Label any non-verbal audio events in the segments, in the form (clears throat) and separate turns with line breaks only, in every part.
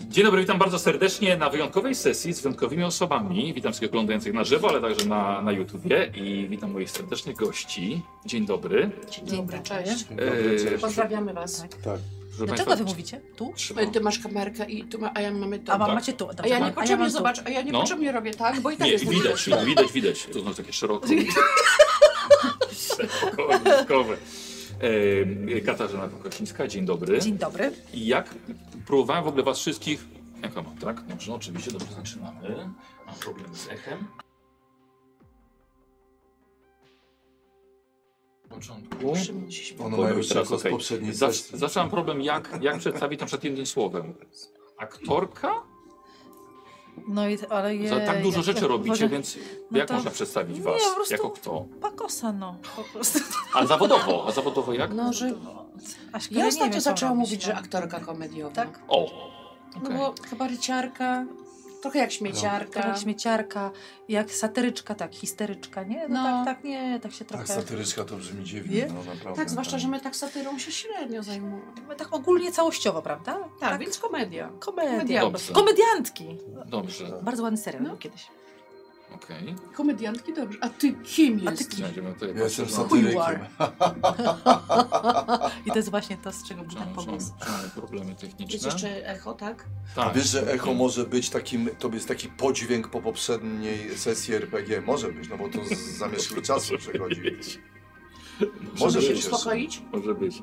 Dzień dobry, witam bardzo serdecznie na wyjątkowej sesji z wyjątkowymi osobami. Witam wszystkich oglądających na żywo, ale także na, na YouTubie i witam moich serdecznych gości. Dzień dobry.
Dzień dobry, cześć.
Yy,
Eee,
Pozdrawiamy was.
Tak.
proszę
Dlaczego wy mówicie? Tu?
Trzymam.
Ty masz kamerkę i tu ma, a ja mamy to.
A wam
tak.
macie tu.
A
Dobrze,
ja
mam-
niepotrzebnie,
mam tu.
zobacz, a ja niepotrzebnie robię tak, bo i tak
No. Nie,
jest
widać, widać, widać. To znaczy takie szeroko. (laughs) szeroko e, Katarzyna Kosińska, dzień dobry.
Dzień dobry.
I jak próbowałem w ogóle was wszystkich... Echo mam, tak? Dobrze, oczywiście, dobrze, zaczynamy. Mam problem z echem. Na początku...
Ono
Bo
ma
był
już
teraz,
czas z
okej.
poprzedniej
Zac-
sesji.
Zaczynam problem, jak, jak przedstawić na przykład jednym słowem. Aktorka?
No i ale je,
Za tak dużo
jak-
rzeczy
jak-
robicie,
Boże,
więc
no
jak
to-
można przedstawić
nie,
was?
po prostu-
Jako kto?
Pakosa, no. Po prostu.
A zawodowo, a zawodowo jak?
(laughs) No, że
Aśka,
ja
nie
ostatnio
wiem, co
zaczęłam
robić, no.
mówić, że aktorka komediowa.
Tak?
O!
No
okej.
bo chyba ryciarka, No, trochę jak śmieciarka.
Jak śmieciarka, jak satyryczka, tak, histeryczka, nie? No, tak,
No.
tak, nie, tak się
Tak,
trochę...
satyryczka to brzmi dziwnie,
Nie?
no naprawdę.
Tak, zwłaszcza, że my tak satyrą się średnio zajmujemy. Tak,
tak ogólnie całościowo, prawda?
więc komedia.
Komedia.
Komedia.
Dobrze. Tak.
Komediantki.
Dobrze,
Bardzo ładny serial
No.
był kiedyś.
okej.
Komediantki dobrze. A ty kim
A
jesteś?
ty kim?
Znajdziemy no, tutaj
Ja jestem
jakąś-
satyrykiem.
War.
I to jest właśnie to, z czego był ten
Czemu- czemu-
pomysł.
czemu problemy
Jest
techniczne.
jeszcze echo, tak?
A
Tak.
wiesz, że echo może być takim, to jest taki podźwięk po poprzedniej sesji RPG. Może być, no bo to z zamierzchły (laughs) czasu przechodzi. więc- Może
Żeby się
być jeszcze.
uspokoić?
Może być.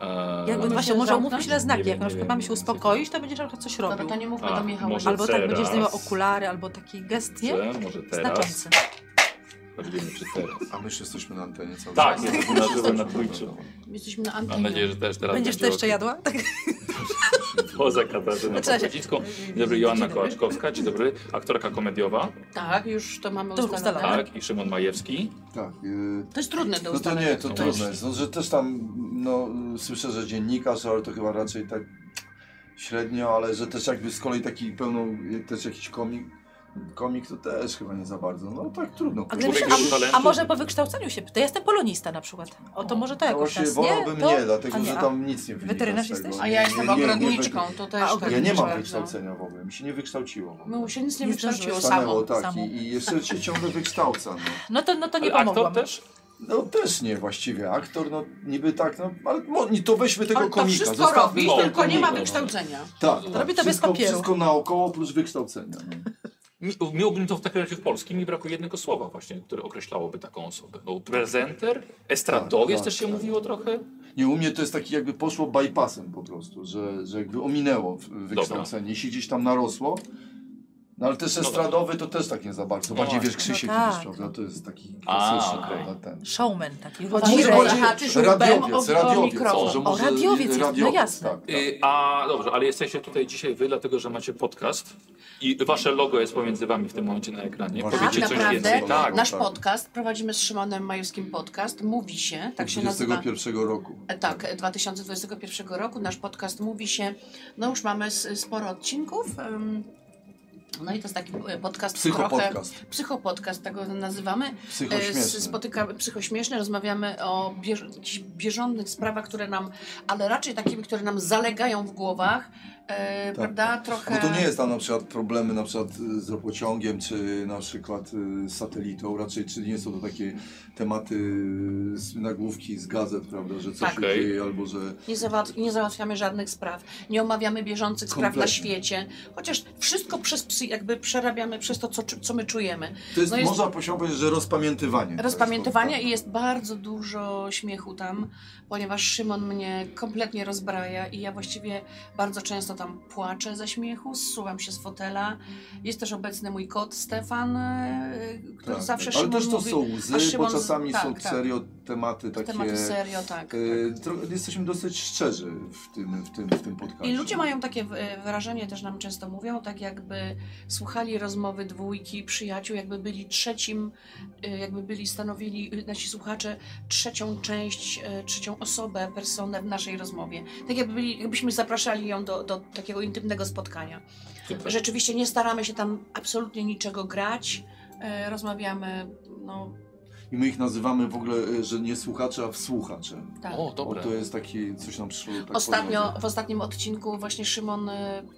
Eee,
Jakby właśnie,
się
może
zamknąć?
umówmy się na
Nie
znaki,
wiem,
jak na
nie
przykład
wiem,
mamy
nie
się
wiem,
uspokoić, to będziesz na przłym coś
Dobra,
robił.
to nie mówmy
A,
do Michała.
może-
Albo tak będziesz
teraz.
zdejmował okulary, albo taki gest, nie?
Dobrze, może teraz.
Znaczący.
Sprawdzimy, czy teraz.
A my już jesteśmy na antenie cały
Tak,
czas.
jest na żywo na Twitchu.
Jesteśmy na antenie.
Mam nadzieję, że też teraz
Będziesz
będzie
to jeszcze
okej.
jadła? Tak.
Poza Katarzyną
Zaczyna się.
Kowalską. Dzień dobry, Joanna Kołaczkowska. Dzień dobry, aktorka komediowa.
Tak, już to mamy
To już
ustalone.
ustalone.
Tak, i Szymon Majewski.
Tak. y,
To jest trudne do
No to
ustalenia.
nie, to
No
trudne
właśnie.
jest. No, że też tam, no, y, słyszę, że dziennikarz, ale to chyba raczej tak średnio, ale że też jakby z kolei taki pełno, y, też jakiś komik, komik to też chyba nie za bardzo. No tak trudno.
A,
Człowiek
gdybyś,
już
a,
talentu.
a może po wykształceniu się? To ja jestem polonista na przykład. O, to może to
No
jakoś
właśnie
nas, nie?
wolałbym
To-
nie, dlatego
a
że
a-
tam nic nie wynika
Weterynarz
z tego.
jesteś?
A ja jestem
Nie, nie, nie,
ogrodniczką, to też
A, no.
tak
Ja nie mam
myślę,
wykształcenia w ogóle, mi się nie wykształciło. w
No
ogóle.
Mu się nic nie
Nie
wykształciło
zdążyłeś.
samo.
Stanęło tak
samo.
i, i jeszcze się ciągle wykształca. No.
No to, no to nie
Ale aktor
pomogłam.
też?
no też nie właściwie, aktor no niby tak, no ale mo, nie, to weźmy tego
On to
komika.
wszystko
zostawmy
robi,
tego
tylko nie ma
komika. no.
wykształcenia.
Tak, tak.
Robi to bez
wszystko,
papieru.
Wszystko naokoło plus wykształcenia. No.
Mi, miałbym to w takim razie w polskim, mi brakuje jednego słowa właśnie, które określałoby taką osobę. No, prezenter, estradowiec
Tak,
też się
tak.
mówiło trochę.
Nie, u mnie to jest taki jakby poszło bypassem po prostu, że, że jakby ominęło w- wykształcenie, jeśli gdzieś tam narosło. No ale też estradowy to też tak nie za bardzo, bardziej wiesz Krzysiek
No tak.
niż, prawda, to jest taki
A,
klasyczny,
okej.
prawda, ten.
Showman taki.
Od
uważam,
Mirek
że-
bardziej
zahaczysz łbem
radiowiec,
o- o
radiowiec,
mikrofon.
że
O,
może
radiowiec jest, no jasne.
tak, tak.
Y, A dobrze, ale jesteście tutaj dzisiaj wy, dlatego że macie podcast i wasze logo jest pomiędzy wami w tym momencie na ekranie.
Właśnie.
Powiecie
Tak,
coś
naprawdę?
więcej. Tak,
Nasz
tak.
podcast, prowadzimy z Szymonem Majewskim podcast, Mówi się, tak się nazywa.
21 roku.
E, Tak, 2021 roku nasz podcast Mówi się, no już mamy s- sporo odcinków. em, No i to jest taki e, podcast trochę...
Psychopodcast.
Psychopodcast, tego nazywamy. E,
Y,
s-
Psychośmieszny.
Spotykamy psychośmieszne, rozmawiamy o bież jakichś bieżących sprawach, które nam, ale raczej takimi, które nam zalegają w głowach, e, prawda? Trochę.
Tak, Bo to nie jest tam na przykład problemy na przykład y, z ropociągiem, czy na przykład y, z satelitą, raczej czy nie są to takie tematy y, z nagłówki z gazet, prawda, że coś
Tak.
się
Okej.
dzieje albo że...
Nie, załat nie załatwiamy żadnych spraw, nie omawiamy bieżących spraw na
Kompletnie.
świecie, chociaż wszystko przez psy jakby przerabiamy przez to, co, czu- co my czujemy.
To jest,
No jest-
można posiąść, że rozpamiętywanie. Tak. to
Rozpamiętowania
jest,
i jest bardzo dużo śmiechu tam, ponieważ Szymon mnie kompletnie rozbraja i ja właściwie bardzo często tam płaczę ze śmiechu, zsuwam się z fotela. Jest też obecny mój kot Stefan, e, który
tak,
zawsze
tak. Ale
Szymon
też to
mówi,
są łzy,
a
bo
Szymon z-
czasami
tak,
są
tak.
serio tematy takie...
tematy serio, tak.
y, tro- jesteśmy dosyć szczerzy w tym, w tym, w tym podcastie.
I ludzie mają takie w- wrażenie, też nam często mówią, tak jakby słuchali rozmowy dwójki przyjaciół, jakby byli trzecim, y, jakby byli, stanowili y, nasi słuchacze trzecią część, y, trzecią osobę, personę w naszej rozmowie. Tak jakby byli, jakbyśmy zapraszali ją do, do takiego intymnego spotkania.
Super.
Rzeczywiście nie staramy się tam absolutnie niczego grać, y, rozmawiamy, e, no...
i my ich nazywamy w ogóle, y, że nie słuchacze, a wsłuchacze.
Tak.
O,
Bo
dobre.
to jest taki, coś nam przyszło tak
Ostatnio,
podchodzi.
w ostatnim odcinku właśnie Szymon, y,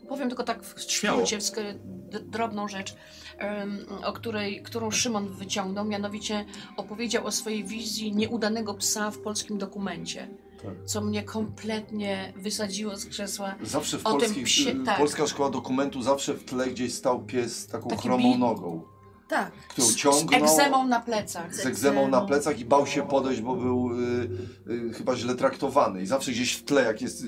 powiem tylko tak w
Śmiało.
skrócie, w skry- d- drobną rzecz, em, o której, którą Szymon wyciągnął, mianowicie opowiedział o swojej wizji nieudanego psa w polskim dokumencie,
Tak.
co mnie kompletnie wysadziło z krzesła.
Zawsze w
o tym
polskich,
psie-
y,
tak.
polska szkoła dokumentu zawsze w tle gdzieś stał pies z taką
Taki
chromą
bi-
nogą,
Tak.
którą
z, z
ciągnął
egzemą na plecach.
z egzemą na plecach i bał się podejść, bo był y, y, chyba źle traktowany. I zawsze gdzieś w tle, jak jest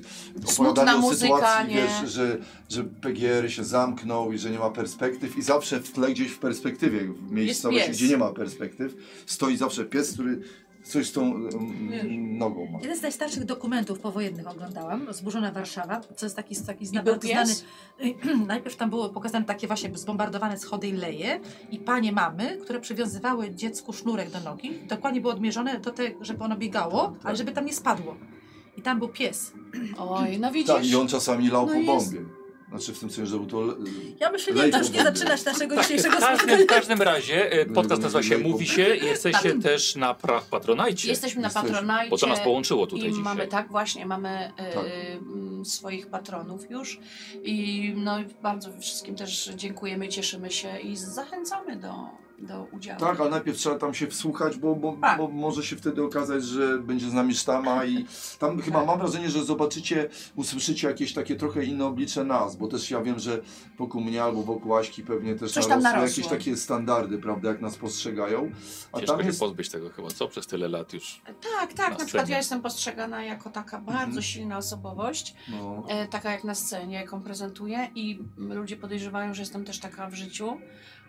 opowiadanie o
muzyka,
sytuacji,
nie?
wiesz, że, że PGR się zamknął i że nie ma perspektyw i zawsze w tle gdzieś w perspektywie, w miejscowości,
pies.
gdzie nie ma perspektyw, stoi zawsze pies, który coś z tą mm,
Wiesz.
nogą ma.
Jeden z najstarszych dokumentów powojennych oglądałam, Zburzona Warszawa, co jest taki, taki
I
zna-
był
bardzo znany. (clears throat)
pies?
Najpierw tam było pokazane takie właśnie zbombardowane schody i leje i panie mamy, które przywiązywały dziecku sznurek do nogi. Dokładnie było odmierzone do tego, żeby ono biegało,
Tak.
ale żeby tam nie spadło. I tam był pies.
Oj, no widzisz.
Tak, i on czasami lał
No
po
jest.
bombie. Znaczy w tym sensie, że był to... y, le-
Ja myślę, nie,
Lej
to już nie
powodu.
zaczynać
(laughs)
naszego dzisiejszego
W
spotkania.
każdym, w każdym razie e, podcast
Mm,
nazywa się
no i po-
Mówi się i jesteście
Tak.
też na pra- patronajcie,
Jesteśmy na
Jesteśmy.
patronajcie.
bo to nas połączyło
I
tutaj dzisiaj.
mamy, tak właśnie, mamy e,
Tak.
m, swoich patronów już i no i bardzo wszystkim też dziękujemy, cieszymy się i zachęcamy do, do udziału.
Tak, ale najpierw trzeba tam się wsłuchać, bo, bo,
Tak.
bo może się wtedy okazać, że będzie z nami sztama i tam
Tak.
chyba mam wrażenie, że zobaczycie, usłyszycie jakieś takie trochę inne oblicze nas, bo też ja wiem, że wokół mnie albo wokół Aśki pewnie też
Coś tam narosło.
jakieś takie standardy, prawda, jak nas postrzegają. A
Ciężko
tam
się
jest
pozbyć tego chyba, co przez tyle lat już.
tak, tak, na,
scenie.
przykład ja jestem postrzegana jako taka bardzo
Mhm.
silna osobowość,
no,
e, taka jak na scenie, jaką prezentuję i ludzie podejrzewają, że jestem też taka w życiu,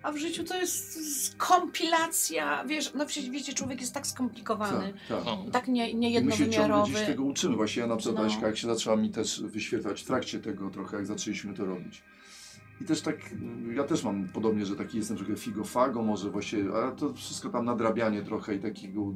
a w życiu to jest kompilacja, wiesz, no przecież wiecie, człowiek jest tak skomplikowany,
tak, tak.
No.
tak nie,
I My się ciągle
niejednowymiarowy.
gdzieś tego uczymy. Właśnie ja na przykład,
No.
Aśka, jak się zaczęła mi też wyświetlać w trakcie tego trochę, jak zaczęliśmy to robić. I też tak, y, ja też mam podobnie, że taki jestem trochę figofago może właśnie, ale to wszystko tam nadrabianie trochę i takiego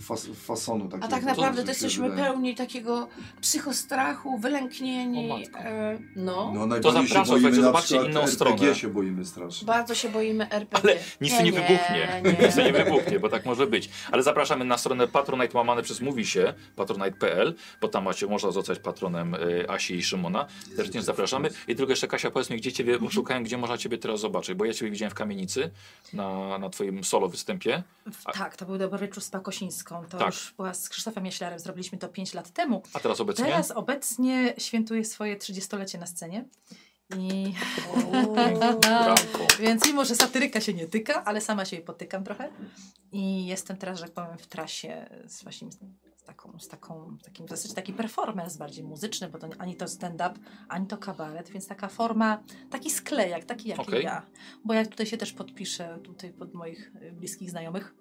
fas, fasonu.
A
takiego,
tak
to
naprawdę
mi
to
się
jesteśmy
wydaje.
pełni takiego psychostrachu, wylęknieni.
O matko.
e, no.
No najbardziej się
zapraszam,
boimy
słuchajcie,
na
zobaczcie
przykład
inną
RPG
stronę.
się boimy strasznie.
Bardzo się boimy RPG.
Ale nic nie wybuchnie. (laughs)
Nie,
Nic nie wybuchnie, bo tak może być. Ale zapraszamy na stronę Patronite łamane przez Mówi się, patronite.pl, bo tam macie, można zostać patronem y, Asi i Szymona. Serdecznie zapraszamy. I tylko jeszcze Kasia, powiedz mi, gdzie Ciebie oszukałem, gdzie można Ciebie teraz zobaczyć, bo ja Ciebie widziałem w Kamienicy na, na Twoim solo występie.
Tak, to był dobry wieczór z Pakosińską. To
Tak.
już była z Krzysztofem Jaślarem, zrobiliśmy to 5 lat temu.
A teraz obecnie?
Teraz obecnie świętuje swoje 30-lecie na scenie. I
Brawo.
więc mimo, że satyryka się nie tyka, ale sama się jej potykam trochę. I jestem teraz, że tak powiem, w trasie z właśnie z taką, z taką, takim w zasadzie taki performance bardziej muzyczny, bo to nie- ani to stand-up, ani to kabaret, więc taka forma, taki sklejak, taki jak
Okej.
ja. Bo ja tutaj się też podpiszę, tutaj pod moich y, bliskich znajomych,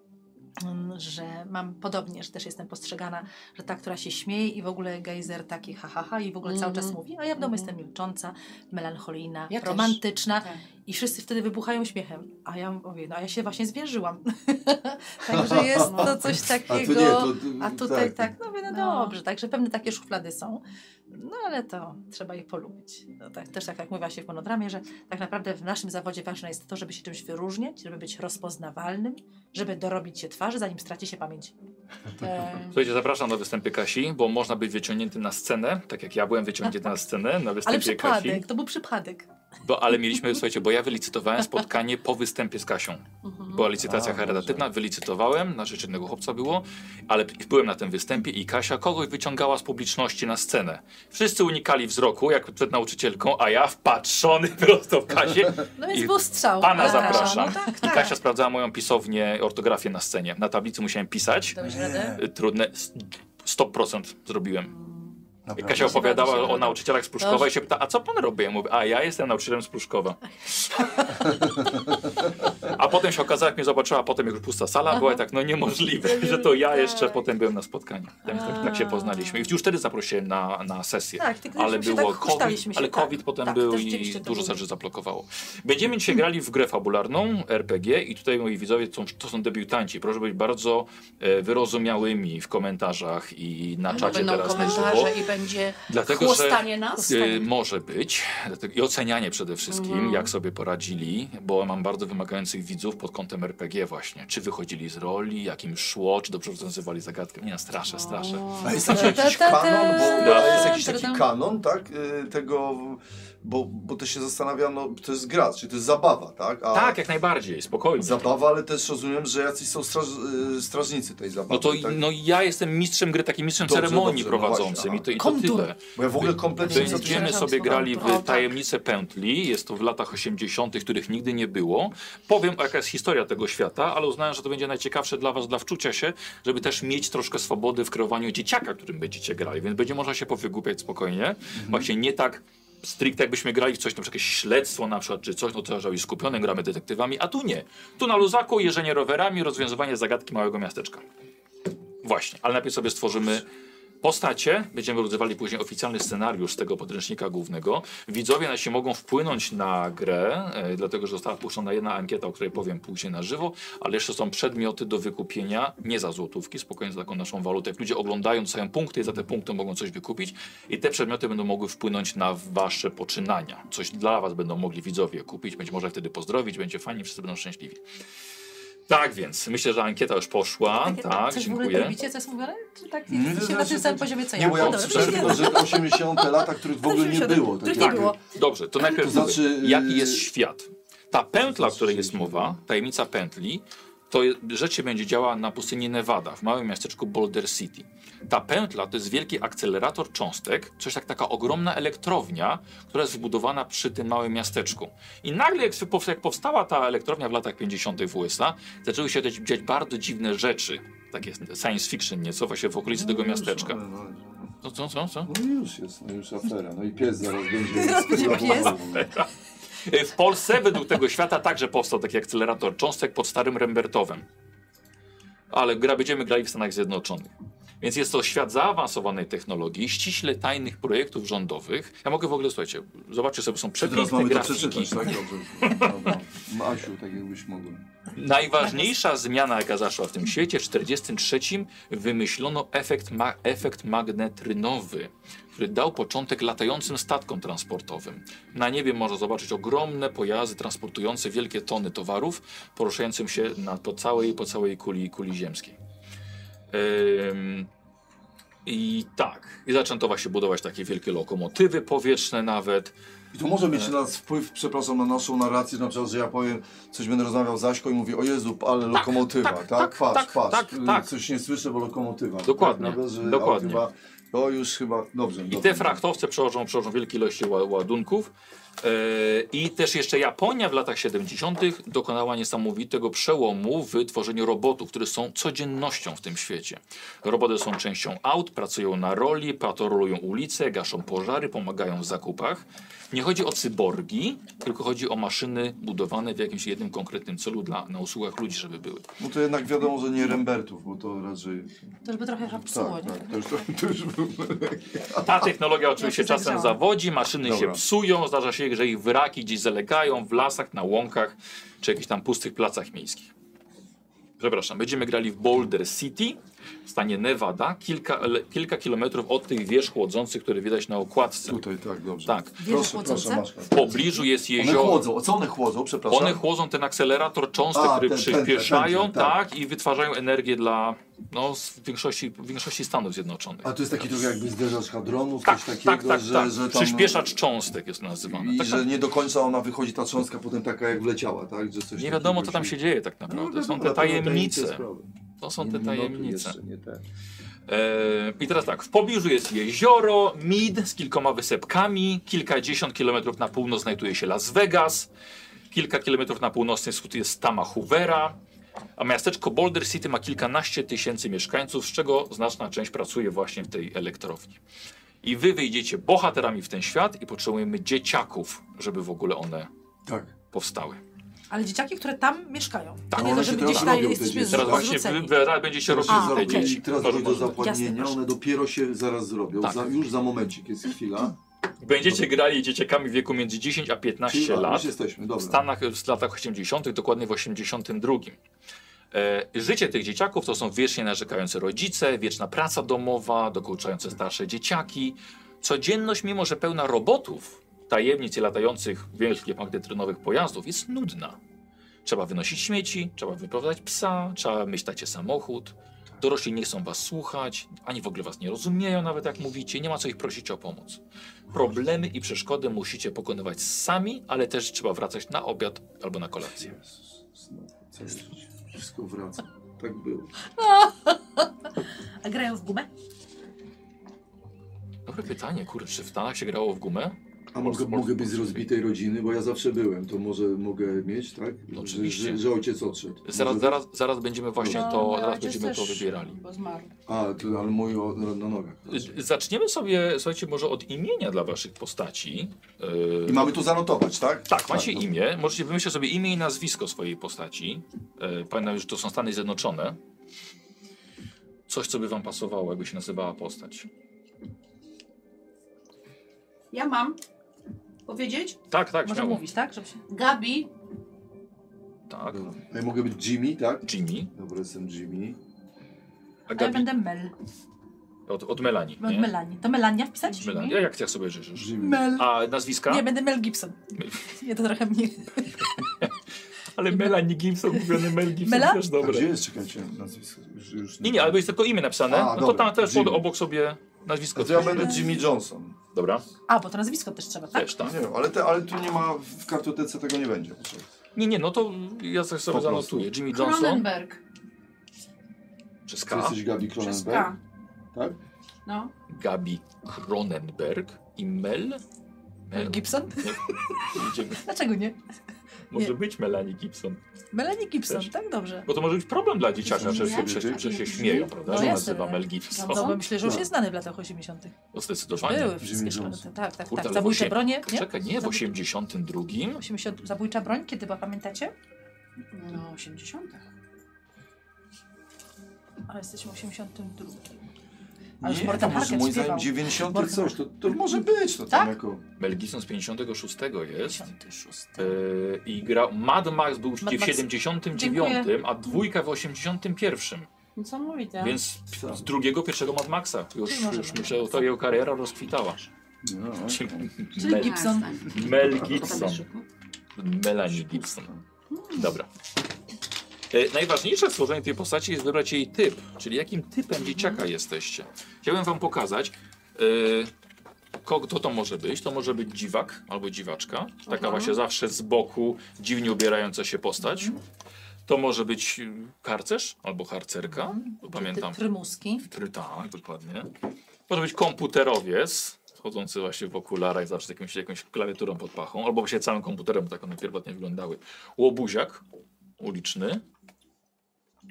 mm, że mam podobnie, że też jestem postrzegana, że ta, która się śmieje i w ogóle gejzer taki ha, ha, ha i w ogóle cały
Mhm.
czas mówi, a ja w domu
Mhm.
jestem milcząca, melancholijna,
Ja też.
romantyczna,
Tak.
i wszyscy wtedy wybuchają śmiechem. A ja mówię, no a ja się właśnie zwierzyłam. (laughs) Także jest to coś
(laughs) A tu
takiego.
nie, to,
A tutaj tak, no, mówię, no,
No.
dobrze, także pewne takie szuflady są. No ale to trzeba je polubić. No, tak, też tak jak mówiła się w monodramie, że tak naprawdę w naszym zawodzie ważne jest to, żeby się czymś wyróżniać, żeby być rozpoznawalnym, żeby dorobić się twarzy, zanim straci się pamięć.
(laughs)
E,
Słuchajcie, zapraszam na występy Kasi, bo można być wyciągnięty na scenę, tak jak ja byłem wyciągnięty na scenę, na
Ale
występie Kasi.
przypadek, to był przypadek.
Bo, ale mieliśmy, słuchajcie, bo ja wylicytowałem spotkanie po występie z Kasią.
mhm.
Była licytacja
A,
charytatywna, wylicytowałem, na rzecz jednego chłopca było, ale p- byłem na tym występie i Kasia kogoś wyciągała z publiczności na scenę. Wszyscy unikali wzroku, jak przed nauczycielką, a ja wpatrzony (laughs) prosto w Kasię.
No więc
I
był strzał.
pana
Ale-
zapraszam.
No tak,
I
tak.
Kasia sprawdzała moją pisownię, ortografię na scenie. Na tablicy musiałem pisać,
Dałeś radę?
y, trudne, s- 100% zrobiłem. I
Naprawdę.
Kasia opowiadała o nauczycielach z Pruszkowa
Dobrze.
i się pyta, a co pan robi? Ja mówię, a ja jestem nauczycielem z Pruszkowa. A potem się okazało, jak mnie zobaczyła, potem jak już pusta sala była, i tak no
(laughs)
niemożliwe, że to ja jeszcze
Tak.
potem byłem na spotkaniu. Tak, tak, tak się poznaliśmy. I już wtedy zaprosiłem na, na sesję.
Tak, tylko
Ale
żeśmy się
było
tak
COVID,
huśtaliśmy się,
ale
tak.
COVID potem
Tak,
był
to
i
rzeczywiście to
dużo
było.
rzeczy zablokowało. Będziemy dzisiaj grali w grę fabularną RPG i tutaj moi widzowie to, to są debiutanci. Proszę być bardzo e, wyrozumiałymi w komentarzach i na
No,
czacie
będą
teraz na żywo.
komentarze i będzie
Dlatego, że
chłostanie nas?
Y, może być. Dlatego- I ocenianie przede wszystkim,
Mhm.
jak sobie poradzili, bo mam bardzo wymagających widzów pod kątem RPG właśnie. Czy wychodzili z roli, jak im szło, czy dobrze rozwiązywali zagadkę. Nie, no, straszę, straszę.
A jest taki jakiś
Ta, ta, ta,
kanon, bo
ta,
jest jakiś
ta,
taki
ta.
kanon, tak? y, Tego, bo, bo też się zastanawiam, no to jest gra, czyli to jest zabawa, tak? A
Tak, jak najbardziej, spokojnie.
Zabawa, ale też rozumiem, że jacyś są straż, y, strażnicy tej zabawy.
No to
tak?
no, ja jestem mistrzem gry, takim mistrzem
Dobrze,
ceremonii
dobrze, no
prowadzącym
właśnie,
i to, i to
Kontur.
tyle.
Bo ja w ogóle kompletnie nie
Więc
zacząłem-
Będziemy
przepraszam,
sobie
słowa
grali
autora.
w tajemnice pętli. Jest to w latach 80., których nigdy nie było. Powiem, jaka jest historia tego świata, ale uznałem, że to będzie najciekawsze dla Was, dla wczucia się, żeby też mieć troszkę swobody w kreowaniu dzieciaka, którym będziecie grali. Więc będzie można się powygłupiać spokojnie. Właśnie nie tak. Stricte jakbyśmy grali w coś, na przykład jakieś śledztwo na przykład, czy coś, no to że skupione gramy detektywami, a tu nie. Tu na luzaku jeżdżenie rowerami, rozwiązywanie zagadki małego miasteczka. Właśnie, ale najpierw sobie stworzymy postacie, będziemy rozgrywali później oficjalny scenariusz z tego podręcznika głównego. Widzowie nasi mogą wpłynąć na grę, e, dlatego że została puszczona jedna ankieta, o której powiem później na żywo, ale jeszcze są przedmioty do wykupienia, nie za złotówki, spokojnie za taką naszą walutę. Jak ludzie oglądają, dostają punkty i za te punkty mogą coś wykupić i te przedmioty będą mogły wpłynąć na wasze poczynania. Coś dla was będą mogli widzowie kupić, być może wtedy pozdrowić, będzie fajnie, wszyscy będą szczęśliwi. Tak więc, myślę, że ankieta już poszła,
Takie-
tak,
coś w ogóle
dziękuję.
robicie, co jest mówione? Czy tak
Nie,
jesteście na tym
znaczy,
samym poziomie, co ja?
Nie, bo ja
No dobra,
usłyszałem
to
tylko,
jest
że 80 lata, których w ogóle nie
87,
było. tak
których
takiego.
nie było.
Dobrze, to najpierw
To znaczy,
mówię, jaki
yy,
jest świat. Ta pętla, o której jest mowa, tajemnica pętli, to je- rzecz się będzie działała na pustyni Nevada, w małym miasteczku Boulder City. Ta pętla to jest wielki akcelerator cząstek, coś jak taka ogromna elektrownia, która jest wybudowana przy tym małym miasteczku. I nagle, jak, się pow- jak powstała ta elektrownia w latach 50. w USA, zaczęły się też dziać bardzo dziwne rzeczy. Takie science fiction nieco właśnie w okolicy tego miasteczka.
No, no,
Co, co, co? co?
no już jest, no już afera. No i pies zaraz będzie.
Zaraz będzie pies.
E, W Polsce według tego świata także powstał taki akcelerator cząstek pod starym Rembertowem. Ale gra będziemy grali w Stanach Zjednoczonych. Więc jest to świat zaawansowanej technologii, ściśle tajnych projektów rządowych. Ja mogę w ogóle, słuchajcie, zobaczcie sobie, są
Teraz
przepiękne
mamy to
grafiki.
przeczytać, tak? Dobrze. Dobra. Masiu, tak jakbyś mogła.
Najważniejsza zmiana, jaka zaszła w tym świecie, w 43 wymyślono efekt, ma efekt magnetrynowy, który dał początek latającym statkom transportowym. Na niebie można zobaczyć ogromne pojazdy transportujące wielkie tony towarów, poruszającym się na, po całej, po całej kuli, kuli ziemskiej. Ym, I tak, i zaczęto właśnie budować takie wielkie lokomotywy powietrzne nawet.
I to może mieć na nas wpływ, przepraszam, na naszą narrację, na przykład, że ja powiem, coś będę rozmawiał z Aśką i mówię, o Jezu, ale lokomotywa,
tak,
tak?
tak,
patrz,
tak,
patrz,
tak,
y,
tak.
coś nie słyszę, bo lokomotywa.
Dokładnie,
Prawda, że,
dokładnie.
O, chyba, o, już chyba, dobrze.
I te frachtowce przełożą, przełożą wielkie ilości ła- ładunków. E, I też jeszcze Japonia w latach 70. dokonała niesamowitego przełomu w tworzeniu robotów, które są codziennością w tym świecie. Roboty są częścią aut, pracują na roli, patrolują ulice, gaszą pożary, pomagają w zakupach. Nie chodzi o cyborgi, tylko chodzi o maszyny budowane w jakimś jednym konkretnym celu dla, na usługach ludzi, żeby były.
No to jednak wiadomo, że nie Rembertów, bo to raczej...
To żeby trochę hapsuło,
Tak,
nie?
tak, to już, to już (laughs)
Ta technologia oczywiście
się
czasem
zagrzałam.
zawodzi, maszyny
Dobra.
się psują, zdarza się, że ich wyraki gdzieś zalegają w lasach, na łąkach czy jakichś tam pustych placach miejskich. Przepraszam, będziemy grali w Boulder City w stanie Nevada, kilka, ele- kilka kilometrów od tych wież chłodzących, które widać na okładce.
Tutaj, tak, dobrze.
Tak,
Wieże
Proszę, proszę,
chłodzące?
Maszka.
w pobliżu jest
One
jezioro.
chłodzą, co one chłodzą, przepraszam?
One chłodzą ten akcelerator cząstek,
A,
który
ten- ten- ten-
przyspieszają,
ten- ten,
tak.
tak.
i wytwarzają energię dla no, z większości, większości Stanów Zjednoczonych.
A to jest taki trochę jakby zderzacz hadronów,
Tak,
coś takiego,
tak, tak,
że,
tak.
że tam...
Przyspieszacz cząstek jest nazywany.
I
tak,
że nie do końca ona wychodzi, ta cząstka potem taka jak wleciała, tak? Że coś
Nie wiadomo,
takiego
co tam się dzieje tak
No,
naprawdę.
no
Są
dobra,
te
to na
tajemnice.
sprawy.
To są
Nie,
te
no, no, tu
tajemnice.
jeszcze nie te.
E, I teraz tak, w pobliżu jest jezioro, Mid z kilkoma wysepkami, kilkadziesiąt kilometrów na północ znajduje się Las Vegas, kilka kilometrów na północny wschód jest Tama Hoovera, a miasteczko Boulder City ma kilkanaście tysięcy mieszkańców, z czego znaczna część pracuje właśnie w tej elektrowni. I wy wyjdziecie bohaterami w ten świat i potrzebujemy dzieciaków, żeby w ogóle one
Tak.
powstały.
Ale dzieciaki, które tam mieszkają.
Tak,
Tak, nie
one
to,
się
że my
teraz
gdzieś
robią,
tam
te
jesteśmy
dzieci.
Teraz właśnie wy,
zrzuceni.
wy teraz będziecie robić
A,
te
okej.
dzieci.
Teraz
Może-
dojdzie do
może-
Jasne,
zapładnienia,
proszę.
one dopiero się zaraz zrobią.
Tak.
Za, już za momencik jest chwila.
Będziecie grali dzieciakami w wieku między 10 a 15
Czyli, a,
lat.
Już jesteśmy,
W
dobra.
Stanach w latach 80., dokładnie w 82. E, życie tych dzieciaków to są wiecznie narzekające rodzice, wieczna praca domowa, dokuczające starsze dzieciaki. Codzienność, mimo że pełna robotów, tajemnic i latających wielkich magnetrynowych pojazdów, jest nudna. Trzeba wynosić śmieci, trzeba wyprowadzać psa, trzeba myślacie samochód. Dorośli nie chcą was słuchać, ani w ogóle was nie rozumieją, nawet jak mówicie, nie ma co ich prosić o pomoc. Problemy i przeszkody musicie pokonywać sami, ale też trzeba wracać na obiad albo na kolację.
Jezus, znowu całe życie. Wszystko wraca. Tak było.
A grają w gumę?
Dobre pytanie, kurczę, czy w Stanach się grało w gumę?
A mogę, mogę być z rozbitej rodziny, bo ja zawsze byłem. To może mogę mieć, tak? Że-
No, Oczywiście.
Że, że ojciec odszedł.
Zaraz,
Mhm.
Może-
zaraz, zaraz będziemy właśnie to,
mój
zaraz
ojciec
będziemy to
też,
wybierali.
Bo zmarł.
A, to, ale mój o, na, na nogach.
Y, Zaczniemy sobie, słuchajcie, może od imienia dla waszych postaci. Yy,
I mamy tu zanotować, tak?
Tak, macie
to-
imię, możecie wymyśleć sobie imię i nazwisko swojej postaci. Yy, Pamiętam, że to są Stany Zjednoczone. Coś, co by wam pasowało, jakby się nazywała postać.
Ja mam powiedzieć?
Tak, tak,
Może
śmiało.
mówić, tak? Żeby się...
Gabi,
Tak,
Dobra. A ja mogę być Jimmy, tak?
Jimmy.
Dobra, jestem Jimmy.
A
A ja
Gabi,
będę Mel.
od, od Melanie,
Od
nie?
Melanie. To Melania wpisać?
Melanie. Ja Jak, jak sobie życzysz?
Jimmy.
Mel.
A nazwiska?
Nie, będę Mel Gibson. Nie, to trochę mniej.
Ale Melanie Gibson, mówiony Mel Gibson,
Mela?
też
A
dobre.
gdzie jest, czekajcie, nazwisko? Już, już
Nie, nie, albo jest tylko imię napisane,
A,
no to
dobra.
tam też pod,
Jimmy.
obok sobie nazwisko.
A
Znaczy
to ja
wpiszesz.
będę Jimmy Johnson.
Dobra,
A, bo to nazwisko też trzeba, tak?
też tam.
Nie wiem, ale, te, ale tu nie ma, w kartotece tego nie będzie.
Nie, nie, no to ja coś sobie
Po prostu.
zanotuję. Jimmy Johnson
Cronenberg
przez
Ty
K,
jesteś Gabi
przez
Cronenberg?
K.
Tak?
No.
Gabi Cronenberg i Mel.
Mel Gibson?
Idziemy.
Dlaczego nie?
Może
(laughs) Nie.
być Melanie Gibson.
Melanie Gibson,
Też.
tak? Dobrze.
Bo to może być problem dla dzieciaka, że się, że, się- że się śmieją, prawda?
No
Że
jasne.
nazywa Mel Gibson.
No, bo myślę, że już
Tak.
jest znany w latach 80.
No zdecydowanie.
Były wszystkie
Johnson.
szkolety. Tak, tak,
Kurde,
tak.
ale
Zabójcze
właśnie-
bronie, nie?
Czekaj, nie, w
Zabój-
82.
80, zabójcza broń, kiedy była, pamiętacie?
No, 80.
Ale jesteśmy w 82. Ale już
nie,
Morten
to może
Harket
moim
śpiewał.
zdaniem 90
Morten-
coś, to, to może być. To tam
Tak?
jako...
Mel Gibson z 56 jest.
86.
Yy, I gra Mad Max był
Mad
w
Max.
79, a dwójka w 81.
Niesamowite.
Więc z drugiego, pierwszego Mad Maxa. Już,
Czyli może
już
Mad
myślę, że to jego kariera rozkwitała.
No, okej.
Czyli
Mel,
Gibson.
Mel Gibson. Melanie Gibson. Dobra. E, Najważniejsze w stworzeniu tej postaci jest wybrać jej typ, czyli jakim typem dzieciaka jesteście. Chciałbym wam pokazać, e, ko- kto to może być. To może być dziwak albo dziwaczka, taka
Aha.
właśnie zawsze z boku, dziwnie ubierająca się postać. To może być y, harcerz albo harcerka, bo pamiętam.
Prymuski.
Try- Tak, dokładnie. Może być komputerowiec, chodzący właśnie w okularach, zawsze z jakimś, jakąś klawiaturą pod pachą, albo właśnie całym komputerem, bo tak one pierwotnie wyglądały. Łobuziak uliczny.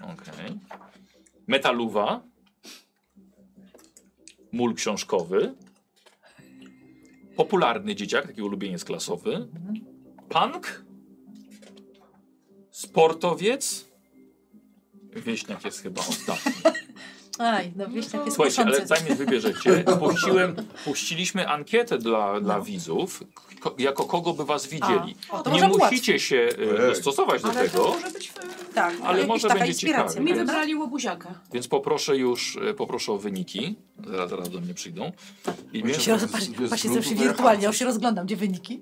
Okej. Metaluwa. Mól książkowy. Popularny dzieciak, taki ulubieniec klasowy. Punk. Sportowiec. Wieśniak jest chyba ostatni.
Aj, no wiesz, takie
Słuchajcie, ale
skuszące.
zanim wybierzecie, puściłem, puściliśmy ankietę dla, dla widzów, ko, jako kogo by was widzieli.
A, o, to
nie
może
musicie się e,
Ej.
dostosować do
Ale to
tego,
może być... e,
Tak,
ale
jakaś
może
taka
będzie
inspiracja,
ciekawe.
Mi
Jest.
prawda?
wybrali łobuziaka.
więc poproszę już, e, poproszę o wyniki. Zaraz, zaraz do mnie przyjdą. I
Proszę
wiesz,
Się roz... patrz,
Jest
patrz,
grunt
jestem się
wyjechać.
wirtualnie, ja już (laughs) się rozglądam, gdzie wyniki.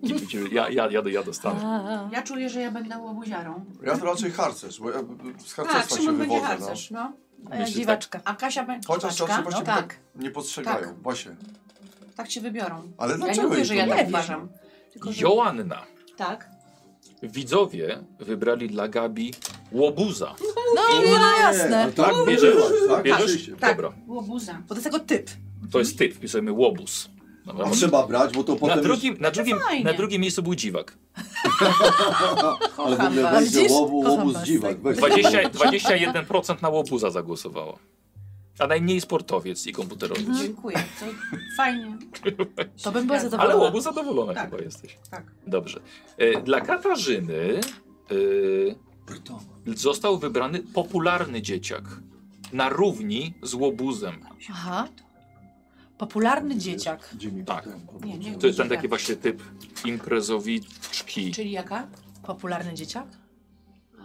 ja, ja, ja, ja dostanę.
A,
Ja czuję, że ja będę łobuziarą.
Ja to raczej harcerz, bo ja z
Tak,
harcerstwa się
Szymon będzie
wywodzę.
harcerz, no.
a ja
Myślę,
dziwaczka.
A Kasia będzie
Chociaż
dziwaczka?
czasem właśnie-
tak,
No. Nie postrzegają,
Tak.
właśnie.
tak cię wybiorą.
Ale
Ja
dlaczego?
nie mówię,
jej
że
to No,
ja
nie
tak
jest?
uważam. Tylko, że...
Joanna.
Tak.
Widzowie wybrali dla Gabi łobuza.
No,
Nie,
no
Nie,
jasne.
ale tak
Bierzesz?
bierzesz, tak?
Bierzesz?
Oczywiście.
Tak.
Dobra.
Łobuza.
Bo to jest tego typ.
To jest typ, wpisujemy łobuz. Dobra,
A
bo-
trzeba brać, bo to
No, na,
potem... już-
drugim, na, drugim,
fajnie.
na drugim miejscu był dziwak.
Ale w
Kocham
ogóle
was.
weź-
będzie
Widzisz?
łobu,
Kocham
łobu z
was,
dziwak.
tak.
Weź.
20, 21% na łobuza zagłosowało. A najmniej sportowiec i komputerowiec.
Mhm.
Mhm.
Dziękuję. To
(laughs)
fajnie.
To bym była
Się zgadzam.
Ale
zadowolona.
łobuz zadowolona
Tak.
chyba jesteś.
Tak.
Dobrze. E, Dla Katarzyny e, został wybrany popularny dzieciak. Na równi z łobuzem.
Aha. Popularny dzieciak.
Jimmy,
Tak.
potem.
Nie, nie.
To jest ten taki właśnie typ imprezowiczki.
Czyli jaka?
Popularny dzieciak?
A,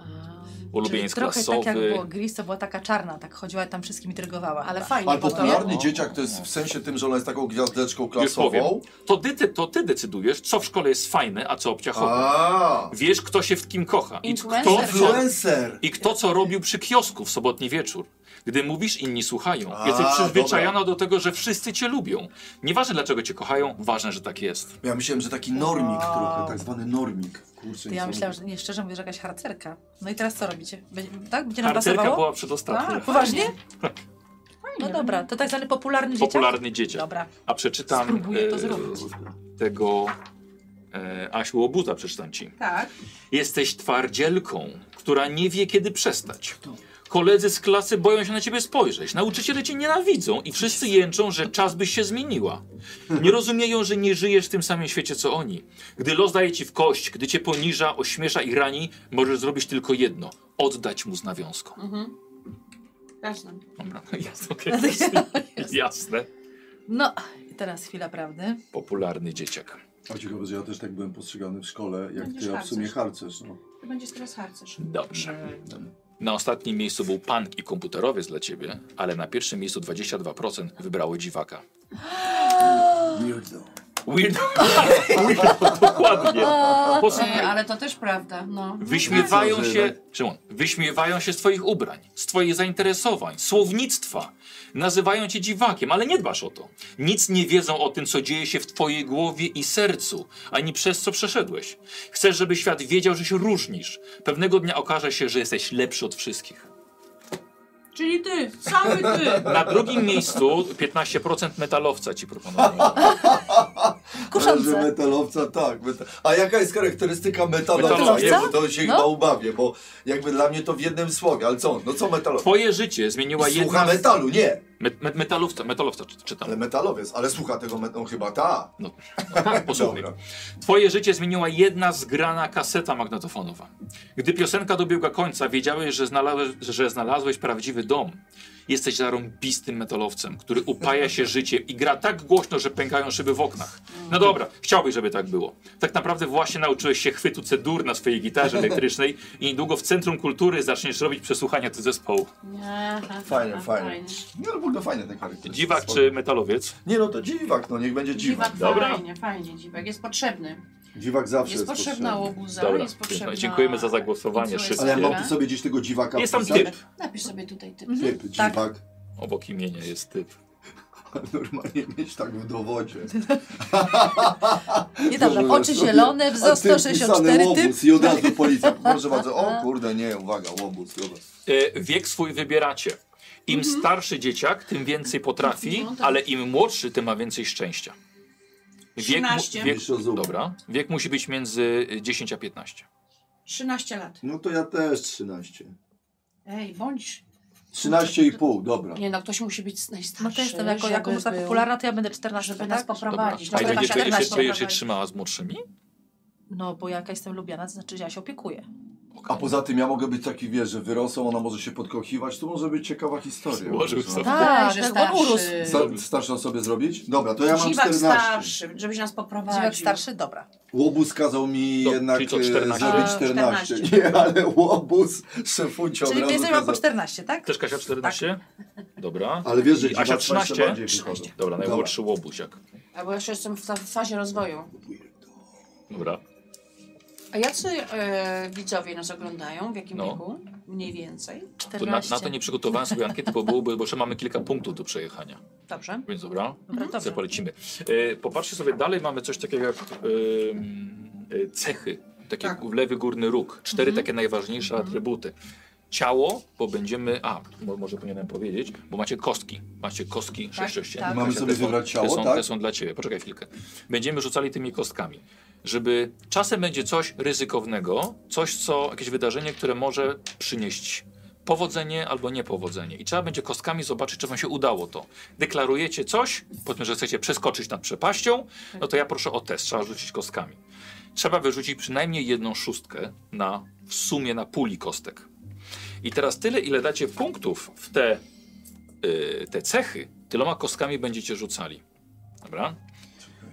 Ulubieńc
trochę tak jak
klasowy. Tak.
było Gris, to była taka czarna, tak chodziła i tam wszystkim intrygowała.
Ale
chyba.
fajnie,
Ale
bo to
popularny
nie-
dzieciak to jest w sensie tym, że ona jest taką gwiazdeczką
No. Już powiem.
klasową.
To ty, ty, to ty decydujesz, co w szkole jest fajne, a co obciachowe.
A,
Wiesz, kto się w kim kocha. I kto,
Influencer.
co,
influencer!
I kto co robił przy kiosku w sobotni wieczór. Gdy mówisz, inni słuchają.
A,
Jesteś przyzwyczajona do tego, że wszyscy cię lubią. Nieważne dlaczego cię kochają, ważne, że tak jest.
Ja myślałem, że taki normik
Wow.
trochę, tak zwany normik. Kurczę,
To ja
nic
myślałam,
nie
że nie, szczerze mówię, że jakaś harcerka. No i teraz co robicie? Będzie, tak? Będzie nam
Harcerka
pasowało?
była Tak. przedostatnia.
A, poważnie? No
fajnie.
dobra, to tak zwany popularny dzieciak?
Popularny dzieciak.
Dobra.
A przeczytam
Spróbuję to
e,
zrobić.
tego e, Asiu Łobuta, przeczytam ci.
Tak.
Jesteś twardzielką, która nie wie kiedy przestać. Koledzy z klasy boją się na ciebie spojrzeć, nauczyciele cię nienawidzą i wszyscy jęczą, że czas byś się zmieniła. Nie rozumieją, że nie żyjesz w tym samym świecie co oni. Gdy los daje ci w kość, gdy cię poniża, ośmiesza i rani, możesz zrobić tylko jedno. Oddać mu z nawiązką.
Mhm. Jasne.
Dobra, no jasne. okej. Jasne.
No, i teraz chwila prawdy.
Popularny dzieciak.
wiem. A ciekawe, że ja też tak byłem postrzegany w szkole, jak
Będziesz
ty, a w sumie harcerz. No.
To będzie teraz harcerz.
Dobrze. Na ostatnim miejscu był pan i komputerowiec dla ciebie, ale na pierwszym miejscu 22% wybrało dziwaka.
Weirdo.
Weirdo. (laughs) Weirdo, dokładnie. Posłuchaj.
E, ale to też prawda, no.
Wyśmiewają
Dobrze,
się, Szymon, wyśmiewają się z twoich ubrań, z twoich zainteresowań, słownictwa. Nazywają cię dziwakiem, ale nie dbasz o to. Nic nie wiedzą o tym, co dzieje się w twojej głowie i sercu, ani przez co przeszedłeś. Chcesz, żeby świat wiedział, że się różnisz. Pewnego dnia okaże się, że jesteś lepszy od wszystkich.
Czyli ty, cały ty.
Na drugim miejscu 15% metalowca ci proponowałem.
Kuszące.
Ale, że metalowca, tak. Meta... A jaka jest charakterystyka metalowca?
Metalowca?
Nie, bo to się
No.
chyba ubawię, bo jakby dla mnie to w jednym słowie, ale co? No co metalowca?
Twoje życie zmieniła
Słucha
jedna... z-
metalu, nie,
Me, me, metalowca, metalowca czy- czytam.
ale metalowiec, ale słucha tego metalu, chyba ta.
No, no tak, posłuchaj.
Dobra.
Twoje życie zmieniła jedna zgrana kaseta magnetofonowa. Gdy piosenka dobiegła końca, wiedziałeś, że znalazłeś, że znalazłeś prawdziwy dom. Jesteś zarąbistym metalowcem, który upaja się życiem i gra tak głośno, że pękają szyby w oknach. No dobra, chciałbyś, żeby tak było. Tak naprawdę właśnie nauczyłeś się chwytu cedur na swojej gitarze elektrycznej i niedługo w Centrum Kultury zaczniesz robić przesłuchania tych zespołów.
Nie, tak,
Fajne, fajne. Nie, no w ogóle fajne te charakterystyki.
Dziwak czy metalowiec?
Nie no, to dziwak, no niech będzie dziwak.
Dziwak,
Dziwak,
Dobra.
fajnie, fajnie, dziwak. Jest potrzebny.
zawsze
Jest
jest
potrzebna łobuza,
Dobra,
jest potrzebna...
dziękujemy za zagłosowanie,
influencerka.
Ale ja
wszystkie.
mogę sobie gdzieś tego dziwaka
Jest tam
wpisać?
typ.
Napisz sobie tutaj typ.
Typ,
Tak.
dziwak. (laughs)
Obok imienia jest typ.
Normalnie mieć tak w dowodzie.
Nie dobra,
Dobrze,
oczy
sobie-
zielone,
A
wzrost
typ wpisany
164, typ.
łobuz I od
(laughs)
razu policja. Proszę bardzo, o kurde, nie, uwaga, łobuz, dobra.
e, wiek swój wybieracie. Im starszy dzieciak, tym więcej potrafi,
Mhm. No tak.
ale im młodszy, tym ma więcej szczęścia. Wiek,
13.
wiek,
Jeszcze zup.
dobra, wiek musi być między 10 a 15.
No 13 lat.
No to ja też 13.
Ej, bądź...
13,5, dobra.
Nie no, ktoś musi być najstarszy.
No to jestem jako,
żeby
jako muzyka
był-
popularna, to ja będę 14,
Żeby
tak?
nas
Dobra.
poprowadzić.
A
Dobra,
ile dziewczyny się,
14
czujesz się
prowadzi.
trzymała z młodszymi?
tak, No bo jaka jestem lubiana, to znaczy, że ja się opiekuję.
No
A poza tym ja mogę być taki, wiesz, że wyrosą, ona może się podkochiwać, to może być ciekawa historia.
Złożył
Wiesz, no.
sobie.
Tak,
że
tak,
starszy.
on urósł.
Sta- Starszą sobie zrobić? Dobra, to No ja mam
Dziwak
14.
starszy, żebyś nas poprowadził.
Dziwak starszy, dobra.
Łobuz kazał mi
To-
jednak
czyli co,
e,
14?
zrobić
A,
14.
14.
Nie, ale łobuz szefuncio od
Czyli ty
razu
jesteś
kazał.
po 14, tak?
no Też Kasia 14?
Tak.
Dobra.
Ale wiesz, że
I Asia
dziwak 13
13?
bardziej wychodzą.
Dobra, najmłodszy łobuziak.
Albo jeszcze jestem w fa- w fazie rozwoju.
Dobra.
A jacy e, widzowie nas oglądają? W jakim
No.
wieku? Mniej więcej.
To na,
14.
na to nie przygotowałem sobie ankiety, bo byłoby, bo jeszcze mamy kilka punktów do przejechania.
Dobrze.
Więc dobra.
Dobra,
Dobrze.
dobrze.
polecimy. E, popatrzcie sobie, dalej mamy coś takiego jak em, e, cechy, taki
Tak.
lewy górny róg. Cztery takie najważniejsze atrybuty. Ciało, bo będziemy. A, mo- może powinienem powiedzieć, bo macie kostki. Macie kostki sześciościenne.
tak.
Mamy
Kasia,
sobie
te są-
wybrać
te
ciało,
są,
tak?
Te są dla ciebie. Poczekaj chwilkę. Będziemy rzucali tymi kostkami. Żeby czasem będzie coś ryzykownego, coś, co, jakieś wydarzenie, które może przynieść powodzenie albo niepowodzenie. I trzeba będzie kostkami zobaczyć, czy wam się udało to. Deklarujecie coś, powiedzmy, że chcecie przeskoczyć nad przepaścią, no to ja proszę o test, trzeba rzucić kostkami. Trzeba wyrzucić przynajmniej jedną szóstkę na, w sumie na puli kostek. I teraz tyle, ile dacie punktów w te, y, te cechy, tyloma kostkami będziecie rzucali. Dobra?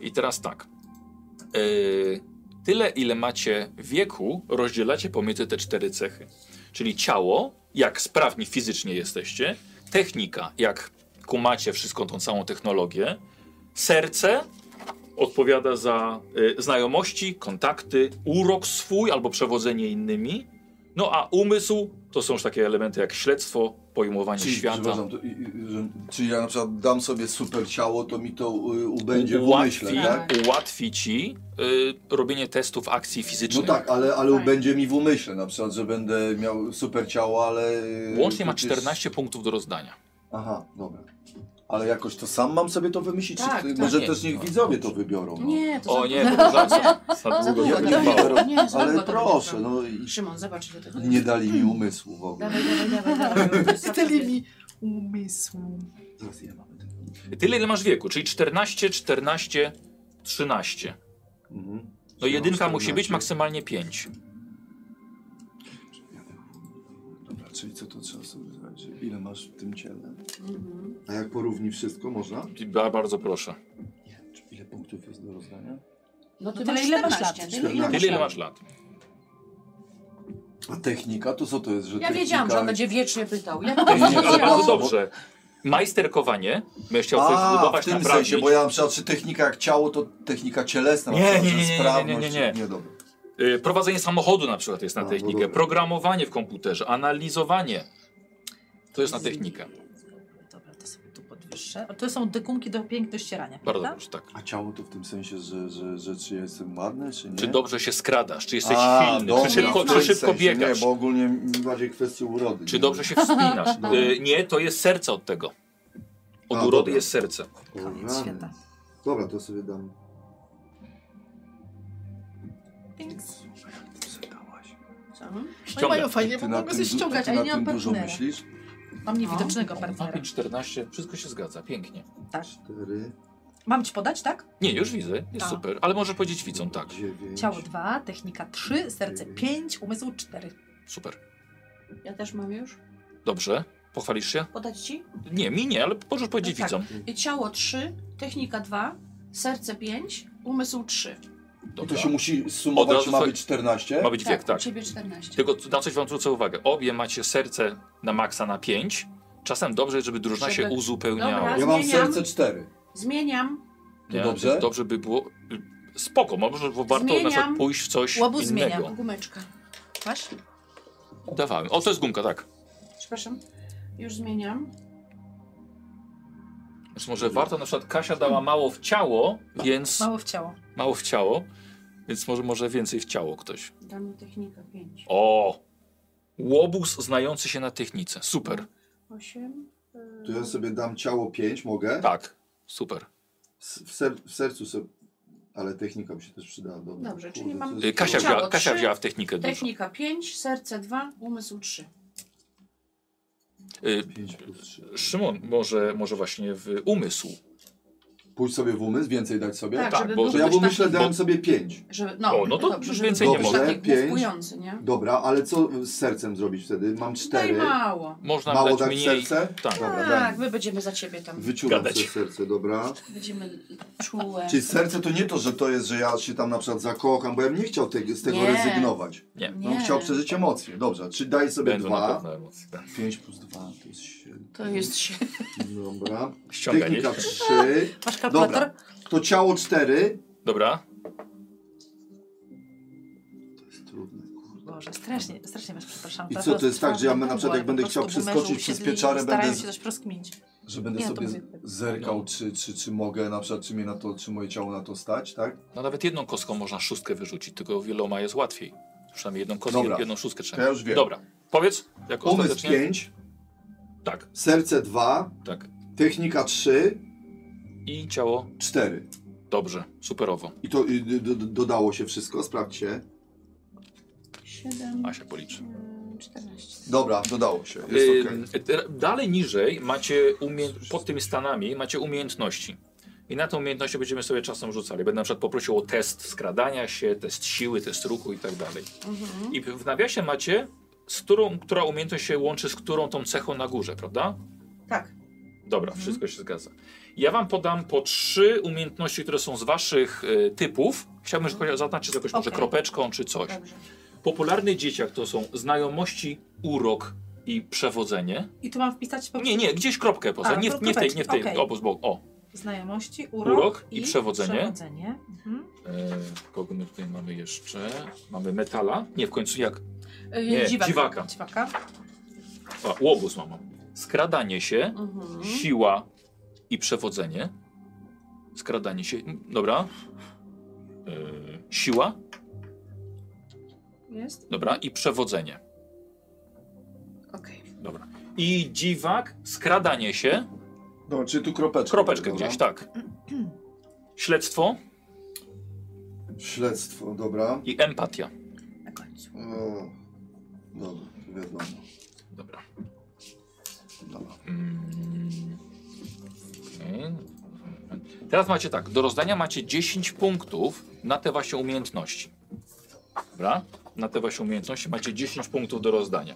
I teraz tak. Y, tyle ile macie wieku, rozdzielacie pomiędzy te cztery cechy. Czyli ciało, jak sprawni fizycznie jesteście, technika, jak kumacie wszystko tą całą technologię, serce odpowiada za y, znajomości, kontakty, urok swój albo przewodzenie innymi, no a umysł to są już takie elementy jak śledztwo, pojmowanie
Czyli,
świata.
przepraszam, to, i, i, że, czyli ja na przykład dam sobie super ciało, to mi to y, ubędzie w
ułatwi,
umyśle, tak?
ułatwi ci y, robienie testów akcji
No
fizycznych.
tak, ale, ale
Tak.
ubędzie mi w umyśle na przykład, że będę miał super ciało, ale... y,
Łącznie ma
przecież-
14 punktów do rozdania.
Aha, dobra. Ale jakoś to sam mam sobie to wymyślić?
Tak,
czy,
tak.
może
Nie. no.
też niech widzowie to wybiorą?
(laughs)
No.
Nie, to
O
za
nie,
dużo.
to za,
(laughs)
za
Za
długo.
długo,
nie
tak.
trwało.
Nie, za Hmm.
Ale
długo to
proszę,
będzie.
no i
Szymon, zobacz, ile tego
nie dali mi umysłu w ogóle.
Dawaj, dawaj, dawaj, (laughs) dawaj.
Tyle mi umysłu.
Tak.
Zaraz ja mam ten.
Tyle ile masz wieku, czyli 14, 14, 13.
Mhm.
No jedynka
Mam
musi być
14.
maksymalnie 5.
Dobra, czyli co to trzeba sobie zrobić? Ile masz w tym ciele?
Mhm.
A jak porówni wszystko, można?
Bardzo proszę.
Nie. Czy Ile punktów jest do rozdania?
No
No
ty
tyle,
masz
ile masz
14,
lat?
tyle, ile masz
Tyle ile
lat.
masz lat?
A technika to co to jest? Że
Ja
technika...
wiedziałam, że on będzie wiecznie pytał. Jak to
Ale
jest?
bardzo dobrze. Majsterkowanie. Będziesz chciał coś
A,
zbudować,
w tym
naprawić.
sensie, bo ja na przykład, czy technika jak ciało, to technika cielesna, na
Nie,
przykład,
nie,
że
nie, nie, nie,
sprawność,
nie, nie, nie.
nie, dobra.
Y, Prowadzenie samochodu na przykład jest na
A, no
technikę.
dobra.
Programowanie w komputerze, analizowanie. To jest na technikę.
Dobra, to sobie tu podwyższę. A to są dekumki do pięk do ścierania,
Bardzo
prawda?
dobrze, tak.
A ciało to w tym sensie, że, że, że czy ja jestem ładny, czy nie?
Czy dobrze się skradasz? Czy jesteś
A,
silny?
dobra,
Czy szybko,
w
czy
tym
szybko
sensie,
biegasz?
Nie, bo ogólnie mi bardziej kwestie urody.
Czy
nie?
dobrze się wspinasz? Y, nie, to jest serce od tego. Od
A,
urody
dobra.
jest serce.
O,
Koniec
rany.
świata.
Dobra, to sobie dam.
Pięks.
To sobie dałaś.
Co?
Oni
Ściągam.
No mają fajnie, bo
na
mogę
tym
sobie
du-
ściągać,
ty
a ja
na
nie
tym
mam
dużo
partnera.
myślisz?
No.
Mam niewidocznego
Ma
partnera.
5-14, wszystko się zgadza, pięknie.
Tak.
Cztery,
Mam ci podać, tak?
Nie, już widzę, jest
A.
super, ale może powiedzieć widzą, tak,
dziewięć.
Ciało 2, technika 3, serce 5, umysł 4.
super.
Ja też mam już?
Dobrze, pochwalisz się?
Podać ci?
Nie, mi nie, ale możesz powiedzieć
No tak.
widzom.
Ciało 3, technika 2, serce 5, umysł 3.
I
Dobra.
to się musi
Od
sumować,
razu
ma
sobie-
być 14?
Ma być wiek, tak.
u ciebie 14.
Tylko na coś wam zwrócę uwagę, obie macie serce na maksa na 5, czasem dobrze, żeby drużyna się
Żeby-
uzupełniała.
Dobra.
Ja mam
Zmieniam.
serce 4.
Zmieniam.
Nie,
Dobrze.
Dobrze by było, spoko, może warto na przykład
Zmieniam.
pójść w coś
Łobu
innego.
zmieniam.
Gumeczka.
Masz?
Dawałem, o to jest gumka, tak.
Przepraszam. Już zmieniam.
Znaczy może warto, na przykład Kasia dała mało w ciało,
Tak.
więc...
Mało w ciało.
Mało w ciało, więc może, może więcej w ciało ktoś.
Dam mu technika 5.
O! Łobuz znający się na technice. Super.
8.
To ja sobie dam ciało 5, mogę?
Tak. Super.
S- W, ser, w sercu sobie... Ale technika mi się też przydała. Dobra,
Dobrze, czyli
to
mam-
Y,
jest-
Kasia,
Ciało
wzięła, Kasia
trzy,
wzięła w technikę dużo.
y, Technika 5, serce 2, umysł 3.
Y,
5 plus 3.
Szymon, może, może właśnie w umysł.
Pójść sobie w umysł, więcej dać sobie?
Tak,
tak,
żeby
bo-
był
To ja
jakoś
bym myślę,
taki,
dałem sobie 5.
że, no,
O, no to
dobrze,
już
żeby
więcej
był
nie
jakoś
może.
taki
Dobrze, pięć.
główkujący, nie?
Dobra, ale co z sercem zrobić wtedy? Mam
No i
4.
mało.
Można
Mało
dać
dać
mniej.
serce?
Tak.
Dobra,
Tak,
dam.
my będziemy za ciebie tam.
Wyciągam
Gadać.
sobie serce, dobra.
Będziemy czułe.
Czyli serce to nie to, że to jest, że ja się tam na przykład zakocham, bo ja bym nie chciał tego, z tego
Nie.
rezygnować. Ja bym
Nie.
No, chciał przeżyć emocje. Dobrze, czyli daj sobie
Będą na
dwa.
pewno emocje. tak.
5 plus 2 to jest 7.
To jest się.
Dobra.
Ściąganie.
Technika 3.
Masz kalkulator?
Dobra. To ciało 4.
Dobra.
To jest trudne. kurde.
Boże, strasznie, strasznie masz, przepraszam.
I
ta
co, to jest tak, że ja na
roztwarda
przykład jak
głowa,
będę
po prostu
chciał
boomerzy
przeskoczyć przez
usiedli i
pieczarę,
Starają
będę-
się coś rozkminić.
Że będę
Nie, to
sobie
mówię.
zerkał, czy, czy, czy mogę na przykład, czy, mnie na to, czy moje ciało na to stać, tak?
No nawet jedną kostką można szóstkę wyrzucić, tylko wieloma jest łatwiej. Przynajmniej jedną kostkę,
Dobra.
jedną szóstkę
To
trzeba.
ja już wiem.
Dobra. Powiedz, jak
Umysł
ostatecznie.
5,
Tak,
serce 2,
tak.
technika 3,
I ciało.
4.
Dobrze. Superowo.
I to y, d- d- dodało się wszystko, sprawdźcie.
7,
Asia policzy.
14.
Dobra, dodało się, jest okej.
Ym, te- Dalej niżej macie umiej... pod tymi stanami macie umiejętności. I na te umiejętności będziemy sobie czasem rzucali. Będę na przykład poprosił o test skradania się, test siły, test ruchu i tak dalej.
Mhm.
I w nawiasie macie, z którą, która umiejętność się łączy z którą tą cechą na górze, prawda?
Tak.
Dobra,
Mhm.
wszystko się zgadza. Ja wam podam po trzy umiejętności, które są z waszych y, typów Chciałbym tylko zaznaczyć jakoś może
Mhm. Okej.
kropeczką czy coś.
Dobrze.
Popularny dzieciak to są znajomości, urok i przewodzenie.
I tu mam wpisać po
Nie, nie, gdzieś kropkę poza.
A,
Nie, w- nie w tej, nie w tej,
kropeczki,
obok, z boku. O,
znajomości, urok,
Urok i przewodzenie.
przewodzenie. Mhm.
e, kogo my tutaj mamy jeszcze? Mamy metala. Nie, w końcu jak?
Y,
Nie,
E, Dziwak.
dziwaka.
Dziwaka.
A, łobuz mama. Skradanie się,
Mhm.
siła i przewodzenie. Skradanie się, m, dobra. E, siła,
Jest?
dobra, i przewodzenie.
Okej.
Dobra. I dziwak, skradanie się,
Dobra, czyli tu kropeczkę.
kropeczkę
Dobra.
gdzieś, tak. Śledztwo tak.
Śledztwo, dobra.
i empatia.
Na końcu.
O, dobra, wiadomo.
Dobra.
Dobra.
Mm. Teraz macie tak, do rozdania macie 10 punktów na te właśnie umiejętności. Dobra? Na te właśnie umiejętności macie 10 punktów do rozdania.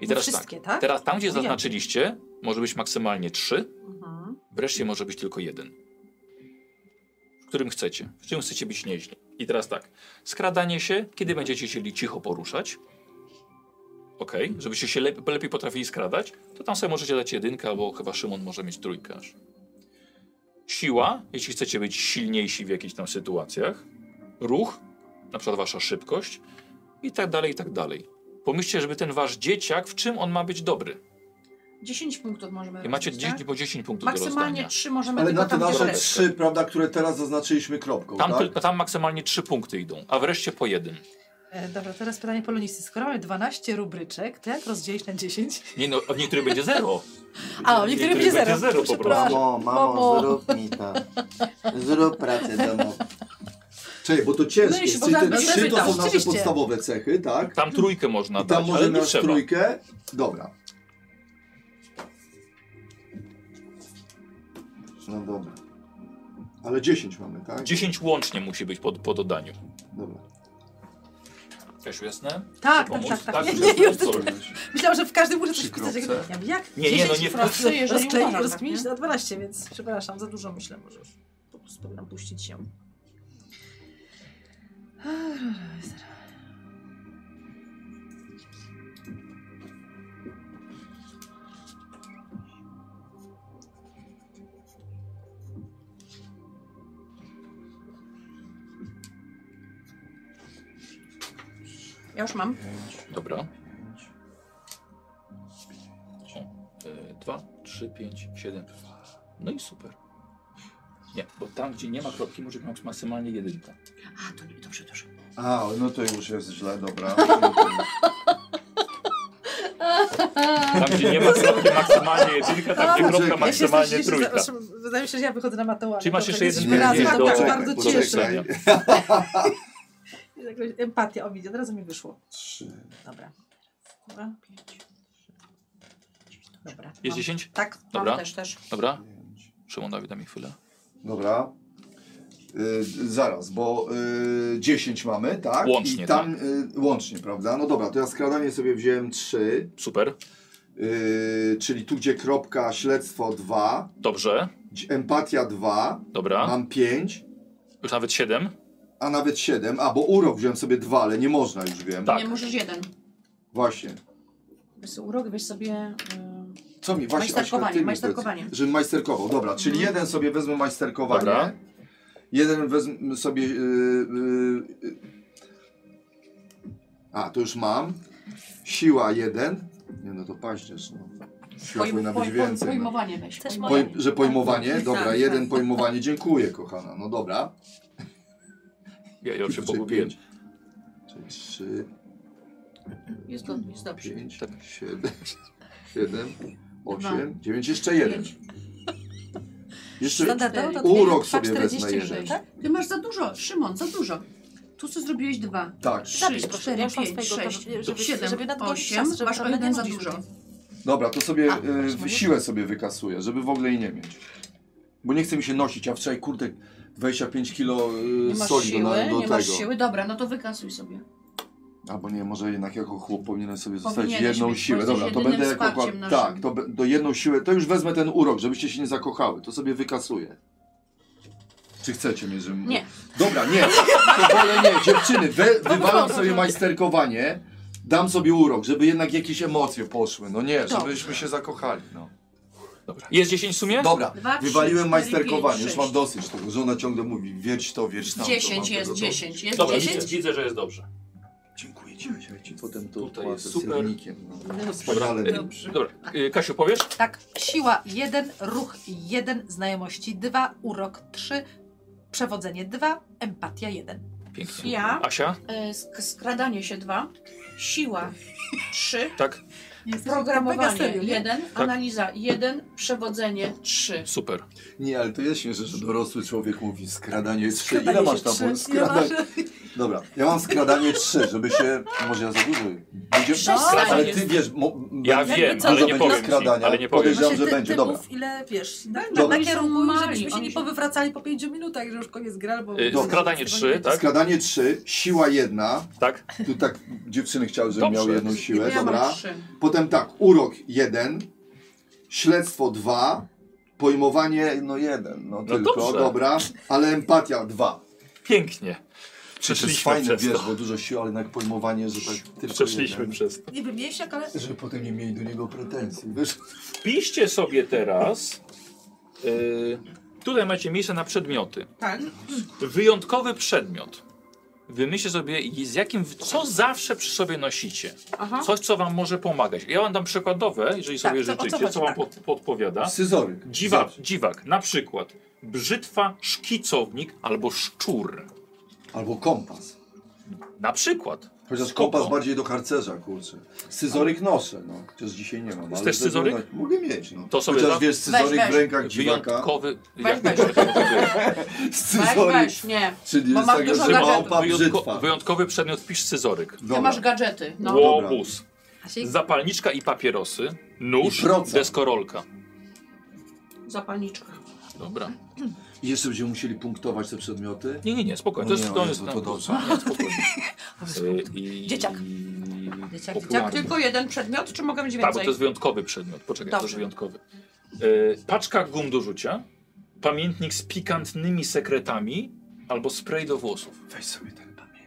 I teraz tak,
Wszystkie, tak?
teraz tam gdzie
Ujęte.
zaznaczyliście, może być maksymalnie 3,
Mhm.
wreszcie może być tylko jeden. W którym chcecie, w czym chcecie być nieźli. I teraz tak, skradanie się, kiedy będziecie chcieli cicho poruszać, ok, żebyście się lepiej, lepiej potrafili skradać, to tam sobie możecie dać jedynkę, albo chyba Szymon może mieć trójkę aż. Siła, jeśli chcecie być silniejsi w jakichś tam sytuacjach. Ruch, na przykład wasza szybkość i tak dalej, i tak dalej. Pomyślcie, żeby ten wasz dzieciak, w czym on ma być dobry.
10 punktów możemy
I macie
rozdać,
10,
tak?
po 10 punktów do
Maksymalnie
rozdania.
3 możemy
Ale
tylko
na
tam
te
gdzie
nasze
źle.
leży.
trzy, prawda, które teraz zaznaczyliśmy kropką,
Tam,
tak?
tylko, tam maksymalnie trzy punkty idą, a wreszcie po jeden.
E, Dobra, teraz pytanie polonisty. Skoro mamy 12 rubryczek, to jak rozdzielić na 10?
Nie no, od niektórych będzie zero.
A, o, niektórych będzie
Niektórych będzie
zero.
zero po prostu.
Przepraszam.
Mamo,
Mamo.
mamo, zrób mi to. Zrób pracę domu.
Czekaj, bo to ciężkie.
No i się
Czyli te
poza-
trzy to
zapytam,
są nasze
oczywiście.
podstawowe cechy, tak?
Tam trójkę można
I tam
dać, No ale
możemy
nie
aż
trzeba.
trójkę. Dobra. No dobra. Ale 10 mamy, tak?
10 łącznie musi być po, po dodaniu.
(laughs)
Dobra.
Kasiu, jasne?
Tak, tak,
Pomóc?
tak, tak.
Tak,
Nie,
że
nie,
to
już-
zrobię.
Myślałam, że w każdym muszę coś
Trzy
wpisać. Jak,
kropce.
ja mówię, jak?
Nie, nie, no
10
nie
frasy
wpisujesz, że nie
rozkleić,
uważam,
rozkminić
tak,
na 12, więc przepraszam, za dużo myślę może. Po prostu powinnam puścić się.
Ja już mam.
Dobra. O, y, Dwa, trzy, pięć, siedem. No i super. Nie, bo tam, gdzie nie ma kropki, może być maksymalnie jedynka.
A, to nie, dobrze, dobrze.
A, no to już jest źle,
(laughs)
dobra.
Tam, gdzie nie ma kropki, maksymalnie jedynka, tam, gdzie kropka,
Ja się
maksymalnie
zdziwię, że
trójka.
zawsze- Wydaje mi się, że ja wychodzę na Matełana.
Czyli masz jeszcze jeden
Nie,
raz.
nie,
Tak,
dobra,
tak,
tak,
bardzo
poczekaj.
cieszę. Jakoś Empatia, o widzę, od razu mi wyszło.
Trzy.
Dobra. Dobra. Dobra.
Jest
Mam-
10?
Tak.
Dobra.
Mam też, też.
Dobra. Szymona, daj mi chwilę.
Dobra. Y, zaraz, bo y, 10 mamy, tak?
Łącznie,
I tam y, łącznie, prawda? No dobra, to ja skradanie sobie wziąłem 3,
Super.
y, czyli tu gdzie kropka, śledztwo 2,
Dobrze.
empatia 2,
Dobra.
mam 5,
Już nawet siedem.
a nawet 7, a bo urok wziąłem sobie 2, ale nie można już wiem.
Tak.
Nie, możesz jeden.
Właśnie.
Weź sobie urok, weź sobie... y,
Co mi właśnie
Majsterkowanie,
Aśka, ty mi
majsterkowanie.
powiedz, Żebym majsterkował, dobra, czyli
Mhm.
jeden sobie wezmę majsterkowanie.
Dobra.
Jeden wezmę sobie. y, y, y. A, to już mam. Siła jeden. Nie no to paździerz. No. Siła
pojm-
powinna być
poj-
więcej. No.
Pojmowanie weź.
Też
Poj,
moje.
że pojmowanie?
Tak,
Dobra,
tak.
jeden pojmowanie. Dziękuję, kochana. No dobra.
Ja, ja już się
Czyli
pogubiłem.
pięć. Czyli trzy,
Jest dobrze, jest dobrze.
pięć,
Tak.
siedem, (laughs) siedem, osiem, dziewięć, jeszcze jeden.
Pięć.
Jeszcze,
Standardowo to
Urok
dwie- dwa
sobie wezmę
46,
jeden.
tak?
Ty masz za dużo, Szymon, za dużo. Tu co zrobiłeś dwa.
tak,
Zapisz
Trzy,
proszę,
cztery,
ja już mam
pięć,
swojego,
sześć,
to, żeby,
siedem,
żeby nadgonić
osiem.
czas, żeby
Masz o
ale nie
jeden za
nudzić
dużo.
mnie.
Dobra, to sobie
A,
e,
właśnie.
siłę sobie wykasuję, żeby w ogóle jej nie mieć. Bo nie chce mi się nosić, a wczoraj kurde 25 kilo
Nie
e,
masz
soli
siły,
dodałem do
nie masz
tego.
siły. Dobra, no to wykasuj sobie.
Albo nie, może jednak jako chłop powinienem sobie zostawić
Powinieneś
jedną
mieć, bo
siłę.
jesteś
Dobra, to
jedynym
będę jako
wsparciem
chłop-
naszym.
Tak, to be- do jedną siłę, to już wezmę ten urok, żebyście się nie zakochały. To sobie wykasuję. Czy chcecie mnie, żebym...
Nie.
Dobra, nie. To wolę nie. Dziewczyny, we, wywalam
dobra,
sobie
dobra.
majsterkowanie, dam sobie urok, żeby jednak jakieś emocje poszły. No nie,
Dobrze.
żebyśmy się zakochali, no.
Dobra. Jest 10 w sumie?
Dobra,
Dwa, trzy,
wywaliłem
cztery,
majsterkowanie,
pięć,
już
sześć.
mam dosyć tego. Żona ciągle mówi, wierć to, wierć tamto. mam
10 jest,
tego dosyć.
10 jest,
Dobra, widzę,
10.
widzę, że jest dobrze.
Dziękuję ci, Asia, ja ci potem to
Tutaj
odpłacę
jest super.
sernikiem, no.
Dobra.
Wspaniale.
Y, Dobra. Y, Kasiu, powiesz?
Tak, siła 1, ruch 1, znajomości 2, urok 3, przewodzenie 2, empatia 1.
Pięknie.
Ja,
Asia?
y, sk- skradanie się dwa,
(laughs)
siła trzy,
Tak?
programowanie
jeden.
jeden,
Tak.
analiza jeden, przewodzenie trzy.
Super.
Nie, ale to jest śmieszne, że dorosły człowiek mówi skradanie jest trzy.
Skradanie
Ile masz
się
tam?
trzy,
bo
ile
Skradanie...
masz?
Dobra, ja mam skradanie trzy, żeby się... Może ja za dużo... Będzie...
Przestań.
Ale ty wiesz... Mo...
Ja
będzie-
wiem,
dużo
ale nie
będzie
powiem ci,
skradania.
ale nie powiem.
Podejrzewam,
Macie
że
Znaczy, ty-
będzie.
typów,
Dobra.
ile wiesz, na, na,
Dobra.
na kierunku,
Mali,
żebyśmy się
Tak, oni
nie
się-
powywracali po 5 minutach, że już koniec gry, bo...
Y,
Dobra.
Skradanie 3, tak?
Skradanie trzy, siła jedna.
Tak?
Tu tak dziewczyny chciały, żebym
Dobrze.
miał jedną siłę.
Ja mam
Dobra.
trzy.
Potem tak, urok jeden, śledztwo dwa, pojmowanie no jeden, no, tylko,
dobrze.
dobra, ale empatia dwa.
Pięknie. Przeszliśmy przez
wiesz,
to.
bo dużo sił, ale jednak pojmowanie, że tak tylko
Przeszliśmy
jeden.
przez to.
Niby mniejsiak, ale...
Żeby potem nie mieli do niego pretensji, wiesz?
Piszcie sobie teraz. y, tutaj macie miejsce na przedmioty.
Tak.
Wyjątkowy przedmiot. Wymyślcie sobie, z jakim, co zawsze przy sobie nosicie.
Aha.
Coś, co wam może pomagać. Ja wam dam przykładowe, jeżeli
Tak,
sobie
co- o co
życzycie, co
chodzi,
wam
tak.
pod, podpowiada.
Scyzoryk.
Dziwak, dziwak, na przykład brzytwa, szkicownik albo szczur.
Albo kompas.
Na przykład.
Chociaż
Spoko.
kompas bardziej do harcerza, kurczę. Scyzoryk noszę, no. Chociaż dzisiaj nie mam. ale
też scyzoryk?
żeby- Mogę mieć, no.
To sobie
Chociaż
za-
wiesz, scyzoryk
weź.
w rękach Tak, dziwaka.
Wyjątkowy.
Weź,
jak-
weź.
No
Weź,
(laughs) Scyzoryk.
Tak, weź, nie.
Czyli
Bo
jest
mam
taka,
dużo
że
gadżetów.
małpa
Wyjątko,
brzytwa.
wyjątkowy przedmiot pisz scyzoryk.
Ty masz gadżety. No.
Wow.
Łobuz.
Asiek,
Zapalniczka i papierosy. Nóż,
I proca.
deskorolka.
Zapalniczka.
Dobra.
I jeszcze będziemy musieli punktować te przedmioty?
Nie, nie, nie, spokojnie. To
No
jest,
nie,
to
Jezu,
jest
to
na
dobrze.
plus. Nie, spokojnie. Y, i-
Dzieciak.
Dzieciak,
Dzieciak,
popularny.
Tylko jeden przedmiot, czy mogę mieć
Tak, bo to
więcej?
jest wyjątkowy przedmiot. Poczekaj, to jest
Dobrze.
wyjątkowy. Y, paczka gum do rzucia, pamiętnik z pikantnymi sekretami albo spray do włosów.
Weź sobie ten pamięć.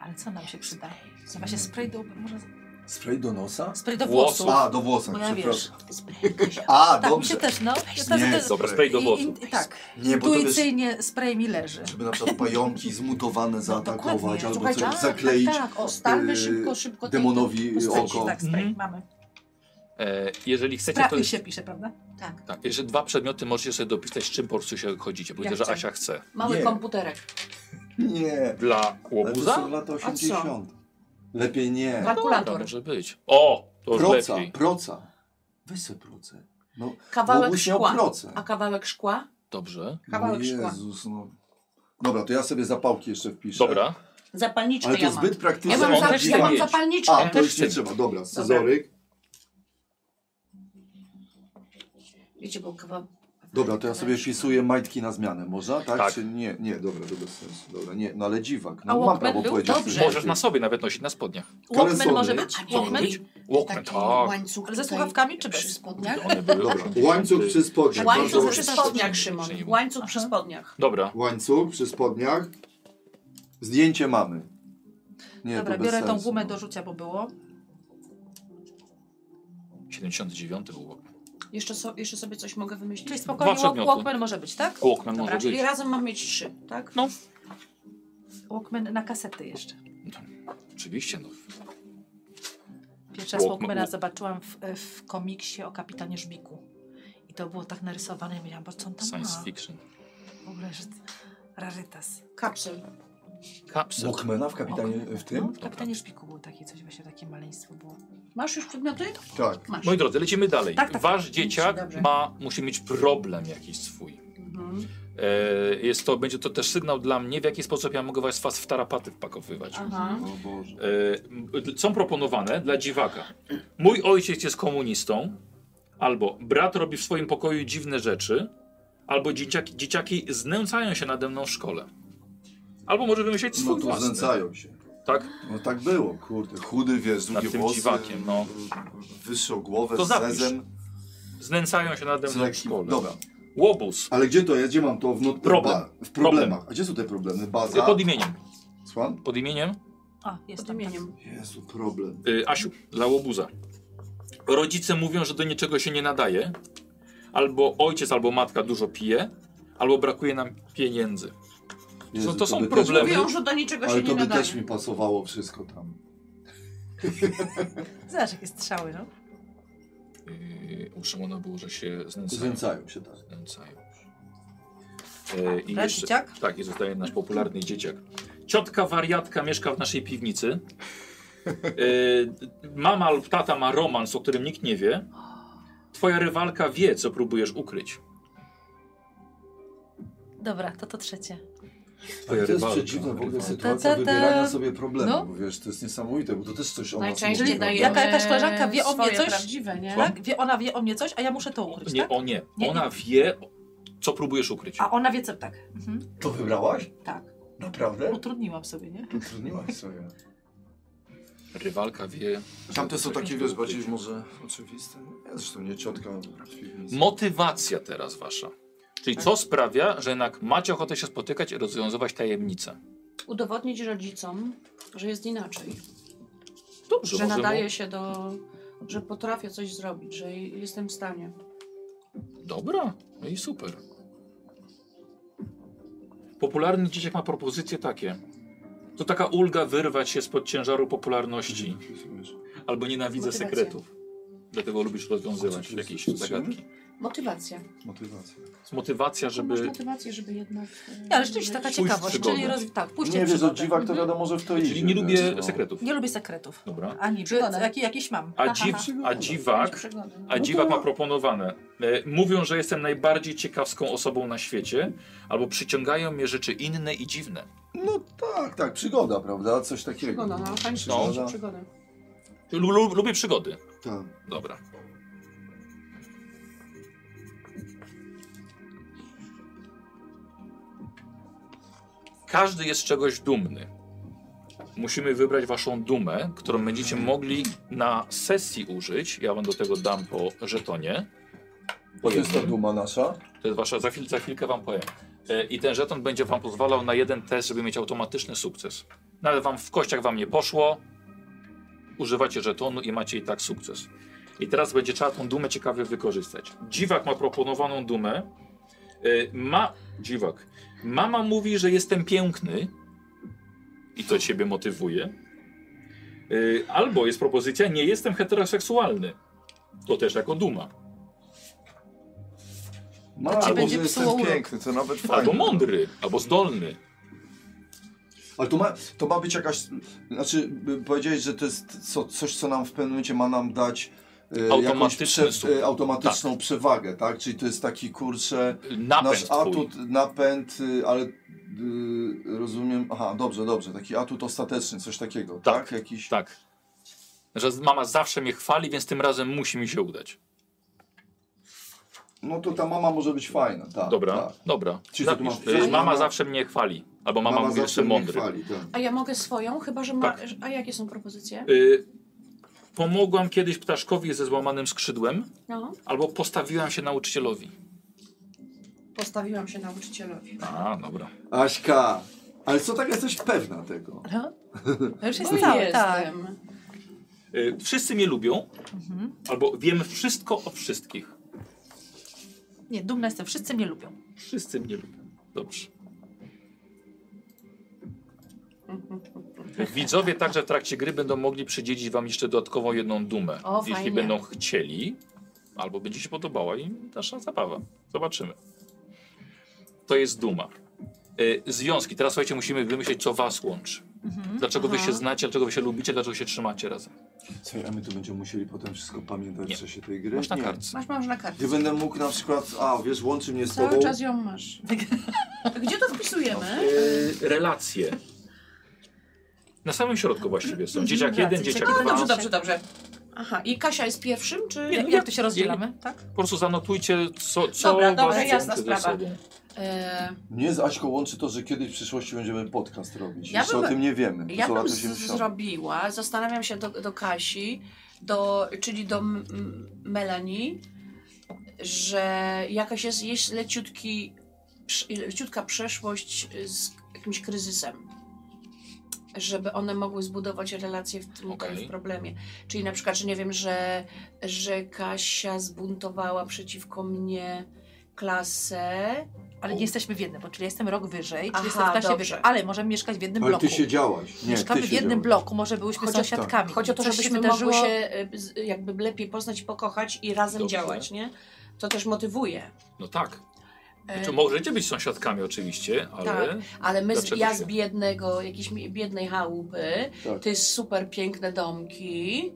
ale co nam się przyda? Chyba się spray do... Może
Spray do nosa?
spray do
Włosów.
włosów.
A, do włosów,
Bo ja wiesz,
Tak, przepraszam.
spray
A,
Tak, mi
dobrze.
się też, no. Ja
Nie,
też,
Dobra, spray do
i,
włosów.
i, i, tak,
Nie, bo to wiesz,
intuicyjnie spray mi leży.
żeby na przykład pająki zmutowane zaatakować
Dokładnie.
albo
Słuchajcie,
coś
tak,
zakleić
Tak, tak, o,
y,
Ustalmy szybko, szybko. ten-
demonowi
postaci,
oko.
tak, spray,
Mhm.
mamy.
E, jeżeli chcecie, to
Prawie
jest...
się pisze, prawda?
Tak, jeszcze dwa przedmioty możecie sobie dopisać, z czym po prostu się chodzicie, bo
Ja
widzę, że
chcę.
Asia chce.
Mały
Nie.
komputerek.
No
Nie.
Dla
Ale to są
łobuza?
lata 80. Lepiej nie.
Tak.
To
Kalkulator.
Tak może być. O, to już
Proca,
lepiej.
proca. Weź sobie procę. No,
Kawałek
łobuz miał
szkła.
procę.
A kawałek szkła?
Dobrze,
Kawałek
No
szkła.
Jezus, no. Dobra, to ja sobie zapałki jeszcze wpiszę.
dobra.
Zapalniczkę
Ale to
ja
jest
mam.
zbyt praktyczne.
Ja mam,
On
za,
też
ja
chce
mam
mieć.
zapalniczkę.
A, to
też
już nie
chce
trzeba. Dobra, scyzoryk.
Wiecie, bo kawał...
Dobra, to ja sobie wpisuję majtki na zmianę, można? Tak?
Tak.
Czy nie, nie, dobra, to bez sensu. Dobra, nie, no ale dziwak.
A
No, mam
Walkman
prawo
był?
powiedzieć.
Dobrze.
że-
Możesz na sobie nawet nosić na spodniach.
Kalesony.
Walkman może być?
A nie,
Walkman?
być? Walkman,
Taki
tak.
łańcuch
Ale ze
tutaj
słuchawkami czy
Przy
bez?
spodniach?
One były
Dobra,
różne.
łańcuch przy spodniach.
Łańcuch
Bardzo-
przy
Dobrze.
spodniach, Szymon. Łańcuch przy spodniach.
Dobra,
Łańcuch przy spodniach. Zdjęcie mamy. Nie,
Dobra,
to bez
biorę tą
sensu. no.
gumę do rzucia, bo było.
79 był Walkman.
Jeszcze, so, jeszcze sobie coś mogę wymyślić.
Czyli spokojnie
Dwa przedmioty.
walk, Walkman może być, tak?
Walkman
Dobra,
może
Czyli
być.
razem mam mieć trzy, tak?
No,
Walkman na kasety jeszcze.
oczywiście, no.
Pierwszy raz
Walkman-
Walkmana zobaczyłam w, w komiksie o kapitanie Żbiku. I to było tak narysowane, ja miałam, bo co on tam
Science
ma?
fiction.
W ogóle, że... Rarytas.
Kapsel.
Kapsel.
Walkmana w kapitanie w
No,
tym?
w kapitanie Żbiku było takie coś, właśnie takie maleństwo było.
Masz już przedmioty?
Tak.
Masz.
Moi drodzy, lecimy dalej.
Tak, tak.
Wasz dzieciak
Dobrze.
ma, musi mieć problem jakiś swój.
Mhm.
E, jest to, będzie to też sygnał dla mnie, w jaki sposób ja mogę was, was w tarapaty wpakowywać.
Aha.
O Boże. No
E, m- są proponowane dla dziwaka. Mój ojciec jest komunistą, albo brat robi w swoim pokoju dziwne rzeczy, albo dzieciaki, dzieciaki znęcają się nade mną w szkole. Albo może wymyśleć
No
swój
tu
własny.
znęcają się.
Tak?
No tak było, kurde. Chudy, wiesz,
Nad
długie
tym
włosy.
dziwakiem, no.
Wyższą głowę
To
z
zapisz.
zezem.
Znęcają się nade
z
mną w
lekkim-
szkole. tak.
Dobra,
Łobuz.
Ale gdzie to jest? Gdzie mam to? W, not-
Problem.
ba- w problemach. A gdzie są te problemy? Baza?
Pod imieniem.
Słucham?
Pod imieniem
A, jest
Pod
tam
imieniem.
Jezu, problem.
y, Asiu dla łobuza. Rodzice mówią, że do niczego się nie nadaje. Albo ojciec, albo matka dużo pije, albo brakuje nam pieniędzy.
Jezu,
to są
by też-
problemy.
Mówią, że do niczego się
Ale to
nie
by
nadaje.
też mi pasowało wszystko tam.
tak. Zobacz, jakie strzały, no.
Yy, u Szymona było, że się znęcają.
Znęcają się tak.
Znęcają. Yy, I
Raz
jeszcze,
dzieciak?
tak, jest tutaj nasz popularny dzieciak. Ciotka wariatka mieszka w naszej piwnicy. Yy, mama lub tata ma romans, o którym nikt nie wie. Twoja rywalka wie, co próbujesz ukryć.
Dobra, to to trzecie.
Ale to jest
rywalka.
przedziwna w ogóle
Ta, ta,
sytuacja
ta.
wybierania sobie problemów,
No.
bo wiesz, to jest niesamowite, bo to też coś o nas
Najczęściej
mówi,
daje
prawda?
Jaka- jakaś koleżanka wie o mnie
swoje
coś?
prawdziwe, nie?
Słucham?
Tak? Wie, ona wie o mnie coś, a ja muszę to ukryć,
Nie,
tak?
o nie.
Nie,
Ona wie, co próbujesz ukryć.
A ona wie co, tak. Mhm.
To wybrałaś?
Tak.
Naprawdę?
Utrudniłam sobie, nie?
Utrudniłaś sobie.
Rywalka wie.
Tamte są takie, wiesz, bardziej może oczywiste. Ja zresztą nie ciotka.
Motywacja teraz wasza. Czyli co sprawia, że jednak macie ochotę się spotykać i rozwiązywać tajemnice.
Udowodnić rodzicom, że jest inaczej.
Dobrze,
Że
może
nadaje
mu-
się do... Że potrafię coś zrobić, że jestem w stanie.
Dobra, no i super. Popularny dzieciak ma propozycje takie. To taka ulga wyrwać się spod ciężaru popularności. Albo nienawidzę
Motywacja.
sekretów. Dlatego lubisz rozwiązywać
Co to jest?
jakieś
Co to jest?
zagadki.
Motywacja.
Motywacja.
Z motywacja,
Żeby... Masz
żeby.
motywację, żeby jednak... e,
Nie, ale rzeczywiście taka
być-
Pójść w
ciekawość,
przygodę.
czyli roz... tak, pójście
Nie
w
wiesz, od
przygodę.
dziwak to wiadomo, że w to idzie.
Czyli nie
wiesz,
lubię
no.
sekretów.
Nie lubię sekretów.
Dobra.
Ani
Przygodę.
przygodę. Jaki, jakiś mam.
A,
Ha, ha,
dziw,
ha.
a
być
dziwak,
przygodą.
a dziwak ma proponowane. E, Mówią, że jestem najbardziej ciekawską osobą na świecie, albo przyciągają mnie rzeczy inne i dziwne.
No tak, tak, przygoda, prawda? Coś takiego.
Przygoda, no. Chęć
Przygoda.
przygodę.
Lu- lu- Lubię przygody.
Tak.
Dobra. Każdy jest z czegoś dumny. Musimy wybrać waszą dumę, którą będziecie mogli na sesji użyć. Ja wam do tego dam po żetonie. Po
To jest ta
jednym.
duma nasza.
To jest wasza, za, chwil, za chwilkę wam powiem. E, I ten żeton będzie wam pozwalał na jeden test, żeby mieć automatyczny sukces. No ale wam w kościach wam nie poszło, używacie żetonu i macie i tak sukces. I teraz będzie trzeba tą dumę ciekawie wykorzystać. Dziwak ma proponowaną dumę. E, ma... Dziwak. Mama mówi, że jestem piękny i to ciebie motywuje. E, albo jest propozycja, nie jestem heteroseksualny. To też jako duma.
Ma,
ci
No, albo
będzie
że jestem
psuło urok.
piękny, to nawet fajnie.
Albo mądry, albo zdolny.
Ale to ma, to ma być jakaś, znaczy by powiedziałeś, że to jest co, coś, co nam w pewnym momencie ma nam dać e, jakąś
Automatyczny
prze,
sukces.
e, automatyczną przewagę, tak? Czyli to jest taki, kurczę,
Napęd
nasz
twój.
atut, napęd, y, ale y, rozumiem, aha, dobrze, dobrze, taki atut ostateczny, coś takiego, tak?
Tak,
Jakiś,
Tak. Że mama zawsze mnie chwali, więc tym razem musi mi się udać.
no to ta mama może być fajna, tak.
Dobra,
Tak.
dobra.
Czyli co tu
Zapisz.
masz pisać?
Y, mama
Mama-
zawsze mnie chwali. Albo mama, mówi, że
zawsze
jestem
mnie
mądry.
Chwali, tak.
A ja mogę swoją, chyba że ma...
Tak.
A jakie są propozycje?
Y, pomogłam kiedyś ptaszkowi ze złamanym skrzydłem,
No.
albo postawiłam się nauczycielowi.
Postawiłam się nauczycielowi.
A, dobra.
Aśka, ale co tak jesteś pewna tego?
Ha? To No? już
Bo
jest całe, tak.
No jestem.
Y, wszyscy mnie lubią,
Mhm.
albo wiem wszystko o wszystkich.
Nie, dumna jestem, wszyscy mnie lubią.
Wszyscy mnie lubią. Dobrze.
Mhm.
Widzowie także w trakcie gry będą mogli przydzielić wam jeszcze dodatkową jedną dumę.
O,
jeśli
fajnie.
będą chcieli, albo będzie się podobała im nasza zabawa. Zobaczymy. To jest duma. Y, związki. Teraz słuchajcie, musimy wymyśleć, co was łączy. Dlaczego wy
Mhm. Aha.
się znacie, dlaczego wy się lubicie, dlaczego się trzymacie razem.
Co, a my tu będziemy musieli potem wszystko pamiętać
Nie.
w czasie tej gry?
Masz na
Nie.
kartce.
Masz, masz na kartce.
Gdy będę mógł na przykład, a wiesz, łączy mnie z
Cały
tobą.
czas ją masz. (laughs) Gdzie to wpisujemy?
Y, relacje. Na samym środku właściwie
Mhm.
są. Dzieciak
Relacje.
jeden, dzieciak
Ciekawe,
dwa.
Dobrze, dobrze, dobrze. Aha, i Kasia jest pierwszym, czy...
Nie, no
Jak to się rozdzielamy, tak?
Po prostu zanotujcie, co, co
Dobra,
was
dobra,
łączy
jasna
ze
sprawa.
sobą.
E,
Mnie z Aśką łączy to, że kiedyś w przyszłości będziemy podcast robić.
Ja
Jeszcze
bym-
o tym nie wiemy. To
ja
co
bym
lata
z,
80.
zrobiła, zastanawiam się do, do Kasi, do, czyli do M- M- Melanie, że jakaś jest, jest leciutki, prz- leciutka przeszłość z jakimś kryzysem. Żeby one mogły zbudować relacje w tym
Okej.
w problemie. Czyli na przykład, że nie wiem, że, że Kasia zbuntowała przeciwko mnie klasę.
Ale nie jesteśmy w jednym, bo czyli ja jestem rok wyżej, czyli
Aha,
jestem w klasie
dobrze.
wyżej, ale możemy mieszkać w jednym
Ale
bloku.
ty siedziałaś. Nie,
Mieszkamy
ty
w jednym
siedziałaś.
bloku, może byłyśmy
Chodzi o-
sąsiadkami.
Chodzi o to,
Coś
żebyśmy mogły się y, z- jakby lepiej poznać, pokochać i razem
Dobrze.
działać, nie? To też motywuje.
No tak.
E,
Znaczy, możecie być sąsiadkami oczywiście, ale...
Tak. Ale my, z,
Dlaczego
ja
się-
z biednego, jakiejś mi- biednej chałupy,
Tak.
ty z super piękne domki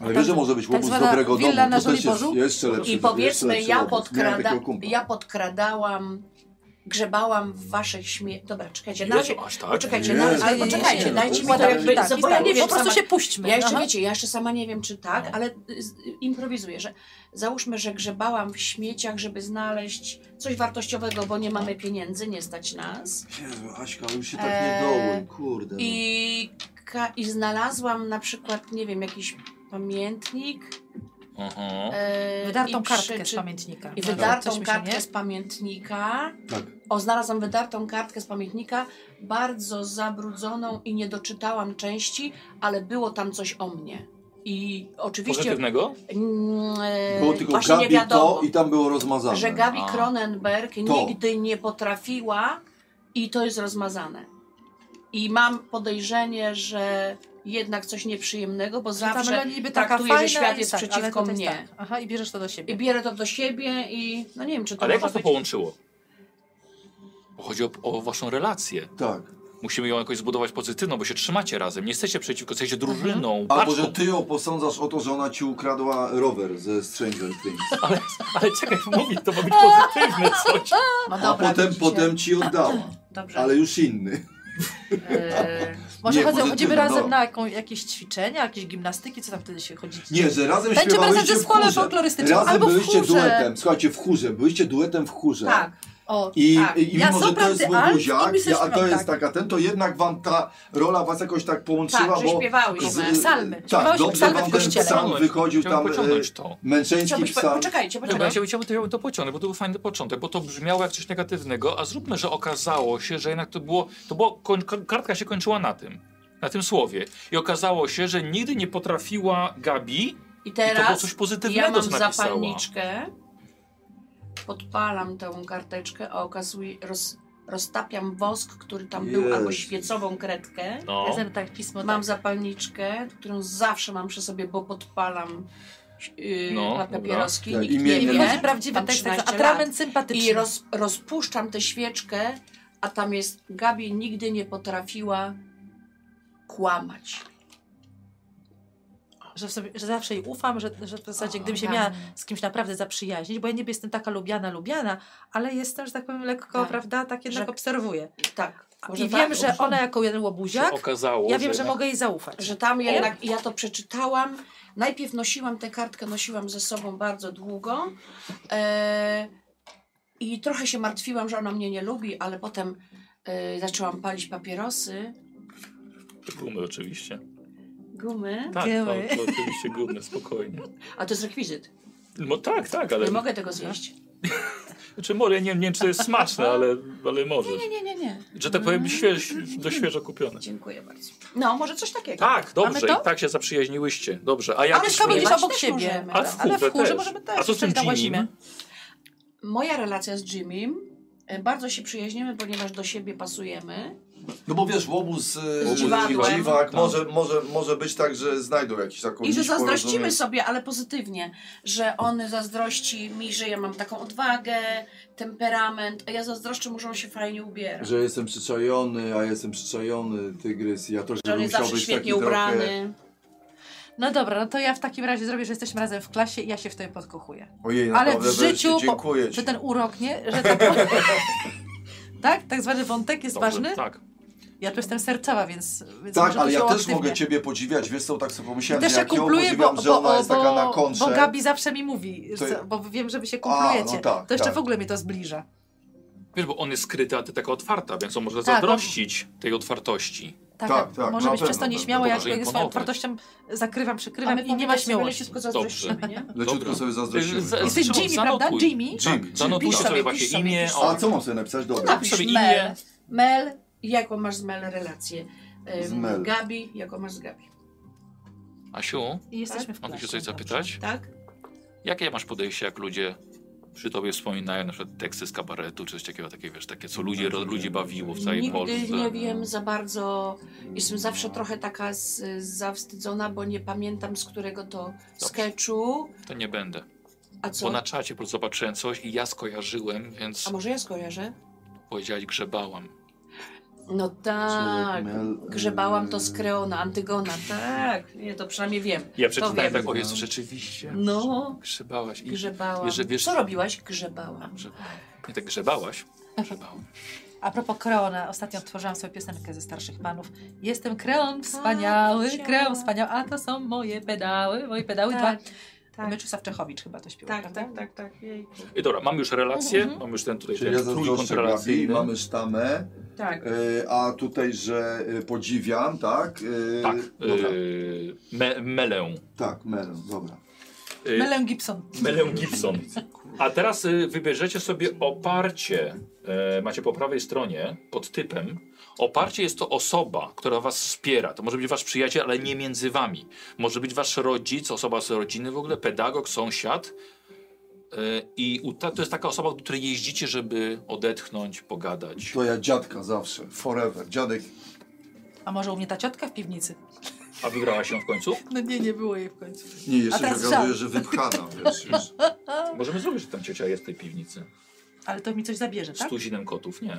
Ale wiesz, że może być chłopu
Tak
z
zwana
dobrego domu.
willa na
To też jest
Żoliborzu?
jeszcze lepszy.
i
jeszcze
powiedzmy
lepszy
ja,
obraz. Miałem
podkrada,
takiego kumpla.
ja podkradałam, grzebałam w waszych śmie... Dobra, czekajcie, na
Jezu,
razie,
aż tak?
poczekajcie,
Nie,
na razie,
nie,
ale
nie,
poczekajcie,
nie,
dajcie mi
układam
to jakby,
się tak,
bo ja nie wiem
po prostu
sama,
się puśćmy.
Ja jeszcze
Aha.
wiecie, ja jeszcze sama nie wiem, czy tak, ale y, z- y, improwizuję, że załóżmy, że grzebałam w śmieciach, żeby znaleźć coś wartościowego, bo nie mamy pieniędzy, nie stać nas.
Jezu, Aśka, ale już się tak nie
Eee,
dołuj, kurde. no.
I, ka- I znalazłam na przykład, nie wiem, jakiś pamiętnik.
Aha.
e,
Wydartą
i
kartkę z
przeczy-
pamiętnika.
I
No, coś
wydartą
mi się
kartkę
nie-
z pamiętnika.
Tak.
O, znalazłam wydartą kartkę z pamiętnika, bardzo zabrudzoną i nie doczytałam części, ale było tam coś o mnie. I oczywiście
Pozytywnego?
Mm, e,
Było tylko
właśnie nie
Gabi
wiadomo,
to i tam było rozmazane.
że Gabi
A.
Cronenberg
To.
nigdy nie potrafiła i to jest rozmazane. I mam podejrzenie, że jednak coś nieprzyjemnego, bo
Tam
zawsze
Leni niby
traktuję, że
fajna
świat
i
jest
tak, ale
przeciwko
to jest
mnie.
tak. Aha, i bierzesz to do
I
siebie.
bierę to do siebie i no nie wiem, czy to
Ale jak
może
was to
być...
połączyło? Bo chodzi o, o waszą relację.
Tak.
Musimy ją jakoś zbudować pozytywną, bo się trzymacie razem. Nie jesteście przeciwko, jesteście
Mhm.
drużyną.
Albo,
parką.
że ty ją posądzasz o to, że ona ci ukradła rower ze Stranger Things.
Ale, (laughs) ale czekaj, mówić, to ma być
(laughs)
pozytywne coś.
No
A
dobra,
potem,
widzicie.
potem ci
(clears throat)
(clears throat) oddała.
Dobrze.
Ale już inny. (clears throat)
E,
Może
nie,
chodzą, chodzimy
pozytywne,
razem
no.
na jaką, jakieś ćwiczenia, jakieś gimnastyki, co tam wtedy się chodzi?
Nie, że razem
Tańczymy
śpiewałyście
razem w zespole
chórze.
folklorystycznym,
Razem
albo w
byliście
chórze.
duetem. Słuchajcie, w chórze. Byliście duetem w chórze.
tak.
O,
I,
Tak.
i
Ja
mimo, że to
sopran,
jest
ty alt i
Boguziak,
my
ja, a to
śpiew-
jest tak- taka ten, to jednak wam ta rola was jakoś tak połączyła,
Tak, że
bo...
śpiewałyśmy.
z-
Psalmy.
Tak,
Śpiewałyśmy
dobrze
psalmy w
wam ten
kościele.
psalm wychodził
Chciałbym
tam,
pociągnąć
e,
to.
męczeński
Chciałbyś po...
psalm.
Poczekajcie,
Dobra, ja
poczekajcie.
chciałbym, chciałbym to pociągnąć, bo to był fajny początek, bo to brzmiało jak coś negatywnego, a zróbmy, że okazało się, że jednak to było, to było, koń, ko- kartka się kończyła na tym, na tym słowie. I okazało się, że nigdy nie potrafiła Gabi
I
i to było
teraz
coś pozytywnego,
Ja mam
co napisała.
zapalniczkę, podpalam tę karteczkę, a okazuje, roz, roztapiam wosk, który tam był,
Jezu.
albo świecową kredkę.
No.
Razem tak, pismo
Mam
tak.
zapalniczkę, którą zawsze mam przy sobie, bo podpalam yy,
No,
na
dobra.
papieroski,
Tak,
nikt
imię,
nie
I
imię.
wychodzi
wie.
prawdziwy
Mam
tekst, tak,
13
atrament sympatyczny.
I roz, rozpuszczam tę świeczkę, a tam jest Gabi nigdy nie potrafiła kłamać.
że, w sobie, że zawsze jej ufam, że, że w zasadzie
Aha.
gdybym się miała z kimś naprawdę zaprzyjaźnić, bo ja niby jestem taka lubiana, lubiana, ale jestem, że tak powiem, lekko,
Tak.
prawda, tak jednak
Że-
obserwuję.
Tak. może
I
warto-
wiem, że ona jako jeden
Się
łobuziak,
okazało,
ja wiem, że
jednak-
mogę jej zaufać.
że tam jednak ja to przeczytałam. Najpierw nosiłam tę kartkę, nosiłam ze sobą bardzo długo e, i trochę się martwiłam, że ona mnie nie lubi, ale potem e, zaczęłam palić papierosy,
Gumy oczywiście.
Tak, gumy,
Tak, to,
Gumy.
to oczywiście gumy, spokojnie.
a to jest rekwizyt.
No tak, tak, ale...
Nie mogę tego zjeść.
Znaczy, może, nie, nie wiem, czy to jest smaczne, ale, ale może.
Nie, nie, nie, nie.
Że tak powiem, śwież, do świeżo kupione.
Dziękuję bardzo. No, może coś takiego.
Tak, dobrze,
Mamy to?
i tak się zaprzyjaźniłyście. Dobrze, a jak...
Ale
śpiewać
będziesz obok
też
siebie.
możemy. tak.
A w
Ale w
chórze
chórze
też.
możemy też
A co z tym
przejść na
Jimim?
łazimę.
Moja relacja z Jimim, e, bardzo się przyjaźnimy, ponieważ do siebie pasujemy.
No bo wiesz, łobuz, e,
Z dziwadłem.
łobuz dziwak
Tak.
może, może, może być tak, że znajdą jakiś taką
I że
nić
zazdrościmy
porozumienia.
sobie, ale pozytywnie, że on zazdrości mi, że ja mam taką odwagę, temperament, a ja zazdroszczę mu, że on się fajnie ubiera. Że,
Że jestem przyczajony, a jestem przyczajony, tygrys, ja też
on
bym
jest
musiał
zawsze
być
świetnie
taki
ubrany.
trochę...
No dobra, no to ja w takim razie zrobię, że jesteśmy razem w klasie i ja się w tobie podkochuję.
Ojej,
Ale
naprawdę,
w życiu po-
wreszcie, dziękuję ci.
Czy ten urok, nie? Że tak... (laughs) tak? Tak zwany wątek jest
Dobrze,
ważny?
Tak.
Ja tu jestem sercowa, więc... więc może
Tak,
to
ale ja
się
też
aktywnie.
mogę ciebie podziwiać, wiesz co, tak sobie
I
pomyślałem,
też
że
się
jak ją
kumpluję, bo,
podziwiam, że
bo,
ona jest taka na
bo,
kontrze.
bo Gabi zawsze mi mówi,
To-
co- bo wiem, że wy się
A,
kumplujecie.
no tak,
to jeszcze
tak.
w ogóle mnie to zbliża.
Wiesz, bo on jest skryty, a ty taka otwarta, więc on może
Tak,
zazdrościć tej otwartości.
Tak,
Tak,
tak,
tak,
może
na
być przez to
pewno,
nieśmiało,
pewno.
ja
Może
jakby
im
swoją
pomogę.
otwartością zakrywam,
A
przykrywam
my
i nie ma śmiałości.
tylko zazdrościmy, nie?
Leciutko
Dobra.
sobie zazdrościmy.
Ty-
tak.
Jesteś
Zanotuj.
Jimmy, prawda? Jimmy?
Jimmy,
Zanotujcie No,
Pisz
sobie,
sobie,
właśnie
pisz sobie,
imię,
pisz
o,
A co mam sobie napisać? Dobra.
napisz
Napisz
sobie
Mel.
imię.
Mel, jaką masz z Mel relację?
Z
Ym,
Mel.
Gabi, jaką masz z Gabi,
Asiu,
I jesteśmy w
mogę się
plasku,
coś
dobrze.
zapytać?
tak?
Jakie masz podejście, jak ludzie przy tobie wspominają na przykład teksty z kabaretu, czy coś takiego, takie, wiesz, takie, co ludzie, ro, ludzi bawiło w całej
Nigdy
Polsce?
nie wiem za bardzo, jestem zawsze trochę taka z, zawstydzona, bo nie pamiętam z którego to sketchu,
To nie będę.
a
Bo
co?
na czacie po prostu zobaczyłem coś i ja skojarzyłem, więc
A może ja skojarzę?
powiedziałeś grzebałam.
No tak,
Mel,
grzebałam to
y,
z
yy,
Kreona, Antygona, tak, nie, to przynajmniej wiem.
Ja
wiem.
przeczytałem tak, o jest rzeczywiście.
No,
Grzebałaś. I,
grzebałam.
Wiesz, że wiesz-
Co robiłaś? Grzebałam.
Grzebałam. Nie tak grzebałaś? Grzebałam.
A propos Kreona, ostatnio odtworzyłam sobie piosenkę ze starszych panów. Jestem Kreon wspaniały,
chciałam.
Kreon wspaniały, a to są moje pedały, moje pedały
Tak,
dwa.
tak.
Mieczysław Czechowicz chyba to śpiewał,
Tak,
prawda?
tak, tak, tak, jejku.
I dobra, mamy już relację,
Mhm.
mamy już ten tutaj
Czyli
ten
ja
trójkąt
zazdroszczę Gabi,
relacyjny.
mamy sztamę,
Tak.
E,
y, a tutaj, że y, podziwiam, tak? Y,
Tak,
Dobra.
yy, me, melę.
Tak, Melon, dobra.
Yy,
Melę Gibson.
Melę Gibson. A teraz y, wybierzecie sobie oparcie. E, macie po prawej stronie pod typem. Oparcie jest to osoba, która was wspiera. To może być wasz przyjaciel, ale nie między wami. Może być wasz rodzic, osoba z rodziny w ogóle, pedagog, sąsiad. E, I u ta, to jest taka osoba, do której jeździcie, żeby odetchnąć, pogadać.
To ja dziadka zawsze, forever. Dziadek,
A może u mnie ta ciotka w piwnicy?
A wygrała się w końcu?
No nie, nie było jej w końcu.
nie,
A
jeszcze
teraz
się okazuje,
żart.
że wypchana, wiesz, już.
Możemy zrobić, że tam ciocia jest w tej piwnicy.
Ale to mi coś zabierze,
Z
tak?
tuzinem kotów? Nie.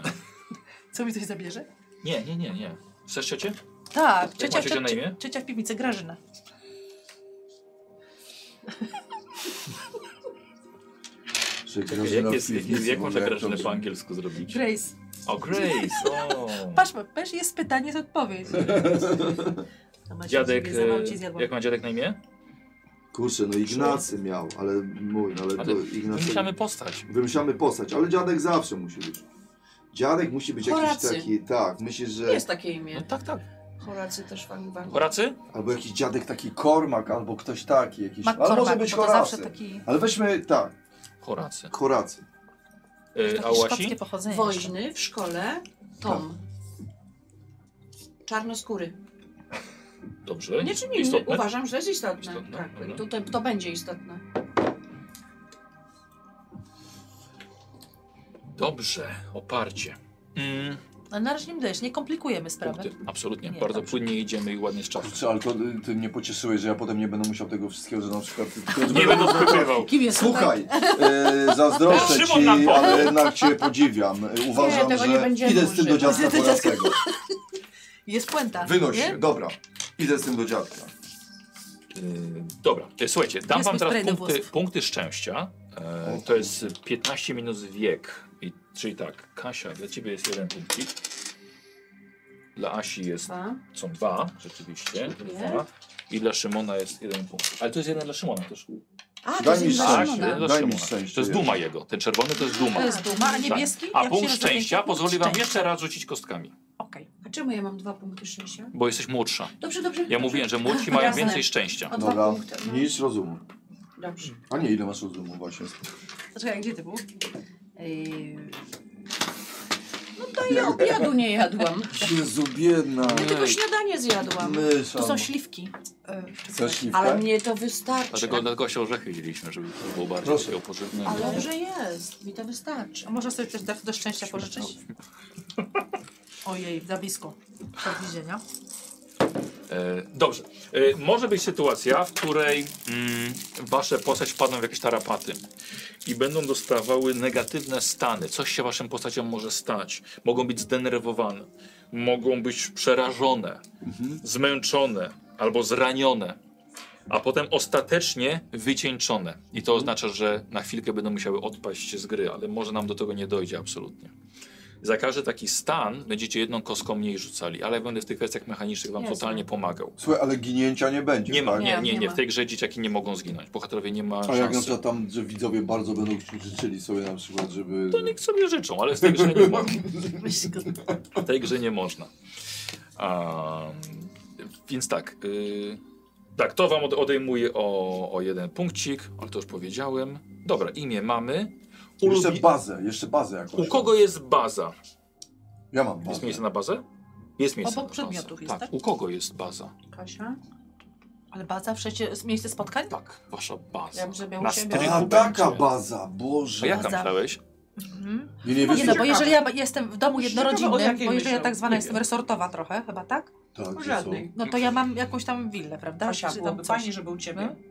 Co mi coś zabierze?
Nie, nie, nie, nie. Chcesz ciocię?
Tak,
ma
ciocia,
ciocia na imię?
ciocia, ciocia w piwnicy, Grażyna.
Że
Jak,
Grażyna
jest,
w piwnicy,
jak można
bo jak to
Grażynę po
brzmi.
angielsku zrobić?
Grace.
O, Grace! O.
Patrz, patrz, jest pytanie, jest odpowiedź. A Maciej
Dziadek,
sobie zawał, ci
e,
zjadłam.
jak ma dziadek na imię?
Kurczę, no Ignacy miał, ale mój, no ale
Ale
to Ignacy...
Wymyślamy postać.
Wymyślamy postać, ale dziadek zawsze musi być. Dziadek musi być jakiś
Horacy.
taki, tak, myślisz, że...
Jest takie
No
imię.
tak, tak.
Horacy też w Anglii.
Horacy?
Albo jakiś dziadek taki Kormak, albo ktoś taki, jakiś... ale może
McCormack,
być
bo to
Horacy.
zawsze taki
Ale weźmy, tak,
Horacy.
Horacy.
E, a
takie szkockie
Łasi?
pochodzenie.
Woźny w szkole Tom.
Tak.
Czarnoskóry.
Dobrze.
Nie czym innym.
Istotne?
Uważam, że jest istotne.
Istotne,
tak.
dobra.
To, to, to będzie istotne.
Dobrze, oparcie. Mm,
A No, na razie nie dajesz, nie komplikujemy sprawy.
punkty. Absolutnie.
Nie,
Bardzo
dobrze.
płynnie idziemy i ładnie z czasu.
Kurczę, ale to y, ty mnie pocieszyłeś, że ja potem nie będę musiał tego wszystkiego, że na przykład... (laughs) tylko, że
Nie będę skrywał.
Kim jest
Słuchaj, e, zazdroszczę
Szymon
ci,
nam powie.
ale jednak cię podziwiam. E, Uważam,
tego nie
że
będziemy
idę z tym do
używać.
dziadka Horacego.
Jest puenta.
Wynoś
nie?
się, dobra. Idę z tym do dziadka.
E, Dobra, e, słuchajcie, dam
Jest
wam
mi
teraz
spray do
punkty,
włosów.
punkty szczęścia. E, to jest 15 minus wiek. I, czyli tak, Kasia, dla ciebie jest jeden punkcik. Dla Asi jest,
Dwa.
są dwa, rzeczywiście.
Dziękuję.
Dwa. I dla Szymona jest jeden punkt. Ale to jest jeden dla Szymona też.
A, to
Daj
jest
mi
imię
Tak,
szczęście.
Szymona.
dla
Daj mi
Szymona.
szczęście
To jest duma jego. Ten czerwony to jest duma.
To jest duma, a
Tak.
niebieski?
A
jak
punkt
się rozwinie,
szczęścia
to punkt
pozwoli wam
szczęścia.
jeszcze raz rzucić kostkami,
Okej.
A czemu ja mam dwa punkty szczęścia?
bo jesteś młodsza.
Dobrze, dobrze.
Ja
dobrze.
mówiłem, że młodsi mają
Jasne.
więcej szczęścia.
O dwa
Dobra,
punkty. No.
nic rozumu.
Dobrze.
A nie, ile masz rozumu właśnie?
Zaczekaj, gdzie ty był? Ej,
To ja obiadu nie jadłam.
Jezu, biedna.
Ja tylko śniadanie zjadłam.
Mysza.
Tu są śliwki. e, w
Chcesz
czekolad-
śliwkę?
Ale mnie to wystarczy.
Dlatego, dlatego się orzechy wzięliśmy, żeby to było bardziej
Proszę.
takie opożywne.
Ale dobrze jest. Mi to wystarczy.
A można sobie też do, do szczęścia pożyczyć? Ojej, za blisko. Do widzenia.
E, dobrze. E, może być sytuacja, w której mm, wasze postać wpadną w jakieś tarapaty i będą dostawały negatywne stany. Coś się waszym postaciom może stać. Mogą być zdenerwowane, mogą być przerażone, zmęczone albo zranione, a potem ostatecznie wycieńczone. I to oznacza, że na chwilkę będą musiały odpaść z gry, ale może nam do tego nie dojdzie absolutnie. Za każdy taki stan będziecie jedną kostką mniej rzucali, ale ja będę w tych kwestiach mechanicznych wam
Jasne.
totalnie pomagał.
Słuchaj, ale ginięcia nie będzie,
Nie ma,
tak?
nie, nie,
nie
nie.
ma.
W tej grze dzieciaki nie mogą zginąć. Bohaterowie nie ma
A jak na
szansy.
przykład tam, że widzowie bardzo będą życzyli sobie na przykład, żeby...
To niech sobie życzą, ale w tej grze nie można. W tej grze nie można. A, więc tak. y, tak, to wam od- odejmuje o, o jeden punkcik, ale to już powiedziałem. Dobra, imię mamy.
Jeszcze
Ulubi-
bazę, jeszcze bazę jakąś.
U kogo jest baza?
Ja mam
Jest
bazę.
miejsce na bazę? Jest miejsce
Obok
na bazę.
przedmiotów jest,
tak?
tak?
U kogo jest baza?
Kasia?
Ale baza, przecie, miejsce spotkań?
Tak, wasza baza.
Ja bym zrobiła
Na
u siebie.
strychu
A, taka
będzie.
baza,
A
boże.
jaka
Baza.
myślałeś?
Mhm.
Nie, nie
Nie no, bo
Ciekawe.
jeżeli ja jestem w domu
Ciekawe, o
jednorodzinnym,
jakiej
bo jeżeli ja
myślą.
tak zwana
Nie
jestem
wiem.
resortowa trochę, chyba tak?
Tak,
Żadnej.
No to ja mam jakąś tam willę, prawda?
Kasia,
Czy
byłoby
coś.
fajnie, Tak, żeby u ciebie.
Mhm.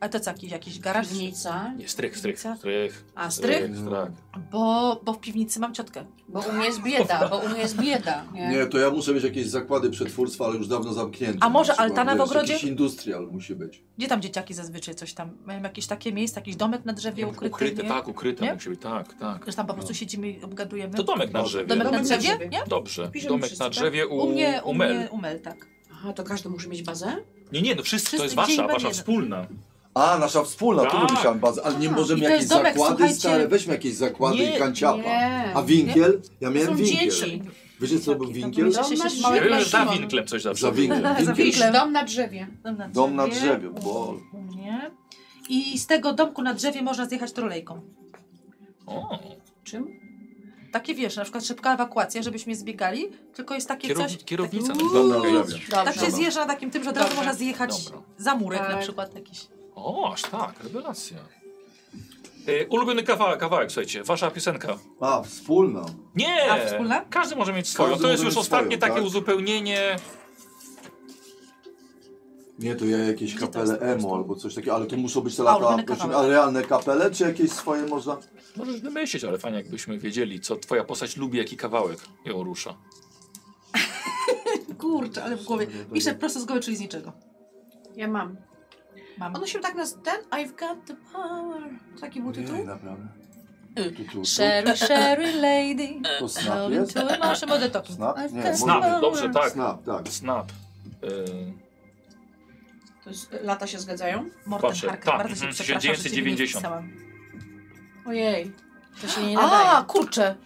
A to co, jakiś, jakiś garaż?
Hmm? Piwnica.
Nie, strych, strych,
Piwnica?
strych.
A, strych?
tak.
Bo, bo w piwnicy mam ciotkę.
Bo u mnie jest bieda, bo u mnie jest bieda. Nie?
Nie, to ja muszę mieć jakieś zakłady przetwórstwa, ale już dawno zamknięte.
A
Na
może
przykład,
altana w
wiesz,
ogrodzie?
Jakiś industrial musi być.
Gdzie tam dzieciaki zazwyczaj coś tam? Mają jakieś takie miejsce, jakiś domek na drzewie ukryty?
Ukryte,
nie?
tak, ukryte
Nie?
musi być, tak, tak.
Że tam po prostu siedzimy i obgadujemy?
To domek na
Domek
drzewie.
Domek na
Domek na
drzewie?
drzewie.
Nie?
Dobrze,
Piszemy
domek
wszyscy,
na
tak?
drzewie u,
U mnie, u
Mel.
mnie, u Mel, tak.
Aha, to każdy musi mieć bazę?
Nie, nie, no wszyscy, to
Wszyscy
jest
dzień
wasza,
ma
wasza
jeden.
wspólna.
A, nasza wspólna, tu
Tak.
musiałem bazę. Ale nie
A,
i
możemy
to
jakieś
jest domek,
zakłady
słuchajcie.
stare, weźmy jakieś zakłady
Nie,
i kanciapa.
Nie.
A winkiel? Ja
To
miałem
są
winkiel.
dzieci.
Wiecie co był
Taki, to
winkiel?
będzie
Dom na
się-
drzewie.
się-
Małe
Za
Szymon.
winklem coś zawsze.
Za winklem.
Za
winkiel.
winklem.
Wisz, dom na drzewie.
Dom na drzewie, bo-
u mnie. I z tego domku na drzewie można zjechać trolejką.
O,
Czym?
Takie wiesz, na przykład szybka ewakuacja, żebyśmy zbiegali, tylko jest takie
kierow,
coś.
kierownica.
Taki,
Dom na
Okej.
drzewie.
tak się
Dobrze.
zjeżdża na takim tym, że od razu
Dobra.
można zjechać
Dobra.
za murek na
Tak.
przykład jakiś.
O, aż tak, rewelacja. E, ulubiony kawałek, kawałek, słuchajcie, wasza piosenka.
A, wspólna.
Nie!
A wspólna?
Każdy może mieć swoją.
Każdy
to jest
może
już
mieć
ostatnie
swoją,
takie
tak?
uzupełnienie.
Nie, to ja jakieś
Gdzie to
kapele
jest?
emo albo coś takiego, ale to muszą być te
A,
lata,
ulubiony
proszę,
kawałek.
a realne kapele, czy jakieś swoje można?
Możesz wymyślić, ale fajnie jakbyśmy wiedzieli, co twoja postać lubi, jaki kawałek ją rusza.
Kurczę, ale w głowie. Piszę prosto z głowy, czyli z niczego.
Ja mam.
Mam.
Ono się tak nazywa, ten I've got the power. Taki był
Nie,
tytuł?
naprawdę.
Y.
Tu, tu, tu.
Sherry, Sherry lady.
To snap
No
jest?
into emotion, mode talking.
Snap? Nie, może-
Snap, dobrze, tak.
Snap, tak.
Snap. Y,
To jest, lata się zgadzają?
Morten
Patrzę,
Harker,
tak,
bardzo się
mhm,
przepraszam, że ciebie nie
1990.
wpisałam.
Ojej. To się nie
A,
nadaje.
kurczę.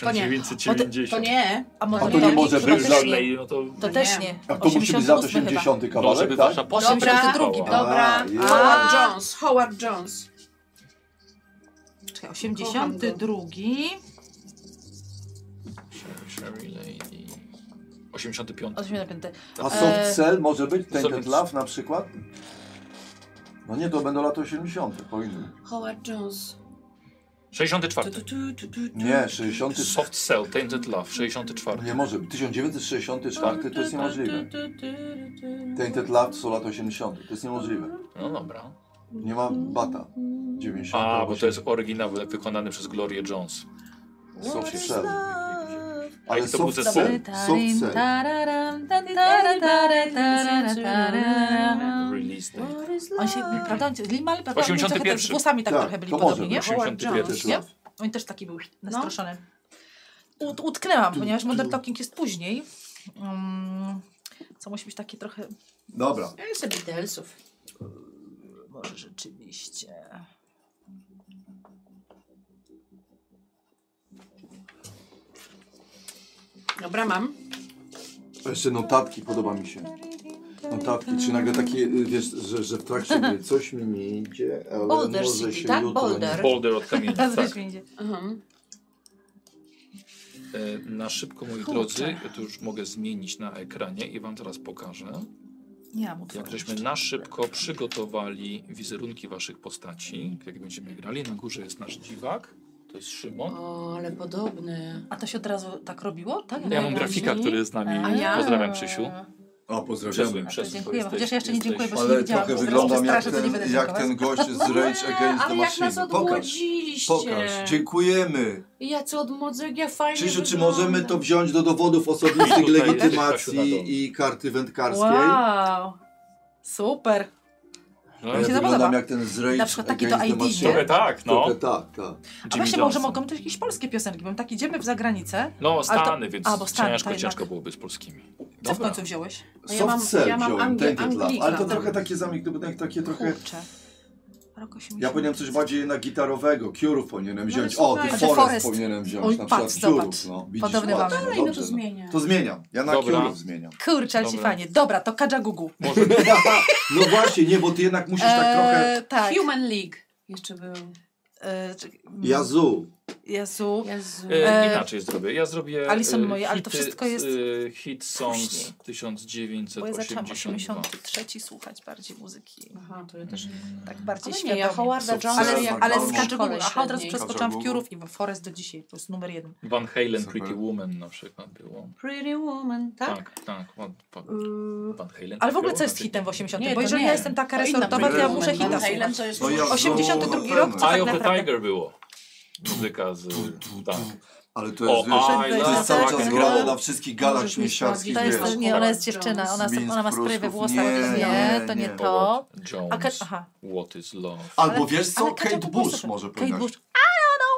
To nie.
1990.
To nie.
A może
A to nie
Morten
może
Harker
być
to też
dla-
nie.
no to...
To
Nie.
też nie.
A to musi być z
88
lat
chyba.
80
No,
kawałek,
żeby wasza
tak?
postać
Dobra.
przetrwała.
Dobra.
A, jest.
Howard Jones. Howard Jones.
Czekaj,
Kocham
82.
Sherry Lady. 85.
85.
A
Eee.
Soft Cell może być? Tainted
Soft-
Love na przykład? No nie, to będą lata 80. powinny.
Howard Jones.
64.
Tu, tu, tu, tu, tu, tu.
Nie, 60.
Soft Cell, Tainted Love, 64.
Nie może być. 1964 to jest niemożliwe.
Tu, tu, tu, tu, tu.
Tainted Love to są lata 80. To jest niemożliwe.
No dobra.
Nie ma bata. 90.
A, bo
albo
to jest oryginał wykonany przez Glorię Jones.
Soft Cell.
A
Ale
i to był
Soft
zespół.
Cell. Soft Cell.
Release date.
On się, prawda, on się- Limal, prawda, oni trochę
81.
tak z włosami tak,
Tak,
trochę byli
to
podobni,
może
nie?
być.
Howard
81.
Jones.
Tainted Love.
Oni też taki
No.
był nastroszony. Ut, utknęłam, ponieważ Modern Talking jest później. Um, co musi być takie trochę...
Dobra.
Ja jestem Beatlesów.
Może rzeczywiście...
Dobra, mam.
Jeszcze notatki podoba mi się. Notatki, czy nagle takie, y, wiesz, że, że w
(laughs)
trakcie gry coś mi nie idzie, ale
Boulder
może
City,
się
tak?
jutro nie-
Boulder.
Boulder od kamieni. (laughs)
Nazwać
Tak.
mi idzie.
Mhm.
E, Na szybko, moi drodzy, ja to już mogę zmienić na ekranie i wam teraz pokażę,
Nie mam utworu
jak żeśmy
jeszcze.
na szybko przygotowali wizerunki waszych postaci, jak będziemy grali. Na górze jest nasz dziwak, to jest Szymon.
O, ale podobny.
A to się od razu tak robiło?
Ja
Tak?
mam
Najważniej-
grafika, który jest z
A
nami.
ja?
Pozdrawiam, Krzysiu.
O,
Przesuń,
pozdrawiamy.
to
przesuń.
dziękuję,
bo
chociaż ja jeszcze nie dziękuję, bo się
Ale
nie widziałam,
trochę
bo zaraz
wyglądam
przestraszę,
jak
to nie
ten,
będę
jak
dziękować.
ten gość z Rage Against the
ale jak nas
Machine. No, Pokaż,
odmłodziliście.
pokaż. Dziękujemy.
Jacy odmłodzek, ja fajnie
Krzysiu, czy
wygląda.
możemy to wziąć do dowodów osobistych,
Tutaj jest Kasiu na dole.
legitymacji i karty wędkarskiej?
Wow! Super!
No,
Ja
Mi się to
wyglądam
podoba.
jak ten z Rage
Na przykład takie
Against
to
the
ID,
Trochę
Machine.
tak, no.
Trochę tak, tak.
A właśnie, może mogą też jakieś polskie piosenki, bo my tak idziemy w zagranicę.
No,
Ale to-
Stany, więc
a, bo Stany,
ciężko,
to jednak.
ciężko byłoby z polskimi.
Co w
Dobra.
końcu wziąłeś?
No ja mam-
Soft cell
ja mam
wziąłem,
Anglię-
Tainted Love.
Anglika.
Ale to trochę takie zamknięte, bo tak- takie trochę...
Kurczę. Rok 80.
Ja powinienem coś bardziej jednak gitarowego, Cure'ów
No
powinienem wziąć. o,
słuchaj,
The
The Forest,
Znaczy Forest.
powinienem wziąć,
Oj,
na przykład
patrz, zobacz.
Cure'ów. No, widzisz,
Podobny
ładnie,
mamy.
no,
Dalej, no to
dobrze,
zmienia.
To zmieniam, ja na
Dobra.
Cure'ów zmieniam.
Kurczę, ale ci
Dobra.
fajnie. Dobra, to Kadża Gugu.
Może
(laughs)
No właśnie, nie, bo ty jednak musisz tak trochę...
Eee, tak.
Human League jeszcze był.
Eee, czek- mm,
Jazu.
Jezu.
Jezu.
e,
E,
inaczej zrobię. Ja zrobię.
Alison
e,
moje, ale to
hity,
wszystko jest
e, Hit
później.
Songs
Bo ja zaczęłam
1982.
83 słuchać bardziej muzyki.
Aha, to ja też.
Tak bardziej
Ale nie,
świadomie.
ja Howarda
Są
Jonesa.
wcale
ale,
tak
ale
mało.
z Kadża Gugu.
Szkole
Aha, od razu
średniej.
przeskoczyłam w
Kadża Gugu.
Kiurów i w Forest do dzisiaj. To jest numer jeden.
Van Halen,
Super.
Pretty Woman na przykład było.
Pretty Woman, tak?
Tak, tak. Van- Van-
Yy,
Van Halen.
Ale w ogóle
tak
co jest
miał,
hitem w
znaczy-
80.
Mm. Nie,
bo
to
jeżeli
nie.
ja jestem taka
To
No
inna
resortowa, to ja
płyta.
muszę
Van
hita
Halen
słuchać.
to jest
No ja
już-
znowu
82
będę.
rok to tak
Eye of the
naprawdę...
Tiger było. Muzyka z... Tak.
Ale to
O,
jest, wiesz,
Eye
to
of the
jest cały czas
Tiger.
grane na wszystkich galach
Możesz mi
śmiesiarskich,
To
sprawdzić,
wiesz.
jest,
Wiesz,
nie, ona
Howard
jest dziewczyna, ona,
Jones.
ona ma sprywy w
Minsk,
włosach.
Pruszków,
Nie,
nie,
to nie
nie.
to.
Jones.
A Ka- aha.
What is love?
Albo
Ale-
wiesz co,
ale Kasia
Kate
po prostu-
Bush może
Kate
powinnaś.
Bush.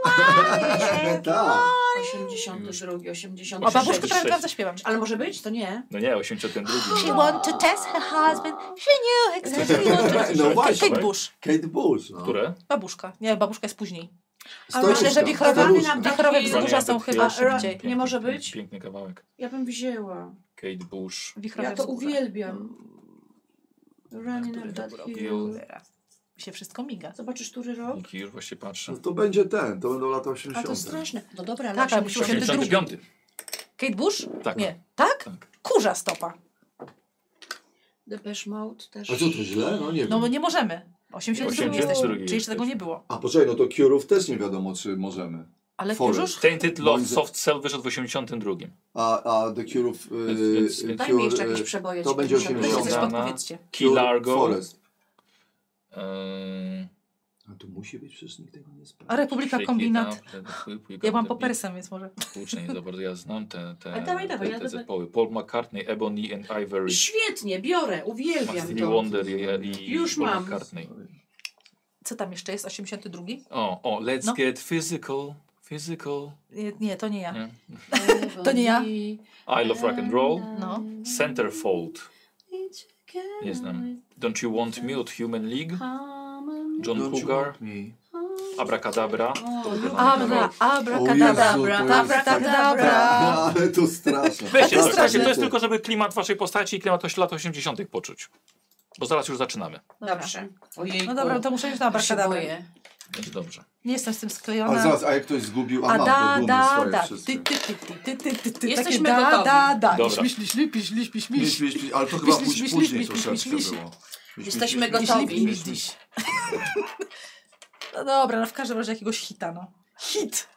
(laughs) tak.
82, 80.
O, babuszkę
Sześć.
prawie wam zaśpiewam.
Ale może być? To nie.
No nie, 82.
She wanted to test her husband. She knew exactly what to
(laughs) No właśnie.
Kate Bush.
Kate Bush. No.
Które?
Wichurowa. Nie, babuszka jest później.
Ale
Storuszka,
myślę, że wichrowa-
storuszka.
Taki-
Wichrowe
Running
wzgórza
Up
są
the
chyba
Hill.
szybciej.
Piękny-
Nie może być?
Piękny kawałek.
Ja bym wzięła.
Kate Bush.
Wichrowe
Ja to
wzgórza.
uwielbiam. Running
No, Który
up
to
that
był rok?
hill.
Teraz Mi się wszystko miga.
Zobaczysz, który rok?
Niki już właśnie patrzę.
No to będzie ten, to będą lata
A
80.
to straszne. No dobra, ale
Tak, ale musisz
80.
85.
Kate Bush?
Tak.
Nie. Tak?
Tak.
Kurza stopa.
Depeche Mode też.
A co to źle? No nie wiem.
No bo nie możemy. 82 jesteśmy,
82
czyli jeszcze tego nie było.
A poczekaj.
Poczekaj, no to Cure'ów też nie wiadomo, czy możemy.
Ale
Forest.
Kurzusz?
Tainted Love,
Moim zda-
Soft Cell wyszedł w 82.
A, a The Cure'ów...
Więc-
Yy,
y,
więc-
Daj mi jeszcze jakieś
yy,
przeboje.
to
ci
będzie
potrzebne.
Weźcie coś
80.
podpowiedzcie.
Key Largo.
Forest.
Eee,
A tu musi być, przecież nikt tego nie
A
sprawdzi.
Republika
Shake It
Kombinat.
Up, Let It Whip, We
Ja
Got
mam
The
po
Beat.
persem, więc może.
Kurczę, nie za bardzo ja znam te, te,
Ale dawaj,
te,
dawaj, ja
te
to-
zespoły. Paul McCartney, Ebony and Ivory.
Świetnie, biorę, uwielbiam
Stevie (laughs)
to.
Wonder i, i
Już
Paul
mam.
McCartney.
Co tam jeszcze jest? 82?
O, o, let's
No.
get physical, physical.
Nie, nie to nie ja.
Nie?
To nie ja.
I love rock and roll.
No.
Centerfold. Nie znam. Don't you want me od Human League? John Cougar. Abracadabra.
O,
Abra,
No. O Jezu, to
abrakadabra,
jest-
(laughs)
abrakadabra.
Ale to straszne.
Weźcie,
A to
Tak,
to, to,
straszne.
jest tylko, żeby klimat waszej postaci i klimat oś- lat 80. poczuć. Bo zaraz już zaczynamy.
Dobrze.
Dobrze. Ojej,
No dobra, to muszę już na abrakadabra.
Będzie dobrze.
Nie jestem z tym
Ale
sklejona.
zaraz, a jak ktoś zgubił, a,
A
mam
da,
te dumy
da,
swoje
da.
wszystkie.
Ty, ty, ty, ty, ty, ty, ty.
Jesteśmy
Takie da,
gotowi.
da, da.
Dobra.
Śliś, śliś, lipi, śliś, piś,
Miś,
miś.
miś, miś, ale to chyba
miś,
później,
miś,
później
miś, miś,
troszeczkę
miś, miś.
było. Miś,
Jesteśmy
miś, miś, miś,
gotowi.
miś, miś.
No dobra, no w każdym razie jakiegoś hita, no. Hit!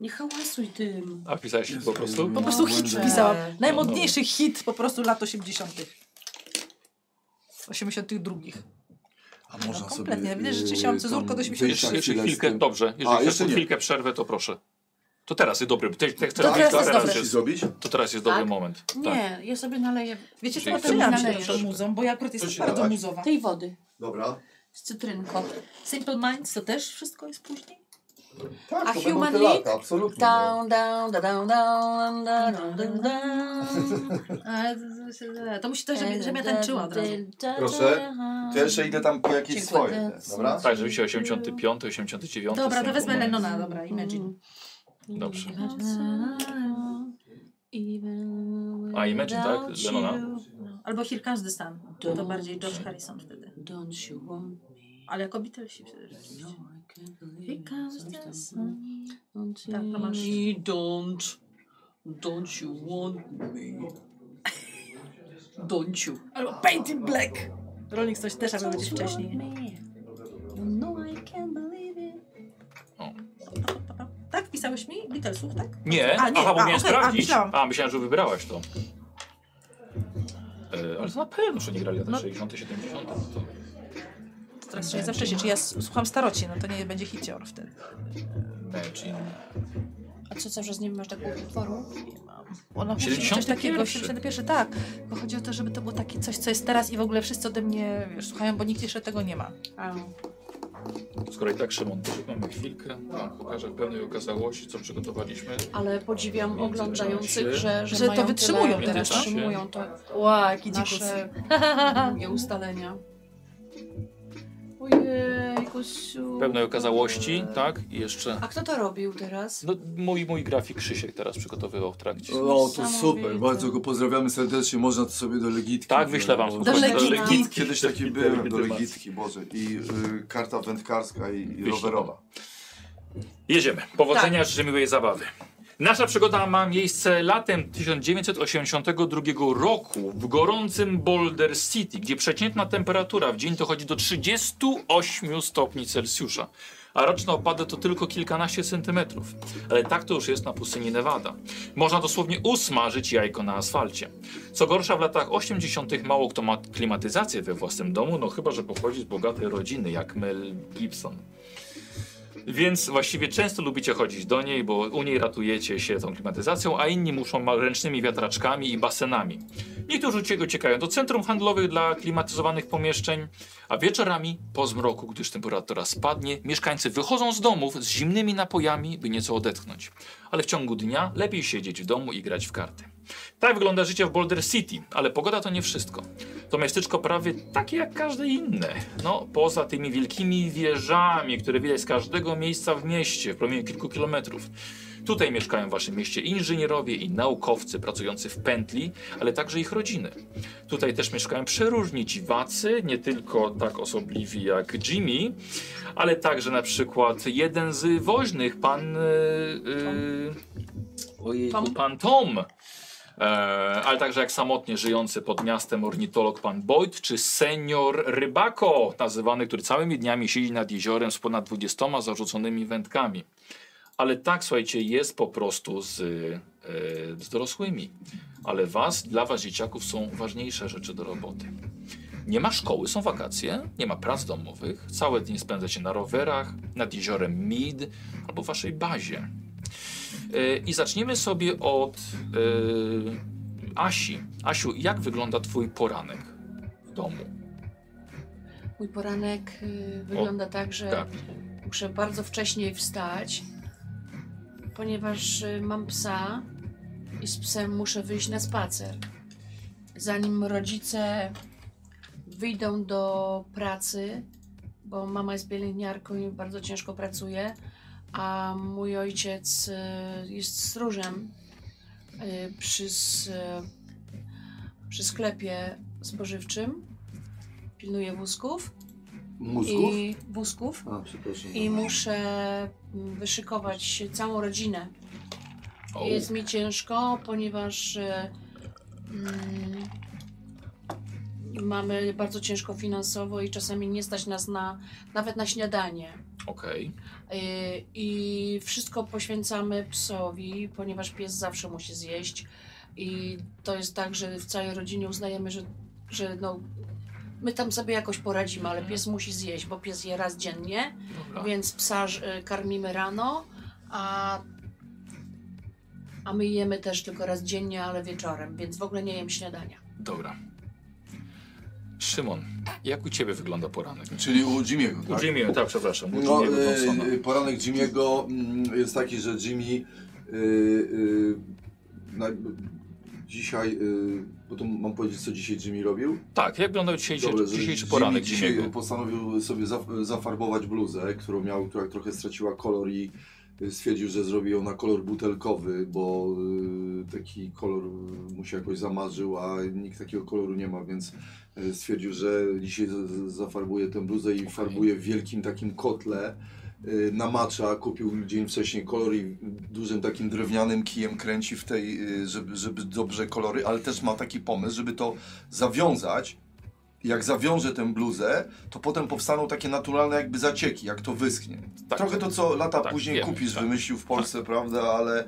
Nie hałasuj tym.
A wpisałeś po prostu?
no,
Po prostu hit
Boże.
wpisałam. Najmodniejszy hit po prostu lat 80. 82.
A można
No
sobie...
kompletnie, widzę, że
yy,
rzeczywiście mam
tam
cezurko do
wyjść na
80.
Jeszcze, jeszcze
chwilę z
chwilkę,
tym.
dobrze. Jeżeli
A,
chcesz
jeszcze nie.
chwilkę przerwę, to proszę. To teraz jest dobry. Ty, ty,
Tak,
To teraz jest
teraz
dobre.
jest,
zrobić?
to teraz jest dobry
Tak?
moment. Tak.
Nie, ja sobie naleję
Wiecie co,
Czyli
otwieram się
chcemy
troszkę
nalejesz.
muzą, bo ja akurat
się
jestem bardzo
nalać?
muzowa.
tej wody
Dobra.
z cytrynką.
Simple Minds to też wszystko jest później?
Tak,
A
to będą
Human
te
League?
lata, absolutnie. no.
Down, down, da, down, down, da, down, down, down.
Ale E, to- to musi to, żeby, żeby ja tańczyła od razu.
Proszę. To ja jeszcze no. idę tam po jakieś
Dziękuję.
swoje, te, dobra?
Tak, rzeczywiście 85, 89.
Dobra, to
Simple
wezmę
Minds.
Lenona, dobra, Imagine.
Mm. Dobrze.
A
A, Imagine, tak? Lenona?
Albo Here Comes the Sun. To bardziej George Harrison wtedy.
Don't you want me?
Ale jako Beatles się wtedy
No, I can't
Here
believe
comes
coś
the
tam.
sun.
Don't
Tak, to
you
masz.
me, don't, don't you want me? Don't you?
Albo Paint in Black. Rolling Stones też, aby być wcześniej. nie?
No, I can't believe it.
Tak, pisałeś mi? Beatlesów, tak?
Nie,
A, nie,
aha, bo
a,
miałem
okej, a,
sprawdzić.
myślałam.
A, myślałem, że wybrałaś to. E, ale to na pewno, że nie grali
No.
lata 60., 70. To...
To teraz jeszcze jest za wcześnie. Czy ja s- słucham staroci, no to nie będzie hicior wtedy.
Imagine.
A co, cały czas nie masz takiego utworu?
Nie mam. Ona musi mieć coś
71?
takiego, 71, tak. Bo chodzi o to, żeby to było takie coś, co jest teraz i w ogóle wszyscy ode mnie wiesz, słuchają, bo nikt jeszcze tego nie ma.
A,
Skoro i tak Szymon, to mamy chwilkę. Wam pokażę pewnej okazałości, co przygotowaliśmy.
ale podziwiam oglądających, że, że,
Że to
mają
wytrzymują
tyle,
teraz, no?
Wytrzymują to
Ła, jaki
nasze (laughs)
dzikus.
długie ustalenia. Ojej.
kusiu.
Pewnej okazałości, tak? I jeszcze.
A kto to robił teraz?
No, mój, mój grafik Krzysiek teraz przygotowywał w trakcie.
O, to super,
Niesamowite.
bardzo go pozdrawiamy serdecznie, można to sobie do Legitki.
Tak, wyślę wam.
Do
Do
słuchajcie,
Legitki.
Kiedyś taki byłem do
Legitymacji.
Legitki, Boże. I y, karta wędkarska i, i
Wyślę.
rowerowa.
Jedziemy. Powodzenia, życzę miłej zabawy. Nasza przygoda ma miejsce latem 1982 roku w gorącym Boulder City, gdzie przeciętna temperatura w dzień dochodzi do 38 stopni Celsjusza, a roczne opady to tylko kilkanaście centymetrów. Ale tak to już jest na pustyni Nevada. Można dosłownie usmażyć jajko na asfalcie. Co gorsza, w latach 80. mało kto ma klimatyzację we własnym domu, no chyba, że pochodzi z bogatej rodziny, jak Mel Gibson. Więc właściwie często lubicie chodzić do niej, bo u niej ratujecie się tą klimatyzacją, a inni muszą ma- ręcznymi wiatraczkami i basenami. Niektórzy ucie- uciekają do centrum handlowych dla klimatyzowanych pomieszczeń, a wieczorami po zmroku, gdyż temperatura spadnie, mieszkańcy wychodzą z domów z zimnymi napojami, by nieco odetchnąć. Ale w ciągu dnia lepiej siedzieć w domu i grać w karty. Tak wygląda życie w Boulder City, ale pogoda to nie wszystko. To miasteczko prawie takie jak każde inne. No, poza tymi wielkimi wieżami, które widać z każdego miejsca w mieście, w promieniu kilku kilometrów. Tutaj mieszkają w waszym mieście inżynierowie i naukowcy pracujący w pętli, ale także ich rodziny. Tutaj też mieszkają przeróżni dziwacy, nie tylko tak osobliwi jak Jimmy, ale także na przykład jeden z woźnych, pan... y, Yy,
Ojej,
Tom?
pan Tom. E, ale także jak samotnie żyjący pod miastem ornitolog pan Boyd czy senior Rybako, nazywany, który całymi dniami siedzi nad jeziorem z ponad 20 zarzuconymi wędkami. Ale tak, słuchajcie, jest po prostu z, e, z dorosłymi. Ale was, dla was dzieciaków są ważniejsze rzeczy do roboty. Nie ma szkoły, są wakacje, nie ma prac domowych, całe dni spędzacie na rowerach, nad jeziorem Mid albo w waszej bazie. E, I zaczniemy sobie od e, Asi. Asiu, jak wygląda twój poranek w domu?
Mój poranek y, wygląda tak, że
tak.
muszę bardzo wcześnie wstać, ponieważ y, mam psa i z psem muszę wyjść na spacer. Zanim rodzice wyjdą do pracy, bo mama jest pielęgniarką i bardzo ciężko pracuje, a mój ojciec y, jest stróżem y, przy, s- y, przy sklepie spożywczym, pilnuje wózków
Mózgów?
i wózków
A, przepraszam.
i
(laughs)
muszę mm, wyszykować całą rodzinę.
O,
Jest mi ciężko, ponieważ e, mm, mamy bardzo ciężko finansowo i czasami nie stać nas na, nawet na śniadanie.
Okej.
E, I wszystko poświęcamy psowi, ponieważ pies zawsze musi zjeść. I to jest tak, że w całej rodzinie uznajemy, że, że no, my tam sobie jakoś poradzimy, ale pies musi zjeść, bo pies je raz dziennie.
Dobra.
Więc psa y, karmimy rano, a, a my jemy też tylko raz dziennie, ale wieczorem, więc w ogóle nie jem śniadania.
Dobra. Szymon, jak u ciebie wygląda poranek?
Czyli u Jimmy'ego, tak?
U Jimmy, tak, przepraszam, u
No,
Jimmy'ego Thompsona.
y, y, poranek Jimmy'ego mm, jest taki, że Jimmy y, y, naj- dzisiaj, y, bo to mam powiedzieć, co dzisiaj Jimmy robił?
Tak, jak wyglądał dzisiejszy,
Dobra, że
dzisiejszy
Jimmy
poranek
dzisiaj
Jimmy'ego?
postanowił sobie za, zafarbować bluzę, którą miał, która trochę straciła kolor i y, stwierdził, że zrobi ją na kolor butelkowy, bo y, taki kolor mu się jakoś zamarzył, a nikt takiego koloru nie ma, więc y, stwierdził, że dzisiaj z, z, zafarbuje tę bluzę i farbuje w wielkim takim kotle y, na macza, kupił dzień wcześniej kolor i dużym takim drewnianym kijem kręci w tej, y, żeby, żeby dobrze kolory, ale też ma taki pomysł, żeby to zawiązać jak zawiąże tę bluzę, to potem powstaną takie naturalne jakby zacieki, jak to wyschnie.
Tak.
Trochę to, co lata
Tak,
później
wiemy,
kupisz
tak.
wymyślił w Polsce, prawda, ale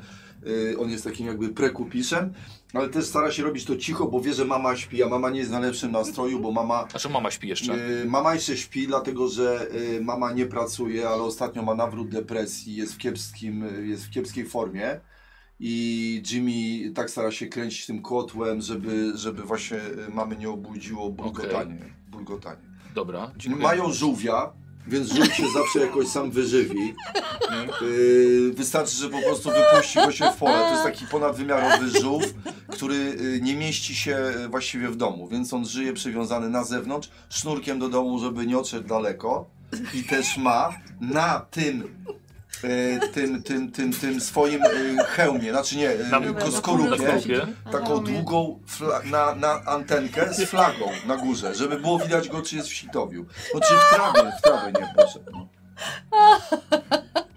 y, on jest takim jakby prekupiszem, ale też stara się robić to cicho, bo wie, że mama śpi, a mama nie jest w najlepszym nastroju, bo mama
Znaczy mama śpi jeszcze.
Y, Mama jeszcze śpi, dlatego że y, mama nie pracuje, ale ostatnio ma nawrót depresji, jest w, kiepskim, y, jest w kiepskiej formie. I Jimmy tak stara się kręcić tym kotłem, żeby, żeby właśnie y, mamy nie obudziło bulgotanie. bulgotanie.
Dobra, dziękuję.
Mają żółwia, więc żółw się zawsze jakoś sam wyżywi.
Mm.
Yy, wystarczy, że po prostu wypuści go się w pole. To jest taki ponadwymiarowy żółw, który y, nie mieści się y, właściwie w domu, więc on żyje przywiązany na zewnątrz, sznurkiem do domu, żeby nie odszedł daleko.
i też ma na tym
y,
e, tym, tym, tym, tym swoim e, hełmie, znaczy nie, e,
Na-
ko-
Na
skorupie,
skorupie.
Tak.
taką długą fla- na, na antenkę z flagą na górze, żeby było widać go, czy jest w sitowiu. No czy w trawie, w trawie nie poszedł. No.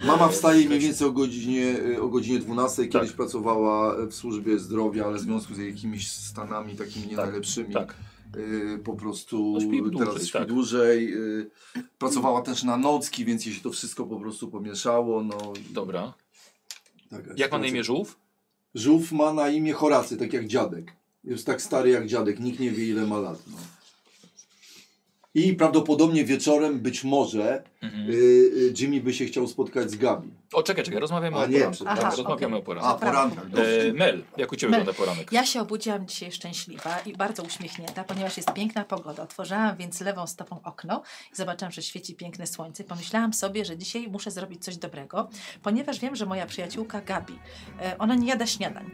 Mama wstaje mniej więcej o godzinie, y, o godzinie 12.
Tak.
Kiedyś pracowała w służbie zdrowia, ale w związku z jakimiś stanami takimi nie
Tak,
najlepszymi.
Tak.
y, Po prostu
No, śpi dłużej,
teraz śpi
tak.
dłużej. y, Pracowała też na nocki, więc jej się to wszystko po prostu pomieszało. No,
Dobra.
taka
Jak ma
sytuacja.
na imię żółw?
Żółw ma na imię Horacy, tak jak dziadek. Jest tak stary jak dziadek, nikt nie wie ile ma lat. No. I prawdopodobnie wieczorem, być może, y,
Mhm.
y, Jimmy by się chciał spotkać z Gabi.
O, czekaj, czekaj, rozmawiamy
A
o
nie,
poranku.
przepraszam.
Tak, Rozmawiamy o
A,
poranku.
poranek,
E, Mel, jak u Ciebie
Mel.
wygląda poranek?
Ja się obudziłam dzisiaj szczęśliwa i bardzo uśmiechnięta, ponieważ jest piękna pogoda. Otworzyłam więc lewą stopą okno i zobaczyłam, że świeci piękne słońce. Pomyślałam sobie, że dzisiaj muszę zrobić coś dobrego, ponieważ wiem, że moja przyjaciółka Gabi, e, ona nie jada śniadań.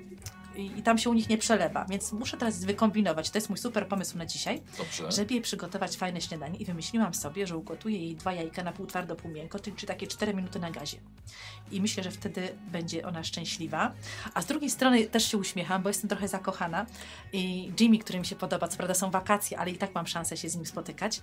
I i tam się u nich nie przelewa, więc muszę teraz wykombinować. To jest mój super pomysł na dzisiaj,
Dobrze.
żeby jej przygotować fajne śniadanie. I wymyśliłam sobie, że ugotuję jej dwa jajka na pół twardo, pół miękko, czyli czy takie 4 minuty na gazie. I myślę, że wtedy będzie ona szczęśliwa. A z drugiej strony też się uśmiecham, bo jestem trochę zakochana. I Jimmy, który mi się podoba, co prawda są wakacje, ale i tak mam szansę się z nim spotykać.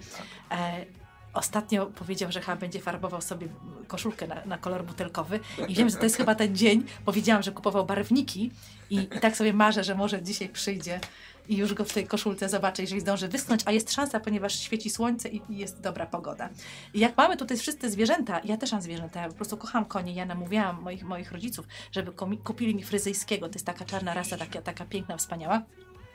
E, Ostatnio powiedział, że chyba będzie farbował sobie koszulkę na, na kolor butelkowy i wiem, że to jest chyba ten dzień, bo wiedziałam, że kupował barwniki i, i tak sobie marzę, że może dzisiaj przyjdzie i już go w tej koszulce zobaczę, jeżeli zdąży wyschnąć, a jest szansa, ponieważ świeci słońce i, i jest dobra pogoda. I jak mamy tutaj wszyscy zwierzęta, ja też mam zwierzęta, ja po prostu kocham konie, ja namówiłam moich, moich rodziców, żeby komi- kupili mi fryzyjskiego, to jest taka czarna rasa, taka, taka piękna, wspaniała.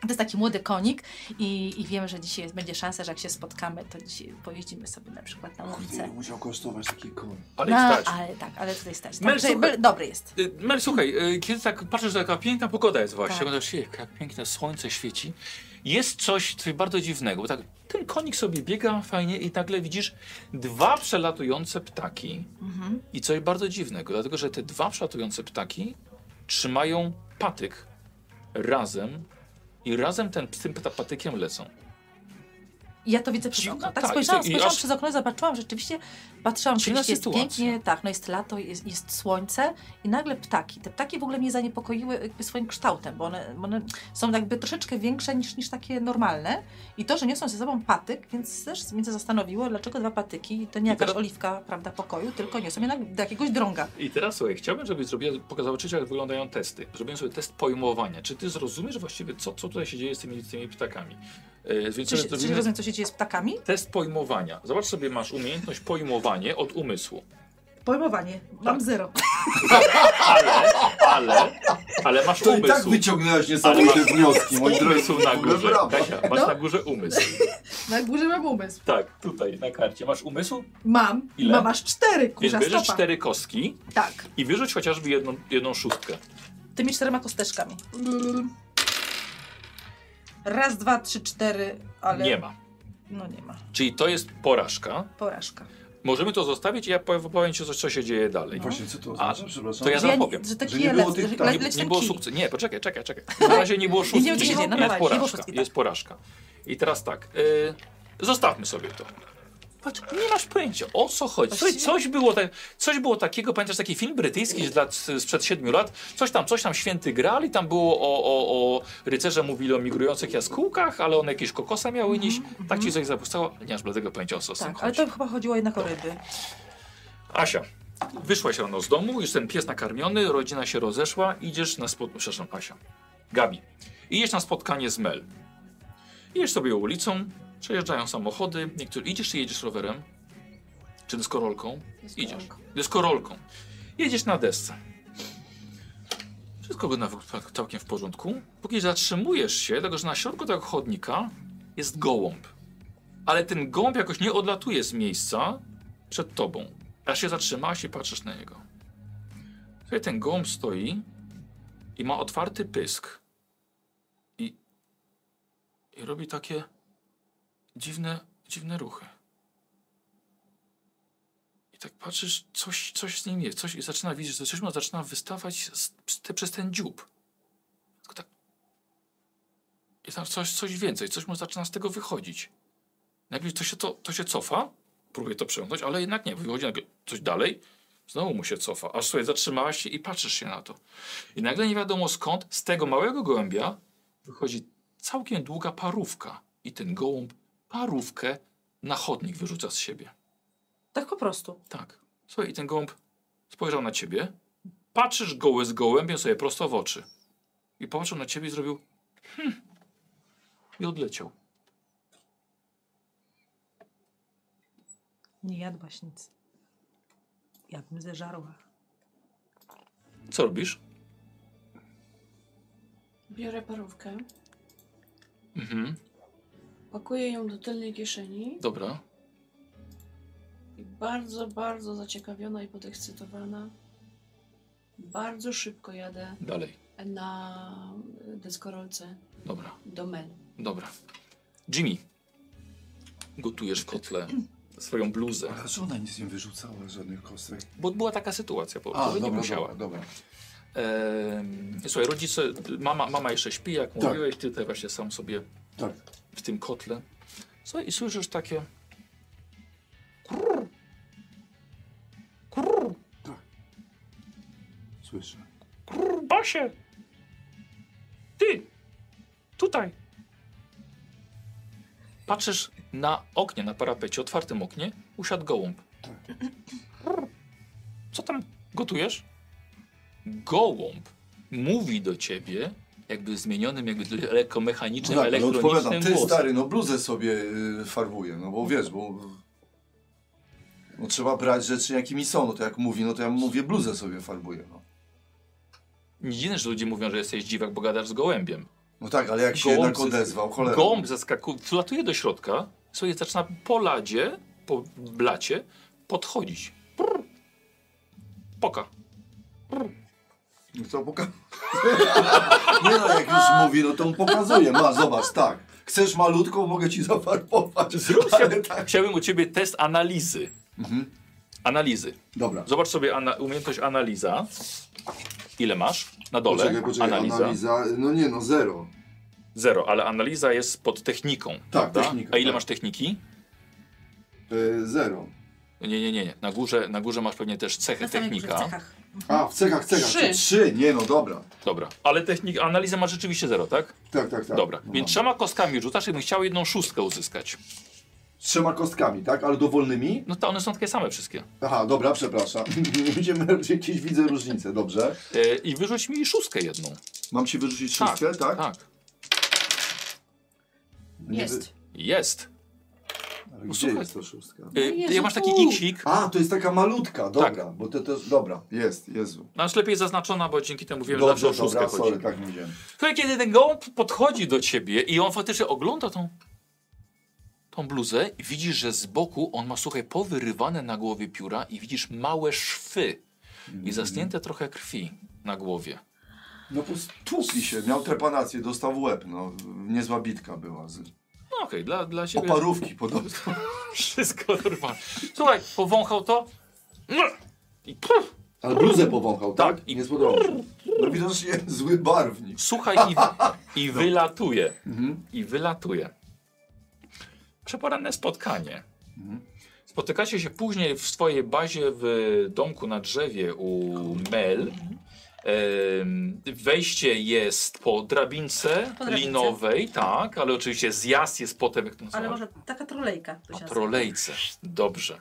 To jest taki młody konik i, i wiem, że dzisiaj jest, będzie szansa, że jak się spotkamy, to dzisiaj pojeździmy sobie na przykład na
Kurde,
ulicę.
ile musiał kosztować taki koń.
Ale
No,
wstać.
ale tak, ale tutaj stać.
Mel,
Tak, że
słuchaj.
Mel dobry jest.
Y, Mel, słuchaj, y, kiedy tak patrzysz, że taka piękna pogoda jest właśnie,
Tak.
tak. się, jak jak piękne słońce świeci, jest coś tutaj bardzo dziwnego, bo tak ten konik sobie biega fajnie i nagle widzisz dwa przelatujące ptaki
Mhm.
i coś bardzo dziwnego, dlatego że te dwa przelatujące ptaki trzymają patyk razem i razem ten, z tym pta- patykiem lecą.
Ja to widzę przez
Dziwna,
okno. Tak,
tak,
spojrzałam,
i- i
spojrzałam
aż-
przez okno i zobaczyłam rzeczywiście, patrzyłam, czy
Dziwna
jest
sytuacja.
pięknie, tak, no jest lato, jest, jest słońce i nagle ptaki. Te ptaki w ogóle mnie zaniepokoiły jakby swoim kształtem, bo one, bo one są jakby troszeczkę większe niż, niż takie normalne i to, że niosą ze sobą patyk, więc też mnie to zastanowiło, dlaczego dwa patyki, to nie
I
jakaś
teraz-
oliwka, prawda, pokoju, tylko niosą jednak do jakiegoś drąga.
I teraz słuchaj, chciałbym, żebyś zrobiła, poka- zobaczyć, jak wyglądają testy. Zrobiłem sobie test pojmowania. Czy ty zrozumiesz właściwie, co, co tutaj się dzieje z tymi, z tymi ptakami? E, więc
Czy,
sobie
się- czy
zrobimy
rozumiem, co się dzieje z ptakami?
test pojmowania. Zobacz sobie, masz umiejętność pojmowanie od umysłu.
Pojmowanie, mam
Tak.
zero. (laughs)
Ale, ale, ale masz
To i
umysł.
tak wyciągnęłaś niesamowite wnioski, moi drodzy.
Umysł na górze.
Brawo.
Kasia, masz
No.
na górze umysł.
Na górze mam umysł.
Tak, tutaj na karcie. Masz umysł,
Mam,
Ile?
mam aż cztery,
więc
kurza
bierzesz
stopa.
cztery kostki
Tak.
i wyrzuć chociażby jedną, jedną szóstkę.
tymi czterema kosteczkami. Raz, dwa, trzy, cztery, ale.
Nie ma.
No nie ma.
Czyli to jest porażka.
Porażka.
Możemy to zostawić i ja powiem, powiem ci, co, co się dzieje dalej.
No Właśnie, co to
A,
oznacza, przepraszam?
to ja
Że
zapowiem.
Że taki
Że nie
le-
było tych-
le-
tak,
leci
nie
ten
było
kij.
sukcesu. Nie, poczekaj, czekaj, czekaj. Na razie nie było
Nie, nie,
szóstki.
nie, nie, no
jest
dawaj, nie było
porażka.
szóstki, tak.
Jest porażka. I teraz tak. y, zostawmy sobie to. Patrz, nie masz pojęcia, o co chodzi. Coś,
Właściwie-
coś, było tak, coś było takiego, pamiętasz taki film brytyjski z lat, sprzed siedmiu lat? Coś tam, coś tam święty gral i tam było o, o, o rycerze mówili o migrujących jaskółkach, ale one jakieś kokosa miały niść. Tak ci coś zapuszczało? Nie masz bladego pojęcia o co z tym
Tak,
chodzi.
ale to chyba chodziło jednak o ryby.
Asia, wyszłaś rano z domu, już ten pies nakarmiony, rodzina się rozeszła, idziesz na spotkanie, przepraszam, Asia, Gabi, idziesz na spotkanie z Mel. Idziesz sobie ulicą, przejeżdżają samochody, niektórzy, idziesz czy jedziesz rowerem? Czy dyskorolką? Idziesz. Dyskorolką. Jedziesz na desce. Wszystko wygląda w- tak całkiem w porządku. Póki zatrzymujesz się, dlatego że na środku tego chodnika jest gołąb. Ale ten gołąb jakoś nie odlatuje z miejsca przed tobą. Aż się zatrzymałaś i patrzysz na niego. Tutaj ten gołąb stoi i ma otwarty pysk. I, i robi takie dziwne, dziwne ruchy. I tak patrzysz, coś, coś z nim jest, coś i zaczyna widzieć, że coś mu zaczyna wystawać z, z, te, przez ten dziób. Tylko tak. I tam coś, coś więcej, coś mu zaczyna z tego wychodzić. Nagle to się, to, to się cofa, próbuje to przełknąć, ale jednak nie. Wychodzi nagle coś dalej, znowu mu się cofa. Aż sobie zatrzymałaś się i patrzysz się na to. I nagle nie wiadomo skąd, z tego małego gołębia wychodzi całkiem długa parówka. I ten gołąb parówkę na chodnik wyrzuca z siebie.
Tak po prostu.
Tak. Słuchaj, i ten gołąb spojrzał na ciebie, patrzysz goły z gołębiem sobie prosto w oczy. I popatrzył na ciebie i zrobił hm. I odleciał.
Nie jadłaś nic. Ja bym zeżarła.
Co robisz?
Biorę parówkę,
Mhm,
pakuję ją do tylnej kieszeni
dobra.
i bardzo, bardzo zaciekawiona i podekscytowana. Bardzo szybko jadę
Dalej.
na deskorolce
Dobra,
do menu.
dobra. Jimmy, gotujesz w kotle swoją bluzę.
Ale że ona nic nie wyrzucała, żadnych kostek.
Bo była taka sytuacja, po
A,
prostu nie
dobra,
musiała.
dobra, dobra.
Ehm, słuchaj, rodzice, mama, mama jeszcze śpi, jak
Tak.
mówiłeś, ty tutaj właśnie sam sobie
Tak.
w tym kotle. Słuchaj, i słyszysz takie. Krrr. Krrr.
Słyszę.
Krrr, Basie! Ty! Tutaj! Patrzysz na oknie, na parapecie, otwartym oknie, usiadł gołąb. Krrr. Co tam gotujesz? Gołąb mówi do ciebie, jakby zmienionym, jakby lekko
No
mechanicznym,
tak, ale odpowiadam,
elektronicznym
ty
głosem.
stary, no bluzę sobie y, farbuję, no bo wiesz, bo... No trzeba brać rzeczy jakimi są, no to jak mówi, no to ja mówię bluzę sobie farbuję, no.
Nie dziwne, że ludzie mówią, że jesteś dziwak, bo gadasz z gołębiem.
No tak, ale jak się
Gołąb
jednak
ze-
odezwał, cholera.
Gołąb zaskakuje, wlatuje do środka, sobie zaczyna po ladzie, po blacie podchodzić. Prr.
(laughs)
Poka.
No to poka... (laughs) Nie no, jak już mówi, no to on pokazuje, ma, zobacz, tak. Chcesz malutką, mogę ci zafarbować.
(laughs) Zrób
ale
chciałbym,
tak.
chciałbym u ciebie test analizy.
Mhm.
Analizy.
Dobra.
Zobacz sobie ana, umiejętność analiza. Ile masz? Na dole.
Poczekaj, poczekaj,
analiza.
analiza. No nie, no zero.
Zero, ale analiza jest pod techniką. prawda?
techniką,
A ile
tak.
masz techniki?
E, zero.
Nie, nie, nie, nie. Na górze, na górze masz pewnie też cechę
Na samych
technika.
cechach.
A, w cechach, cechach.
Trzy.
Trzy, nie no, dobra.
Dobra. Ale technik, analiza masz rzeczywiście zero, tak?
Tak, tak, tak.
Dobra.
No.
Więc trzema kostkami rzucasz i bym chciał jedną szóstkę uzyskać.
Z trzema kostkami, tak? Ale dowolnymi?
No to one są takie same wszystkie.
Aha, dobra, przepraszam. (laughs) Będziemy jakieś widzę różnice, dobrze?
E, I wyrzuć mi szóstkę jedną.
Mam ci wyrzucić szóstkę, tak?
Tak.
Nie
Jest.
Jest.
wy- Ale Gdzie
Słuchaj.
jest ta szóstka?
E,
Jezu,
ja masz taki
u.
iksik.
A, to jest taka
Tak.
malutka, dobra, bo to też, dobra, jest, Jezu.
Masz No, lepiej zaznaczona, bo dzięki temu wiemy zawsze
Dobrze,
o szóstkę
dobra,
chodzi.
sorry, tak mówiłem.
Słuchaj, kiedy ten gołąb podchodzi do ciebie i on faktycznie ogląda tą, tą bluzę i widzisz, że z boku on ma, słuchaj, powyrywane na głowie pióra i widzisz małe szwy
Mhm.
i zasnięte trochę krwi na głowie.
No po tłukli się, miał trepanację, dostał w łeb, no, niezła bitka była. Z...
No okej, dla, dla ciebie...
Oparówki podobno.
Wszystko normalne. Słuchaj, powąchał to. I puf,
Ale bluzę powąchał, tak?
Tak, i-
I... Nie spodobał się.
No widocznie (laughs) zły barwnik.
słuchaj i, i wylatuje.
No. Mhm.
I wylatuje. Przeporanne spotkanie.
Mhm.
Spotykacie się później w swojej bazie w domku na drzewie u Mel. Em, Wejście jest po drabince,
Po drabince.
linowej, tak, ale oczywiście zjazd jest potem, jak to
Ale
nazywa?
może taka trolejka. to
Na
się nazywa.
trolejce. Dobrze.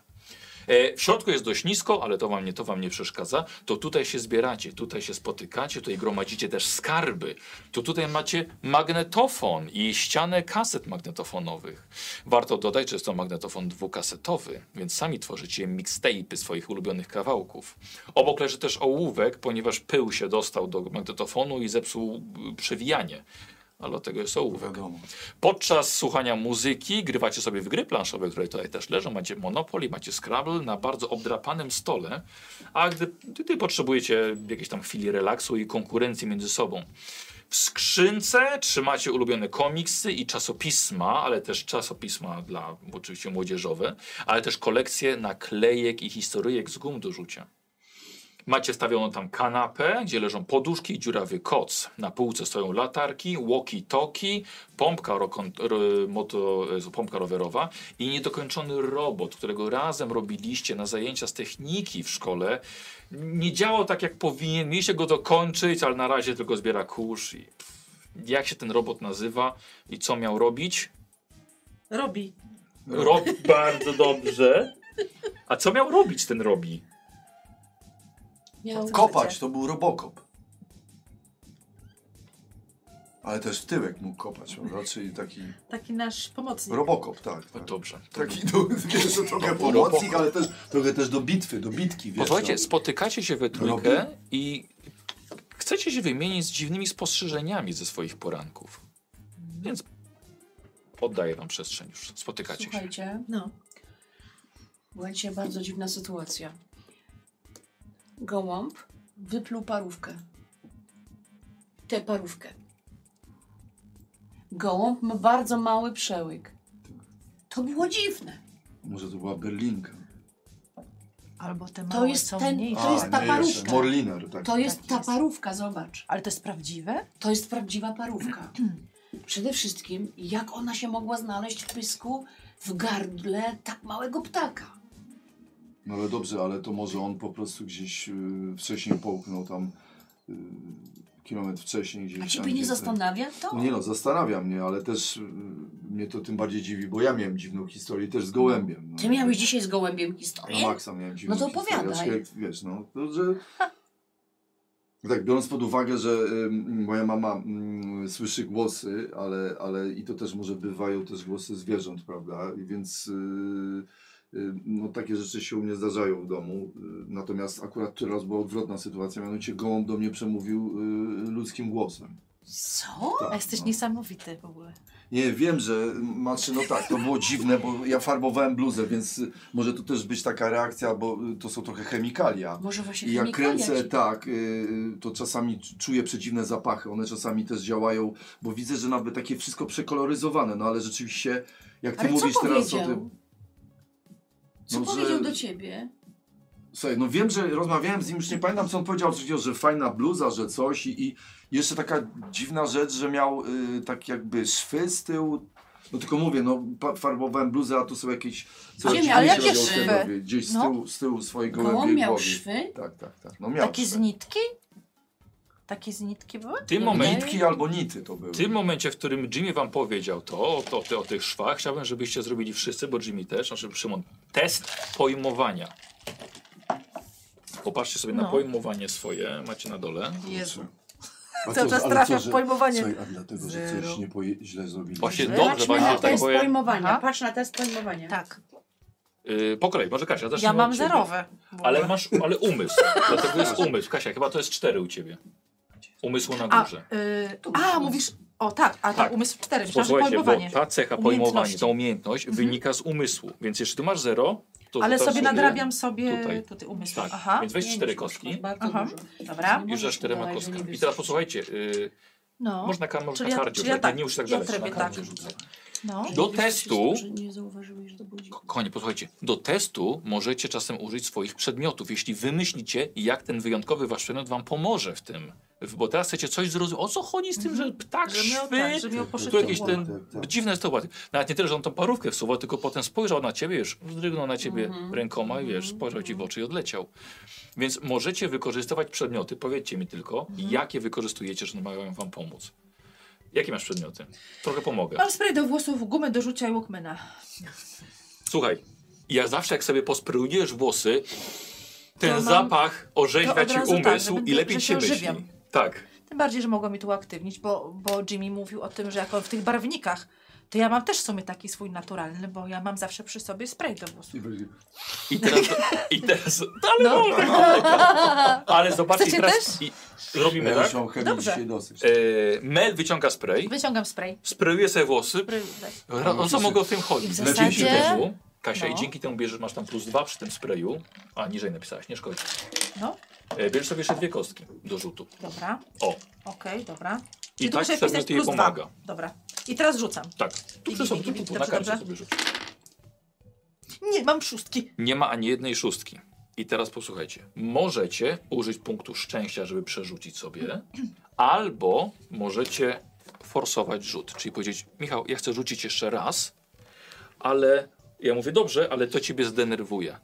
E, w środku jest dość nisko, ale to wam, nie, to wam nie przeszkadza. To tutaj się zbieracie, tutaj się spotykacie, tutaj gromadzicie też skarby. To tutaj macie magnetofon i ścianę kaset magnetofonowych. Warto dodać, że jest to magnetofon dwukasetowy, więc sami tworzycie mixtape'y swoich ulubionych kawałków. Obok leży też ołówek, ponieważ pył się dostał do magnetofonu i zepsuł y, przewijanie. Ale od tego jest ołówek.
Wiadomo.
Podczas słuchania muzyki grywacie sobie w gry planszowe, które tutaj też leżą. Macie Monopoly, macie Scrabble na bardzo obdrapanym stole, a gdy, gdy potrzebujecie jakiejś tam chwili relaksu i konkurencji między sobą. W skrzynce trzymacie ulubione komiksy i czasopisma, ale też czasopisma dla oczywiście młodzieżowe, ale też kolekcje naklejek i historyjek z gum do rzucia. Macie stawioną tam kanapę, gdzie leżą poduszki i dziurawy koc. Na półce stoją latarki, walkie-talkie, pompka, rokon- ro- moto, e, pompka rowerowa i niedokończony robot, którego razem robiliście na zajęcia z techniki w szkole. Nie działał tak jak powinien, mieliście go dokończyć, ale na razie tylko zbiera kurz. I pff, jak się ten robot nazywa i co miał robić?
Robi.
Robi bardzo dobrze. A co miał robić ten robi?
Miał...
Kopać to był robokop. Ale też w tyłek mógł kopać, prawda? Czyli taki
Taki nasz pomocnik.
robokop, tak.
No
tak.
dobrze. To
Taki do, wiesz, to trochę
był
pomocnik, ale też, trochę też do bitwy, do bitki, wiesz.
Posłuchajcie,
no.
spotykacie się we trójkę i chcecie się wymienić z dziwnymi spostrzeżeniami ze swoich poranków. Więc oddaję wam przestrzeń już. Spotykacie się.
Słuchajcie,
No.
była dzisiaj bardzo dziwna sytuacja. Gołąb wypluł parówkę. Tę parówkę. Gołąb ma bardzo mały przełyk. To było dziwne.
no. Może to była Berlinka.
Albo te
To
małe
jest
są
ten-
mniejsze.
to jest ta
nie,
paruszka.
jeszcze Morliner, tak.
To jest
Tak
ta
jest.
parówka, zobacz.
Ale to jest prawdziwe?
To jest prawdziwa parówka. (clears throat) Przede wszystkim, jak ona się mogła znaleźć w pysku w gardle tak małego ptaka?
No ale dobrze, ale to może on po prostu gdzieś y, wcześniej połknął tam y, kilometr wcześniej gdzieś.
A
tam,
ciebie
gdzie
nie
ten-
zastanawia to?
Nie no, zastanawia mnie, ale też y, mnie to tym bardziej dziwi, bo ja miałem dziwną historię też z gołębiem. No.
Ty miałeś dzisiaj z gołębiem
Na
historię?
maksa miałem dziwną
No to
historię,
opowiadaj.
aczkolwiek, Wiesz, no, to, że... Tak, biorąc pod uwagę, że y, moja mama mm, słyszy głosy, ale, ale i to też może bywają też głosy zwierząt, prawda? I Więc y, y, no, takie rzeczy się u mnie zdarzają w domu. Y, natomiast akurat teraz była odwrotna sytuacja, mianowicie gołąb do mnie przemówił y, ludzkim głosem.
Co?
Tak,
A jesteś
no.
niesamowity w ogóle.
Nie, wiem, że znaczy, no tak, to było dziwne, bo ja farbowałem bluzę, więc y, może to też być taka reakcja, bo y, to są trochę chemikalia.
Może właśnie
I jak
chemikalia
kręcę
ci-
tak, y, y, to czasami c- czuję przedziwne zapachy, one czasami też działają, bo widzę, że nawet takie wszystko przekoloryzowane, no ale rzeczywiście, jak ty
Ale co
mówisz teraz o
powiedział?
tym...
Co
No, że-
powiedział do ciebie?
Słuchaj, no wiem, że rozmawiałem z nim, już nie pamiętam co on powiedział, że, że fajna bluza, że coś i, i jeszcze taka dziwna rzecz, że miał y, tak jakby szwy z tyłu. No tylko mówię, no pa- farbowałem bluzę, a tu są jakieś... co
Ziemia,
jakieś
ale
dziwne
jakie
rozdziały
szwy?
głowy, Gdzieś z
No.
tyłu, z tyłu swojej
Gołąb
gołębiej
miał
głowy.
szwy?
Tak, tak, tak. No miał
Takie z
szwy.
nitki? Takie z nitki były?
W tym,
Nie
momencie,
Nitki albo nity to były.
w tym momencie, w którym Jimmy wam powiedział to, o, to, o tych szwach, chciałbym, żebyście zrobili wszyscy, bo Jimmy też, znaczy Szymon, test pojmowania. Popatrzcie sobie na
No.
pojmowanie swoje, macie na dole.
Jezu.
A
Cały
co,
czas
ale
trafia
co,
w
że-
pojmowanie. Znaczy, no
Słuchaj, a dlatego, że
Zero.
coś nie poje- źle zrobiliśmy.
Właśnie
Źle?
dobrze,
Patrz
właśnie
na
Aha.
tak,
test
bo ja,
pojmowania.
Aha.
Patrz na test pojmowania.
Tak.
y, po kolei, może Kasia, zacznijmy
Ja
od
mam
ciebie.
zerowe. w ogóle.
Ale masz, ale umysł, dlatego jest umysł. Kasia, chyba to jest cztery u ciebie. Umysłu na
A,
górze.
y, a, mówisz. O tak, a
Tak.
tak, umysł 4, przepraszam,
Posłuchajcie, bo tak,
pojmowanie.
ta cecha
Umiejętności. Mhm.
pojmowania, ta umiejętność wynika z umysłu. Więc jeśli tu masz zero, to
Ale
rzucasz
sobie nadrabiam sobie
tutaj.
tutaj, umysł.
Tak,
Aha.
więc weź
Nie,
cztery
już masz
kostki.
Bardzo
Aha.
dużo.
Dobra.
Nie
Już za
możesz
czterema
udawać, że nie
kostkami. I
wiesz.
teraz posłuchajcie, y,
No.
można ka- można
Czyli ja-
kardio,
czyli ja
rzucać,
tak,
nie już tak
ja
dalej,
trebię,
na karcie
tak.
rzucać.
no.
Że
Do
nie wiesz,
testu-
Że nie zauważyłeś, że to budzi.
Kochani, posłuchajcie, do testu możecie czasem użyć swoich przedmiotów, jeśli wymyślicie, jak ten wyjątkowy wasz przedmiot wam pomoże w tym. W- Bo teraz chcecie coś zrozumieć. O co chodzi z tym, że ptak
Że miał,
szwy,
tak, że miał
tu
poszyty
No jakiś ten...
tak.
Dziwne jest to ładnie. Nawet nie tyle, że on tą parówkę wsuwał, tylko potem spojrzał na ciebie, już wzdrygnął na ciebie
Mhm.
rękoma i wiesz, spojrzał ci w oczy i odleciał. Więc możecie wykorzystywać przedmioty. Powiedzcie mi tylko,
Mhm.
jakie wykorzystujecie, że mają wam pomóc. Jakie masz przedmioty? Trochę pomogę.
Mam spray do włosów, gumę do rzucia i walkmana.
Słuchaj, ja zawsze jak sobie posprujujesz włosy, ten
To mam-
zapach
to
orzeźwia
od
ci
razu tak, że
umysł
będę-
i lepiej
że
ci
się
się myśli.
ożywiam.
Tak.
Tym bardziej, że mogła mi to uaktywnić, bo, bo Jimmy mówił o tym, że jak on w tych barwnikach, to ja mam też w sumie taki swój naturalny, bo ja mam zawsze przy sobie spray do włosów.
I będzie-
I teraz,
(laughs)
i teraz ale,
No.
(laughs)
(laughs)
ale zobaczcie,
Chcecie
teraz i, robimy
Ja
tak.
już mam chemię
Dobrze.
dzisiaj dosyć.
E, Mel wyciąga spray,
Wyciągam spray.
sprayuje sobie włosy. Ra- O co
Wszyscy-
mogę o tym
I w
chodzić?
zasadzie-
Dzięki temu, Kasia,
No.
i dzięki temu bierzesz, masz tam plus dwa przy tym sprayu. A, niżej napisałaś, nie szkodzi.
No,
E, Bierzesz sobie jeszcze dwie kostki do rzutu.
dobra.
O,
Okej, dobra.
i
tu
tak
muszę
sobie
wpisać
to jej
plus
pomaga.
Dwa. Dobra. I teraz rzucam.
Tak, tu przy sobie, tu, tu, tu, na
Dobrze,
karcie
dobrze.
sobie rzuć.
Nie, mam szóstki.
Nie ma ani jednej szóstki. I teraz posłuchajcie. Możecie użyć punktu szczęścia, żeby przerzucić sobie, albo możecie forsować rzut, czyli powiedzieć, Michał, ja chcę rzucić jeszcze raz, ale ja mówię, dobrze, ale to ciebie zdenerwuje.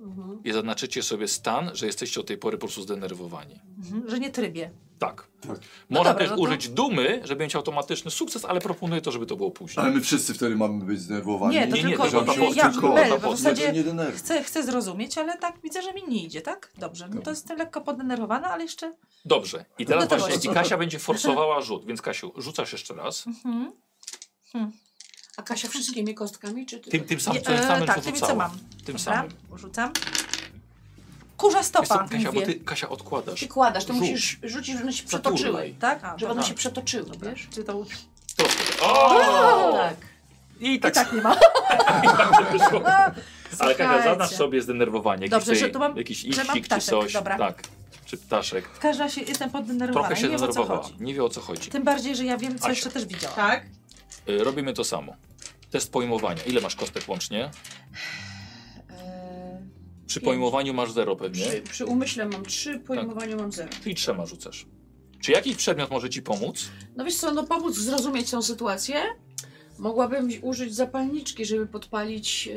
Mhm.
I zaznaczycie sobie stan, że jesteście od tej pory po prostu zdenerwowani.
Mhm, że nie trybie.
Tak.
Tak.
Można
dobra,
też
no to-
użyć dumy, żeby mieć automatyczny sukces, ale proponuję to, żeby to było później.
Ale my wszyscy wtedy mamy być zdenerwowani.
Nie, to
nie, nie,
tylko
to była ta
ja,
postać,
ja
tylko
Bel,
ta
w
postać.
zasadzie
nie denerwuj.
chcę, chcę zrozumieć, ale tak widzę, że mi nie idzie, tak? Dobrze, no to jestem lekko podenerwowana, ale jeszcze...
Dobrze. I teraz
No to
właśnie
właśnie.
i Kasia będzie forsowała rzut, więc Kasiu, rzucasz jeszcze raz.
Mhm.
A Kasia wszystkimi kostkami, czy ty?
Tym, tym samym,
Nie,
tym
e,
samym
tak,
co
tymi, co
rzucała.
mam.
Tym
Dobra,
samym.
rzucam. Kurza
Wiesz co,
stopa,
Kasia, bo
mówię.
ty, Kasia odkładasz.
Ty kładasz, to
Rzuć.
musisz rzucić, żeby one się przetoczyły.
Zaturlaj.
Tak? A,
Żeby one
dobra.
się przetoczyły, wiesz?
Czy to...
Troszkę. O!
Tak.
I
I
tak,
tak nie ma.
wyszło. (laughs) Ale Kasia,
Słuchajcie.
zadasz sobie zdenerwowanie. Jakiś,
Dobrze,
tej,
że tu mam-
jakiś
że mam
iścik czy
ptaszek,
coś.
dobra.
Tak, czy ptaszek.
W każdym razie jestem podenerwowana
Trochę
i
się
nie wiem, o co
zdenerwowała.
chodzi.
Nie wie o co chodzi.
Tym bardziej, że ja wiem, co
Asia.
jeszcze też widziałam.
Tak?
Y, Robimy to samo. Test pojmowania. Ile masz kostek łącznie?
E,
Przy
Pięć.
pojmowaniu masz zero pewnie.
przy, przy umyśle mam trzy,
Tak.
pojmowaniu mam zero.
Czyli trzema rzucasz. Czy jakiś przedmiot może ci pomóc?
No wiesz co, no pomóc zrozumieć tą sytuację. Mogłabym użyć zapalniczki, żeby podpalić,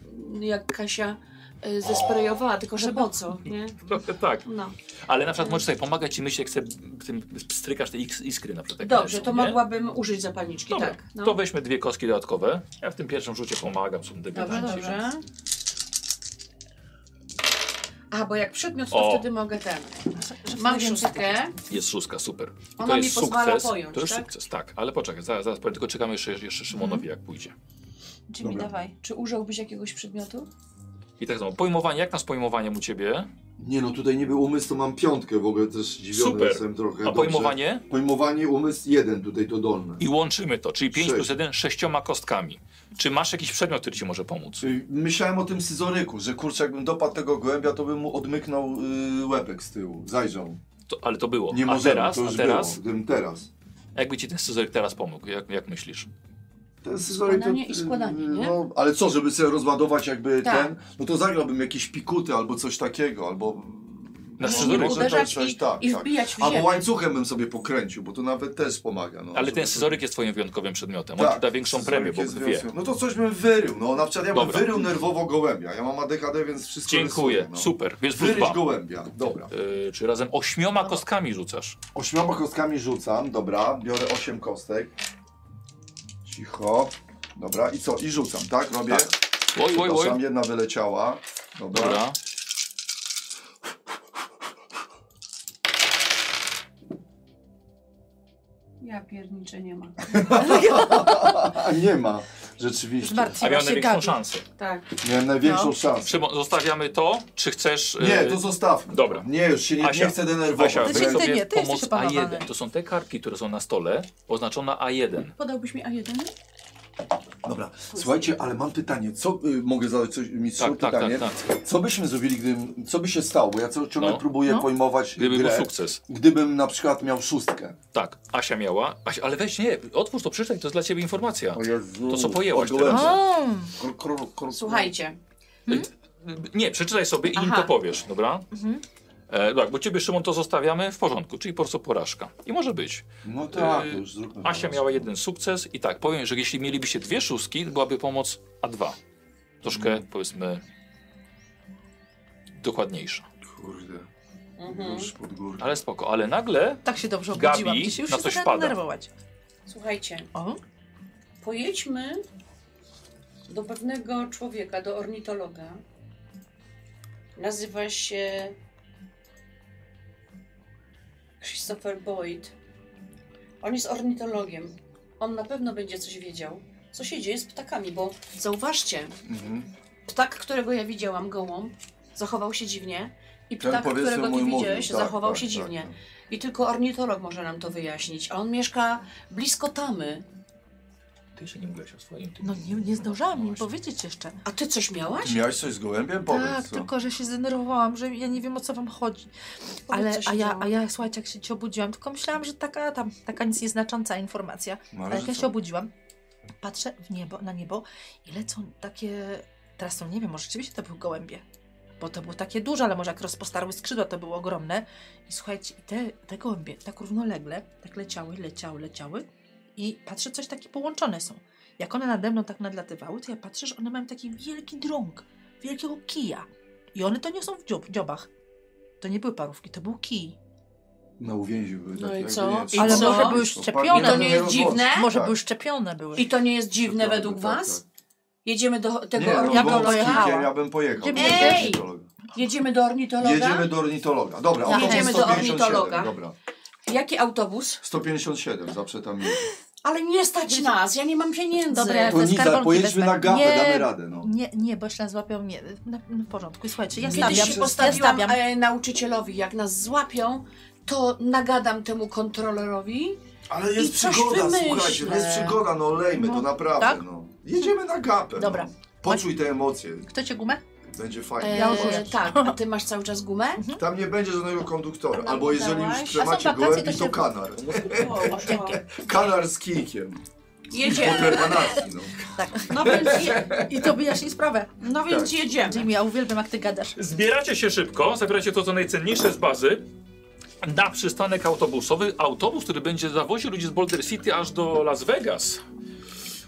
e, jak Kasia e, zesprejowała, tylko że po co, nie?
Trochę tak.
No.
Ale na przykład możesz sobie pomagać i myśleć, jak sobie tym strykasz te iks- iskry na przykład. jak
Dobrze,
lecą,
to
nie?
mogłabym użyć zapalniczki,
Dobra,
tak. No.
to weźmy dwie kostki dodatkowe. Ja w tym pierwszym rzucie pomagam, są
Dobrze,
debiutanci.
dobrze. A, bo jak przedmiot, to
O.
wtedy mogę ten.
Że
Mam
wtedy
szóstkę.
Jest szóstka, super.
Ona
to
mi
jest
pozwala
sukces.
pojąć,
to już
tak? Mhm.
sukces, tak. Ale poczekaj, zaraz, zaraz powiem, tylko czekamy jeszcze, jeszcze Szymonowi, jak pójdzie.
Jimmy,
Dobra.
dawaj.
Czy użyłbyś jakiegoś przedmiotu?
I tak znowu, pojmowanie, jak nas pojmowanie u ciebie?
Nie no, tutaj nie był umysł, to mam piątkę w ogóle, też zdziwiony
Super.
jestem trochę.
A
Dobrze.
pojmowanie?
Pojmowanie, umysł jeden tutaj to dolne.
I łączymy to, czyli 5
Sześć.
plus 1 sześcioma kostkami. Czy masz jakiś przedmiot, który ci może pomóc?
Czyli Myślałem o tym scyzoryku, że kurczę, jakbym dopadł tego gołębia, to bym mu odmyknął y, łebek z tyłu, zajrzał.
To, ale to było.
Nie
a
możemy,
teraz,
to
a
już
teraz,
było. Gdybym teraz.
jakby ci ten scyzoryk teraz pomógł, jak, jak myślisz?
No, Ten scyzoryk
Składanie i składanie, nie?
No, ale co, żeby sobie rozładować jakby
Tak.
ten?
No to zagrałbym jakieś pikuty albo coś takiego, albo...
no,
Na
Mogę
scyzoryk?
Może
uderzać
też coś,
i,
tak,
i
tak.
wbijać w
Albo
ziemię.
łańcuchem bym sobie pokręcił, bo to nawet też pomaga. No,
Ale
żeby-
ten scyzoryk jest twoim wyjątkowym przedmiotem.
Tak,
On ci da większą
scyzoryk
premię, bo
jest
wie.
wyjątkowy. No to coś bym wyrył, no na przykład ja bym
Dobra.
wyrył nerwowo gołębia. Ja mam ADHD, więc wszystko
Dziękuję,
rysuję, no.
super, więc wróć
Wyryć gołębia, dobra.
Yy, czy razem ośmioma kostkami rzucasz?
Ośmioma kostkami rzucam, dobra, biorę osiem kostek. Cicho. Dobra, i co? I rzucam, tak? Robię. Tak.
Oj, oj,
Przepraszam,
oj.
jedna wyleciała. Dobra.
Dobra.
Ja pierniczę nie ma.
A nie ma, rzeczywiście.
A
Zmartwiła
miał
się
największą
Gabi.
szansę.
Tak.
Miałem największą
No.
szansę.
Szymon, zostawiamy to, czy chcesz... yy,
Nie, to zostawmy.
dobra.
Nie, już się nie,
Asia,
nie chcę denerwować.
Asia,
Ty
weź
się- ty
sobie
Znaczy, nie, ty jesteś
pomoc
opanowany.
A1. To są te kartki, które są na stole, oznaczona A1.
Podałbyś mi A1?
Dobra, słuchajcie, ale mam pytanie. Co, y, mogę zadać coś mistrzu?
Tak, tak,
pytanie.
tak, tak.
Co byśmy zrobili, gdybym, co by się stało? Bo Ja co- ciągle
No.
próbuję
No.
pojmować
Gdyby był
grę.
sukces.
Gdybym na przykład miał szóstkę.
Tak, Asia miała. Asia, ale weź, nie, otwórz to, przeczytaj, to jest dla ciebie informacja.
Jezu.
To co pojęłaś
O, gołębie.
teraz?
O,
Kr- kr- kr-
Słuchajcie,
Nie, przeczytaj sobie i im
Aha.
to powiesz, dobra?
Mhm.
E, tak, bo ciebie Szymon to zostawiamy w porządku, czyli po prostu porażka. I może być.
No tak,
Yy,
to już zróbmy.
Asia miała jeden sukces i tak, powiem, że jeśli mielibyście dwie szóstki, byłaby pomoc A2. Troszkę, powiedzmy, dokładniejsza.
Kurde,
mhm.
już pod górę.
Ale spoko, ale nagle
tak się dobrze
Gabi
obudziłam. Dzisiaj już
na
się
coś
zaczęłam
wpada.
denerwować.
słuchajcie,
O,
pojedźmy do pewnego człowieka, do ornitologa. Nazywa się Christopher Boyd. On jest ornitologiem. On na pewno będzie coś wiedział, co się dzieje z ptakami, bo zauważcie,
Mhm.
ptak, którego ja widziałam, gołąb, zachował się dziwnie i
Ten
ptak,
powiedzmy
którego
mój
ty
mówił,
widziałeś,
tak,
zachował
tak,
się
tak,
dziwnie.
tak.
I tylko ornitolog może nam to wyjaśnić, a on mieszka blisko Tamy.
Ty jeszcze nie mówiłaś o swoim. Ty.
no nie, nie zdążyłam im powiedzieć jeszcze.
A ty coś miałaś?
Ty miałeś coś z gołębiem? Powiedz
tak,
co.
tylko że się zdenerwowałam, że ja nie wiem o co wam chodzi.
co
Ale,
się
a, ja,
działo.
a ja, słuchajcie, jak się ci obudziłam, tylko myślałam, że taka, tam, taka nic nieznacząca informacja.
No,
Ale
ale
jak ja
że
się
co?
obudziłam, patrzę w niebo, na niebo i lecą takie, teraz to nie wiem, może rzeczywiście to były gołębie. Bo to było takie duże, ale może jak rozpostarły skrzydła, to było ogromne. I słuchajcie, i te, te gołębie tak równolegle, tak leciały, leciały, leciały. I patrzę, coś takie połączone są. Jak one nade mną tak nadlatywały, to ja patrzę, że one mają taki wielki drąg, wielkiego kija. I one to nie są w dziob, dziobach. To nie były parówki, to był kij.
Na uwięziu były
No
tak
takie,
i
jakby,
co?
nie,
I
trzymane.
co?
Może były
Opadnie
szczepione.
I
na
to nie jest
rozmoc.
dziwne?
Może
Tak.
były szczepione były.
I to nie jest dziwne
Szczepione,
według
tak,
was?
tak.
Jedziemy do tego
Nie, no,
ja bym
bo
ornitologa?
z
pojechała.
kikiem ja bym pojechał.
Gdzie
do
byłeś?
ornitologa.
Jedziemy do ornitologa?
Jedziemy do ornitologa. Dobra,
Jedziemy
autobus
do
157,
ornitologa.
Dobra.
Jaki autobus?
157, zawsze tam jedzie.
Ale nie stać nas, ja nie mam pieniędzy.
Dobra, ja
To
te
nic,
Tak, skarbonki
pojedźmy
wezmę.
na gapę,
Nie,
damy radę. No.
Nie, nie, bo źle złapią mnie. Na, na porządku, słuchajcie, ja stawiam.
Kiedyś się
ja
postawiłam
stawiam.
e, nauczycielowi, jak nas złapią, to nagadam temu kontrolerowi.
Ale
jest
jest
I coś
przygoda,
przygoda, wymyślę.
słuchajcie, to jest przygoda, no lejmy
No,
to naprawdę.
tak?
No. Jedziemy na gapę.
Dobra.
No. Poczuj te emocje,
Chcecie gumę?
będzie
E,
fajnie.
Ja Mhm. już-
tak, a ty masz cały czas gumę?
Tam nie będzie żadnego konduktora,
A
albo jeżeli
nabudowałaś?
już
A są
trzymacie
wakacje,
gołębi,
to
to
się-
kanar.
O, o.
Kanar z kijkiem.
Jedziemy.
Interpanacji, no.
tak.
No więc, je,
I to wyjaśni sprawę.
no więc jedziemy.
Tak. Jimmy, ja uwielbiam jak ty gadasz.
Zbieracie się szybko, zabieracie to, co najcenniejsze z bazy na przystanek autobusowy. Autobus, który będzie zawoził ludzi z Boulder City aż do Las Vegas.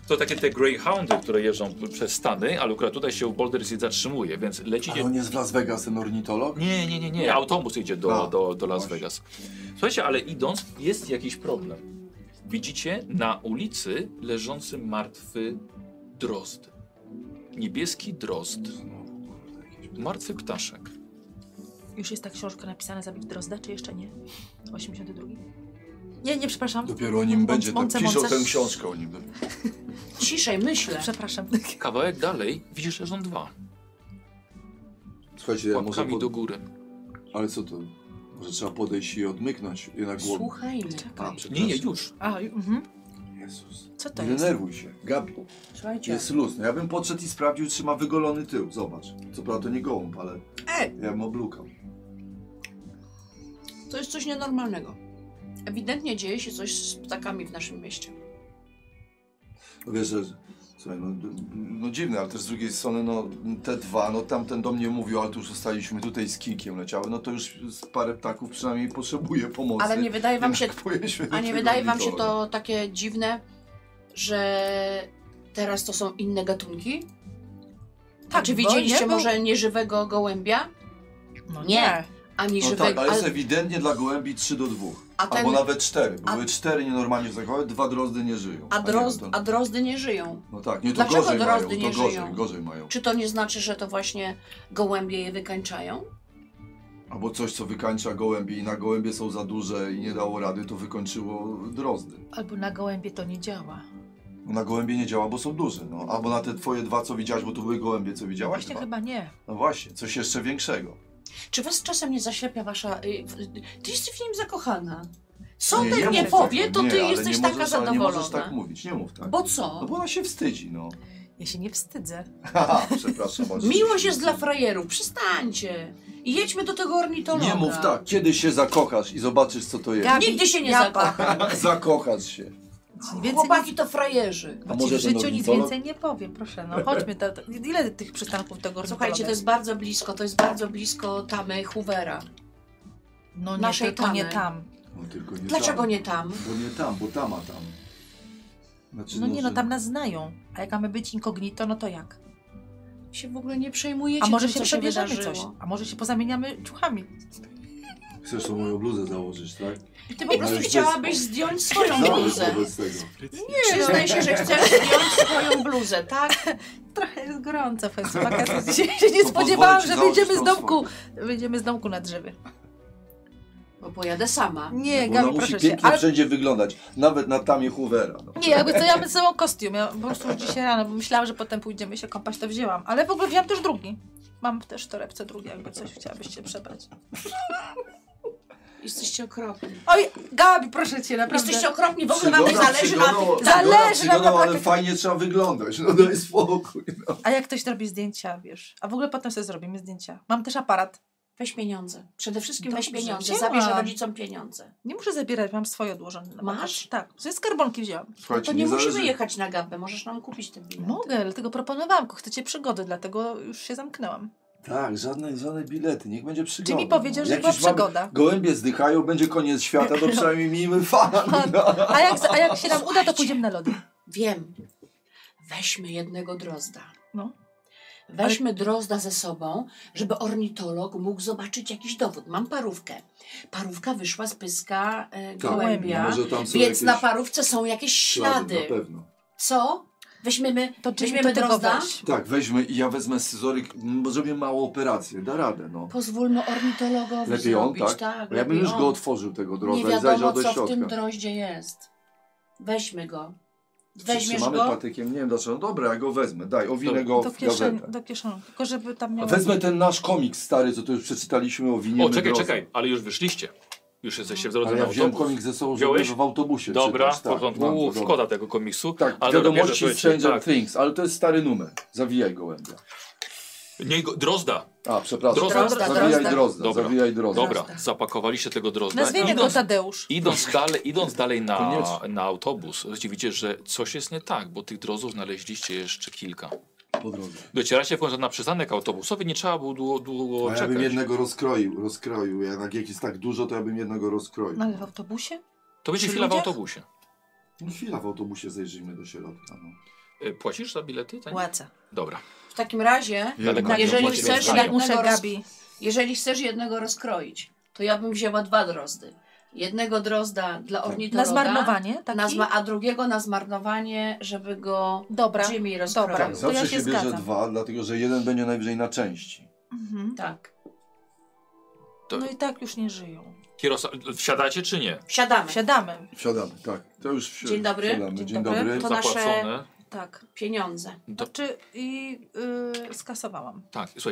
To takie te Greyhoundy, które jeżdżą przez Stany, ale akurat tutaj się w Boulder City zatrzymuje, więc lecicie...
Ale on jest w Las Vegas, ten ornitolog?
Nie, nie, Tak, nie, nie. Autobus idzie do,
A,
do, do Las
właśnie.
Vegas. Słuchajcie, ale idąc jest jakiś problem. Widzicie na ulicy leżący martwy drozd. Niebieski drozd. Martwy ptaszek.
Już jest ta książka napisana Zabij Drozda, czy jeszcze nie? 82? Nie, nie, przepraszam.
Dopiero o nim będzie, tak
Mące,
piszą
mące.
tę książkę o nim.
Ciszej, myślę.
Przepraszam.
Kawałek dalej widzisz leżą dwa.
Słuchajcie, ja może...
Łapkami
Pod...
do góry.
Ale co to? Może trzeba podejść i odmyknąć jednak głowę.
Słuchajmy.
A,
Nie, nie,
przepraszam.
już.
A, ju- mhm.
Jezus.
Co to
Nie
jest?
denerwuj się. Gabi,
Słuchajcie.
jest luz. No ja bym podszedł i sprawdził, czy ma wygolony tył. Zobacz. Co prawda to nie gołąb, ale
Ej,
ja bym oblukał.
to jest coś nienormalnego. Ewidentnie dzieje się coś z ptakami w naszym mieście.
No wiesz, że, słuchaj, no, d- no dziwne, ale też z drugiej strony, no te dwa, no tamten do mnie mówił, ale tu już zostaliśmy tutaj z kikiem leciały, no to już z parę ptaków przynajmniej potrzebuje pomocy.
Ale nie wydaje wam się,
(laughs) Jednak pojedźmy do
a nie
tego
wydaje wam się
ornitologa.
to takie dziwne, że teraz to są inne gatunki?
Tak,
czy
bo
widzieliście
nie był-
może nieżywego gołębia?
No
Nie. Ani
No tak,
żywego,
ale jest
ale-
ewidentnie dla gołębi 3 do 2.
a, ten,
Albo nawet 4.
a-
Były 4 nienormalnie zachowane, dwa drozdy nie żyją.
a,
nie,
drozd,
no to-
a drozdy nie żyją.
No tak, nie to
Dlaczego
gorzej mają,
drozdy
to
nie
gorzej,
żyją?
gorzej mają.
Czy to nie znaczy, że to właśnie gołębie je wykańczają?
Albo coś, co wykańcza gołębie i na gołębie są za duże i nie dało rady, to wykończyło drozdy.
Albo na gołębie to nie działa.
Na gołębie nie działa, bo są duże, no. Albo na te twoje dwa, co widziałaś, bo to były gołębie, co widziałaś
Właśnie
dwa.
chyba nie.
No właśnie, coś jeszcze większego.
Czy was czasem nie zaślepia wasza... y, w- Ty jesteś w nim zakochana. Sądek nie,
mów tak,
powie, to
nie,
ty
ale
jesteś
nie
taka
możesz, ale
zadowolona.
Nie możesz tak mówić, nie mów tak.
Bo co?
No bo ona się wstydzi, no. (laughs)
Ja się nie wstydzę.
Haha,
(laughs)
Przepraszam. bardzo.
Miłość jest dla frajerów, przestańcie. I jedźmy do tego ornitologa.
Nie mów tak, kiedy się zakochasz i zobaczysz, co to jest.
Gabi,
Nigdy się nie
ja-
zakocham.
(laughs) Zakochasz się.
Więcej nie
Chłopaki to frajerzy.
A
Ci Znaczy,
może
w życiu
ten
nic
ornitolog?
więcej nie powiem, proszę. No chodźmy, do, do, ile tych przystanków tego
Słuchajcie, to
ornitologa
jest bardzo blisko, to jest bardzo blisko tamy Hoovera.
No nie,
naszej
tylko nie
tamy.
tam.
No tylko nie
Dlaczego
tam.
nie tam?
Bo nie tam, bo tam, a tam. Znaczy,
No nie, no
że-
tam nas znają. A jak mamy być inkognito, no to jak?
Się w ogóle nie przejmujecie
A może
tym,
się
co się
przebierzemy
wydarzyło.
coś? A może się pozamieniamy ciuchami?
Chcesz tą moją bluzę założyć, tak?
Ty po prostu
już
chciałabyś
bez-
zdjąć swoją
Założyć
bluzę.
wobec tego.
Przyznaj się, że chcesz zdjąć swoją bluzę, tak?
Trochę jest gorąco, (laughs) w wakacje dzisiaj się nie
To
spodziewałam,
pozwolę ci
że
założyć
wyjdziemy z
tą
domku. Wyjdziemy z domku na drzewy.
Bo pojadę sama.
Nie,
Bo
Gabi,
ona musi
proszę cię.
pięknie
Ale
wszędzie wyglądać, nawet na tamie Hoovera. No.
nie, jakby co, ja bym sobą kostium. Ja po prostu już dzisiaj rano, bo myślałam, że potem pójdziemy się kąpać, to wzięłam. Ale w ogóle wziąłam też drugi. Mam też w torebce drugi, jakby coś chciałabyś się przebrać.
Jesteście okropni.
Oj, Gabi, proszę cię, naprawdę.
Jesteście okropni, w ogóle wam nie
Przygoda,
zależy na
przygoda,
tym.
Zależy
przygoda,
nam na
ale
takich-
fajnie trzeba wyglądać, no daj spokój. No.
A jak ktoś robi zdjęcia, wiesz. A w ogóle potem sobie zrobimy zdjęcia. Mam też aparat.
Weź pieniądze. Przede wszystkim weź
Dobrze,
pieniądze.
wzięłam.
Zabierz rodzicom pieniądze.
Nie muszę zabierać, mam swoje odłożone. na
Masz?
wakacje. Tak, ze skarbonki wzięłam.
Słuchajcie,
To nie musimy
zależy-
jechać na gapę, możesz nam kupić te bilety.
Mogę, dlatego proponowałam, tylko chcecie przygody, dlatego już się zamknęłam.
Tak, żadne, żadne bilety, niech będzie przygoda.
Jimmy powiedział, że
Jak
była
już mamy-
przygoda.
Gołębie zdychają, będzie koniec świata, to przynajmniej miejmy
(laughs)
fan. No.
A jak, a jak się nam (laughs) uda, to pójdziemy na lody.
Wiem. Weźmy jednego drozda.
No.
Weźmy drozda ze sobą, żeby ornitolog mógł zobaczyć jakiś dowód. Mam parówkę. Parówka wyszła z pyska e, gołębia,
może tam Tak. są
więc
jakieś
na parówce są jakieś ślady.
Na pewno.
Co? Weźmiemy,
To Jimmy
weźmiemy
to tylko
drozda?
weź.
Tak, weźmy i ja wezmę scyzoryk, m, bo zrobię małą operację, da radę, no.
Pozwólmy ornitologowi
Lepiej on,
zrobić.
tak? ja bym
lepiej
już go
on.
otworzył tego
Nie
drogę i
wiadomo,
zajrzał do
co w tym
środka.
droździe jest. Weźmy go. Weźmiesz
Przytrzymamy
go?
patykiem, nie wiem dlaczego. Dobra, ja go wezmę, daj, owinę go
Do
w
kieszeni,
gazetę.
do kieszeni. Tylko żeby tam miał...
Wezmę ten nasz komik stary, co tu już przeczytaliśmy o winie.
O, czekaj, czekaj, ale już wyszliście. Już jesteście w drodze
Ale
na
ja wziąłem
autobus.
komik ze sobą, żeby
Wziąłeś?
w autobusie
Dobra,
czytać. tak,
w porządku.
mam to,
U,
dobra.
szkoda tego komiksu.
Tak,
ale tak. dobra,
wiadomości
bierze,
Stranger
słuchajcie,
Things, ale to jest stary numer. Zawijaj gołębia.
tak. Nie, go- drozda.
A, przepraszam.
Drozda,
drozda,
zawijaj
drozda.
drozda,
Dobra.
zawijaj drozda.
Dobra,
Drozda.
zapakowaliście tego drozda.
Nazwijmy go
idąc,
Tadeusz.
idąc dalej, idąc dalej na,
Koniecznie.
na autobus, słuchajcie, widzicie, że coś jest nie tak, bo tych drozów znaleźliście jeszcze kilka.
Po drodze. No, tak
No.
No
E, Tak?
Tak,
Tak,
Tak.
No tak
tak.
Znaczy, y,
Tak,
tak?
Tak, Tak. No,
No
no-
No
no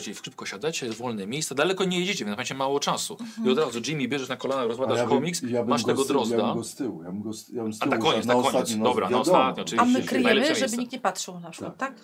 tak no.
tak
No tak,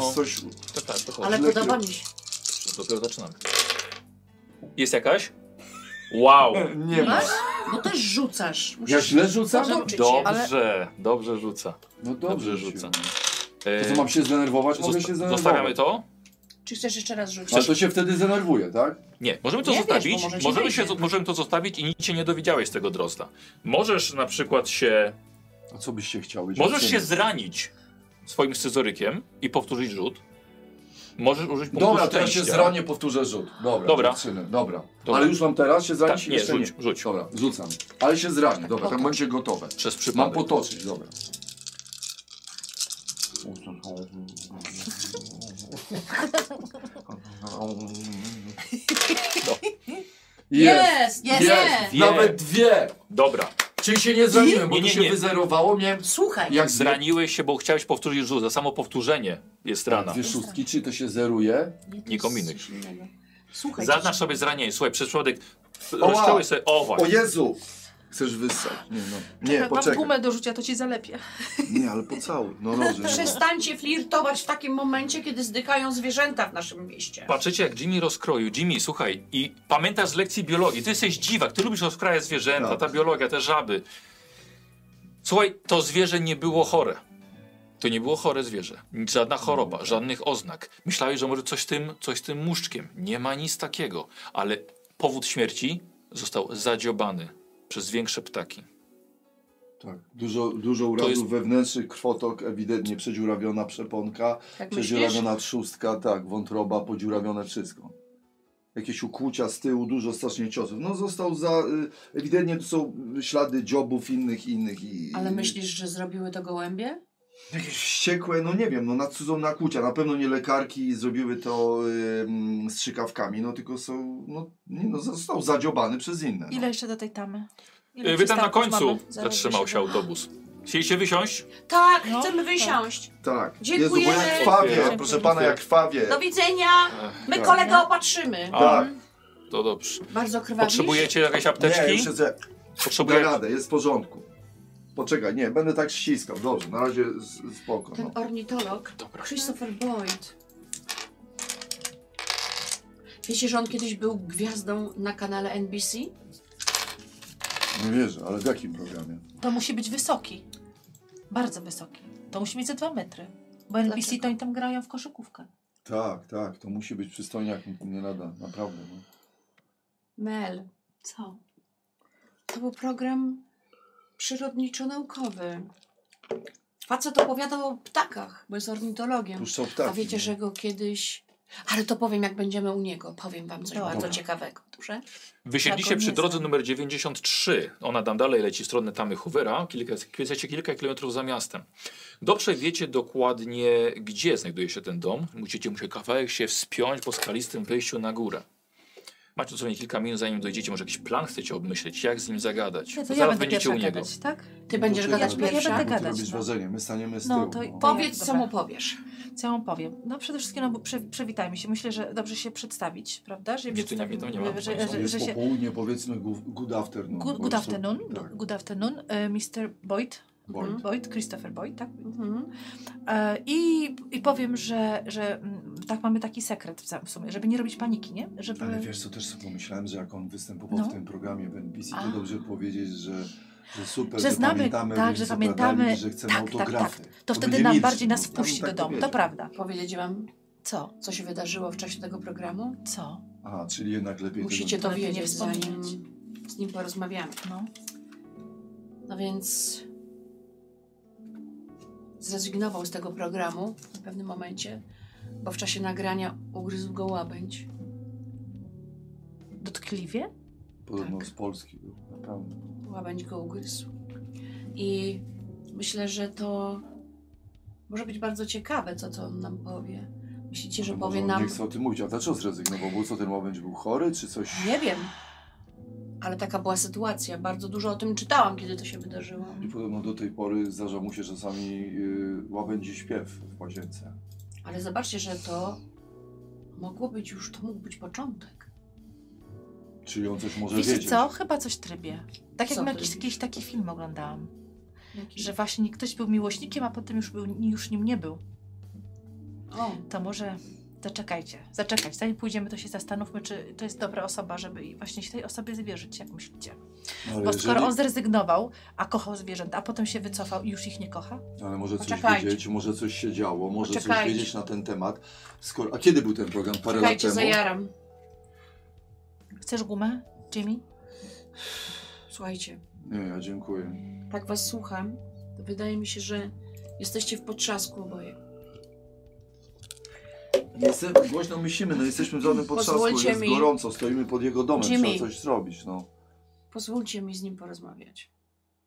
No.
no tak e, mm, no Tak, no No tak,
Tak. tak,
No, tak, Tak. (laughs)
E, znaczy-
E, tak? Chcesz wyssać. Nie, no. nie
Czekaj, mam
poczekaj.
gumę do rzucia, to ci zalepię.
Nie, ale pocałuj. No dobrze. no.
Przestańcie flirtować w takim momencie, kiedy zdykają zwierzęta w naszym mieście.
Patrzycie jak Jimmy rozkroił. Jimmy, słuchaj, i pamiętasz z lekcji biologii, ty jesteś dziwak, ty lubisz rozkrajać zwierzęta,
Tak.
ta biologia, te żaby. Słuchaj, to zwierzę nie było chore. To nie było chore zwierzę. Żadna choroba, żadnych oznak. Myślałeś, że może coś tym, coś tym muszczkiem. Nie ma nic takiego. Ale powód śmierci został zadziobany przez większe ptaki.
(laughs) Tak. Dużo, dużo urazów
jest-
wewnętrznych, krwotok, ewidentnie przedziurawiona przeponka,
Jak myślisz?
przedziurawiona trzustka, tak, wątroba, podziurawione wszystko. Jakieś ukłucia z tyłu, dużo strasznie ciosów. No został za... y, Ewidentnie tu są ślady dziobów innych, innych i...
Ale myślisz, że zrobiły to gołębie?
Jakieś wściekłe, no nie wiem, no na cudzą nakłucia. Na pewno nie lekarki zrobiły to ym, strzykawkami, no tylko są... No, nie, no został zadziobany przez inne. No.
Ile jeszcze do tej tamy? Ile
Yy, Wy tam na
przystanków
końcu
mamy?
zatrzymał się autobus. Chcieliście wysiąść?
Tak,
No,
chcemy
tak.
wysiąść.
Tak.
Dziękujemy.
Jezu, bo jak krwawie,
Dziękujemy.
proszę pana, jak krwawie.
Do widzenia! My
tak.
kolegę opatrzymy.
A, to dobrze.
Bardzo krwawisz?
Potrzebujecie jakiejś
Nie,
apteczki?
już chcę. Da
Potrzebujecie...
radę, jest w porządku. Poczekaj, nie, będę tak ściskał. Dobrze, na razie z, spoko.
Ten
No.
ornitolog,
Dobra.
Christopher Boyd. Wiecie, że on kiedyś był gwiazdą na kanale NBC?
Nie wierzę, ale w jakim programie?
To musi być wysoki. Bardzo wysoki. To musi mieć ze dwa metry. Bo NBC to oni tam grają w koszykówkę.
Tak, tak, to musi być przystojniak, nikt nie nada, naprawdę. No.
Mel,
Co?
to był program przyrodniczo-naukowy. Facet opowiadał o ptakach, bo jest ornitologiem.
Puszczał ptaki. no.
A wiecie, że go kiedyś... Ale to powiem, jak będziemy u niego. Powiem wam coś
Dobra.
bardzo ciekawego. Dobrze?
Wysiedliście
Taką
przy
nie
drodze
znam.
numer 93. Ona tam dalej leci w stronę Tamy Hoovera. Kilka, jesteście kilka kilometrów za miastem. Dobrze wiecie dokładnie, gdzie znajduje się ten dom. Musicie mu się kawałek się wspiąć po skalistym wyjściu na górę. Macie dosłownie kilka minut, zanim dojdziecie. Może jakiś plan chcecie obmyśleć, jak z nim zagadać.
Ja, to
Bo
ja będę pierwsza gadać, tak?
Ty będziesz
ty
gadać
robisz-
pierwsza?
będę gadać,
Ty robisz
no.
wrażenie, my staniemy z tyłu.
No,
No,
to- to-
Powiedz, co
Dobra.
mu powiesz.
Co ja wam powiem? No przede wszystkim, no bo przy, przywitajmy się. Myślę, że dobrze się przedstawić, prawda? Że,
Gdzie tu nie wiadomo, nie ma.
że,
To
że,
jest
że się...
popołudnie, powiedzmy gu- good afternoon.
Good,
bo
good
już to-
afternoon,
tak.
good afternoon, e, Mr. Boyd,
Boyd.
Boyd, Christopher Boyd, tak?
Mhm.
E, I, I powiem, że, że mm, tak mamy taki sekret w za- w sumie, żeby nie robić paniki, nie? Żeby...
Ale wiesz, co też sobie pomyślałem, że jak on występował
Mhm. No.
w tym programie w NBC, to
A.
dobrze powiedzieć, że, że super,
Że
że,
znamy-
pamiętamy,
tak,
ludzi,
że
co
pamiętamy-
badali, że chcemy
tak, tak,
autografy.
To wtedy
będzie
nam
milczy,
bardziej nas
no. Ja
wpuści
bym
do
tak
domu, to
powiedział.
prawda.
Powiedzieć wam,
Co?
co się wydarzyło w czasie tego programu?
Co?
Aha, czyli jednak lepiej
Musicie
tego...
To
to
lepiej nie
wiedzieć, zanim
wspominać.
z nim porozmawiamy.
No.
No więc zrezygnował z tego programu w pewnym momencie, bo w czasie nagrania ugryzł go łabędź.
Dotkliwie?
Podobno
tak.
z Polski był, naprawdę.
Łabędź go ugryzł. I myślę, że to może być bardzo ciekawe, co to on nam powie. Myślicie, że
Ale No, może
powie
on
nam...
Nie chce o tym mówić, a dlaczego zrezygnował? Bo co, ten łabędź był chory, czy coś?
Nie wiem, ale taka była sytuacja. Bardzo dużo o tym czytałam, kiedy to się wydarzyło.
I podobno do tej pory zdarza mu się czasami yy, łabędzi śpiew w łazience.
Ale zobaczcie, że to mogło być już, to mógł być początek.
Czyli on coś może
Wiecie
wiedzieć.
co? Chyba coś trybie. Tak
Co
jak jakiś,
trybie?
jakiś taki film oglądałam, że
Że...
właśnie ktoś był miłośnikiem, a potem już, był, już nim nie był.
O,
To może zaczekajcie, zaczekać. Zanim pójdziemy, to się zastanówmy, czy to jest dobra osoba, żeby i właśnie się tej osobie zwierzyć, jak myślicie.
No, ale,
Bo skoro
jeżeli-
on zrezygnował, a kochał zwierzęta, a potem się wycofał i już ich nie kocha?
ale może coś
Poczekajcie.
wiedzieć, może coś się działo, może coś
Poczekajcie.
wiedzieć na ten temat. Skoro... A kiedy był ten program? Parę
czekajcie,
lat temu?
zajaram.
Chcesz gumę, Jimmy?
Słuchajcie,
Nie, ja dziękuję.
tak was słucham, to wydaje mi się, że jesteście w potrzasku oboje.
Jestem, głośno myślimy, no jesteśmy w żadnym potrzasku,
Pozwólcie
jest
mi-
gorąco, stoimy pod jego domem,
Jimmy.
trzeba coś zrobić, no.
Pozwólcie mi z nim porozmawiać.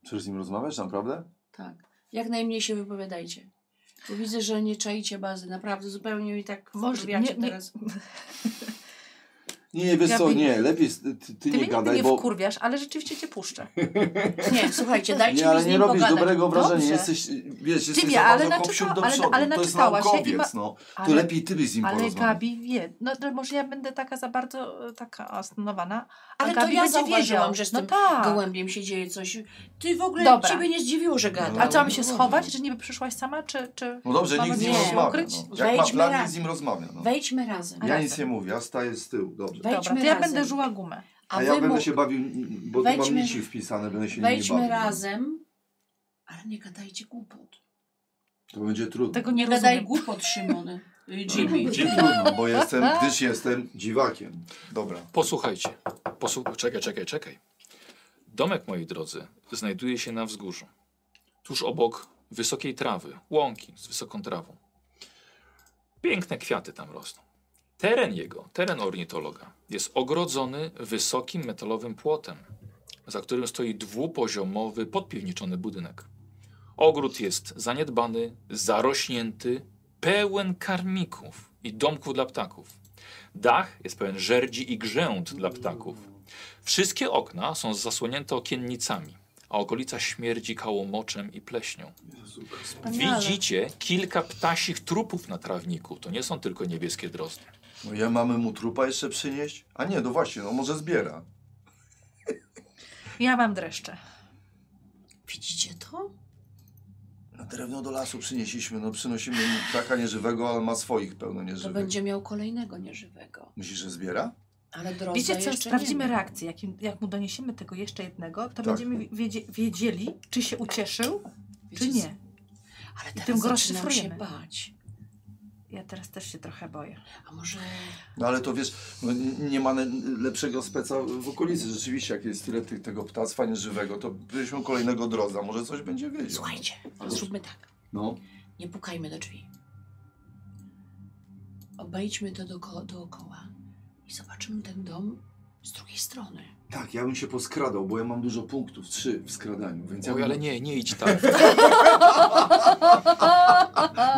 Chcesz z nim rozmawiać, naprawdę?
Tak. Jak najmniej się wypowiadajcie. Bo widzę, że nie czaicie bazy. Naprawdę, zupełnie mi tak
Może-
wkurwiacie
nie- nie-
teraz.
Nie, wiesz
Ja
co,
by-
nie, lepiej s- ty, ty
Ty
nie
mnie nigdy
gadaj,
nie
bo...
wkurwiasz, ale rzeczywiście cię
(laughs)
puszczę.
Nie, słuchajcie, dajcie
Nie,
mi
ale
z
nie
nim
robisz
pogadać.
dobrego wrażenia,
Dobrze.
jesteś, wiesz, jesteś
Jimmy,
za
ale
bardzo
naczyta-
kopsią do
ale-
przodu,
ale
to jest
naczytałaś się i
naukowiec,
ma-
no. To
Ale,
lepiej ty byś z nim
ale
porozmawiał.
Gabi wie. No to może ja będę taka za bardzo e, taka astanowana. a
Ale to
Gabi
ja
będzie
zauważyłam,
wiedział.
że z
no
tym
tak.
Gołębiem się dzieje coś. Ty w ogóle
Dobra.
ciebie nie zdziwiło, że gada.
A co, mamy się
No, no,
schować,
no.
że niby przyszłaś sama, czy... czy...
No dobrze,
Mamy
nikt z nim
nie
rozmawia.
ukryć.
No. Jak ma
Wejdźmy
plan,
razem.
nikt z nim rozmawia. No.
Wejdźmy razem.
Ja
Ale-
nic nie mówię, ja staję z tyłu, dobrze.
Wejdźmy
Dobra, to ja
razem.
będę żuła gumę.
A,
A,
ja
wy mu...
będę się bawił, bo tu mam
Wejdźmy-
nici wpisane, będę się nimi
Wejdźmy
bawił.
razem, ale nie gadajcie głupot.
To będzie trudno.
Tego
Nie
nie
gadaj
rozumiem.
głupot, Szymony. Y,
Dziwi,
Jimmy.
dziwi, trudno, bo jestem, gdyż jestem dziwakiem. Dobra.
Posłuchajcie. Posłu- czekaj, czekaj, czekaj. Domek, moi drodzy, znajduje się na wzgórzu. Tuż obok wysokiej trawy, łąki z wysoką trawą. Piękne kwiaty tam rosną. Teren jego, teren ornitologa, jest ogrodzony wysokim metalowym płotem, za którym stoi dwupoziomowy, podpiwniczony budynek. Ogród jest zaniedbany, zarośnięty, pełen karmików i domków dla ptaków. Dach jest pełen żerdzi i grzęt dla ptaków. Wszystkie okna są zasłonięte okiennicami, a okolica śmierdzi kałomoczem i pleśnią.
Wspaniale.
Widzicie kilka ptasich trupów na trawniku. To nie są tylko niebieskie drozdy.
No ja mamy mu trupa jeszcze przynieść? A nie, no właśnie, no może zbiera.
Ja mam dreszcze.
Widzicie to?
Na drewno do lasu przynieśliśmy, no przynosimy mu ptaka nieżywego, ale ma swoich pełno
To
nieżywych.
będzie miał kolejnego nieżywego.
Myślisz, że zbiera?
Ale droga
Wiecie co,
jeszcze
sprawdzimy
nie ma.
reakcję. Jak, im- jak mu doniesiemy tego jeszcze jednego, to będziemy wiedzie, wiedzieli, czy się ucieszył,
Wiecie
czy
co?
nie.
Ale
tym
teraz
go
zaczynam się
rozszyfrujemy.
bać.
Ja teraz też się trochę boję.
A może...
No ale to wiesz, no, n- nie ma ne- lepszego speca w okolicy. Rzeczywiście, jak jest tyle tych, tego ptactwa nieżywego, to byśmy kolejnego drodza, może coś będzie wiedział.
Słuchajcie, zróbmy tak.
No.
Nie pukajmy do drzwi. Obejdźmy to doko- dookoła i zobaczymy ten dom z drugiej strony.
Tak, ja bym się poskradał, bo ja mam dużo punktów, trzy w skradaniu, więc ja
Oj,
bym...
ale nie, nie idź tak.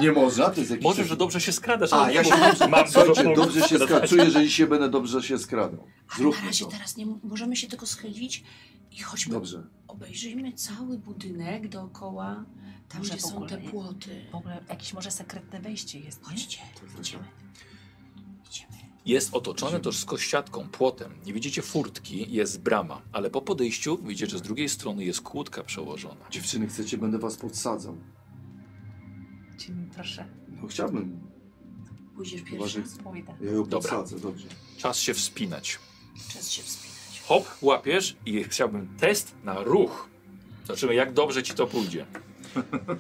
Nie można, to jest jakiś...
Może, że dobrze się skradasz.
A,
ale
ja
nie
się
możesz-
dobrze,
Mam dużo
Słuchajcie,
punktów.
dobrze się skradam. Czuję, że dzisiaj będę dobrze się skradał.
Ale na
Zróbmy
razie tak.
to.
teraz nie m- możemy się tylko schylić i chodźmy,
Dobrze.
obejrzyjmy cały budynek dookoła, tam
Może
gdzie
w
są
ogóle
te
nie.
płoty.
W ogóle jakieś może sekretne wejście jest, nie?
Chodźcie, idziemy. Idziemy.
Jest otoczony też kościatką, płotem. Nie widzicie furtki, jest brama, ale po podejściu widzicie, że z drugiej strony jest kłódka przełożona.
Dziewczyny, chcecie, będę was podsadzał.
Jimmy, proszę,
No chciałbym,
Pójdziesz
chyba,
pierwszy,
że
pójdę.
ja ją
Dobra.
podsadzę, dobrze.
Czas się wspinać.
czas się wspinać.
Hop, łapiesz i chciałbym test na ruch. Zobaczymy, jak dobrze ci to pójdzie.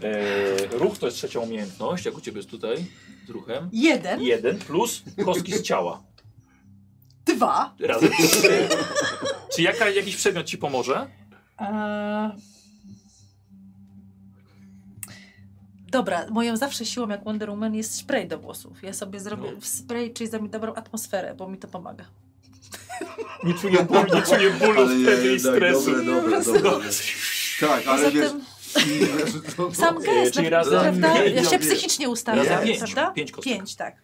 Eee, ruch to jest trzecia umiejętność, jak u ciebie jest tutaj z ruchem.
Jeden,
Jeden plus kostki z ciała.
dwa.
Razem trzy. Czy jaka, jakiś przedmiot ci pomoże?
Eee. Dobra, moją zawsze siłą jak Wonder Woman jest spray do włosów. Ja sobie zrobię
No.
spray, czyli zrobię dobrą atmosferę, bo mi to pomaga.
Nie czuję bólu, nie czuję bólu wtedy i stresu.
dobre, tak, dobre, dobre, dobre. Tak, ale wiesz...
Zatem
to-
(laughs)
(laughs)
sam gest,
No, czyli
na-
razem
prawda?
pięć,
Ja
ja
się
wiem.
psychicznie ustawiam,
Razem
pięć.
prawda?
Pięć kostek.
Pięć, tak.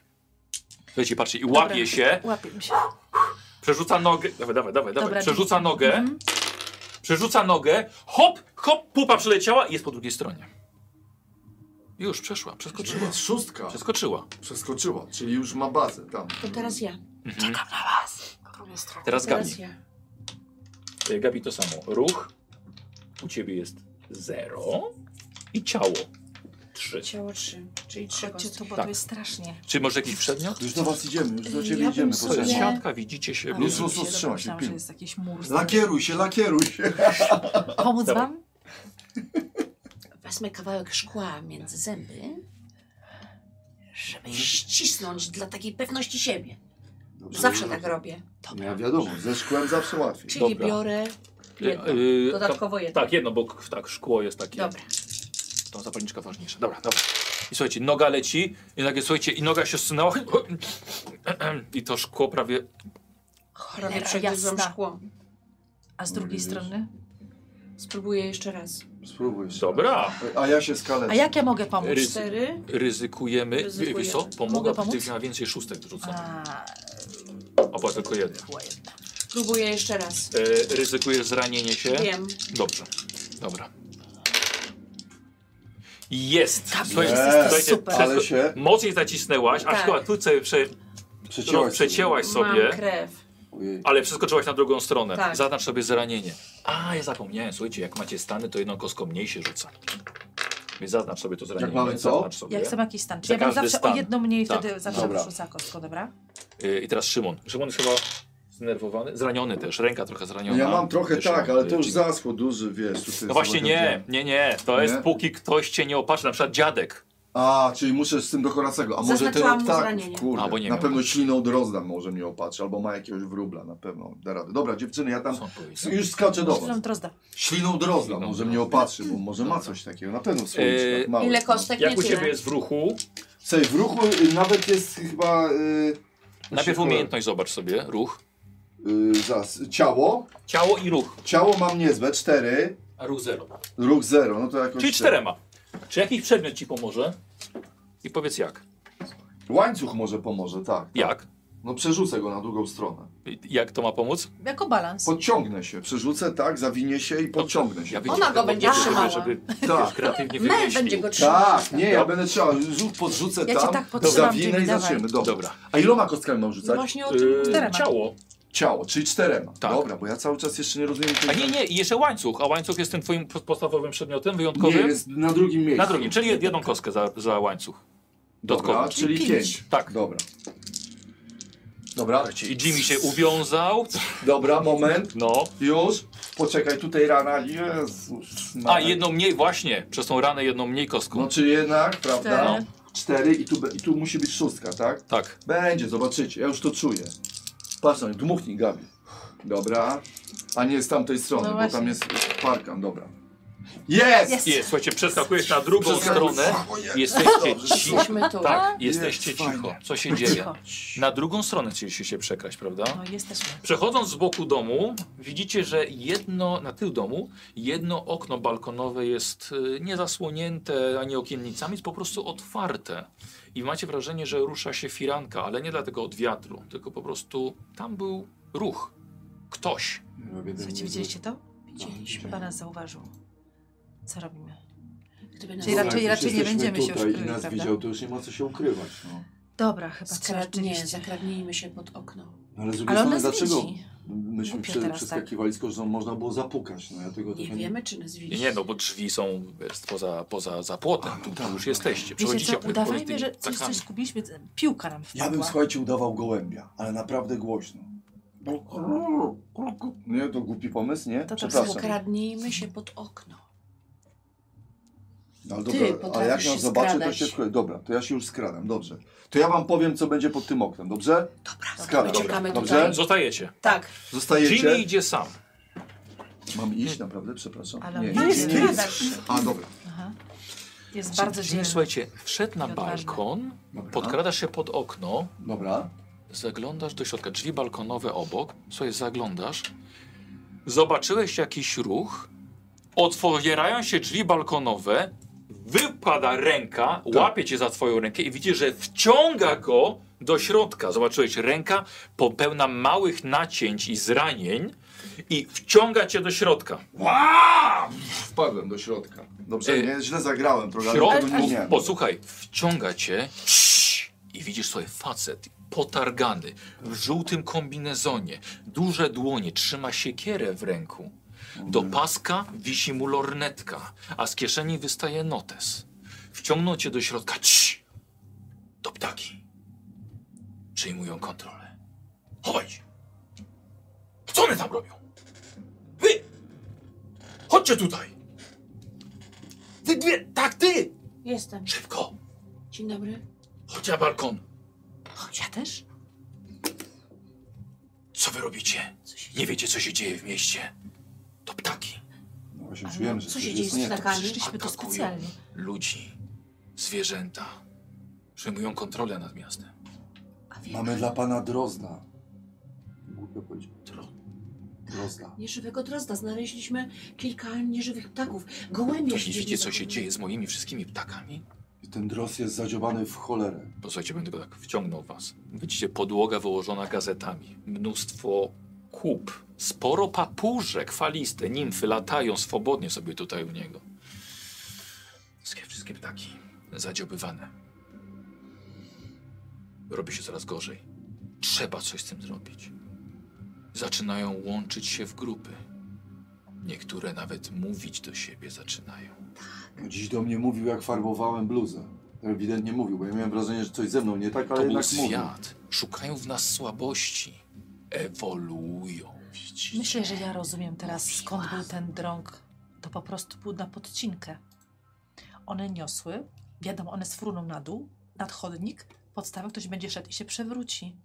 Słuchajcie, patrzcie i łapie
Dobra.
się,
Łapię mi się.
przerzuca nogę. Dawaj, dawaj, dawaj,
Dobra,
dawaj. Przerzuca
czyli-
nogę,
Mhm.
przerzuca nogę, hop, hop, pupa przyleciała i jest po drugiej stronie. Już przeszła,
Czyli
przeskoczyła.
jest szóstka.
Przeskoczyła.
Przeskoczyła, czyli już ma bazę tam.
To teraz ja,
Mhm. Teraz Gabi.
teraz ja.
Y, Gabi to samo. Ruch. U ciebie jest zero i ciało. Trzy.
Ciało trzy, czyli trzy
Chodźcie tu, bo
Tak.
to jest strasznie.
Czy może jakiś przedmiot?
Już do was idziemy, już do
Ja
ciebie
bym
idziemy.
To jest
Nie.
Sobie...
siatka, widzicie się.
A,
Luz,
Luz, luz,
dobra,
wstrzymaj się,
myślałam,
pilnuj.
że jest jakiś mur.
Lakieruj się, lakieruj się.
Pomóc
Dobra.
wam?
Wezmę kawałek szkła między zęby, żeby ścisnąć dla takiej pewności siebie.
Dobrze,
Zawsze
dobrze.
tak robię.
No ja wiadomo, ze szkłem zawsze łatwiej.
Czyli
Dobra.
biorę jedno,
Yy,
dodatkowo jedno.
Tak, jedno, bo k- tak, szkło jest takie.
Dobra.
To zapalniczka ważniejsza. Dobra, dobra. I słuchajcie, noga leci, i nagle słuchajcie, i noga się zsunęła. (clears throat) I to szkło prawie.
Prawie
Cholera
przegryzłam
jasna.
szkło.
A z
No,
drugiej
widzisz.
strony?
Spróbuję jeszcze raz.
Spróbuj jeszcze.
Dobra.
A ja się skalę.
A jak ja mogę pomóc?
Ryzy-
Cztery.
Ryzykujemy. Wy- Wiesz co?
Ryzykujemy.
Pomogła,
Mogę
gdybyś
pomóc?
miała więcej szóstek rzuconych.
A,
A Była tylko jedna.
Była jedna.
Próbuję jeszcze raz.
E, ryzykujesz zranienie się?
Wiem.
Dobrze. Dobra. Jest! Słuchajcie,
jest,
słuchajcie,
super.
wszystko-
Ale się
Mocniej zacisnęłaś, aż
Tak.
chyba tu sobie prze, no,
przecięłaś.
przecięłaś
Mam
sobie,
krew.
Ojej.
ale przeskoczyłaś na drugą stronę.
Tak.
Zaznacz sobie zranienie. A, ja zapomniałem, słuchajcie, jak macie stany, to jedną kostką mniej się rzuca. Więc zaznacz sobie to zranienie.
mamy co?
Zaznacz sobie.
Jak chcę jakiś stan. Czy
Za
ja mam
każdy
zawsze
stan.
o jedną mniej,
Tak.
wtedy zawsze
Dobra.
wyrzuca kostką, dobra?
Y, I teraz Szymon. Szymon jest chyba zdenerwowany, zraniony też, ręka trochę zraniona.
No Ja mam trochę
Szymon,
tak, ale
y,
to już
dzięki.
zaschło duży, wiesz. tutaj
No właśnie nie,
zobaczyłem.
nie, nie. To
Nie?
jest póki ktoś cię nie opatrzy, na przykład dziadek.
A, czyli muszę z tym do Horacego. A może
Zaznaczyłam
ten
mu
tak,
zranienie.
kurde,
A, bo nie
na
miał.
pewno śliną drozdam może mnie opatrzy, albo ma jakiegoś wróbla, na pewno da radę. Dobra, dziewczyny, ja tam
Co on powiedział?
już skaczę do was.
Zrób drozda.
Śliną drozdam, może mnie opatrzy, bo może ma coś takiego, na pewno w
Eee,
swoich małych.
Ile kostek
Jak u
nie tyle.
ciebie jest w ruchu?
Słuchaj, w ruchu y, nawet jest chyba... Y,
Najpierw
się-
umiejętność zobacz sobie, ruch.
Y, zaraz, ciało.
Ciało i ruch.
Ciało mam niezłe, 4.
A ruch zero.
Ruch 0, no to jakoś...
Czyli
tak.
czterema. Czy jakiś przedmiot ci pomoże? I powiedz jak.
tak. Łańcuch może pomoże, tak.
Jak?
No przerzucę go na drugą stronę.
I- Jak to ma pomóc?
Jako balans.
Podciągnę się, przerzucę, tak, zawinię się i podciągnę się.
wiecie,
Ona
że
go
to
będzie
nie żeby-
trzymała.
Żeby
Tak.
kreatywnie
Mel
wymyślił.
będzie go trzymał.
Tak, nie, ja będę trzeba, rzut podrzucę
Ja cię
tam,
tak podtrzymam,
zawinę
Jimmy,
i
dawaj.
zaczniemy. Dobra.
Dobra.
A iloma kostkami mam
No
rzucać?
Właśnie o tym.
Yy,
Czterema.
ciało.
Ciało, czyli czterema.
Tak.
Dobra, bo ja cały czas jeszcze nie rozumiem tej
A nie, nie, i jeszcze łańcuch. A łańcuch jest tym twoim podstawowym przedmiotem,
Nie,
wyjątkowym?
jest na drugim miejscu.
Na drugim, czyli jedną kostkę za, za łańcuch.
Dobra,
Dodatkowo.
czyli
Pięć.
pięć.
Tak.
Dobra. Dobra,
I Jimmy się uwiązał.
dobra, moment.
No.
Już. Poczekaj, tutaj rana. Jezus.
A,
Maria.
jedną mniej, właśnie. Przez tą ranę jedną mniej kostką.
No czyli jednak, prawda?
Cztery.
Cztery i tu, be- i tu musi być szóstka, tak?
Tak.
Będzie, zobaczycie, ja już to czuję. Patrz na mnie, dmuchnij Gabi. Dobra. A nie z tamtej strony,
No
bo
właśnie.
tam jest parkan, dobra. Jest!
Jest.
Jest, słuchajcie, przeskakujesz na drugą
Przeskakuj-
stronę.
O je-
Jesteście
Dobrze,
cicho.
Jesteśmy tu.
Tak, jesteście
Jest,
cicho.
fajnie.
Co się dzieje?
Cicho.
Na drugą stronę chcieliście się przekraść, prawda?
No jesteśmy.
Przechodząc z boku domu, widzicie, że jedno, na tył domu, jedno okno balkonowe jest y, niezasłonięte ani okiennicami, jest po prostu otwarte. I macie wrażenie, że rusza się firanka, ale nie dlatego od wiatru, tylko po prostu tam był ruch. Ktoś.
Słuchajcie, widzieliście to?
Widzieliśmy.
Chyba nas zauważył. Co robimy?
Gdyby nas
Czyli
było-
raczej-
No,
raczej nie będziemy się
tutaj
już
i nas
kryli,
widział, to już nie ma co się ukrywać. No.
Dobra, chyba
Skradnie,
rzeczywiście.
zakradnijmy się pod okno.
No, ale z drugiej
Ale on
strony,
nas
dlaczego
widzi.
myśmy
Głupio
prze,
teraz, tak.
przeskakiwali, skoro że można było zapukać? No, ja tego
Nie
trochę
wiemy, czy nas widzi.
Nie no, bo drzwi są wiesz, poza, poza za płotem,
A, no
tu
tak,
już
no.
jesteście.
Wiecie
Przechodzicie
co,
po- po- tymi
udawajmy, że coś,
ptakami.
coś zgubiliśmy. Piłka nam wpadła.
Ja bym, słuchajcie, udawał gołębia, ale naprawdę głośno. Bo- No, Nie, to głupi pomysł, nie?
tak
Przepraszam.
Zakradnijmy się pod okno.
No, ale
Ty
dobra, ale jak
potrafisz
nas
się
zobaczy, to
skradać.
się wkle... Dobra, to ja się już skradam, dobrze. To ja wam powiem, co będzie pod tym oknem, dobrze?
Dobra,
Skradam.
uciekamy
Dobra.
tutaj.
Zostajecie.
Tak.
Jimmy
Zostajecie.
idzie sam.
Mam iść naprawdę, przepraszam.
Ale
nie,
on
nie, nie, nie.
skradasz się.
A, dobra.
Aha. Jest
Jimmy,
bardzo dzielny.
Słuchajcie, wszedł na
I odważny.
balkon,
Dobra.
podkradasz się pod okno,
Dobra.
Zaglądasz do środka, drzwi balkonowe obok. Słuchaj, zaglądasz. Zobaczyłeś jakiś ruch. Otwierają się drzwi balkonowe. Wypada ręka, łapie cię za twoją rękę i widzisz, że wciąga go do środka. Zobaczyłeś, ręka popełna małych nacięć i zranień i wciąga cię do środka.
Wpadłem do środka. Dobrze,
Ej.
nie, źle zagrałem trochę,
W
ale
E, środku,
tego E, nie umiałem.
posłuchaj, wciąga cię i widzisz sobie facet potargany, w żółtym kombinezonie, duże dłonie, trzyma siekierę w ręku. Do paska wisi mu lornetka, a z kieszeni wystaje notes. Wciągnął cię do środka, Cii! do ptaki. Przejmują kontrolę. Chowaj się. Co one tam robią? Wy! Chodźcie tutaj! Ty dwie, tak ty!
Jestem.
Szybko!
Dzień dobry.
Chodź na balkon!
Ja też?
Co wy robicie? Nie wiecie, co się dzieje w mieście. To ptaki
No właśnie
Ale
czujemy, że
Co
coś
się dzieje
jest
z
nie. tak.
ptakami?
Przyszliśmy tu
Atakują.
specjalnie.
ludzi, zwierzęta. Przejmują kontrolę nad miastem.
A wie
Mamy dla pana drozna. Głupio powiedzieć.
Dro-
Drozna.
Nieżywego drozda. Znaleźliśmy kilka nieżywych ptaków. Gołębie
To nie wiecie,
siedzieli
co
za
się
nimi.
dzieje z moimi wszystkimi ptakami?
I ten dros jest zadziobany w cholerę.
Posłuchajcie, będę go tak wciągnął was. Widzicie, podłoga wyłożona gazetami. Mnóstwo kup. Sporo papużek faliste. Nimfy latają swobodnie sobie tutaj u niego. Wszystkie, wszystkie ptaki zadziobywane. Robi się coraz gorzej. Trzeba coś z tym zrobić. Zaczynają łączyć się w grupy. Niektóre nawet mówić do siebie zaczynają.
No Dziś do mnie mówił, jak farbowałem bluzę. Ewidentnie mówił, bo ja miałem wrażenie, że coś ze mną nie tak, ale
To był
jednak mówił.
świat. Szukają w nas słabości. Ewoluują.
Myślę, że ja rozumiem teraz, skąd był ten drąg. To po prostu był na podcinkę. One niosły, wiadomo, one sfruną na dół, nad chodnik, podstawę ktoś będzie szedł i się przewróci.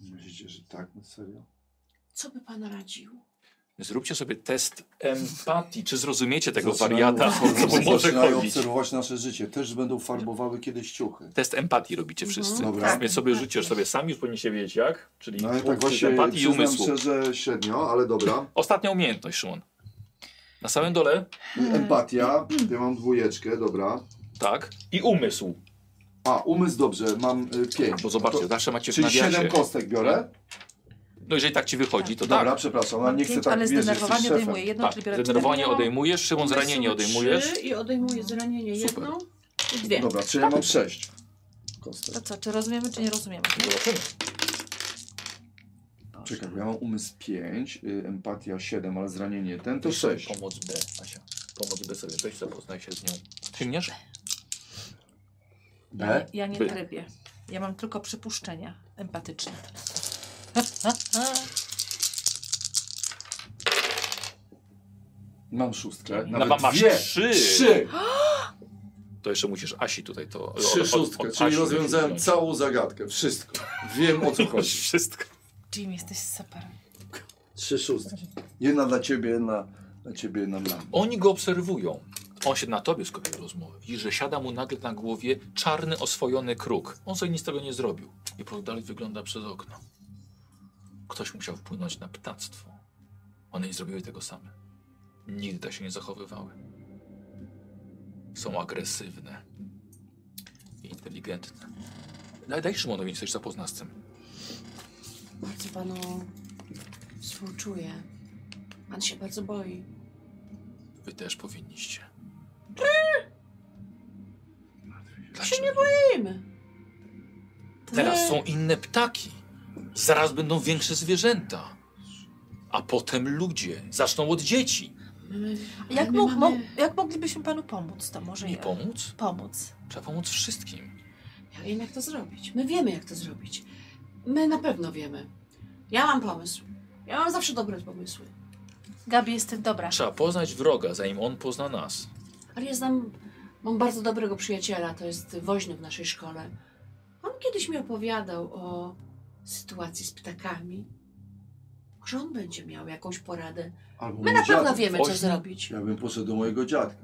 Myślicie, że tak? No serio?
Co by pan radził?
Zróbcie sobie test empatii. Czy zrozumiecie tego
(laughs) Zaczynają
wariata,
obserwować-
co może
Zaczynają
chodzić?
obserwować nasze życie. Też będą farbowały kiedyś ciuchy.
Test empatii robicie
Mhm.
wszyscy.
Dobra. Tak.
Więc sobie rzucisz sobie sami, już powinniście wiedzieć jak, czyli
No ale tak
punkt
właśnie
empatii i
przyznam
umysłu.
szczerze średnio, ale dobra.
Ostatnia umiejętność, Szymon. Na samym dole,
Empatia, ja mam dwójeczkę, dobra.
tak, i umysł.
A, umysł dobrze, mam y, pięć.
Bo zobaczcie,
to,
zawsze macie w
czyli
nawiasie.
siedem kostek biorę?
No jeżeli tak ci wychodzi, to
Dobra,
tak.
przepraszam, ale nie chcę
Pięć,
tak,
ale
wiesz, jesteś
zdenerwowanie
szefem.
odejmuje jedno,
tak.
czyli biorę
Zdenerwowanie
cztery. no.
odejmujesz, Szymon
Umysł
zranienie odejmujesz.
Trzy I odejmuję zranienie
Super.
jedną i dwie.
Dobra, czyli ja mam sześć kostek.
To co, czy rozumiemy, czy nie rozumiemy?
Zobaczymy.
Czekaj, bo ja mam umysł 5, y, empatia 7, ale zranienie ten to 6.
Pomoc B, Asia. Pomoc B sobie weź, zapoznaj się z nią. Sięgniesz?
Ja, ja nie
By.
trybię. Ja mam tylko przypuszczenia empatyczne.
Mam szóstkę.
No,
Nawet
ma- masz
dwie.
trzy. No,
Trzy!
To jeszcze musisz Asi tutaj to...
Trzy szóstkę, czyli
Asi
rozwiązałem
wziąć.
całą zagadkę, wszystko. Wiem o
(laughs)
co chodzi.
Wszystko.
Jim, jesteś super.
Trzy szóstki. Jedna dla ciebie, jedna dla ciebie, jedna dla mnie.
Oni go obserwują. On się na tobie skupia rozmowy. Widzisz, że siada mu nagle na głowie czarny, oswojony kruk. On sobie nic z tego nie zrobił. I po dalej wygląda przez okno. Ktoś musiał wpłynąć na ptactwo. One nie zrobiły tego same. Nigdy tak się nie zachowywały. Są agresywne. I inteligentne. No Daj, daj Szymonowi coś zapozna z tym.
Bardzo panu współczuję. Pan się bardzo boi.
Wy też powinniście. Dlaczego?
Wiemy.
Teraz są inne ptaki. Zaraz będą większe zwierzęta. A potem ludzie. Zaczną od dzieci.
My, my,
Jak,
my
mo- mo-
mamy-
jak moglibyśmy panu pomóc, to może
Nie
ja-
pomóc?
pomóc.
Trzeba pomóc wszystkim.
Ja wiem, jak to zrobić. My wiemy, jak to zrobić. My na pewno wiemy. Ja mam pomysł. Ja mam zawsze dobre pomysły.
Gabi, jestem dobra.
Trzeba poznać wroga, zanim on pozna nas.
Ale ja znam, mam bardzo dobrego przyjaciela, to jest woźny w naszej szkole. On kiedyś mi opowiadał o sytuacji z ptakami. Może on będzie miał jakąś poradę.
Albo
My
mój
na pewno
dziadek.
wiemy, co
woźny?
zrobić.
Ja bym poszedł do mojego dziadka.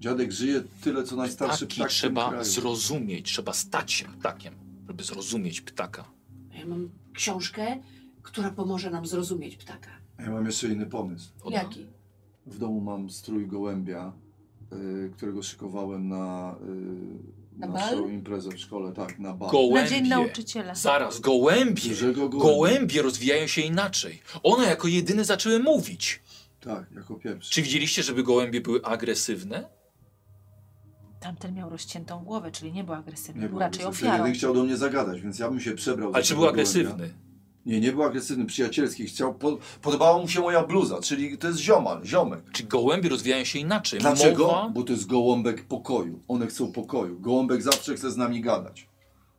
Dziadek żyje tyle, co najstarszy
Ptaki
ptak w tym
trzeba
kraju.
zrozumieć. Trzeba stać się ptakiem, żeby zrozumieć ptaka.
Ja mam książkę, która pomoże nam zrozumieć ptaka.
Ja mam jeszcze inny pomysł.
Ona-
Jaki?
W domu mam strój gołębia, y, którego szykowałem na, y,
Na
naszą
bal?
imprezę w szkole, tak, na bal.
Na dzień
Gołębie.
nauczyciela.
Zaraz, gołębie.
Dużego gołębia.
Gołębie rozwijają się inaczej. One jako jedyne zaczęły mówić.
Tak, jako pierwszy.
Czy widzieliście, żeby gołębie były agresywne?
Tamten miał rozciętą głowę, czyli nie był agresywny,
Nie
był
był
raczej
agresywny.
ofiarą.
Jeden chciał do mnie zagadać, więc ja bym się przebrał. za
Ale czy
tego
był
gołębia.
agresywny?
Nie, nie był agresywny, przyjacielski. Chciał, po, podobała mu się moja bluza, czyli to jest ziomal, ziomek.
Czy gołębie rozwijają się inaczej?
Dlaczego?
Mowa,
Bo to jest gołąbek pokoju. One chcą pokoju. Gołąbek zawsze chce z nami gadać.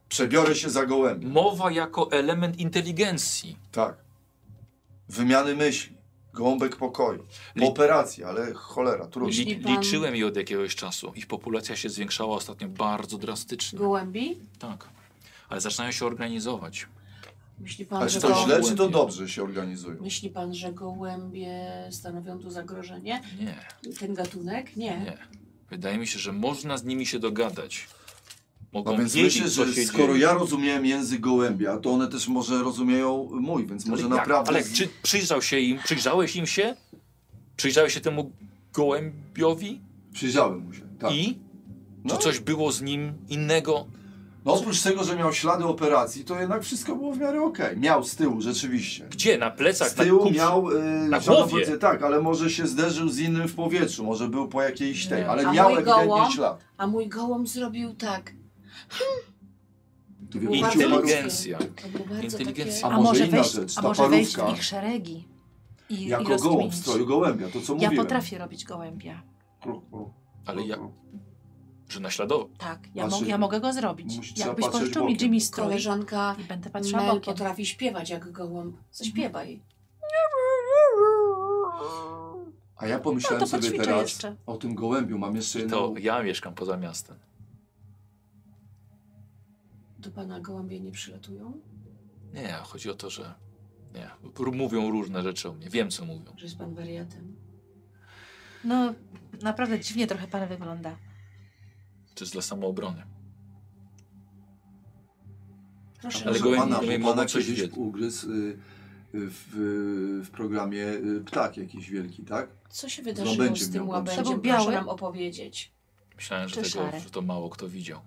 Przebiorę się za gołębia.
mowa jako element inteligencji.
Tak. Wymiany myśli. Gołąbek pokoju.
Li-
Operacja, ale cholera, trudno.
Li,
Myśli pan-
liczyłem je od jakiegoś czasu. Ich populacja się zwiększała ostatnio bardzo drastycznie.
Gołębi?
Tak. Ale zaczynają się organizować.
Myśli pan,
Ale
że
czy
go-
to źle, czy to
gołębie.
dobrze się organizują?
Myśli pan, że gołębie stanowią tu zagrożenie?
Nie,
Ten gatunek? Nie.
nie. Wydaje mi się, że można z nimi się dogadać. Mogą
No więc
wiedzieć,
myślę,
co
że
się
skoro
dzieje.
ja rozumiem język gołębia, to one też może rozumieją mój, więc może
ale No jak?
naprawdę...
Ale
z-
czy przyjrzał się im? Przyjrzałeś im się? Przyjrzałeś się temu gołębiowi?
Przyjrzałem mu się, tak.
I? Czy coś było z nim innego?
No oprócz tego, że miał ślady operacji, to jednak wszystko było w miarę okej. Miał z tyłu, rzeczywiście.
Gdzie? Na plecach?
Z tyłu
Tak, na kupie?
miał... y,
na
żadną
głowie.
pozycję, Tak, ale może się zderzył z innym w powietrzu, może był po jakiejś tej,
Nie.
ale
A
miał
mój
ewidentnie
gołąb?
ślad.
A mój gołąb zrobił tak.
Tu
Był
wypuścił
bardzo
paru-
Inteligencja.
To było bardzo
Inteligencja.
takie...
A
A
może
może
inna
wejść,
rzecz,
a
ta
może wejść w
parówka.
ich szeregi. I, i
Jako gołąb
rozkminić.
w stroju gołębia, to
Ja
co mówiłem.
potrafię robić gołębia.
Kru- kru-
Ale ja,
kru-
że naśladował.
Tak, ja,
Patrzeć-
mo- ja mogę go zrobić.
Musisz- trzeba
Jakbyś
patrzeć
pożyczył mi
bokiem.
Jimmy strój
Koleżanka
i będę patrzyła
Mel
bokiem. Mhm.
potrafi śpiewać jak gołąb. Zaśpiewaj.
A ja
No
pomyślałem
to
sobie
poćwiczę
teraz
jeszcze.
o tym gołębiu, mam jeszcze
I
jedną...
to ja mieszkam poza miastem.
Do pana gołębie nie przylatują?
Nie, chodzi o to, że nie, r- mówią różne rzeczy o mnie. Wiem, co mówią.
Że jest pan wariatem?
No, naprawdę dziwnie trochę pan wygląda.
To jest dla samoobrony.
Proszę.
Ale
Ale
że-
go
gołębi
pana,
mówią
pana
coś
kiedyś
wiedzy.
ugryzł y, y, w, y, w programie y, Ptak jakiś wielki, tak?
Co się wydarzyło
Zobędzie
z tym
miał gołąb.
łabędziem?
To był
Proszę
biały?
nam opowiedzieć.
Myślałem, że,
Czy
tego,
szary?
że to mało kto widział.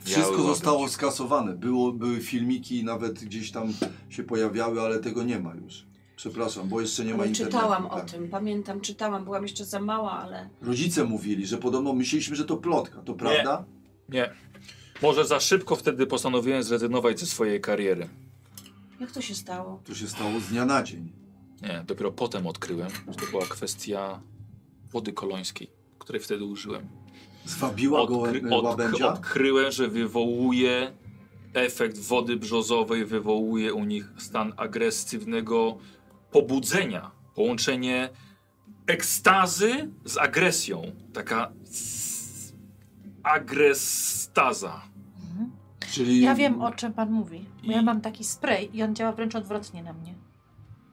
Wszystko
Biały
zostało
łabędź.
skasowane. Było, były filmiki, nawet gdzieś tam się pojawiały, ale tego nie ma już. Przepraszam, bo jeszcze nie ma
Ale
internetu.
czytałam o
tak.
tym, pamiętam, czytałam, byłam jeszcze za mała, ale
Rodzice mówili, że podobno myśleliśmy, że to plotka. To prawda?
Nie. Może za szybko wtedy postanowiłem zrezygnować ze swojej kariery.
jak to się stało?
To się stało z dnia na dzień.
Nie, dopiero potem odkryłem, że to była kwestia wody kolońskiej, której wtedy użyłem.
Zwabiła go
Odkry,
y,
odk,
łabędzia?
odkryłem, że wywołuje efekt wody brzozowej, wywołuje u nich stan agresywnego pobudzenia. Połączenie ekstazy z agresją. Taka s- agrestaza.
Czyli
Ja wiem, o czym pan mówi. Bo ja
I-
mam taki spray i on działa wręcz odwrotnie na mnie.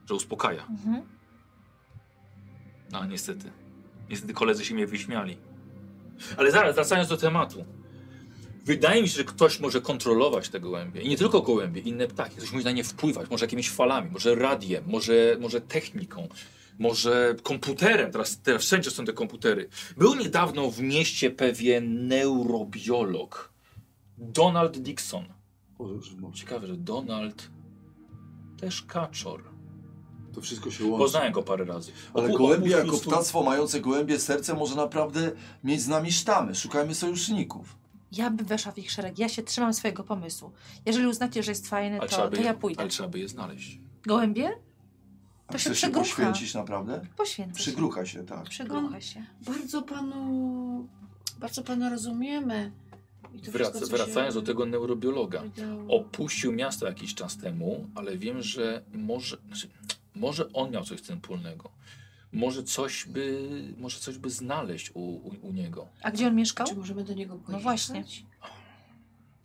że uspokaja.
Mhm.
No niestety. Niestety koledzy się mnie wyśmiali. Ale zaraz, wracając do tematu. Wydaje mi się, że ktoś może kontrolować te gołębie. I nie tylko gołębie, inne ptaki. Ktoś może na nie wpływać, może jakimiś falami, może radiem, może, może techniką, może komputerem. Teraz, teraz wszędzie są te komputery. Był niedawno w mieście pewien neurobiolog. Donald Dixon.
O, już w morzu.
Ciekawe, że Donald też kaczor.
To wszystko się łączy.
Poznałem go parę razy.
Ale
Opu-
gołębie
opuścił
jako
swój-
ptactwo mające gołębie serce może naprawdę mieć z nami sztamy. Szukajmy sojuszników.
Ja bym weszła w ich szereg. Ja się trzymam swojego pomysłu. Jeżeli uznacie, że jest fajny,
Ale
to,
trzeba, by
to ja
je,
pójdę.
ale trzeba by je znaleźć.
Gołębie?
A
To się
chcesz się
przegrucha.
poświęcić naprawdę?
Poświęcę się.
Przygrucha się, tak.
Przygrucha się.
Bardzo panu, bardzo pana rozumiemy. I to
Wrac,
wszystko, co się
wracając do tego neurobiologa.
wydało.
Opuścił miasto jakiś czas temu, ale wiem, że może, znaczy, może on miał coś z tym wspólnego. Może coś by, może coś by znaleźć u, u, u niego.
A gdzie on mieszkał?
Czy możemy do niego pojechać?
No właśnie.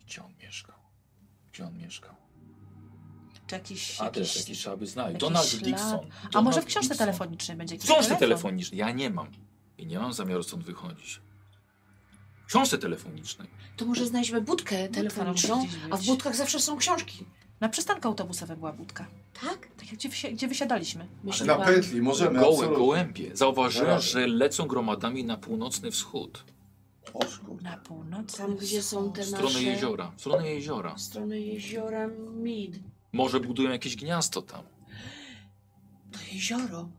Gdzie on mieszkał? Gdzie on mieszkał?
Czy jakiś,
A też
jakiś...
jakiś trzeba by znaleźć.
jakiś
Donald
ślad.
Dixon.
A
Donald
może w książce
Dixon.
telefonicznej będzie
W
jakiś
książce
telefon?
telefonicznej. Ja nie mam. I nie mam zamiaru stąd wychodzić. W książce telefonicznej.
To może znajdźmy budkę telefoniczną,
musi gdzieś
a w
być.
budkach zawsze są książki.
Na przystanku autobusowym była budka.
Tak?
Tak jak gdzie, wysi- gdzie wysiadaliśmy.
Myślę,
Na
pan-
pętli możemy,
Gołe
absolutnie.
gołębie. Zauważyłem,
Zaraz.
że lecą gromadami na północny wschód.
Oż kurde.
Na północ.
Tam, gdzie są te
W stronę
nasze...
jeziora. W stronę jeziora.
W stronę jeziora Mid.
Może budują jakieś gniazdo tam.
To jezioro,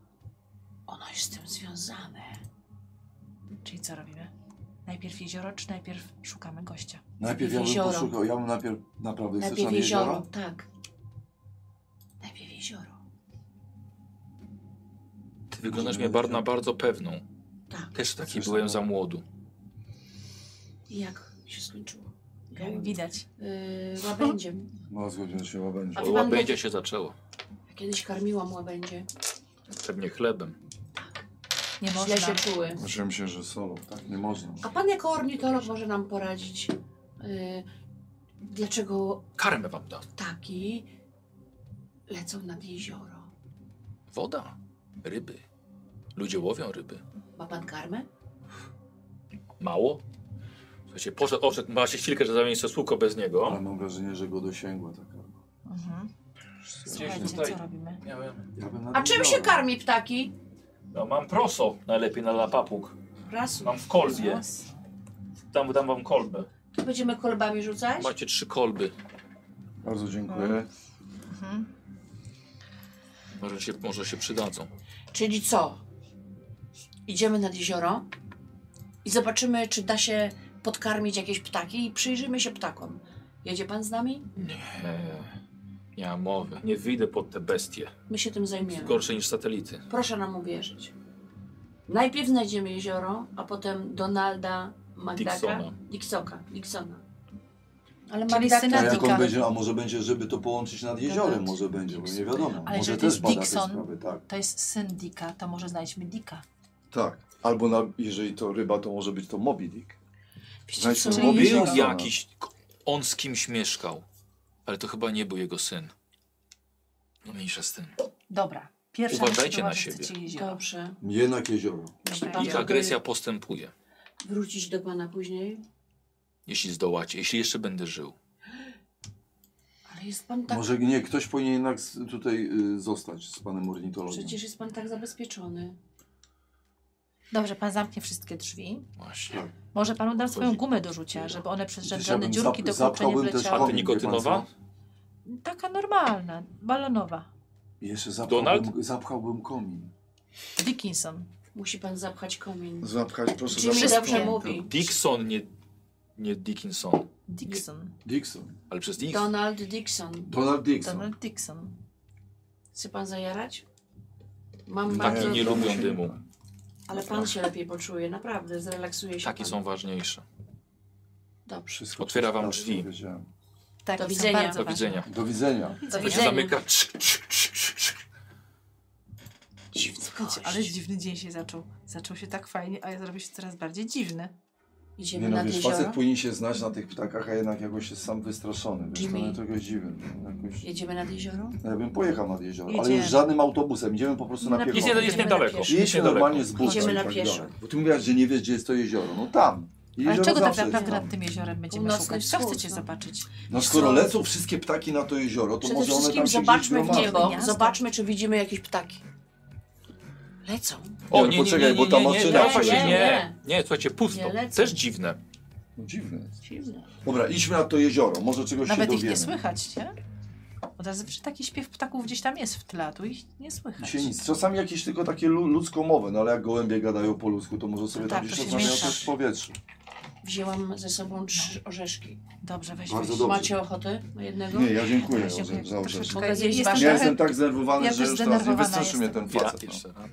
ono jest z tym związane.
Czyli co robimy? Najpierw jezioro, czy najpierw szukamy gościa?
Najpierw ja bym
Jezioro.
poszukał, ja bym najpierw naprawdę chcesz
Najpierw
nam jeziora?
jezioro, tak. Najpierw jezioro.
Ty wyglądasz mnie bar na bardzo pewną.
Tak.
Też taki
Słyszałem.
byłem za młodu.
I jak się skończyło?
Widać.
Yy, łabędziem.
No zgodziłem się, łabędzie.
A
Bo
pan był-
łabędzie się zaczęło.
Ja Kiedyś karmiłam łabędzie.
Pewnie chlebem.
Nie
Źle się
można.
czuły.
Myślałem się, że solo, tak nie można.
A pan jako ornitolog może nam poradzić, yy, dlaczego
Karmę wam dam.
ptaki lecą nad jezioro?
Woda. Ryby. Ludzie łowią ryby.
Ma pan karmę?
Mało? Słuchajcie, poszedł, odszedł, ma się chwilkę, że zamieni sobie słuko bez
Ale
niego.
mam wrażenie, że go dosięgła taka.
Mhm.
Gdzieś
Słuchajcie,
tutaj.
co robimy?
Miałem.
Ja bym
A
nawet
czym
dał.
się karmi ptaki?
No mam proso najlepiej na lapapuk.
Raz.
Mam w kolbie.
Raz.
Dam, dam wam kolbę.
Będziemy kolbami rzucać?
Macie trzy kolby.
Bardzo dziękuję.
Mhm.
Może się, może się przydadzą.
Czyli co? Idziemy nad jezioro i zobaczymy, czy da się podkarmić jakieś ptaki i przyjrzymy się ptakom. Jedzie pan z nami?
Nie. Nie ma mowy. Nie wyjdę pod te bestie.
My się tym zajmiemy.
Gorsze niż satelity.
Proszę nam uwierzyć. Najpierw znajdziemy jezioro, a potem Donalda Magdaka.
Dixona.
Dixoka. Dixona. Ale
Czyli
Magdaka...
syna
A jak
Dika.
on będzie, a może będzie, żeby to połączyć nad jeziorem, może będzie, bo nie wiadomo.
Ale
może
jeżeli
też
to jest
bada te
Dixon-
sprawy, tak.
To jest syn Dika, to może znajdźmy Dika.
Tak. Albo na, jeżeli to ryba, to może być to Moby Dick.
Wiecie
Znajdźmy
co?
Czyli
Moby
Był
Dicka.
jakiś... On z kimś mieszkał. Ale to chyba nie był jego syn. No mniejsza z tym.
Dobra. Pierwsza
Uważajcie
myśl
na
towarzyszy
siebie.
ci jezioro.
Dobrze.
Jednak jezioro.
Jeśli pan
Dobra.
Ich
chciałby
agresja postępuje.
Wrócić do pana później.
Jeśli zdołacie. Jeśli jeszcze będę żył.
Ale jest pan tak...
Może nie, ktoś powinien jednak z- tutaj y, zostać z panem ornitologiem.
Przecież jest pan tak zabezpieczony.
Dobrze, pan zamknie wszystkie drzwi.
Właśnie.
Może panu dam swoją gumę do rzucia, żeby one przez
Gdzieś ja
żadne
bym
dziurki
zap-
do kurczenia nie
zapchałbym też
A
wleciały.
ty nikotynowa?
Taka normalna, balonowa.
I Jeszcze
Donald?
zapchałbym, zapchałbym komin.
Dickinson.
Musi pan zapchać komin.
No,
Zapchać, proszę.
Jimmy
zapchać
dobrze
komin.
mówi.
Dixon, nie, nie Dickinson.
Dixon.
Dixon.
Ale przez Dix.
Donald Dixon.
Donald Dixon.
Donald Dixon.
Chce pan zajarać? Mam
Nie,
Taki
bardzo...
nie
to
lubią
się-
dymu.
Ale pan się lepiej poczuje, naprawdę. Zrelaksuje się
Takie
pan.
są ważniejsze.
Dobrze.
Wszystko
Otwiera wam
przeczytałem,
drzwi.
co wiedziałem.
Tak,
Do
i są
widzenia.
bardzo
Do
ważne.
widzenia.
Do widzenia.
Do
To się
widzenia.
zamyka. Cz, cz, cz, cz, cz.
Dziwny gość.
Ale dziwny dzień się zaczął. Zaczął się tak fajnie, a zrobił się coraz bardziej dziwny.
Idziemy
Nie no,
nad
wiesz,
jezioro.
facet powinien się znać na tych ptakach, a jednak jakoś jest sam wystraszony. Wiesz, to
Jimmy.
mnie trochę dziwi. no, Jakoś... no,
Jedziemy nad jezioro?
Ja bym pojechał nad jezioro, ale
Jedziemy.
już żadnym autobusem. Idziemy po prostu
Na
na, na
Jest,
piechotę.
nie,
Idziemy
jest
na
niedaleko.
pieszo.
Jest
Jedźmy normalnie
niedaleko.
z busem.
Idziemy na
i tak
pieszo.
dalej. Bo ty mówiłaś, że nie wiesz, gdzie jest to jezioro. No tam.
Ale
Jezioro
czego tak
zawsze jest
naprawdę
tam.
nad tym jeziorem będziemy
Północny
szukać? Co
wschód,
chcecie
no.
zobaczyć?
No skoro lecą wszystkie ptaki na to jezioro, to
Przede
może one
wszystkim
tam się
zobaczmy
gdzieś
w
gromadzą.
niebo.
Gniazdo.
Zobaczmy, czy widzimy jakieś ptaki. Lecą.
O, nie, no poczekaj, bo ta
nie,
maszyna-
nie, właśnie,
Nie,
nie. Nie, słuchajcie, pusto.
Nie lecę.
Też dziwne.
No dziwne jest.
Dziwne.
Dobra, idźmy na to jezioro, może czegoś
Nawet
się
ich nie
dowiemy.
słychać, nie? Od razu że taki śpiew ptaków gdzieś tam jest w tle, a tu ich nie słychać.
Dzisiaj nic. Czasami jakieś tylko takie lu- ludzkomowe, no ale jak gołębie gadają po ludzku, to może sobie
No
tam
tak,
gdzieś
to się
rozmawiają
miesza.
też w powietrzu.
Wzięłam ze sobą trzy orzeszki.
Dobrze, weź,
Bardzo
weź.
dobrze.
Macie ochotę na jednego?
Nie, ja dziękuję
Weź, dziękuję.
za orzeszki.
Troszeczkę
Mogę zjeść
jestem
wasze?
Ja
trochę-
jestem tak zdenerwowany,
Ja
że
też
już teraz nie
zdenerwowana
wystraszył mnie
jestem.
ten
I, ra,
facet.
jeszcze, raz.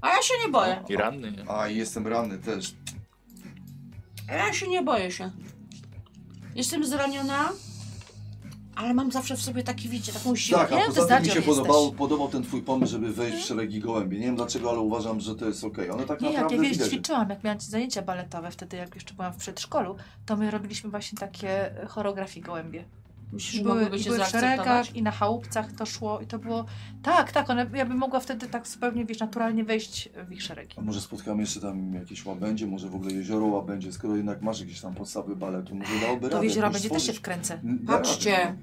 A ja się nie boję.
I ranny. nie?
No. A, i jestem ranny też.
A ja się nie boję się. Jestem zraniona, ale mam zawsze w sobie taki, wiecie, taką siłę.
Tak, a
wiem, że
poza tym mi
zdradził
się
jesteś.
podobał, podobał ten twój pomysł, żeby wejść w szeregi gołębi. Nie wiem dlaczego, ale uważam, że to jest okej. One tak
Nie, jak
naprawdę
ja kiedyś
widać.
ćwiczyłam, jak miałam zajęcia baletowe, wtedy jak jeszcze byłam w przedszkolu, to my robiliśmy właśnie takie e, choreografie gołębie.
Myślisz,
I
że
były,
mogłyby
i
cię
były w
zaakceptować?
szeregach i na chałupcach to szło i to było... Tak, tak, one, ja bym mogła wtedy tak zupełnie, wiesz, naturalnie wejść w ich szeregi.
A może spotkamy jeszcze tam jakieś łabędzie, może w ogóle jezioro łabędzie, skoro jednak masz jakieś tam podstawy baletu, może dałoby radę.
Do jeziora
jakoś
będzie też się
stworzyć.
wkręcę.
N- da
Patrzcie.
radę.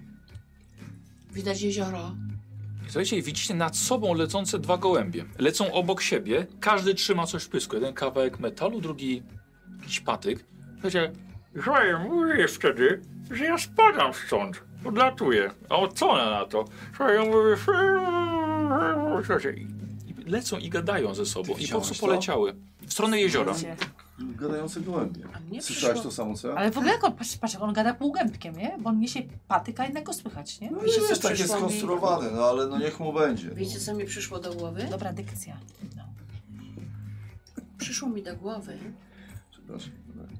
Widać jezioro.
Słuchajcie, i widzicie nad sobą lecące dwa gołębie. Lecą obok siebie, każdy trzyma coś w pysku. Jeden kawałek metalu, drugi jakiś patyk. Słuchajcie,
Słuchaj, mówię wtedy, że ja spadam stąd, odlatuję.
a o co ona na to?
Słuchaj, ja mówię,
Słuchajcie, i- i lecą i gadają ze sobą. I po
widziałaś
prostu
to?
poleciały. W stronę jeziora.
Wiecie.
Gadające gołębie.
A mnie
Słyszałeś
przyszło-
to samo co ja?
Ale w ogóle jak on, patrz, patrz, jak on gada półgębkiem, nie? Bo on niesie patyk, a innego słychać, nie?
No
Wiecie,
jest
co
takie
przyszło mi?
skonstruowane, no ale no niech mu będzie.
Wiecie, co mi przyszło do głowy?
Dobra dykcja. No.
Przyszło mi do głowy,
Przepraszam.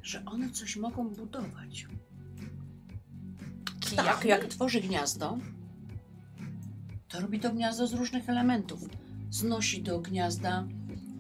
że one coś mogą budować.
Kijami?
Tak, jak tworzy gniazdo, to robi to gniazdo z różnych elementów. Znosi do gniazda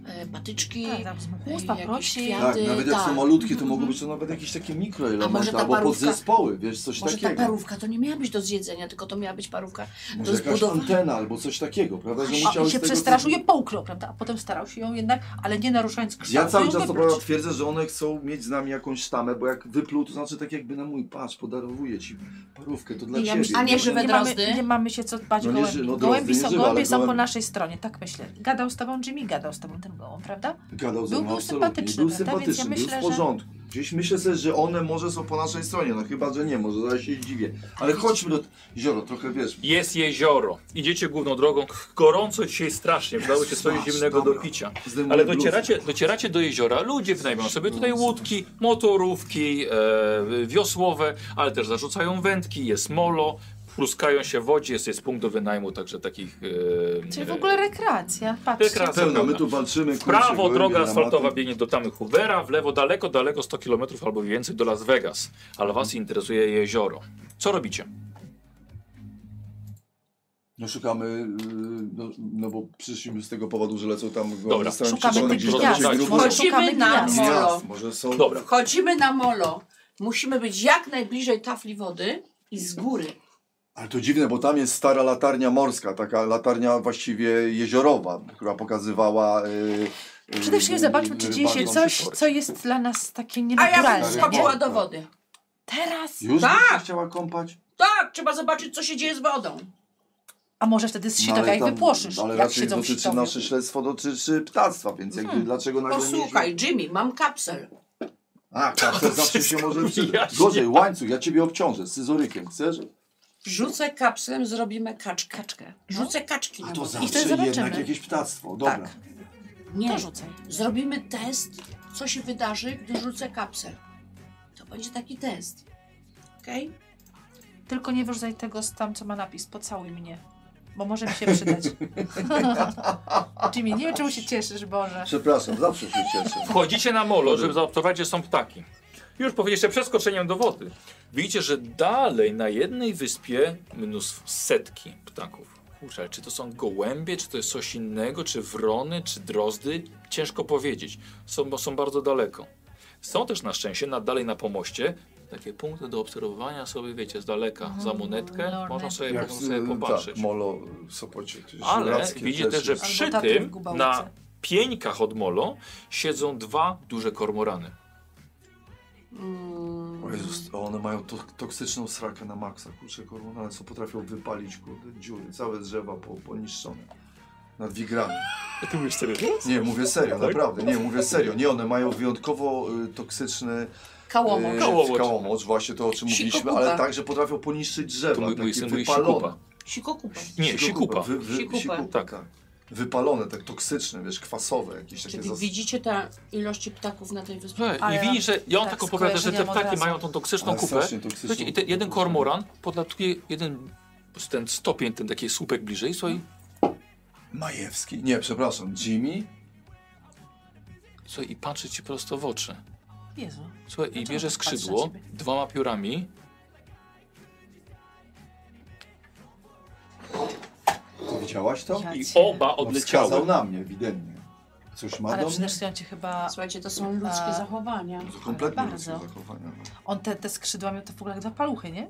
e, patyczki,
Tak, tam zmuchusta,
jakieś
prosi.
kwiaty.
Tak, nawet jak
tak.
są malutkie, to mogą być to nawet jakieś takie
A może
mikroelementy
ta
albo
parówka-
podzespoły, wiesz, coś
Może ta
takiego.
parówka to nie miała być do zjedzenia, tylko to miała być parówka
Może
do
jakaś
zbudowania.
antena albo coś takiego, prawda? Że
A,
musiałeś
I się
tego-
przestraszył, je połknął, prawda? A potem starał się ją jednak, ale nie naruszając kształtu.
Ja cały
ją
czas to
wypluć.
prawda twierdzę, że one chcą mieć z nami jakąś sztamę, bo jak wypluł, to znaczy tak jakby na mój patrz, podarowuję ci parówkę, to dla
I ja
ciebie.
myślę,
A nie
No,
żywe
nie
drozdy?
mamy, nie mamy się co dbać
No nie
gołębi.
ży- no drozdy
gołębi
nie
są,
żywe,
gołębie
ale
są po
gołębi-
naszej stronie, tak myślę. Gadał z tobą Jimmy, gadał z tobą ten kontaktach było, prawda?
Gadał ze
Był-
mną,
był
absolutnie.
sympatyczny,
Był
prawda? Więc ja
sympatyczny,
myślę,
był
że-
w porządku. Gdzieś myślę sobie, że one może są po naszej stronie, no chyba, że nie, może zaraz się dziwię. Ale chodźmy do... Zioro, trochę wiesz...
Jest jezioro. Idziecie główną drogą. Gorąco dzisiaj strasznie. Udało się coś
Masz,
zimnego do
dobra.
picia.
zdejmuję
Ale
bluzę.
docieracie, docieracie do jeziora, ludzie wynajmują sobie tutaj łódki, motorówki, e, wiosłowe, ale też zarzucają wędki, jest molo, pluskają się w wodzie, jest, jest punkt do wynajmu także takich... E,
Czyli w ogóle rekreacja. Patrzcie.
Rekreacja.
Pełna, my tu walczymy,
W
kurczę,
prawo
gołębie
droga
na
asfaltowa
matę.
biegnie do tamy Hoovera, w lewo daleko, daleko 100 km albo więcej do Las Vegas. Ale was interesuje jezioro. Co robicie?
No szukamy, yy, no, no bo przyszliśmy z tego powodu, że lecą tam...
Dobra,
zostałem
Szukamy
przeczone
tych
gdzieś tam
gwiazd.
jakieś grupy.
Może
Chodzimy
szukamy
na
gwiazd.
mo-
Gwiazd, może są...
Dobra.
Chodzimy na molo. Musimy być jak najbliżej tafli wody i z góry.
Ale to dziwne, bo tam jest stara latarnia morska, taka latarnia właściwie jeziorowa, która pokazywała... Yy, yy,
Przede wszystkim zobaczmy, czy dzieje się
rybakom
coś,
potwory.
co jest dla nas takie
A ja bym
nienaturalne. nie?
skoczyła do
tak.
wody.
Teraz?
Już
Tak!
byś się chciała kąpać?
Tak, trzeba zobaczyć, co się dzieje z wodą.
A może wtedy z
No,
sitowia
ale
ich
tam-
wypłoszysz,
Ale
jak
raczej
siedzą w Mhm.
dotyczy
sitowie.
nasze śledztwo dotyczy ptactwa, więc jakby dlaczego nagle
Posłuchaj, Jimmy, mam kapsel.
nie... A,
(laughs)
kapsel zawsze się
wszystko
może przydać.
wyjaśnia.
Gorzej, łańcuch, ja ciebie obciążę, scyzorykiem, chcesz?
Rzucę kapslem, zrobimy kaczkę. kaczkę. Rzucę kaczki
A
na
to
wodę.
zawsze
zobaczymy.
jednak jakieś ptactwo, dobra.
Tak.
Nie,
To rzucaj.
zrobimy test, co się wydarzy, gdy rzucę kapsel. To będzie taki test. Okej?
Tylko nie wyrzucaj tego z tam, co ma napis. Pocałuj mnie. Bo może mi się
(laughs)
przydać. Jimmy, nie wiem, czemu się cieszysz, Boże.
Przepraszam, zawsze się cieszę.
Wchodzicie na molo, żeby zaobserwować, gdzie są ptaki. Już powiedzieliście przeskoczeniem do wody. Widzicie, że dalej na jednej wyspie mnóstwo setki ptaków. Kurczę, ale czy to są gołębie, czy to jest coś innego, czy wrony, czy drozdy? Ciężko powiedzieć, są, bo są bardzo daleko. Są też na szczęście na, dalej na pomoście takie punkty do obserwowania sobie, wiecie, z daleka, za monetkę,
lornetki.
można sobie,
Jak
można sobie
z-
popatrzeć.
Tak, molo w Sopocie. czy
Ale
żyrackie
widzicie też, że
jest.
przy
Albo taty w
tym
Gubałce.
na pieńkach od molo siedzą dwa duże kormorany.
Mm,
O Jezus, a one mają to, toksyczną srakę na maksa, kurczę, koronane, co potrafią wypalić, kurde, dziury, całe drzewa po, poniszczone. Nad wigrami.
Ty mówisz serio?
Nie, mówię serio,
Tak?
naprawdę, nie, mówię serio. Nie, one mają wyjątkowo y, toksyczny
Kałomo.
y,
Kałomoc.
kałomoc, właśnie to o czym
Sikokupa.
mówiliśmy, ale także potrafią poniszczyć drzewa,
To mój, mój
takie
syn mówi
wypalone.
sikupa.
Sikokupa.
Nie,
Sikupa,
sikupa.
Wy, wy,
Sikupa.
sikupa,
Tak.
tak. Wypalone, tak toksyczne, wiesz, kwasowe, jakieś takie
Czyli
zas...
widzicie te ilości ptaków na tej wyspie?
Słuchaj,
Ale
I widzisz, że i on
tak
tak opowiada, że te
skojarzenia od
ptaki
razu.
mają tą toksyczną
Ale
kupę.
strasznie toksyczną
Słuchajcie, i te, jeden
kupę. no.
kormoran podlatuje jeden ten stopień, ten taki słupek bliżej, słuchaj,
No.
Majewski? Nie, przepraszam, Jimmy?
słuchaj i patrzy ci prosto w oczy.
Jezu.
Słuchaj, i
Dlaczego
bierze
tak patrzy na
skrzydło
ciebie?
dwoma piórami.
To widziałaś to?
Ja
I
cię-
oba
No, wskazał
odleciały.
na mnie, ewidentnie. Coś ma
Ale
do mnie?
przecież ja cię chyba...
Słuchajcie, to są ludzkie
A.
zachowania.
To kompletnie
Bardzo.
ludzkie zachowania. no.
On te, te skrzydła miał to w ogóle jak dwa paluchy, nie?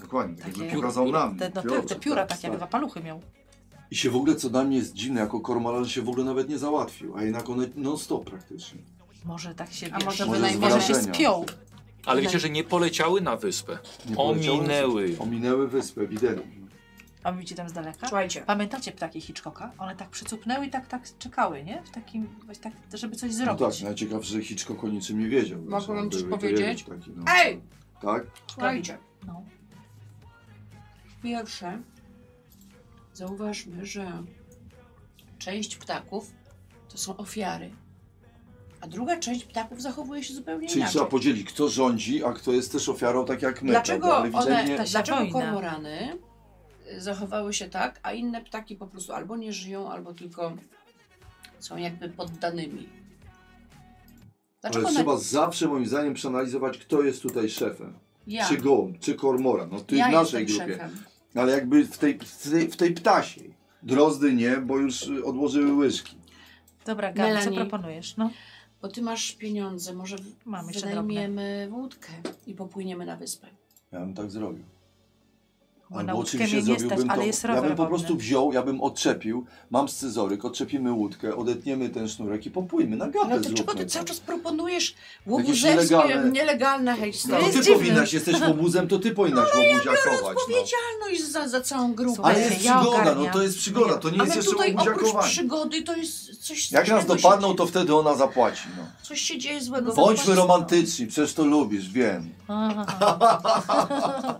Dokładnie, tak
Takie-
jakby pokazał na mnie.
Te, no tak,
piórko,
te pióra
tak,
takie jak
tak.
dwa paluchy miał.
I się w ogóle, co dla mnie jest dziwne, jako kormoran się w ogóle nawet nie załatwił, a jednak one non-stop praktycznie.
Może tak się,
A
wiesz,
może
może,
wynajmniej-
się
wrażenia.
spiął.
Ale wiecie, że nie poleciały na wyspę.
Nie poleciały
Ominęły.
wyspy. Ominęły wyspę, ewidentnie.
A widzicie tam z daleka?
Słuchajcie,
Pamiętacie ptaki Hitchcocka? One tak przycupnęły i tak, tak czekały, nie? W takim, właśnie tak, żeby coś
No
zrobić.
tak, najciekawsze, że Hitchcock o niczym nie wiedział.
Mogę
Znaczy,
wam
on
coś
był
powiedzieć?
Taki, no.
Ej!
Tak?
słuchajcie.
No.
Pierwsze, zauważmy, że część ptaków to są ofiary, a druga część ptaków zachowuje się zupełnie
Czyli
inaczej.
trzeba podzielić, kto rządzi, a kto jest też ofiarą, tak jak my.
Dlaczego
prawda? Ale
one,
ewidentnie-
się
dlaczego
wojna.
kormorany y, zachowały się tak, a inne ptaki po prostu albo nie żyją, albo tylko są jakby poddanymi? Dlaczego
Ale
one...
trzeba zawsze, moim zdaniem, przeanalizować, kto jest tutaj szefem.
ja,
Czy gołąb, czy kormoran. No ty
ja
w naszej
jestem
grupie.
szefem.
Ale jakby w tej, w tej, w tej ptasiej. Drozdy nie, bo już y, odłożyły łyżki.
Dobra, Gabi, co
Melanie.
proponujesz? No.
Bo ty masz pieniądze, może w-
Mam jeszcze
wynajmiemy łódkę i popłyniemy na wyspę.
Ja bym tak zrobił.
Bo na łódkę mnie nie stać, ale jest
ja
rower
bym po
wodny.
prostu wziął, ja bym odczepił, mam scyzoryk, odczepimy łódkę, odetniemy ten sznurek i popłyjmy na gatę
Ale No, to
zróbmy
czego ty
to.
cały czas proponujesz łobuzewskie,
nielegalne-
nielegalne, hejsty?
No, to
jest
ty
dziwne.
powinnaś, jesteś łobuzem, to ty powinnaś łobuziakować. No.
Odpowiedzialność za, za całą grupę.
Ale
Słuchajcie,
jest
ja
przygoda, no
ogarniam.
to jest przygoda, to nie
Ale
jest jeszcze
tutaj oprócz
łobuziakowanie.
przygody to jest coś
Jak nas
czego się
dopadną,
dzieje.
to wtedy ona zapłaci. No.
Coś się dzieje złego.
Bądźmy
Właśnie.
romantyczni, przecież to lubisz, wiem. (laughs)
Aha.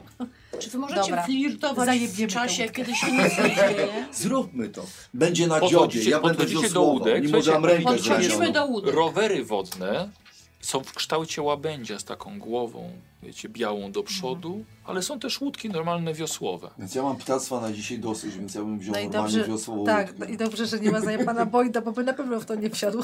Czy wy możecie
Dobra.
flirtować
Zajebiemy
w
tę
czasie,
łódkę.
kiedy się nic nie
(laughs)
dzieje?
Zróbmy to. Będzie na
Podchodzicie-
dziodzie, ja będę
podchodzicie
wziął
do
słowo,
łódek,
mimo że
słuchajcie,
mam rękę
podchodzimy
zranioną.
Podchodzimy do łódek.
Rowery wodne są w kształcie łabędzia z taką głową, wiecie, białą do przodu, ale są też łódki normalne wiosłowe.
Więc ja mam ptactwa na dzisiaj dosyć, więc ja bym wziął
No i
normalnie
dobrze,
wiosłową
tak,
łódkę.
i dobrze, że nie ma za pana Bojda, bo by na pewno w to nie wsiadł.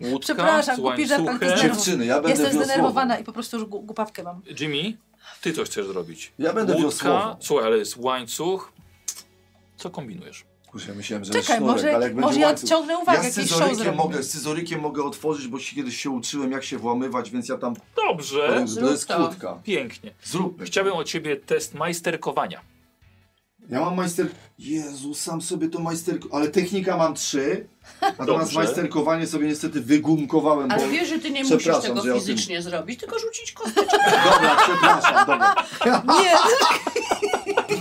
Łódka
Przepraszam,
z
głupi żart, ale to
łańcuchem.
zdenerwował.
Dziewczyny, ja będę
Jestem
wiosłową.
zdenerwowana i po prostu już gu- głupawkę mam.
Jimmy, ty coś chcesz zrobić.
Ja będę
Łódka,
wiosłową.
słuchaj, ale jest łańcuch. Co kombinujesz?
Kurczę, ja myślałem, że
Czekaj,
sznurek,
może,
ale jak
może
będzie
ja
łańcuch-
odciągnę uwagę,
ja z
jakiś show
scyzorykiem,
zrobię.
mogę, z scyzorykiem mogę otworzyć, bo się kiedyś się uczyłem, jak się włamywać, więc ja tam...
Dobrze,
to jest
zrób to.
krótka.
pięknie.
Zróbmy.
Chciałbym od ciebie test majsterkowania.
Ja mam majster... Jezu, sam sobie to majsterko... Ale technika mam trzy, natomiast
Dobrze.
majsterkowanie sobie niestety wygumkowałem, bo...
Ale wiesz, że ty nie musisz
Przepraszam,
tego
że ja o tym-
fizycznie zrobić, tylko rzucić kosteczkę.
Dobra, przepraszam, dobra.
Nie,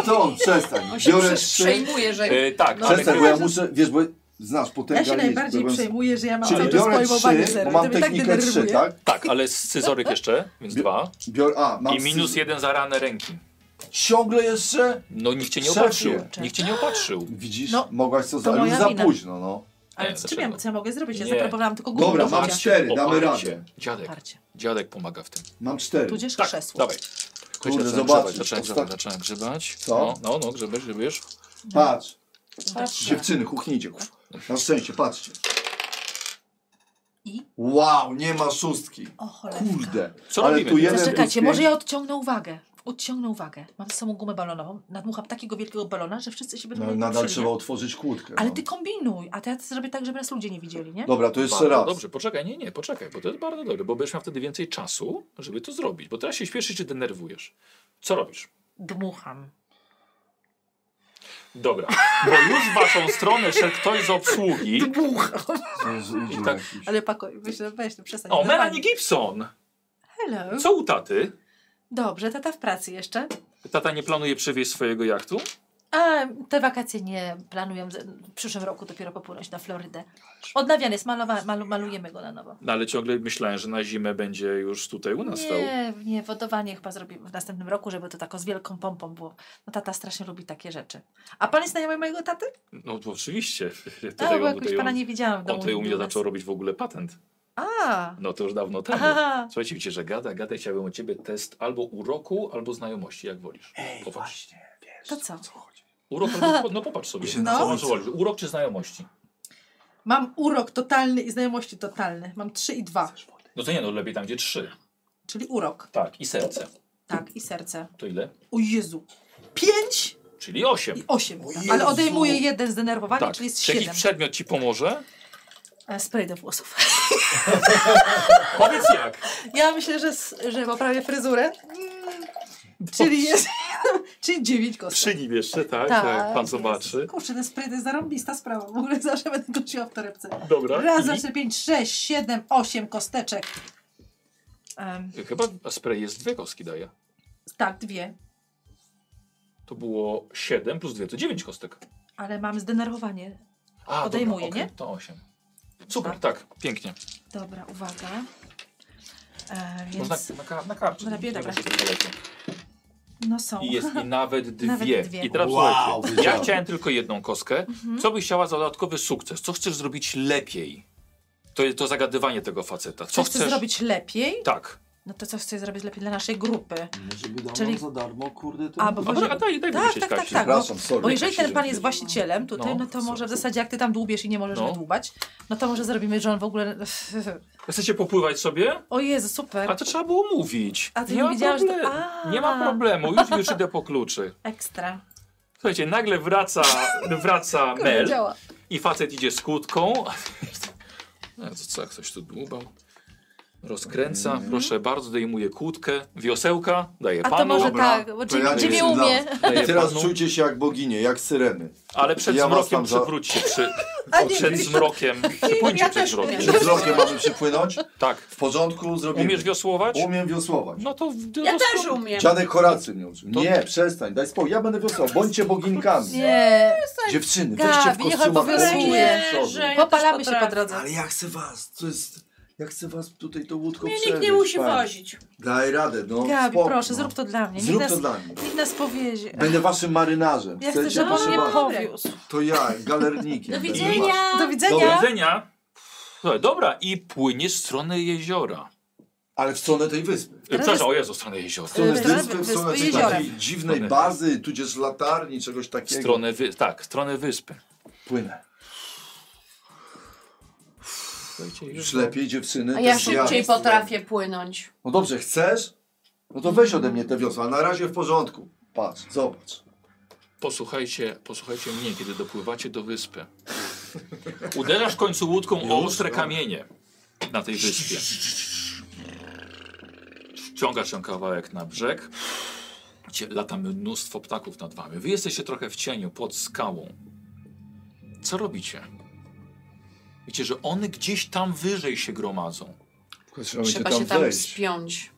To, przestań.
On się
(laughs) Biorę
prze-
trzy.
przejmuje, że...
E, tak, ale
Przestań, bo ja muszę... Wiesz, bo znasz potęga
ja się
liczb,
najbardziej
byłem-
przejmuję, że ja mam
Czyli
cały czas
biorę
pojmowanie
trzy, bo
zero.
mam
to mnie tak
technikę trzy,
denerwuje.
tak?
tak, ale scyzoryk jeszcze, więc
Bi-
dwa.
Biorę, a, mam
I minus jeden za ranę ręki.
Ciągle jeszcze?
No nikt cię nie
Szefie.
opatrzył. Nikt cię nie opatrzył.
Widzisz,
No,
mogłaś co
to
za... Już
moja
za
wina.
późno, no.
Ale
Nie,
z czym
dlaczego?
ja, co ja mogę zrobić? Ja
Nie.
zaproponowałam tylko głowę
Dobra,
do
mam
życia.
cztery, damy
Oparcie.
radę.
Dziadek,
Oparcie.
dziadek pomaga w tym.
Mam cztery.
Tudzież
Tak,
krzesło.
dawaj.
Kurde,
zacząłem
zobacz,
grzebać, zacząłem
osta-
grzebać, zacząłem grzebać.
Co?
No, no, no, grzebiesz, grzebiesz.
Patrz,
Patrzę.
dziewczyny, kuchnijcie. kuf. Na szczęście, patrzcie.
I?
Wow, nie ma szóstki.
O cholera.
Kurde.
Co
Ale
robimy?
tu jeden plus
Zaczekajcie,
pięć.
może ja odciągnę uwagę. Odciągnę uwagę. Mam z sobą gumę balonową. Nadmucham takiego wielkiego balona, że wszyscy się będą
No,
mieli
nadal
potrzebne.
trzeba otworzyć kłódkę.
Ale
no.
ty kombinuj, a to ja to zrobię tak, żeby nas ludzie nie widzieli, nie?
Dobra, to jeszcze
Bardzo
raz.
Dobrze, poczekaj, nie, nie, poczekaj, bo to jest bardzo dobre, bo będziesz miał wtedy więcej czasu, żeby to zrobić, bo teraz się śpieszysz czy denerwujesz. Co robisz?
Dmucham.
Dobra, bo już w waszą stronę szedł ktoś z obsługi.
Dmucham.
Jezu,
I tak-
jakiś.
Ale pakoj, myślę, weź, no przestań.
O,
normalnie.
Melanie Gibson!
Hello.
Co u taty?
Dobrze, tata w pracy jeszcze.
Tata nie planuje przywieźć swojego jachtu?
A te wakacje nie planuję z- w przyszłym roku dopiero popłynąć na Florydę. Odnawiany jest, malowa, malu, malujemy go na nowo.
No ale ciągle myślałem, że na zimę będzie już tutaj u nas stał.
Nie, nie, wodowanie chyba zrobimy w następnym roku, żeby to tako z wielką pompą było. No tata strasznie lubi takie rzeczy. A pan jest znajomy mojego taty?
No to oczywiście.
A,
Tutaj
Tak, bo
on,
jakoś
tutaj
pana
on,
nie widziałam w
on
domu.
tutaj u mnie
nigdy
zaczął
nas.
robić w ogóle patent.
A,
No to już dawno temu.
aha.
Słuchajcie, widzicie, że gada, gada i chciałbym u ciebie test albo uroku, albo znajomości, jak wolisz. Popatrz.
To co?
Urok albo, no popatrz sobie.
Się
No. Co
no.
masz wolisz? Urok czy znajomości?
Mam urok totalny i znajomości totalny. Mam trzy i dwa,
No to nie, no lepiej tam gdzie trzy.
czyli urok.
Tak, i serce.
Tak, i serce.
To ile?
O Jezu. Pięć
Czyli osiem.
i osiem. Tak. Ale odejmuję jeden zdenerwowanie,
Tak.
czyli jest
Czy jakiś
siedem.
przedmiot ci pomoże?
E, Spray do włosów.
Powiedz jak.
Ja myślę, że, s- że poprawię fryzurę. Mm, Czyli jest. (laughs) czyli dziewięć kostek.
Przynim jeszcze, tak?
Tak,
tak. Pan
jest.
zobaczy.
Kurczę, ten spray to jest zarąbista sprawa. W ogóle (laughs) zawsze będę go nosiła w torebce.
Dobra.
Raz,
i-
dwa, trzy, pięć, sześć, siedem, osiem kosteczek. Em,
Chyba spray jest dwie kostki daje.
tak, dwie.
To było 7 plus 2 to 9 kostek.
Ale mam zdenerwowanie.
A,
Odejmuję,
dobra, okej,
nie?
To 8. Super, tak, pięknie.
Dobra, uwaga. E,
Można
więc,
na, ka- na karcie.
Dobra, bieda,
Nie da się tego lepiej.
no są.
I jest i nawet dwie.
Nawet dwie.
I teraz
Wow,
słuchajcie, ja
wiedziałem.
chciałem tylko jedną kostkę. Co byś chciała za dodatkowy sukces? Co chcesz zrobić lepiej? To jest to zagadywanie tego faceta. Co,
Co chcę zrobić lepiej?
Tak.
No to co chcę zrobić lepiej dla naszej grupy?
Może by dał
Czyli-
nam za darmo, kurde, ten...
A, bo
A,
Może-
może, No, a daj, daj
tak,
powiedzieć,
tak,
tak,
tak,
się-
tak. bo-
Przepraszam, sorry.
Bo jeżeli
Jakaś
ten pan
się
jest właścicielem tutaj,
No,
no to może w zasadzie jak ty tam dłubiesz i nie możesz
No.
wydłubać, no to może zrobimy, że on w ogóle... (laughs)
Chcecie popływać sobie?
O Jezu, super.
A to trzeba było mówić.
A ty
nie
nie
ma
wiedziałeś, że to-
problemu.
A.
Nie ma problemu, już, już idę po kluczy.
Ekstra.
Słuchajcie, nagle wraca, wraca
Kurde,
Mel.
działa.
(laughs) I facet idzie z kłódką. No to co, jak ktoś tu dłubał? Rozkręca,
Mhm.
proszę bardzo, dejmuje kłódkę, wiosełka, daje
A to
panu,
może
Dobra,
tak,
to
bo
ja
Jimmy
jestem (laughs)
umie.
daje
Teraz
panu,
czujcie się jak boginie, jak syreny.
ale przed
ja was
zmrokiem
tam za-
przywróć się, przy,
A nie,
przed
wiesz,
zmrokiem, przypłyńcie
ja
przed
też
zmrokiem.
Czy wzrokiem mamy przypłynąć?
Tak,
W porządku, zrobimy.
umiesz wiosłować?
Umiem wiosłować.
No to... w-
Ja
dos-
też umiem.
Dziadek Horacy mnie uczył.
To-
Nie, przestań, daj spokój, ja będę wiosłował. Bądźcie boginkami.
Nie,
Dziewczyny,
Gabi,
weźcie
niech
w kostiumach
albo wiosłuje.
kostiumy.
Ja też
popalamy się po
potrafię.
drodze.
Ale ja chcę was, to jest... Ja chcę was tutaj tą łódką
Mnie nikt
przewieźć,
nie musi
pani.
wozić.
Daj radę, no.
Gabi,
spoko,
proszę,
no.
zrób to dla mnie. Nikt
Zrób to
nas,
dla mnie.
nikt nas powiezie.
Będę waszym marynarzem.
Ja chcę,
Chcecie?
żeby on
Proszę
mnie
bardzo.
powiózł.
To ja,
(laughs)
galernikiem.
Do
będę
widzenia.
waszym.
Do
Do
widzenia.
widzenia. Słuchaj, Dobra, i płyniesz w stronę jeziora.
Ale w stronę tej wyspy.
E, Przepraszam, o Jezu, w stronę jeziora.
W stronę
Wyspy,
wyspy, w stronę
wyspy,
tej
jeziora.
takiej dziwnej
Stronę-
bazy, tudzież latarni, czegoś
W
takiego.
stronę, wy... tak, w stronę wyspy.
Płynę.
Słuchajcie,
Już
już-
lepiej, dziewczyny.
A
to
ja
jest
szybciej
jasne.
potrafię płynąć.
No dobrze, chcesz? No to weź ode mnie te wiosła. Na razie w porządku. Patrz, zobacz.
Posłuchajcie, posłuchajcie mnie, kiedy dopływacie do wyspy. Uderzasz w końcu łódką o ostre kamienie na tej wyspie. Ściągasz się kawałek na brzeg. Cie- Lata mnóstwo ptaków nad wami. Wy jesteście trochę w cieniu, pod skałą. Co robicie? Wiecie, że one gdzieś tam wyżej się gromadzą.
Tylko Trzeba będzie
Trzeba
tam
się tam
wejść.
wspiąć.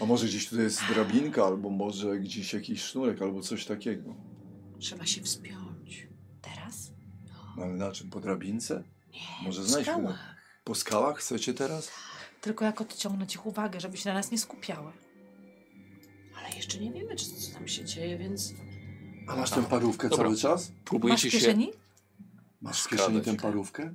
A może gdzieś tutaj jest drabinka, albo może gdzieś jakiś sznurek, albo coś takiego.
Trzeba się wspiąć.
Teraz?
No Ale na czym? Po drabince? Może
W
znajdźmy.
skałach.
Po skałach chcecie teraz?
Tylko jak odciągnąć ich uwagę, żeby się na nas nie skupiały.
Ale jeszcze nie wiemy, czy co tam się dzieje, więc
A masz tę parówkę
Tak. Dobra.
cały czas?
Masz
Próbujecie
w
się.
kieszeni?
Masz w kieszeni tę
Skradać.
parówkę?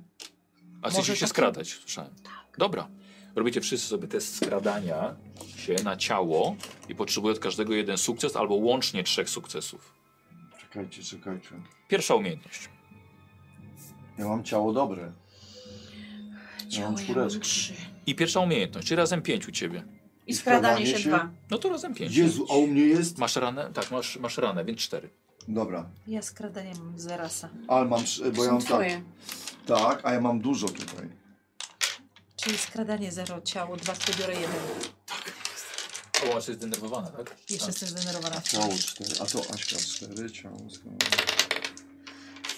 A
Może
chcecie się
tak-
skradać, słyszałem. Dobra. Robicie wszyscy sobie test skradania się na ciało i potrzebuję od każdego jeden sukces albo łącznie trzech sukcesów.
Czekajcie, czekajcie.
Pierwsza umiejętność.
Ja mam ciało dobre.
ciało ja mam
czwóreczkę.
trzy.
I pierwsza umiejętność, czyli razem pięć u ciebie.
I skradanie
skradanie
się
się?
dwa.
No to razem pięć.
Jezu, a u mnie jest?
Masz ranę? Tak, masz, masz ranę, więc cztery.
Dobra,
Ja skradanie mam zerasa.
ale mam, sz- bo
To
ja
są
mam tak,
twoje.
tak, a ja mam dużo tutaj.
Czyli skradanie zero ciało, dwa które biorę jeden.
O, masz jest zdenerwowana, tak?
Jeszcze
Tak.
jestem zdenerwowana.
Ciało cztery, a to Aśka cztery, ciało skradanie.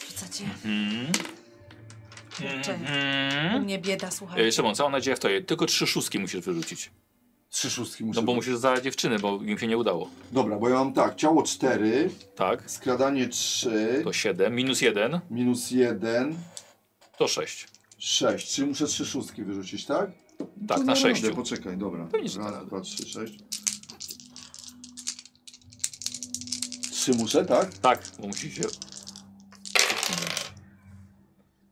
Wrzuca cię.
Mhm.
Kurczę. U
Mhm.
mnie bieda,
E,
słuchaj.
Szymon, cała nadzieja w to Tylko trzy szóstki musisz wyrzucić.
Trzy szóstki muszę.
No bo musisz za dziewczyny, bo im się nie udało.
Dobra, bo ja mam tak, ciało cztery,
Tak?
skradanie trzy,
To siedem, minus jeden,
minus jeden,
to sześć.
sześć. Czyli muszę trzy szóstki wyrzucić, tak?
Tak,
No
na
dobra,
sześciu.
Poczekaj, dobra.
Pewnie, że
Raz,
tak.
dwa, trzy, sześć. Trzy muszę, tak?
Tak, bo musi się...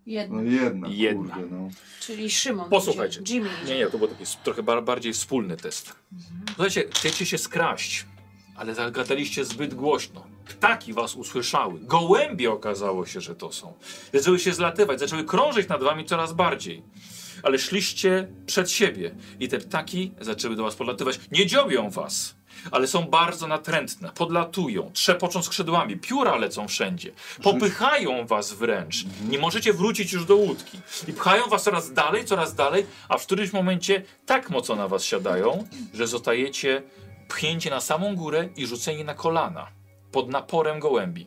Jedno.
No jedna,
Jedna.
kurde, no.
Czyli Szymon.
Posłuchajcie.
idzie, Jimmy.
Nie,
idzie.
nie, to był taki trochę bar bardziej wspólny test. Słuchajcie, chcecie się skraść, ale zagadaliście zbyt głośno. Ptaki was usłyszały. Gołębie okazało się, że to są. Zaczęły się zlatywać, zaczęły krążyć nad wami coraz bardziej. Ale szliście przed siebie i te ptaki zaczęły do was podlatywać. Nie dziobią was, ale są bardzo natrętne. Podlatują, trzepoczą skrzydłami, pióra lecą wszędzie. Popychają was wręcz. Nie możecie wrócić już do łódki. I pchają was coraz dalej, coraz dalej, a w którymś momencie tak mocno na was siadają, że zostajecie pchnięci na samą górę i rzuceni na kolana pod naporem gołębi.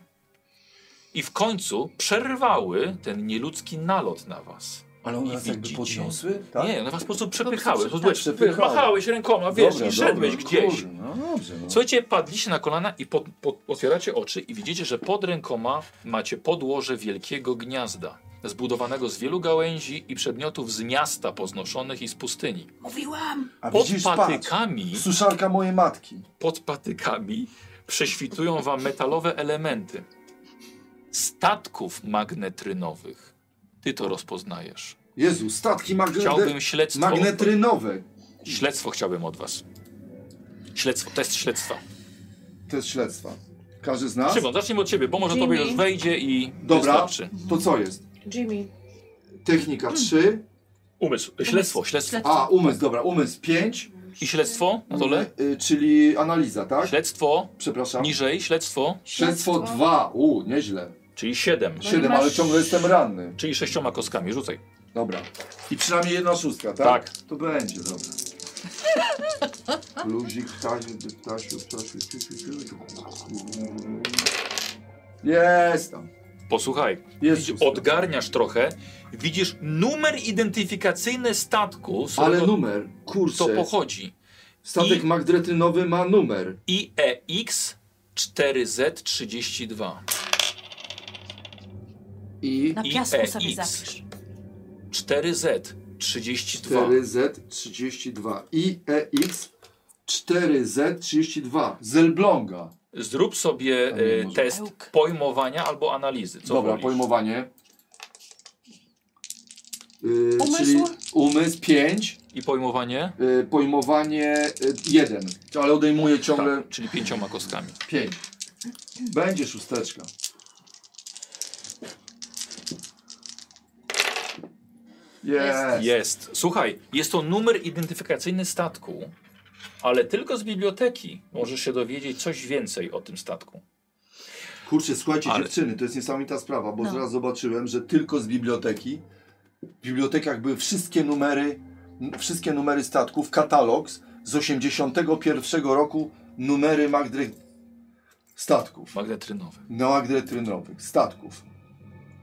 I w końcu przerwały ten nieludzki nalot na was.
Ale one
I
nas jakby
widzicie.
podniosły, tak?
Nie, one was po prostu przepychały. Po
tak,
prostu tak,
przepychały.
machałeś rękoma, wiesz,
Dobra,
i szedłeś
dobra,
gdzieś.
Kurde, no dobrze, no.
Słuchajcie, padliście na kolana i pod, pod, otwieracie oczy i widzicie, że pod rękoma macie podłoże wielkiego gniazda, zbudowanego z wielu gałęzi i przedmiotów z miasta poznoszonych i z pustyni.
Mówiłam.
A
Pod
widzisz, patrz,
patykami,
suszarka mojej matki.
pod patykami prześwitują wam metalowe elementy statków magnetrynowych. Ty to rozpoznajesz.
Jezu, statki magne...
Chciałbym śledztwo.
magnetrynowe.
Śledztwo chciałbym od was. Śledztwo, test śledztwa.
To jest śledztwa. Każdy z nas?
Szymon, zacznijmy od ciebie, bo może
Jimmy.
tobie już wejdzie i
Dobra.
wystarczy.
To co jest?
Jimmy.
Technika 3.
Umysł, śledztwo, śledztwo.
A, umysł, dobra, umysł 5.
I śledztwo na
Mhm.
dole?
Y, czyli analiza, tak?
Śledztwo,
Przepraszam.
niżej, śledztwo,
Śledztwo 2. U, nieźle.
czyli 7.
No i
7,
masz-
ale ciągle jestem ranny.
Czyli sześcioma kostkami, rzucaj.
Dobra. I przynajmniej jedna szóstka, tak?
Tak.
To będzie, dobra. Luzik, ptasiu, ptasiu, ptasiu, ciu, ciu, ciu, ciu. Jest tam.
Posłuchaj,
Jest szóstka.
odgarniasz trochę, widzisz numer identyfikacyjny statku, z
Ale
którego
numer,
to
kurczę.
pochodzi.
Statek
I-
magdretynowy ma numer.
E IEX 4Z32.
I
Na
I
piasku sobie
EX.
zapisz.
4Z32.
4Z32. I
E,
EX 4Z32. Z Elbląga.
Zrób sobie
A nie,
e,
może-
test
Ełk.
pojmowania albo analizy. Co
Dobra,
wolisz?
pojmowanie.
Y,
Yy,
Umysł?
Czyli umysł 5,
I pojmowanie?
Y,
yy, pojmowanie 1.
Ale odejmuję ciągle
Tak, czyli pięcioma kostkami.
5.
Będzie szósteczka. Jest.
Jest. Słuchaj, jest to numer identyfikacyjny statku, ale tylko z biblioteki możesz się dowiedzieć coś więcej o tym statku.
Kurczę, słuchajcie,
Ale-
dziewczyny, to jest niesamowita sprawa, bo
No.
zaraz
Zobaczyłem, że tylko z biblioteki. W bibliotekach były wszystkie numery, n- wszystkie numery statków, katalog z- z 81 roku, numery Magdry... statków.
Magnetrynowy.
Neoagdretrynowych, statków.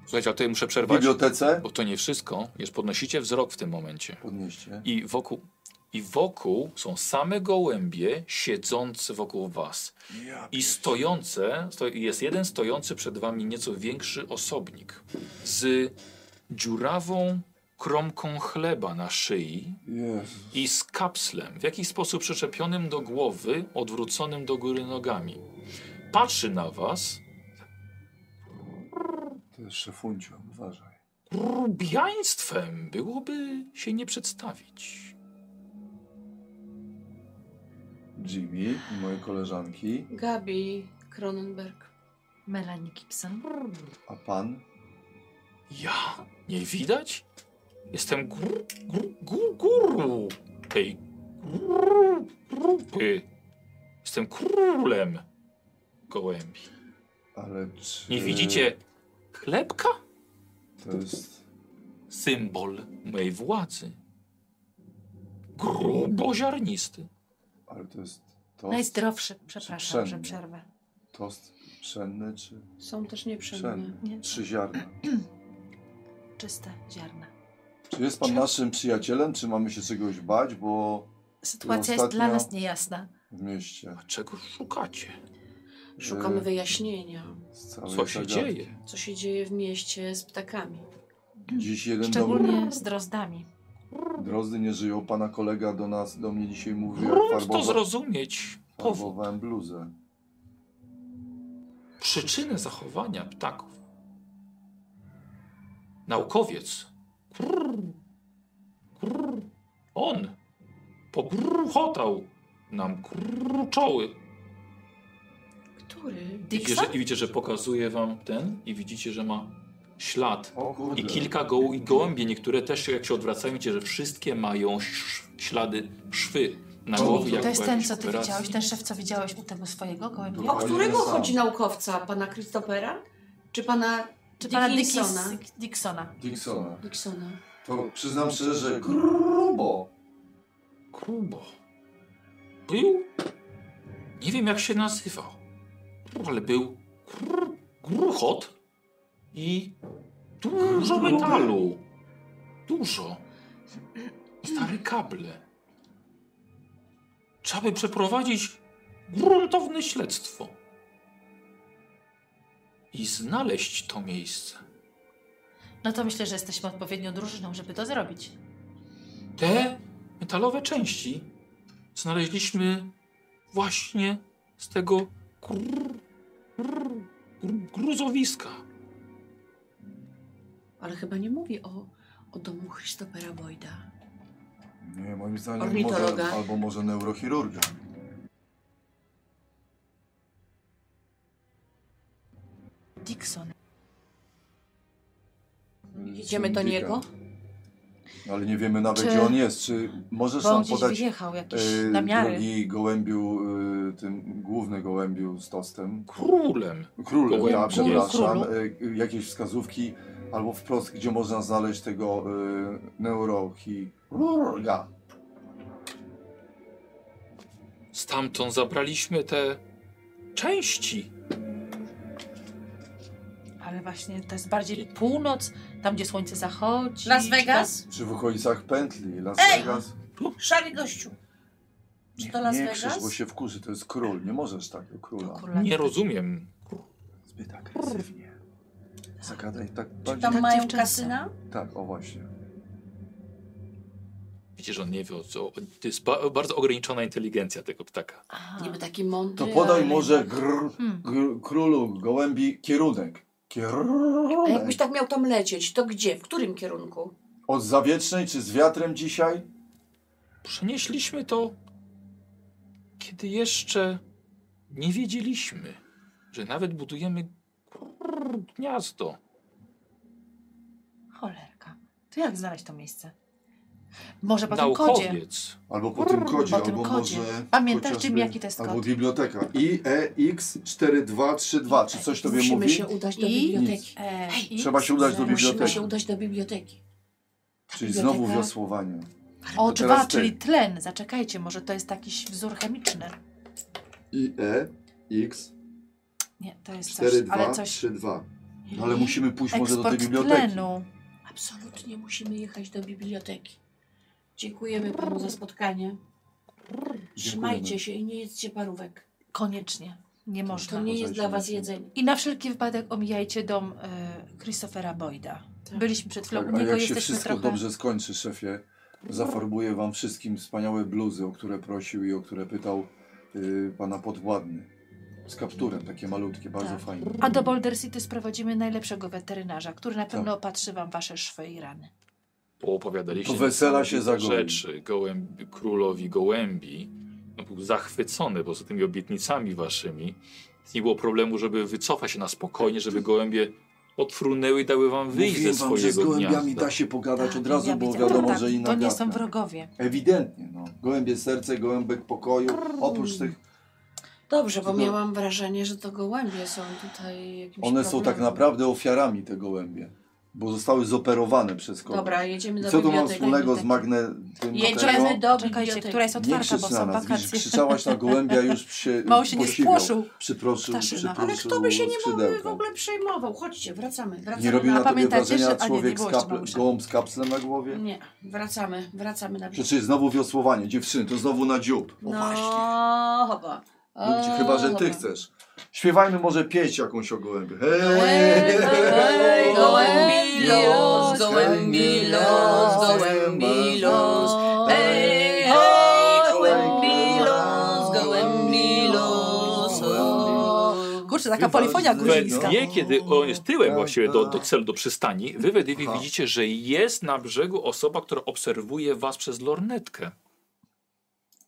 Słuchajcie, ale tutaj muszę
W
przerwać,
bibliotece
bo to nie wszystko, już podnosicie wzrok w tym momencie.
podnieście.
I wokół, I wokół są same gołębie siedzące wokół was. I stojące, sto, jest jeden stojący przed wami nieco większy osobnik z dziurawą kromką chleba na szyi
Jezus.
i z kapslem, w jakiś sposób przyczepionym do głowy, odwróconym do góry nogami. Patrzy na was,
To jest szefuncio, uważaj.
rubiaństwem byłoby się nie przedstawić.
Jimmy i moje koleżanki,
Gabi Cronenberg.
Melanie Gibson.
a pan?
Ja? Nie widać? Jestem guru, guru, guru, guru tej gru- grupy. Jestem królem gołębi.
Ale czy...
Nie widzicie chlebka?
To jest...
Symbol mojej władzy. Gruboziarnisty.
Ale to jest
No
tost,
Najzdrowszy, przepraszam, że
Pszenny.
przerwę.
tost pszenny czy...
Są też nieprzędne.
Pszenny.
Nie.
Trzy ziarna.
Czyste ziarna.
Czy jest pan naszym przyjacielem, czy mamy się czegoś bać, bo
Sytuacja
Ostatnio-
jest dla nas niejasna.
w mieście
A czego szukacie?
Szukamy
Y.
wyjaśnienia,
z całej
Co się
zagadki.
dzieje?
co się dzieje w mieście z ptakami.
Dziś jeden dom...
Szczególnie z drozdami.
Drozdy nie żyją, pana kolega do nas, do mnie dzisiaj mówił, jak
Grunt to
farbowa...
zrozumieć. Powód.
farbowałem bluzę.
przyczynę zachowania ptaków. Naukowiec. Krrr, krrr, on pokruchotał nam krrr, czoły.
Który?
Widzicie
Dixon?
że, I widzicie, że pokazuje wam ten i widzicie, że ma ślad.
O kurde.
I kilka goł, i gołębie, niektóre też się, jak się odwracają, widzicie, że wszystkie mają sz, ślady szwy na
To-
głowie. jak
To jest
po
ten,
jakiejś
co ty
operacji.
widziałeś, ten szef, co widziałeś u tego swojego gołębia?
O którego
Sam.
chodzi naukowca? Pana Christophera? Czy pana
Czy pana
Dickinsona?
Dickinsona? Dixona.
Dixona.
Dixona.
To przyznam szczerze, że grubo.
Kubo. Był. Nie wiem jak się nazywał, ale był gr- gruchot i dużo metalu. Dużo. Stare kable. Trzeba by przeprowadzić gruntowne śledztwo i znaleźć to miejsce.
No to myślę, że jesteśmy odpowiednią drużyną, żeby to zrobić.
Te metalowe części znaleźliśmy właśnie z tego gru, gru, gru, gruzowiska.
Ale chyba nie mówi o, o domu Christophera Boyda.
Nie, moim zdaniem
Ornitologa.
może, albo może neurochirurga.
Dixon.
Idziemy do
Syndyka.
niego?
Ale nie wiemy nawet
Czy-
gdzie on jest. Czy możesz
Bo on
nam
gdzieś
podać
wyjechał, jakieś
e,
namiary.
drogi gołębiu, e, tym główny gołębiu z tostem?
Królem.
Królem,
Gołębiu.
ja przepraszam.
Królu.
E, jakieś wskazówki, albo wprost, gdzie można znaleźć tego y, neurochirurga.
Stamtąd zabraliśmy te części.
Ale właśnie to jest bardziej północ, tam gdzie słońce zachodzi.
Las Vegas?
Czy w okolicach pętli Las
Ej!
Vegas?
Szary gościu. Czy to Las
nie
Vegas?
krzyż, bo się wkurzy, to jest król, nie możesz tak do króla.
Nie rozumiem.
Zbyt agresywnie. Zagadaj tak
Czy
bardziej.
tam
Tak,
mają
dziewczynce.
kasyna?
Tak, o właśnie.
Widzisz, on nie wie o co. To jest ba bardzo ograniczona inteligencja tego ptaka.
Niby tak. taki mądry.
To podaj
ale
może
tak.
gr,
Hmm.
gr, królu gołębi kierunek.
A jakbyś
Kierunek.
tak miał tam lecieć, to gdzie? W którym kierunku?
Od zawiecznej czy z wiatrem dzisiaj?
Przenieśliśmy to, kiedy jeszcze nie wiedzieliśmy, że nawet budujemy gniazdo.
Cholerka. To jak znaleźć to miejsce? Może po tym kodzie.
Naukowiec.
Albo po tym
Brrr,
kodzie,
po tym
albo
kodzie.
może.
Pamiętasz,
chociażby-
Jim, jaki to jest
Albo
kod?
biblioteka. E IEX4232. Czy coś tobie
Musimy
mówi?
się udać do
I-
biblioteki.
E,
Hej,
i-
Trzeba się udać do
Musimy
biblioteki.
się udać do biblioteki. Ta
Czyli znowu
biblioteka-
wiosłowanie.
O,
To teraz
dwa,
ty.
czyli tlen. Zaczekajcie, może to jest jakiś wzór chemiczny. E
IEX4232.
Nie, to jest coś,
E
ale coś...
No ale musimy pójść może do tej
Eksport
biblioteki.
tlenu.
Absolutnie musimy jechać do biblioteki. Dziękujemy panu za spotkanie. Trzymajcie się i nie jedzcie parówek.
Koniecznie. Nie można.
To nie jest dla was jedzenie.
I na wszelki wypadek omijajcie dom e, Christophera Boyda.
Tak.
Byliśmy przed chwilą
Tak,
u
a
niego,
jak się
jesteśmy
wszystko
trochę...
dobrze skończy, szefie, zafarbuję wam wszystkim wspaniałe bluzy, o które prosił i o które pytał y, pana podwładny. Z kapturem, takie malutkie, bardzo
Tak.
fajne.
A do Boulder City sprowadzimy najlepszego weterynarza, który
Tak.
na pewno opatrzy wam wasze szwy i rany.
Opowiadaliście
To wesela się
niesamowite
zagoi.
rzeczy gołębi, królowi gołębi. No, był zachwycony po prostu tymi obietnicami waszymi. Nie było problemu, żeby wycofać się na spokojnie, żeby gołębie odfrunęły i dały wam wyjść
Mówiłem
ze
wam, że z
swojego
gołębiami
gniazda.
da się pogadać Znaczy, od
Tak,
razu,
ja
bo
widziałam,
wiadomo,
tak,
że inna
To nie
gadka.
są wrogowie.
Ewidentnie, no. Gołębie serce, gołębek pokoju. Oprócz tych,
Dobrze, bo
No.
miałam wrażenie, że to gołębie są tutaj jakimś
one są tak
problemem.
naprawdę ofiarami te gołębie, bo zostały zoperowane przez kogoś.
Dobra, jedziemy
I
do
co to ma
biblioteki.
wspólnego z
Tak.
magne... tym tego?
Jedziemy do
Czekajcie,
biblioteki.
która jest
Nie
otwarta,
krzycz
bo
na
są
nas, widzisz,
wakacje.
krzyczałaś na gołębia, już się
(laughs) Mało się nie
posiwiał.
spłoszył.
Przyproszył,
Ptaszyna.
przyproszył
Ale kto by się nie
skrzydełka.
w ogóle przejmował? Chodźcie, wracamy. wracamy
Nie robił na tobie
pamiętacie, że-
wrażenia
a nie, nie
człowiek
było
z
jeszcze
kaple,
Małysia.
gołąb z kapslem na głowie?
Nie, wracamy, wracamy na brzeg.
Przecież znowu wiosłowanie, dziewczyny, to znowu na dziób.
No, chyba.
Lubcie,
O,
chyba, że ty
chyba.
chcesz. Śpiewajmy może pieśń jakąś o gołębie. Hej,
Hej, hej, gołębi los, gołębi los, gołębi los. Hej, hej, gołębi los, gołębi los. o.
Kurczę, taka polifonia
We
We
gruzińska.
Gruzińska.
dnie, kiedy on jest tyłem
Tak,
właściwie do, do
tak.
celu, do przystani, wy we dwie
Aha.
widzicie, że jest na brzegu osoba, która obserwuje was przez lornetkę.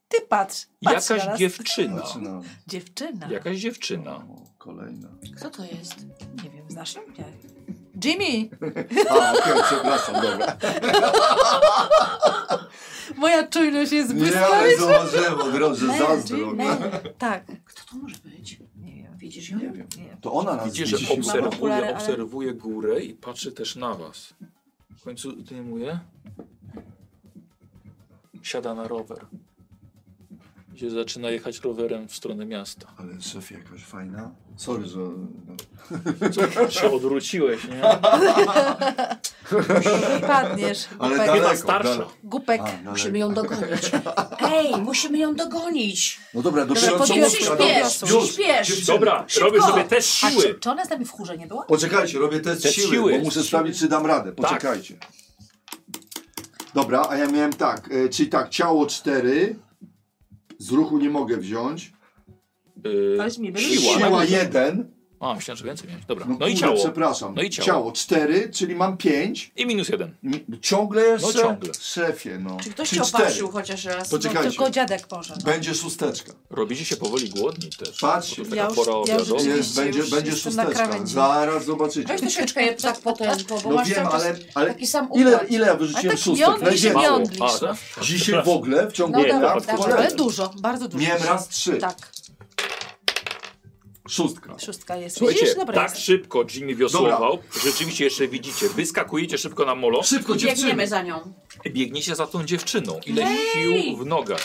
Ty patrz, patrz na
Jakaś
nas.
dziewczyna.
Zaczynamy.
Dziewczyna.
Jakaś dziewczyna.
O, Kolejna.
Kto to jest?
Nie wiem, znasz ją? Nie. Jimmy,
A, okej, przepraszam, dobra.
moja czujność jest
Nie,
błyska.
ale zauważyłem od razu, że
Mel,
zazdro.
Jimmy. Tak.
Kto to może być?
Nie wiem.
Widzisz ją?
Nie wiem.
Nie.
To ona nas
Widzicie, że
widzi.
okulary,
obserwuje,
ale-
obserwuje górę i patrzy też na was. W końcu zdejmuje. Siada na rower. Gdzie zaczyna jechać rowerem w stronę miasta.
Ale szef jakaś fajna. Sorry, że... No.
Co, się odwróciłeś, nie?
Padniesz.
Ale
Gupek.
dalej-
Chyba
Daleko,
starsza.
daleko.
Gupek.
A, no,
Musimy
(laughs)
ją dogonić. Ej, musimy ją dogonić.
no dobra, do
Dobra,
książki.
podniosę,
Dobra,
podniosę.
Przyspiesz,
dobra. Już,
przyspiesz.
dziewczyny.
Dobra,
Szybko!
robię sobie test
A
siły.
czy, czy ona z nami w chórze nie była?
Poczekajcie, robię test,
Test
siły,
siły. Tak.
bo muszę sprawdzić, czy dam radę. Poczekajcie. Dobra, a ja miałem tak, e, czyli tak, ciało 4, z ruchu nie mogę wziąć,
Yy,
Ale mnie byli-
siła.
siła 1,
A, myślałem, że więcej miałeś. Dobra,
no,
no i
kurde,
ciało.
przepraszam,
No i ciało.
ciało 4, czyli mam 5,
I minus jeden.
ciągle jeszcze?
No ciągle.
Szefie, no.
Czy ktoś
Czyli
cię
cztery.
opatrzył chociaż raz?
Poczekaj.
No,
Czekajcie.
tylko dziadek może. No.
Będzie szósteczka,
Robicie się powoli głodni też.
Patrzcie.
Bo to
Ja
taka
już-
pora
ja już
obiadowa.
rzeczywiście-
jest, będzie,
już
będzie
jestem na
szósteczka,
krawędzi.
zaraz zobaczycie.
Weź troszeczkę je tak potem, bo
No
masz
wiem,
cały czas
ale, ale
taki sam
ile,
układ.
ile ja
Ale
wyrzuciłem
tak
szóstek?
jądrzysz,
Najwięcej.
Mało.
jądrzysz.
A, tak?
Dzisiaj w ogóle, w ciągu
No
Nie,
dnia,
dobra,
tak,
tak,
cholera.
ale dużo, bardzo dużo.
Miałem raz trzy.
Tak.
Szóstka.
Szóstka jest.
Słuchajcie,
Widzisz? Dobra,
tak
jest.
szybko Jimmy wiosłował, rzeczywiście jeszcze widzicie, wyskakujecie szybko na molo
Szybko, dziewczyny!
Biegniemy za nią.
i biegniecie za tą dziewczyną. Ile
Jej!
sił w nogach.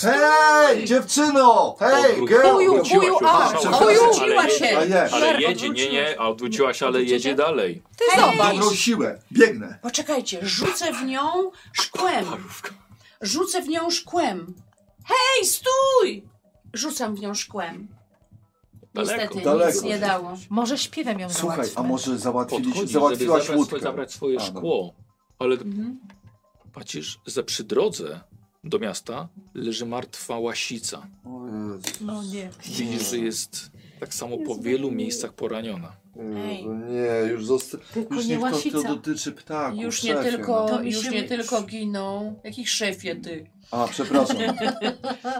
Hej, dziewczyno! Hej,
Odwróć-
girl!
Uju,
Odwróciła
uju,
się,
a,
przepraszam,
uju,
ale
ubiła się.
A nie.
Ale
Żar,
jedzie, nie, nie, a odwróciła się, ale
Odwrócicie?
jedzie dalej.
Ty zobacz.
Dobrą siłę, biegnę.
Poczekajcie, rzucę w nią szkłem. Rzucę w nią szkłem. Hej, stój! Rzucam w nią szkłem.
Daleko.
Niestety nic
Daleko.
nie dało.
Może śpiewem ją
Słuchaj,
załatwmy.
a może załatwili,
Podchodzi, żeby
załatwiłaś
zabrać, swoje-
łódkę?
zabrać swoje
A, no.
szkło, ale
Mhm.
patrzysz, że przy drodze do miasta leży martwa łasica.
O Jezu,
No nie.
Widzisz, że jest tak samo po wielu miejscach poraniona.
Ej.
Nie, już zosta...
Tylko
Już
nie
nie ktoś to
łasica.
dotyczy ptaków,
Już nie
szefie,
tylko,
To mi
no. już
się
nie
wy-
tylko giną. Jakich szefie ty?
No.
(laughs)
A, przepraszam.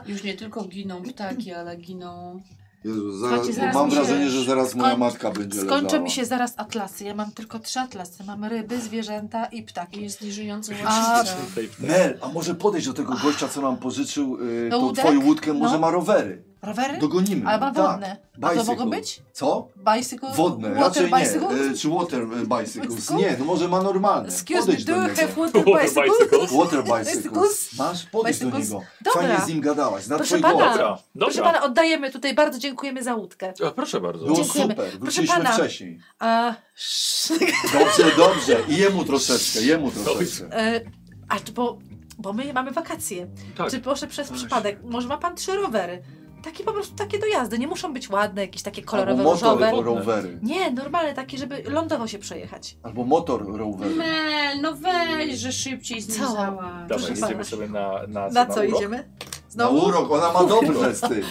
Już nie tylko giną ptaki, ale giną.
Jezu,
Słuchajcie,
zaraz,
zaraz
mam
mi się-
wrażenie, że zaraz moja
skoń-
matka będzie
Skończą
leżała.
mi się zaraz atlasy. Ja mam tylko trzy atlasy. Mam ryby, zwierzęta i ptaki.
Jest nieżyjąca
A-
łasica.
Mel, a może podejść do tego gościa, co nam pożyczył y,
Do
tą
łódek?
twoją łódkę,
No.
może ma rowery.
Rowery?
Dogonimy.
Ale mam
Tak.
wodne. A to
bicycle.
mogą być?
Co?
Bicycle?
Wodne,
Water
raczej
bicycle?
nie. Y, czy water y, bicycles?
Bicycle?
Nie, no może ma normalne.
Excuse me,
Podejdź
do
do
you
niego.
have water
Water
bicycle?
bicycles?
Water
Bicycles?
bicycles. Masz? Podejdź do
Bicycles?
niego.
Dobra.
Fajnie z nim gadałaś, na
Proszę
twój
pana.
głos.
Dobra,
Proszę
dobra.
pana, oddajemy tutaj. Bardzo dziękujemy za łódkę.
A, proszę bardzo.
Było
Dziękujemy.
super,
Proszę
wróciliśmy
pana.
wcześniej.
A, sz-
Dobrze, dobrze. I jemu troszeczkę, jemu troszeczkę.
e, a czy bo, bo my mamy wakacje.
Tak.
Czy proszę przez przypadek, może ma pan trzy rowery? Takie po prostu, takie dojazdy. Nie muszą być ładne, jakieś takie
Albo
kolorowe,
motor
różowe.
ro- rowery.
Nie, normalne takie, żeby lądowo się przejechać.
Albo motor rowery.
Mel, no weź, że szybciej
Co?
zniszczała.
Dawaj,
proszę
jedziemy
pana.
sobie na, na,
Na co
urok?
idziemy?
Na
Znowu?
urok, ona ma dobrze z tym.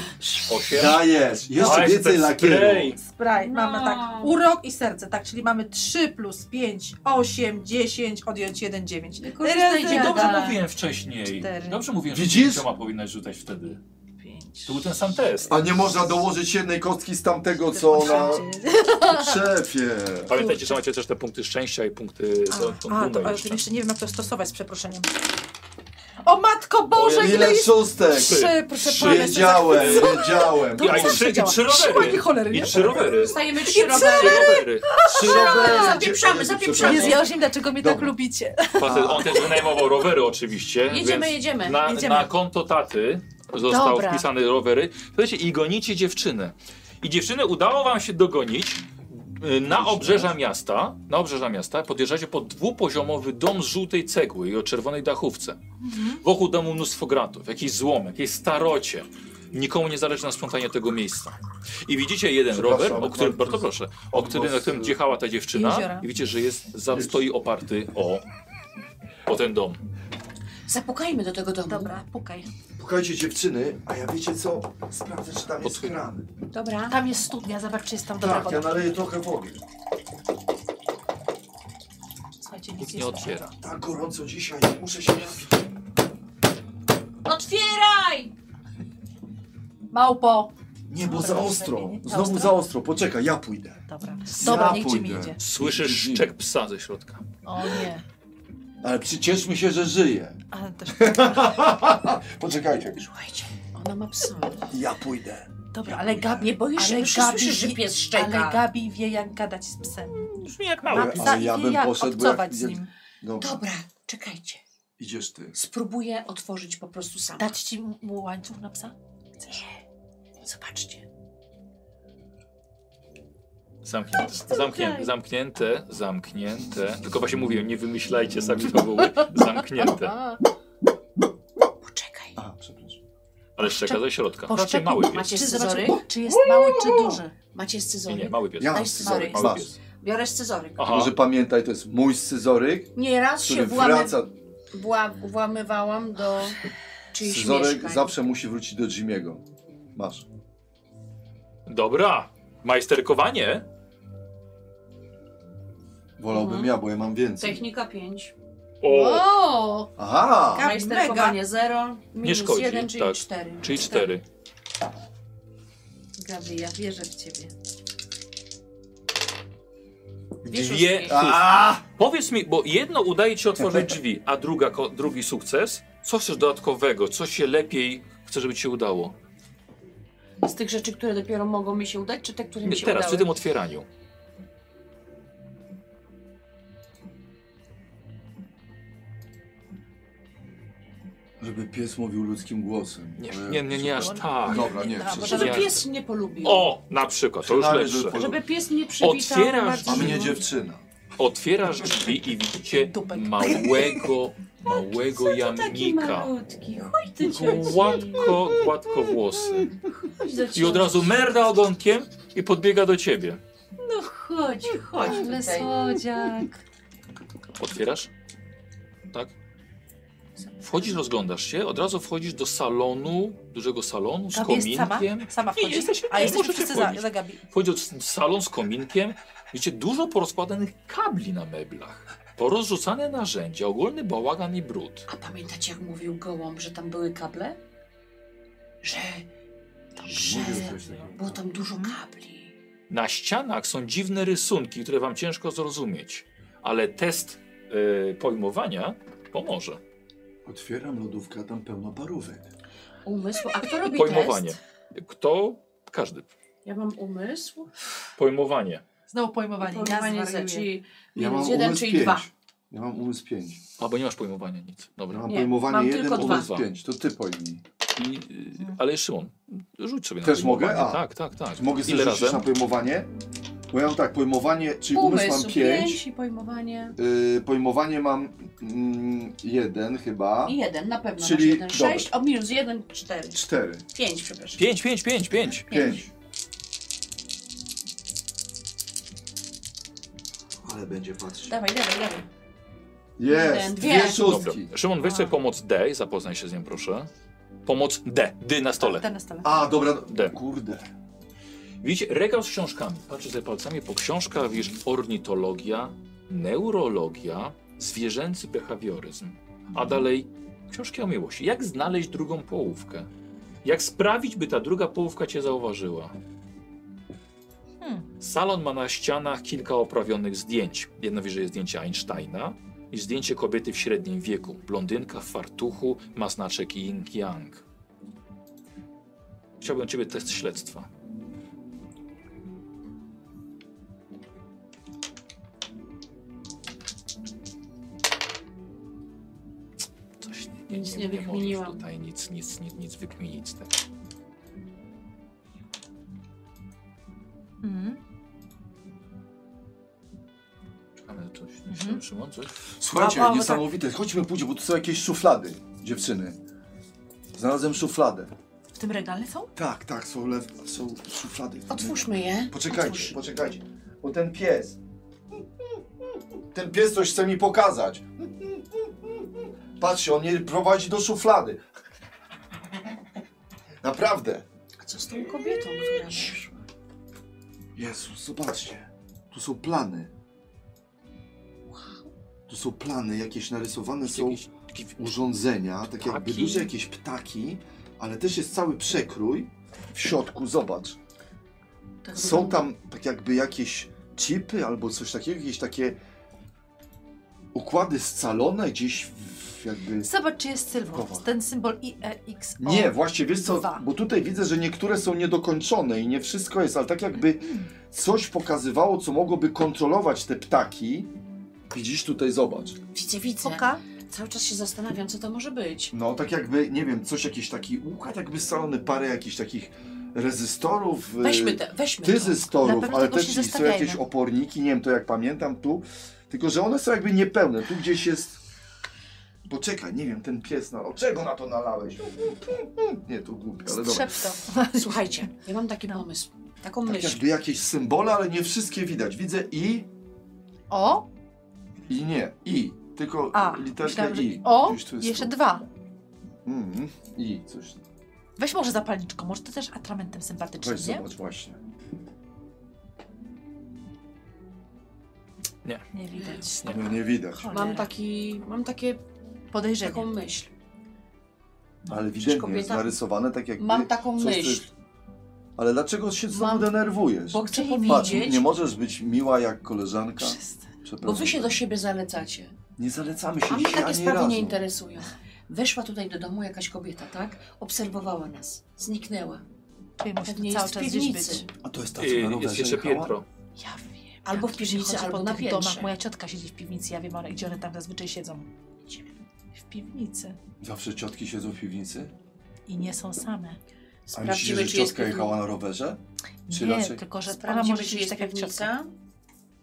Osiem.
Dajesz, jeszcze
Ale
więcej
ten
lakieru.
spray.
Sprite, mamy
No.
tak, urok i serce, tak, czyli mamy 3 plus 5, 8, 10, odjąć 1, 9.
Korzystajcie,
Nie, dobrze
Dobra.
mówiłem wcześniej.
Cztery.
Dobrze mówiłem, że
Widzisz?
pięcioma powinnaś rzucać wtedy.
5.
To był ten sam test.
A nie można dołożyć jednej kostki z tamtego, co ona... Szefie.
Pamiętajcie, że macie też te punkty szczęścia i punkty...
A,
do- do-
a,
do-
to, ale to jeszcze nie wiem, jak to stosować, z przeproszeniem. O matko Boże, ile
Ile
jest
szóstek?
trzy, proszę pana. jestem
Wiedziałem, wiedziałem.
To
A, i
co
trzy, i
powiedziała?
trzy
Trzy
rowery.
ładnie cholery,
I
nie?
trzy rowery.
Stajemy trzy
Trzy
rowery.
rowery.
Trzy rowery.
Zapieprzamy,
za-
zapieprzamy.
Jest Josim, dlaczego mnie tak
Dobra.
lubicie?
Facet, on też wynajmował rowery oczywiście.
Jedziemy,
więc
jedziemy.
Na,
jedziemy.
na konto taty został
Dobra.
wpisany rowery. Słuchajcie, i gonicie dziewczynę. I dziewczynę udało wam się dogonić y, na obrzeża miasta. Na obrzeża miasta podjeżdżacie pod dwupoziomowy dom z żółtej cegły i o czerwonej dachówce. Wokół domu mnóstwo gratów, jakiś złomek, jakieś starocie. Nikomu nie zależy na sprzątanie tego miejsca. I widzicie jeden
Przepraszam,
rower, o którym,
bardzo
bardzo proszę, o którym, na którym jechała ta dziewczyna
Jeziora.
i widzicie, że jest, za- stoi oparty o, o ten dom.
Zapukajmy do tego domu.
Dobra, pukaj.
Słuchajcie dziewczyny, a ja wiecie co? Sprawdzę, czy tam jest
Pod-
kran.
Dobra.
Tam jest studnia, zobacz, czy jest tam dobra
Tak, ja
woda.
naleję trochę wody.
Słuchajcie,
Nikt
nic
nie
jest.
otwiera.
Tak gorąco dzisiaj, muszę się napić.
Otwieraj!
Małpo.
Nie, bo
Dobra,
za
już
ostro.
lepiej, nie? Za
Znowu
ostro?
za ostro. Poczekaj, ja pójdę.
Dobra, dobra, niech ci mi
pójdę.
idzie.
Słyszysz szczek psa ze środka.
O nie.
Ale przycieszmy się, że żyje.
Ale też...
Poczekajcie.
Słuchajcie, ona ma psa.
Ja pójdę.
Dobra, ale Gabi, nie boisz
Ale
że
Gabi słyszysz, że
wie-
pies szczeka.
Ale Gabi wie, jak gadać z psem.
Brzmi jak
Ma
mały.
Ale-
psa
ale ja
i wie,
bym
jak
poszedł, bo jak
obcować z
idzie-
nim.
Dobra,
Dobra, czekajcie.
idziesz ty.
Spróbuję otworzyć po prostu sama.
Dać ci mu łańcuch na psa?
Zobaczcie.
Zamknięte, zamknięte, zamknięte, zamknięte. Tylko właśnie mówiłem, nie wymyślajcie sami fabuły. Zamknięte.
Poczekaj.
A, przepraszam.
Ale szczeka ze środka. Raczej
szczepu-
mały pies.
Macie
Czy
scyzoryk?
zobaczy, czy jest mały, czy duży?
Macie
Nie,
scyzoryk?
nie, mały pies.
Ja mam
Daj
scyzoryk,
scyzoryk.
masz.
pies.
Biorę scyzoryk.
Aha.
Może pamiętaj, to jest mój scyzoryk,
Nieraz się
który
włamy,
wraca.
wła, włamywałam do czyichś
Scyzoryk
mieszkań.
zawsze musi wrócić do Jimiego. Masz.
Dobra. Majsterkowanie.
Wolałbym
Mhm.
ja, bo ja mam więcej.
Technika 5.
O,
O!
Tak,
Aha!
Majsterkowanie 0, minus
szkodzi,
1, czyli
tak.
4.
czyli cztery.
Gabi, ja wierzę w ciebie.
Dwie szóstki.
Dwie
A!
Powiedz mi, bo jedno udaje ci
(laughs)
otworzyć drzwi, a druga, ko, drugi sukces. Co chcesz dodatkowego? Co się lepiej chce, żeby ci się udało?
Z tych rzeczy, które dopiero mogą mi się udać, czy te, które mi
Nie,
się
teraz, przy
udały?
tym otwieraniu.
Żeby pies mówił ludzkim głosem.
Nie,
Ale-
nie, nie, nie aż tak.
Dobra, nie,
No,
przecież-
bo
Żeby
Ja-
pies nie polubił.
O, na przykład, to już
Przynajmniej, żeby
lepsze.
po-
Żeby pies nie przywitał.
Otwierasz
Marcin.
A mnie dziewczyna.
Otwierasz drzwi i widzicie
Dupek.
(laughs)
małego,
Co
małego
ty taki
jamnika.
malutki? Chodź ty cioci.
Gładko, gładko włosy.
Chodź do
I od
cioci.
razu merda ogonkiem i podbiega do ciebie.
No chodź, chodź
Ale
tutaj.
słodziak.
Otwierasz? Tak? Wchodzisz, rozglądasz się, od razu wchodzisz do salonu, dużego salonu z
Gabi jest sama?
kominkiem.
Sama
Nie,
wchodzi.
jesteście-
A
nie,
jesteśmy
możecie
wszyscy za,
wchodzić.
za Gabi.
Wchodzisz w salon z kominkiem, widzicie dużo porozkładanych kabli na meblach, porozrzucane narzędzia, ogólny bałagan i brud.
A pamiętacie, jak mówił Gołąb, że tam były kable? Że... że...
Mówił coś takiego.
Było tam dużo kabli.
Na ścianach są dziwne rysunki, które wam ciężko zrozumieć, ale test y, pojmowania pomoże.
Otwieram lodówkę, a tam pełno parówek.
Umysł? A kto robi
Pojmowanie.
test?
Kto? Każdy.
Ja mam umysł.
Pojmowanie.
Znowu pojmowanie.
Pojmowanie
Ja
za
zwariuję.
ci
Ja
minus
mam
jeden,
umysł
czyli
pięć.
dwa.
Ja mam umysł 5.
Albo nie masz pojmowania, nic.
Ja
Dobra.
mam
Nie,
pojmowanie
mam
jeden,
tylko dwa.
umysł 5. To ty pojmij.
I, y, ale Szymon, rzuć sobie
Też
na pojmowanie.
mogę? A.
Tak, tak, tak.
Mogę sobie
Ile
rzucić
razem?
na pojmowanie? Bo ja mam tak, pojmowanie, czyli umysł,
Umysł
mam 5.
pięć i pojmowanie...
Yy, pojmowanie mam mm, jeden chyba.
I jeden, na pewno
Czyli-
masz jeden.
dobra.
Sześć, o minus jeden, cztery.
Cztery.
Pięć, przepraszam.
Pięć, pięć, pięć, pięć.
Pięć. Ale będzie patrzeć.
Dawaj, dawaj, dawaj.
Jest!
Jeden,
Dwie,
dwie.
Dobra.
szóstki.
Szymon, weź sobie pomoc D i zapoznaj się z nią, proszę. Pomoc D. D na stole.
Ten na stole.
A, dobra.
D.
Kurde.
Widzicie, regał z książkami. Patrzysz sobie palcami po książkach, widzisz ornitologia, neurologia, zwierzęcy behawioryzm.
Mhm.
A dalej książki o miłości. Jak znaleźć drugą połówkę? Jak sprawić, by ta druga połówka cię zauważyła?
Hmm.
Salon ma na ścianach kilka oprawionych zdjęć. Jedno wyżej jest zdjęcie Einsteina i zdjęcie kobiety w średnim wieku. Blondynka w fartuchu ma znaczek yin-yang. Chciałbym ciebie test śledztwa. Coś nie, nie, nie,
Nic nie
nie możesz
wykminiłam.
tutaj nic, nic, nic, nic wykminić. tak? z tego.
Mhm.
Czekamy na coś.
Mhm.
Szymon, coś?
Słuchajcie,
A, a, bo
niesamowite. Chodźmy pójdzie, bo tu są jakieś szuflady, dziewczyny. Znalazłem szufladę.
W tym regale są?
Tak, tak, są, lew... są szuflady.
Otwórzmy je.
Poczekajcie,
Otwórz.
poczekajcie. Bo ten pies. Ten pies coś chce mi pokazać. Patrzcie, on mnie prowadzi do szuflady. Naprawdę.
A co z tą kobietą, która wyszła?
Jezus, zobaczcie. Tu są plany. Tu są plany, jakieś narysowane są
Jakiś- jakiś-
urządzenia, tak jakby
Ptaki.
duże jakieś ptaki, ale też jest cały przekrój. W środku, zobacz.
Tak
Są
wygląda.
tam tak jakby jakieś chipy albo coś takiego, jakieś takie układy scalone gdzieś w, jakby...
Zobacz, czy jest symbol.
Kowal.
Ten symbol E, IEXO.
Nie, właśnie, wiesz co,
dwa.
bo tutaj widzę, że niektóre są niedokończone i nie wszystko jest, ale tak jakby coś pokazywało, co mogłoby kontrolować te ptaki. Widzisz tutaj, zobacz.
Widzę, widzę.
Foka.
Cały czas się zastanawiam, co to może być.
No, tak jakby, nie wiem, coś, jakiś taki układ jakby scalony, parę jakichś takich rezystorów. y,
Weźmy te, weźmy to.
Na
Tyzystorów,
pewno
ale
tego się
też i są
zostawiajmy.
jakieś oporniki, nie wiem, to jak pamiętam tu, tylko że one są jakby niepełne, tu gdzieś jest... Poczekaj, nie wiem, ten pies na... O czego na to nalałeś? Nie, tu głupio, ale dobra.
Strzep to.
Słuchajcie, ja mam
No.
taki pomysł. Taką
Tak
myśl.
jakby jakieś symbole, ale nie wszystkie widać. Widzę i
O,
i nie. I, tylko
a.
literkę
myślałam, że
i.
O,
Gdzieś tu jest
jeszcze
tu.
dwa.
Mhm, I, coś.
Weź może zapalniczką, może to też atramentem sympatycznym,
Weź
nie?
zobacz, właśnie.
Nie widać.
Nie.
No nie widać.
Mam taki, mam takie,
Podejrzenie.
taką myśl.
Ale ewidentnie jest
kobieta-
narysowane tak jak.
Mam taką
coś, co
myśl.
jest- Ale dlaczego się znowu
Mam-
denerwujesz?
Bo chcę
Czyli
Patrz,
powiedzieć,
nie możesz być miła jak koleżanka.
Wszyscy.
Przepraszam.
bo wy się do siebie zalecacie.
Nie zalecamy się
A mnie
dzisiaj
takie
ani
sprawy
razu.
nie interesują. Weszła tutaj do domu jakaś kobieta, tak? Obserwowała nas. Zniknęła.
Czyli musi
Pewnie
tu cały
jest w
czas gdzieś być.
piwnicy.
A to jest ta, co na
I, Y, jest
rowerze
jeszcze
jechała?
piętro.
Ja wiem.
Albo w
Jak
piwnicy,
chodzę
albo
po
na
tych
piętrze.
domach. Moja ciotka siedzi w piwnicy, ja wiem, one- gdzie one tam zazwyczaj siedzą. W piwnicy.
Zawsze ciotki siedzą w piwnicy?
I nie są same.
A myślisz, że
Sprawdzimy, czy jest
ciotka jechała
piwnica.
na rowerze? Czy
nie,
raczej-
tylko że ona
Sprawdzimy,
może
czy
siedzieć
jest
tak jak ciotka.
piwnica.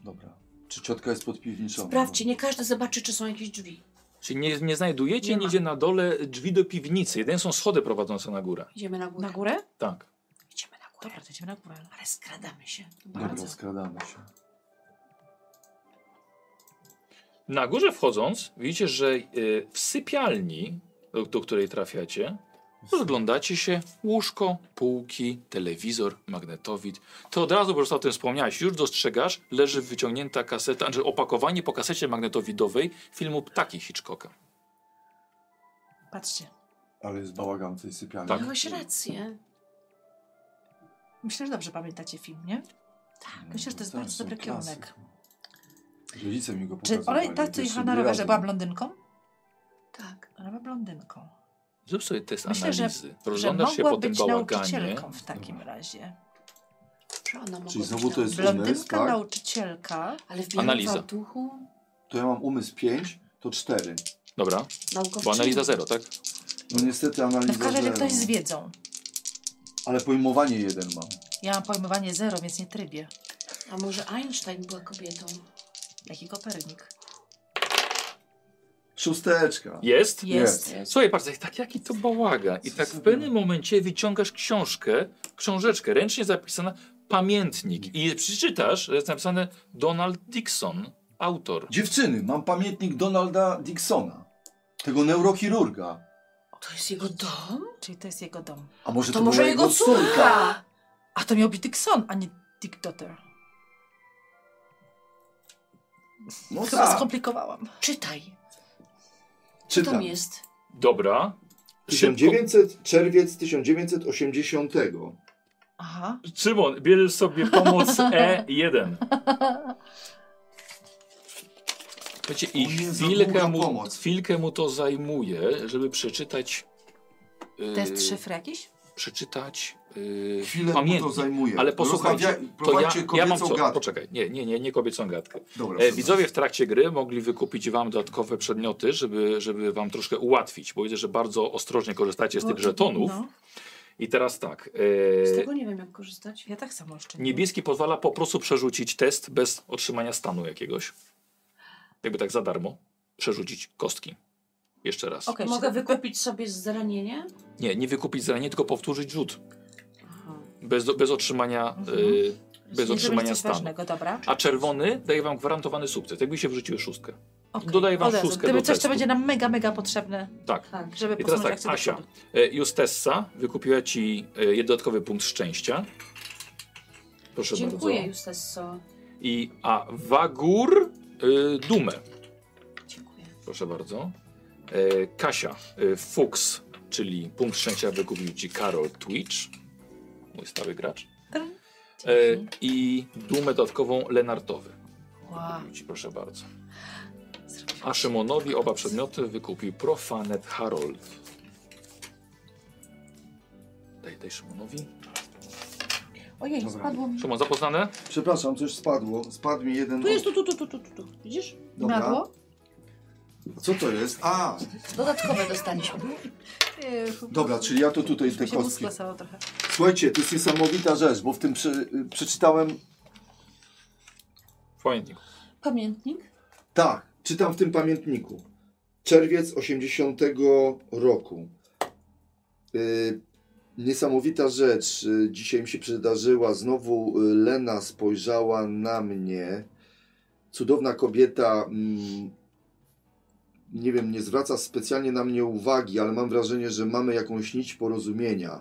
Dobra. Czy ciotka jest pod piwniczą?
Sprawdźcie, nie każdy zobaczy, czy są jakieś drzwi.
Czyli nie, nie znajdujecie
Nie ma.
nigdzie na dole drzwi do piwnicy. Jedyne są schody prowadzące na górę.
Idziemy na górę.
Na górę?
Tak.
Idziemy na górę.
Dobra, to idziemy na górę.
Ale skradamy się. To
No, Dobra,
Bardzo.
skradamy się.
Na górze wchodząc, widzicie, że y, w sypialni, do, do której trafiacie, rozglądacie się, łóżko, półki, telewizor, magnetowid. Ty od razu po prostu o tym wspomniałeś. Już dostrzegasz, leży wyciągnięta kaseta, znaczy opakowanie po kasecie magnetowidowej filmu Ptaki Hitchcocka.
Patrzcie.
Ale jest bałagan w tej sypialni.
Tak.
No,
Miałeś rację.
Myślę, że dobrze pamiętacie film, nie? Tak. Myślę, że to jest
Tak,
bardzo
są
dobry
klasyk.
kierunek.
Rodzice mi go
Czy
pokazywali.
ona, ta, co jechała
pierwszy
na rowerze,
razem.
była blondynką?
Tak.
Ona była blondynką.
Zrób sobie test
Myślę, że-
analizy.
Że
Rozglądasz się
mogła
po tym
być
bałaganie.
nauczycielką w takim razie.
Czy ona mogła
Czyli
być
znowu
tam?
to jest- Umysł,
Blondynka,
tak?
nauczycielka. No
Ale w białym
Analiza.
fartuchu
To ja mam umysł 5, to 4.
Dobra, bo
naukowczyni.
analiza zero, tak?
No niestety
No
analiza
w każdym razie
zero.
ktoś z wiedzą.
Ale pojmowanie jeden mam.
Ja mam pojmowanie zero, więc nie trybię.
A może Einstein była kobietą?
Jaki Kopernik.
Szósteczka.
Jest?
Jest.
Jest.
Słuchaj, patrz, tak, jaki to bałaga. I
Co
tak
za
w pewnym
bałagan.
momencie wyciągasz książkę, książeczkę, ręcznie zapisana, pamiętnik. I przeczytasz, że jest napisane Donald Dixon, autor.
Dziewczyny, mam pamiętnik Donalda Dixona. Tego neurochirurga.
To jest jego dom?
Czyli to jest jego dom.
A może
To,
to,
może
była
jego
córka?
córka?
A to miał być Dixon, a nie Dick Dotter.
No
Chyba
tak.
skomplikowałam.
Czytaj. Co
Czytam.
tam jest?
Dobra. Szybko.
1900, czerwiec 1980.
Aha.
Szymon, bierzesz sobie pomoc
(laughs)
E E1. Wiecie, i
O nie, za
chwilkę
długa
mu,
pomoc.
chwilkę mu to zajmuje, żeby przeczytać. yy,
To jest szyfr jakiś?
Przeczytać. Yy,
Chwilę mu to
pamiętnik.
zajmuje.
Ale posłuchajcie,
Rozmawia-
to ja,
prowadźcie
ja mam
kobiecą
co,
gadkę.
poczekaj, nie, nie, nie, nie kobiecą gadkę.
Dobra,
E,
przepraszam.
widzowie w trakcie gry mogli wykupić wam dodatkowe przedmioty, żeby, żeby wam troszkę ułatwić, bo widzę, że bardzo ostrożnie korzystacie z tych
Bo-
żetonów.
No.
I teraz tak,
Z
e,
tego nie wiem, jak korzystać.
Ja tak samo jeszcze nie.
niebieski pozwala po prostu przerzucić test bez otrzymania stanu jakiegoś. Jakby tak za darmo przerzucić kostki. Jeszcze raz.
Okej,
Mogę
Mogę
wykupić sobie zranienie?
Nie, nie wykupić zranienia, tylko powtórzyć rzut.
Aha.
Bez, bez otrzymania
Mhm.
e, bez
Czyli
otrzymania
zrobić coś
stanu.
ważnego, dobra.
A czerwony daje wam gwarantowany sukces. Jakby się wrzuciły szóstkę.
Okej.
dodaję wam
Od razu.
szóstkę
Gdyby
do
coś,
testu.
to będzie nam mega, mega potrzebne,
Tak.
Tak.
żeby
I teraz
posunąć
tak,
akcję do
Asia.
przodu.
E, Justessa wykupiła ci e, jeden dodatkowy punkt szczęścia. Proszę
Dziękuję,
bardzo.
Justesso.
I a Wagur y, Dumę.
Dziękuję.
Proszę bardzo. E, Kasia y, Fuchs, czyli punkt szczęścia wykupił ci Karol Twitch. Mój stały gracz. E,
Dzięki.
I dumę dodatkową Lenartowy.
Wow.
Kupił ci, proszę bardzo.
Zrobiłam.
A Szymonowi oba przedmioty wykupił Profanet Harold. Daj, daj Szymonowi.
Ojej,
Dobra.
spadło mi.
Szymon, zapoznane?
Przepraszam, coś spadło. Spadł mi jeden...
Tu jest, tu, tu, tu, tu, tu, tu, tu. Widzisz?
Dobra.
Madło?
Co to jest? A,
Dodatkowe dostaliśmy.
dobra, czyli ja to tutaj te
Mi się mózg
kostki.
klasował trochę.
Słuchajcie, to jest niesamowita rzecz, bo w tym prze, y, przeczytałem
Pamiętnik.
Pamiętnik?
Tak, czytam w tym pamiętniku. Czerwiec 80 roku. Yy, niesamowita rzecz yy, dzisiaj mi się przydarzyła. Znowu yy, Lena spojrzała na mnie. Cudowna kobieta. Mm, nie wiem, nie zwraca specjalnie na mnie uwagi, ale mam wrażenie, że mamy jakąś nić porozumienia.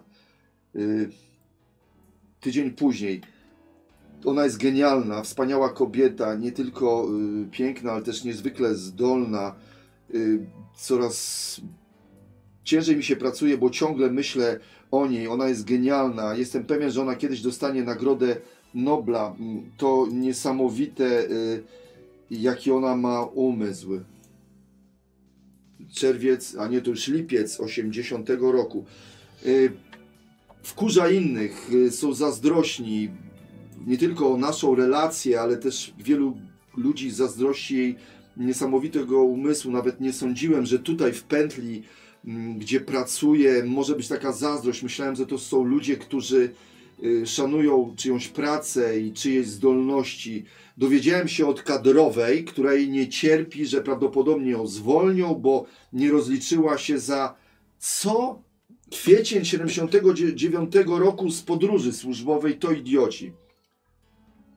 Yy, tydzień później. Ona jest genialna, wspaniała kobieta, nie tylko y, piękna, ale też niezwykle zdolna. Y, coraz ciężej mi się pracuje, bo ciągle myślę o niej. Ona jest genialna. Jestem pewien, że ona kiedyś dostanie nagrodę Nobla. Mm, To niesamowite, y, jaki ona ma umysł. Czerwiec, a nie, to już lipiec 80 roku. Y, wkurza innych, y, są zazdrośni nie tylko o naszą relację, ale też wielu ludzi zazdrości jej niesamowitego umysłu. Nawet nie sądziłem, że tutaj w pętli, mm, gdzie pracuję, może być taka zazdrość. Myślałem, że to są ludzie, którzy y, szanują czyjąś pracę i czyjeś zdolności. Dowiedziałem się od kadrowej, której nie cierpi, że prawdopodobnie ją zwolnią, bo nie rozliczyła się za co? Kwiecień 79 roku z podróży służbowej to idioci.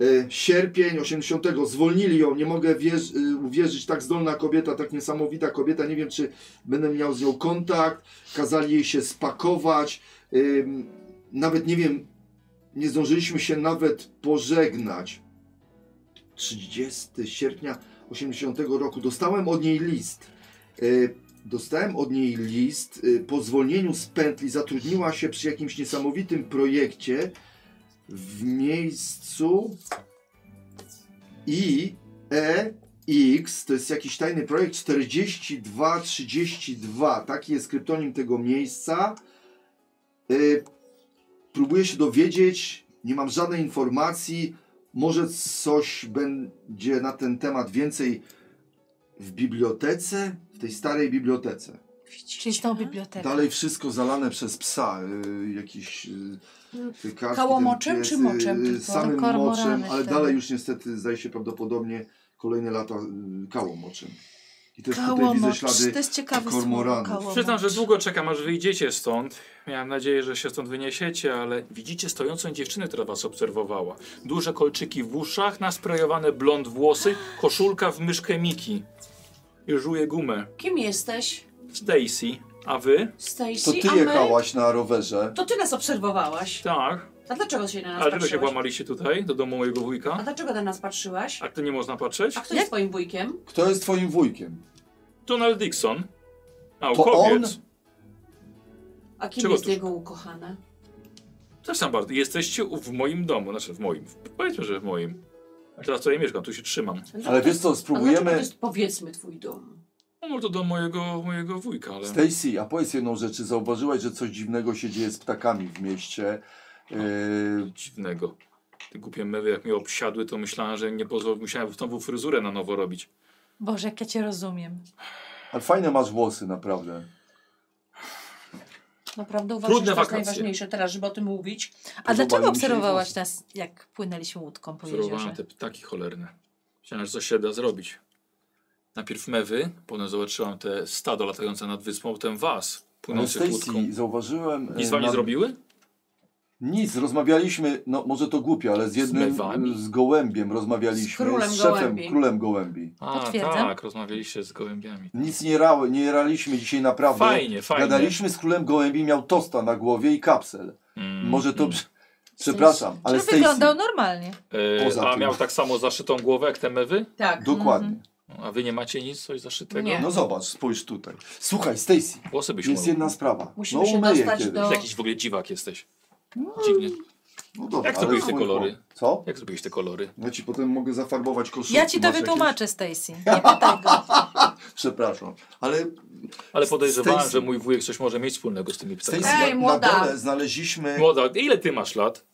Y, Sierpień 80 zwolnili ją, nie mogę wierz- y, uwierzyć, tak zdolna kobieta, tak niesamowita kobieta, nie wiem czy będę miał z nią kontakt, kazali jej się spakować, ym, nawet nie wiem, nie zdążyliśmy się nawet pożegnać. 30 sierpnia 80 roku dostałem od niej list. Y, Dostałem od niej list y, po zwolnieniu z pętli. Zatrudniła się przy jakimś niesamowitym projekcie w miejscu IEX. To jest jakiś tajny projekt 4232. Taki jest kryptonim tego miejsca. Y, Próbuję się dowiedzieć. Nie mam żadnej informacji. Może coś będzie na ten temat więcej w bibliotece, w tej starej bibliotece.
Czyli tą bibliotekę.
Dalej wszystko zalane przez psa, y, jakiś y, te kaczki,
Kałomoczem
ten pies,
czy moczem
y,
tylko?
Samym
Kormorany
moczem, ale
wtedy.
dalej już niestety zdaje się prawdopodobnie kolejne lata y, kałomoczem. I też tutaj widzę
Kałomocz.
ślady
To jest ciekawe
kormoranów.
słowo.
Przyznam, że
kałomocz.
długo czekam, aż wyjdziecie stąd. Miałem nadzieję, że się stąd wyniesiecie, ale widzicie stojącą dziewczynę, która was obserwowała. Duże kolczyki w uszach, nastrojowane blond włosy, koszulka w myszkę Miki. I żuje gumę.
Kim jesteś?
Stacy, a wy?
Stacy?
To ty
A my-
jechałaś na rowerze.
To ty nas obserwowałaś.
Tak.
A dlaczego się na nas
A dlaczego się
patrzyłaś?
włamaliście tutaj, do domu mojego
A
wujka?
dlaczego na nas patrzyłaś?
A to nie można patrzeć?
A kto jest twoim wujkiem?
Kto jest twoim wujkiem?
Donald Dixon.
To on?
Naukowiec.
A kim
Czego
jest
tu-
jego ukochana?
Zresztą bardzo. Jesteście w moim domu, znaczy w moim. Powiedzmy, że w moim. Teraz tutaj mieszkam, tu się trzymam.
Ale wiesz co,
A dlaczego No, to
spróbujemy...
jest, powiedzmy, twój dom?
No może to do mojego, mojego wujka, ale...
Stacy, a powiedz jedną rzecz, czy zauważyłaś, że coś dziwnego się dzieje z ptakami w mieście? Y,
Dziwnego. Te głupie mewy jak mnie obsiadły, to myślałem, że nie pozwolę, musiałem znowu fryzurę na nowo robić.
Boże, jak ja cię rozumiem.
ale fajne masz włosy, naprawdę.
Naprawdę uważasz, że to
Trudne
jest
wakacje.
najważniejsze teraz, żeby o tym mówić?
A dlaczego
mi się
obserwowałaś
włosy.
nas, jak płynęliśmy łódką po
Obserwowałem
jeziorze?
te ptaki cholerne. Myślałem, że coś się da zrobić. Najpierw mewy, potem zobaczyłam te stado latające nad wyspą, potem was,
Ale
płynących łódką.
Stacy, zauważyłem...
Nic
y,
wam nie
na-
zrobiły?
Nic, rozmawialiśmy, no może to głupie, ale z jednym,
mewami?
z, gołębiem rozmawialiśmy,
Z królem
szefem,
gołębi.
królem gołębi.
A,
Potwierdzam.
tak, rozmawialiście z gołębiami.
Nic nie, ra, nie raliśmy dzisiaj naprawdę.
Fajnie, fajnie.
Gadaliśmy z królem gołębi, miał tosta na głowie i kapsel.
Mm,
Może to,
mm.
prze- przepraszam, ale
Czy
Stacy,
wyglądał normalnie?
E,
poza
a
tym.
miał tak samo zaszytą głowę jak te mewy?
Tak.
dokładnie.
A wy nie macie nic coś zaszytego?
Nie.
No zobacz, spójrz tutaj. Słuchaj, Stacy,
Włosy byś
jest
mył.
jedna sprawa.
Musimy
no
się
umyję
dostać
kiedyś.
do-
Jakiś w ogóle dziwak jesteś. Dziwnie.
No dobra,
Jak
ale
zrobiłeś te
spójrz,
kolory?
bo- Co?
Jak zrobiłeś te kolory?
Ja ci potem mogę zafarbować koszulkę.
Ja ci to wytłumaczę, Stacy. Nie pytaj go.
Przepraszam, ale
Ale podejrzewałem,
Stacy.
że mój wujek coś może mieć wspólnego z tymi ptakami.
Stacy,
Ej,
na, na
młoda.
dole znaleźliśmy...
Młoda, ile ty masz lat?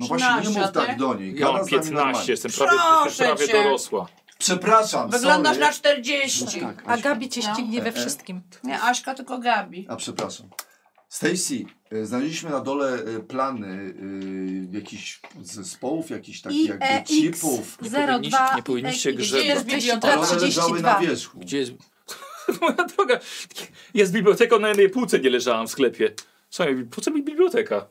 No właśnie, nie
13,
mów tak
ty?
do niej.
Ja
Gada
mam
z nami
15,
normalnie.
jestem prawie,
Proszę
jestem prawie
cię.
dorosła.
Przepraszam,
Mm. Wyglądasz
sorry.
na 40.
Tak,
A
Aśka.
Gabi cię
No.
ścignie we
E, e.
wszystkim.
Nie Aśka, tylko Gabi.
A przepraszam. Stacy, e, znaleźliśmy na dole e, plany e, jakichś zespołów, jakichś takich
e,
E
jakby chipów.
Nie powinniście- nie powinniście
Gdzie jest
Ale
biblioteka?
one leżały na
32.
wierzchu.
Gdzie jest... (laughs) Moja droga, jest biblioteka, na jednej półce nie leżałam w sklepie. Co, mi- po co mi biblioteka?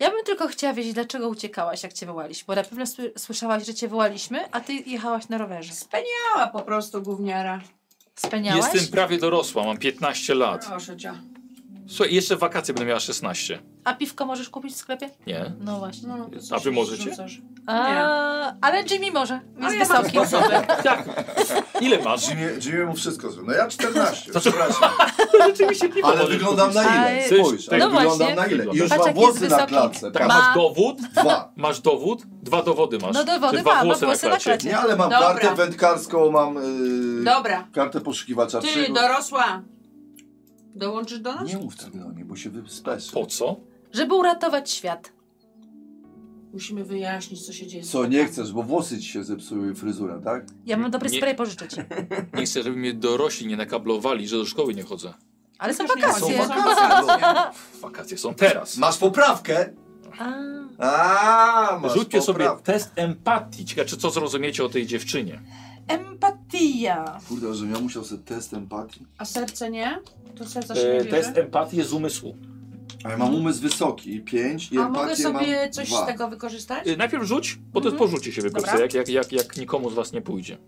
Ja bym tylko chciała wiedzieć, dlaczego uciekałaś, jak cię wołaliśmy. Bo na pewno sły- słyszałaś, że cię wołaliśmy, a ty jechałaś na rowerze.
Speniała po prostu gówniara.
Speniałaś?
Jestem prawie dorosła, mam 15 lat.
Proszę cię.
Słuchaj, jeszcze w wakacje będę miała 16.
A piwko możesz kupić w sklepie?
Nie?
No właśnie.
No, to
A
coś
wy możecie?
rzucasz.
A, ale Jimmy może. Jest
No, Ale ja mam
wysoki.
sposoby.
(laughs)
Ile masz?
Jimmy, Jimmy mu wszystko zrobił. No ja (laughs) 14,
Znaczy-
(laughs) przepraszam.
Rzeczywiście piwo
Ale
możesz
wyglądam na
kupić.
ile?
Ale-
Spójrz,
No
ale wyglądam
właśnie.
na ile? I już
Patrz,
ma
jak jest
włosy na
wysoki.
klatce.
Tak,
Ma-
patrz.
masz dowód?
Dwa.
Masz dowód? Dwa dowody masz.
No dowody
Czy dwa
mam,
włosy,
mam włosy
na
na
klacie.
Nie, ale mam
Dobra.
kartę wędkarską, mam y,
Dobra.
kartę poszukiwacza
Ty,
przygód.
dorosła. Dołączysz do nas?
Nie mów tak do mnie, bo się wyspeszy.
Po co?
Żeby uratować świat.
Musimy wyjaśnić, co się dzieje. z
Co, nie
chłopakami.
chcesz, bo włosy ci się zepsuły, fryzura, tak?
Ja mam dobry
Nie.
spray pożyczyć.
Nie chcę, żeby mnie dorośli nie nakablowali, że do szkoły nie chodzę.
Ale są
Już nie
wakacje.
Są No, wakacje. no.
Wakacje są teraz.
(laughs) Masz poprawkę?
A,
A, masz
Rzućcie sobie
poprawkę.
test empatii. Ciekawe, czy co zrozumiecie o tej dziewczynie.
empatia.
Kurde, że ja musiał sobie test empatii.
A serce nie? To serca się
E,
nie bierze?
test empatii jest z umysłu.
A ja mam umysł wysoki, 5 i
A mogę
empatię mam
sobie coś
dwa.
z tego wykorzystać?
E, najpierw rzuć, bo to jest
Mhm.
porzucie się
Dobra.
wykorzysta, jak, jak, jak, jak nikomu z was nie pójdzie.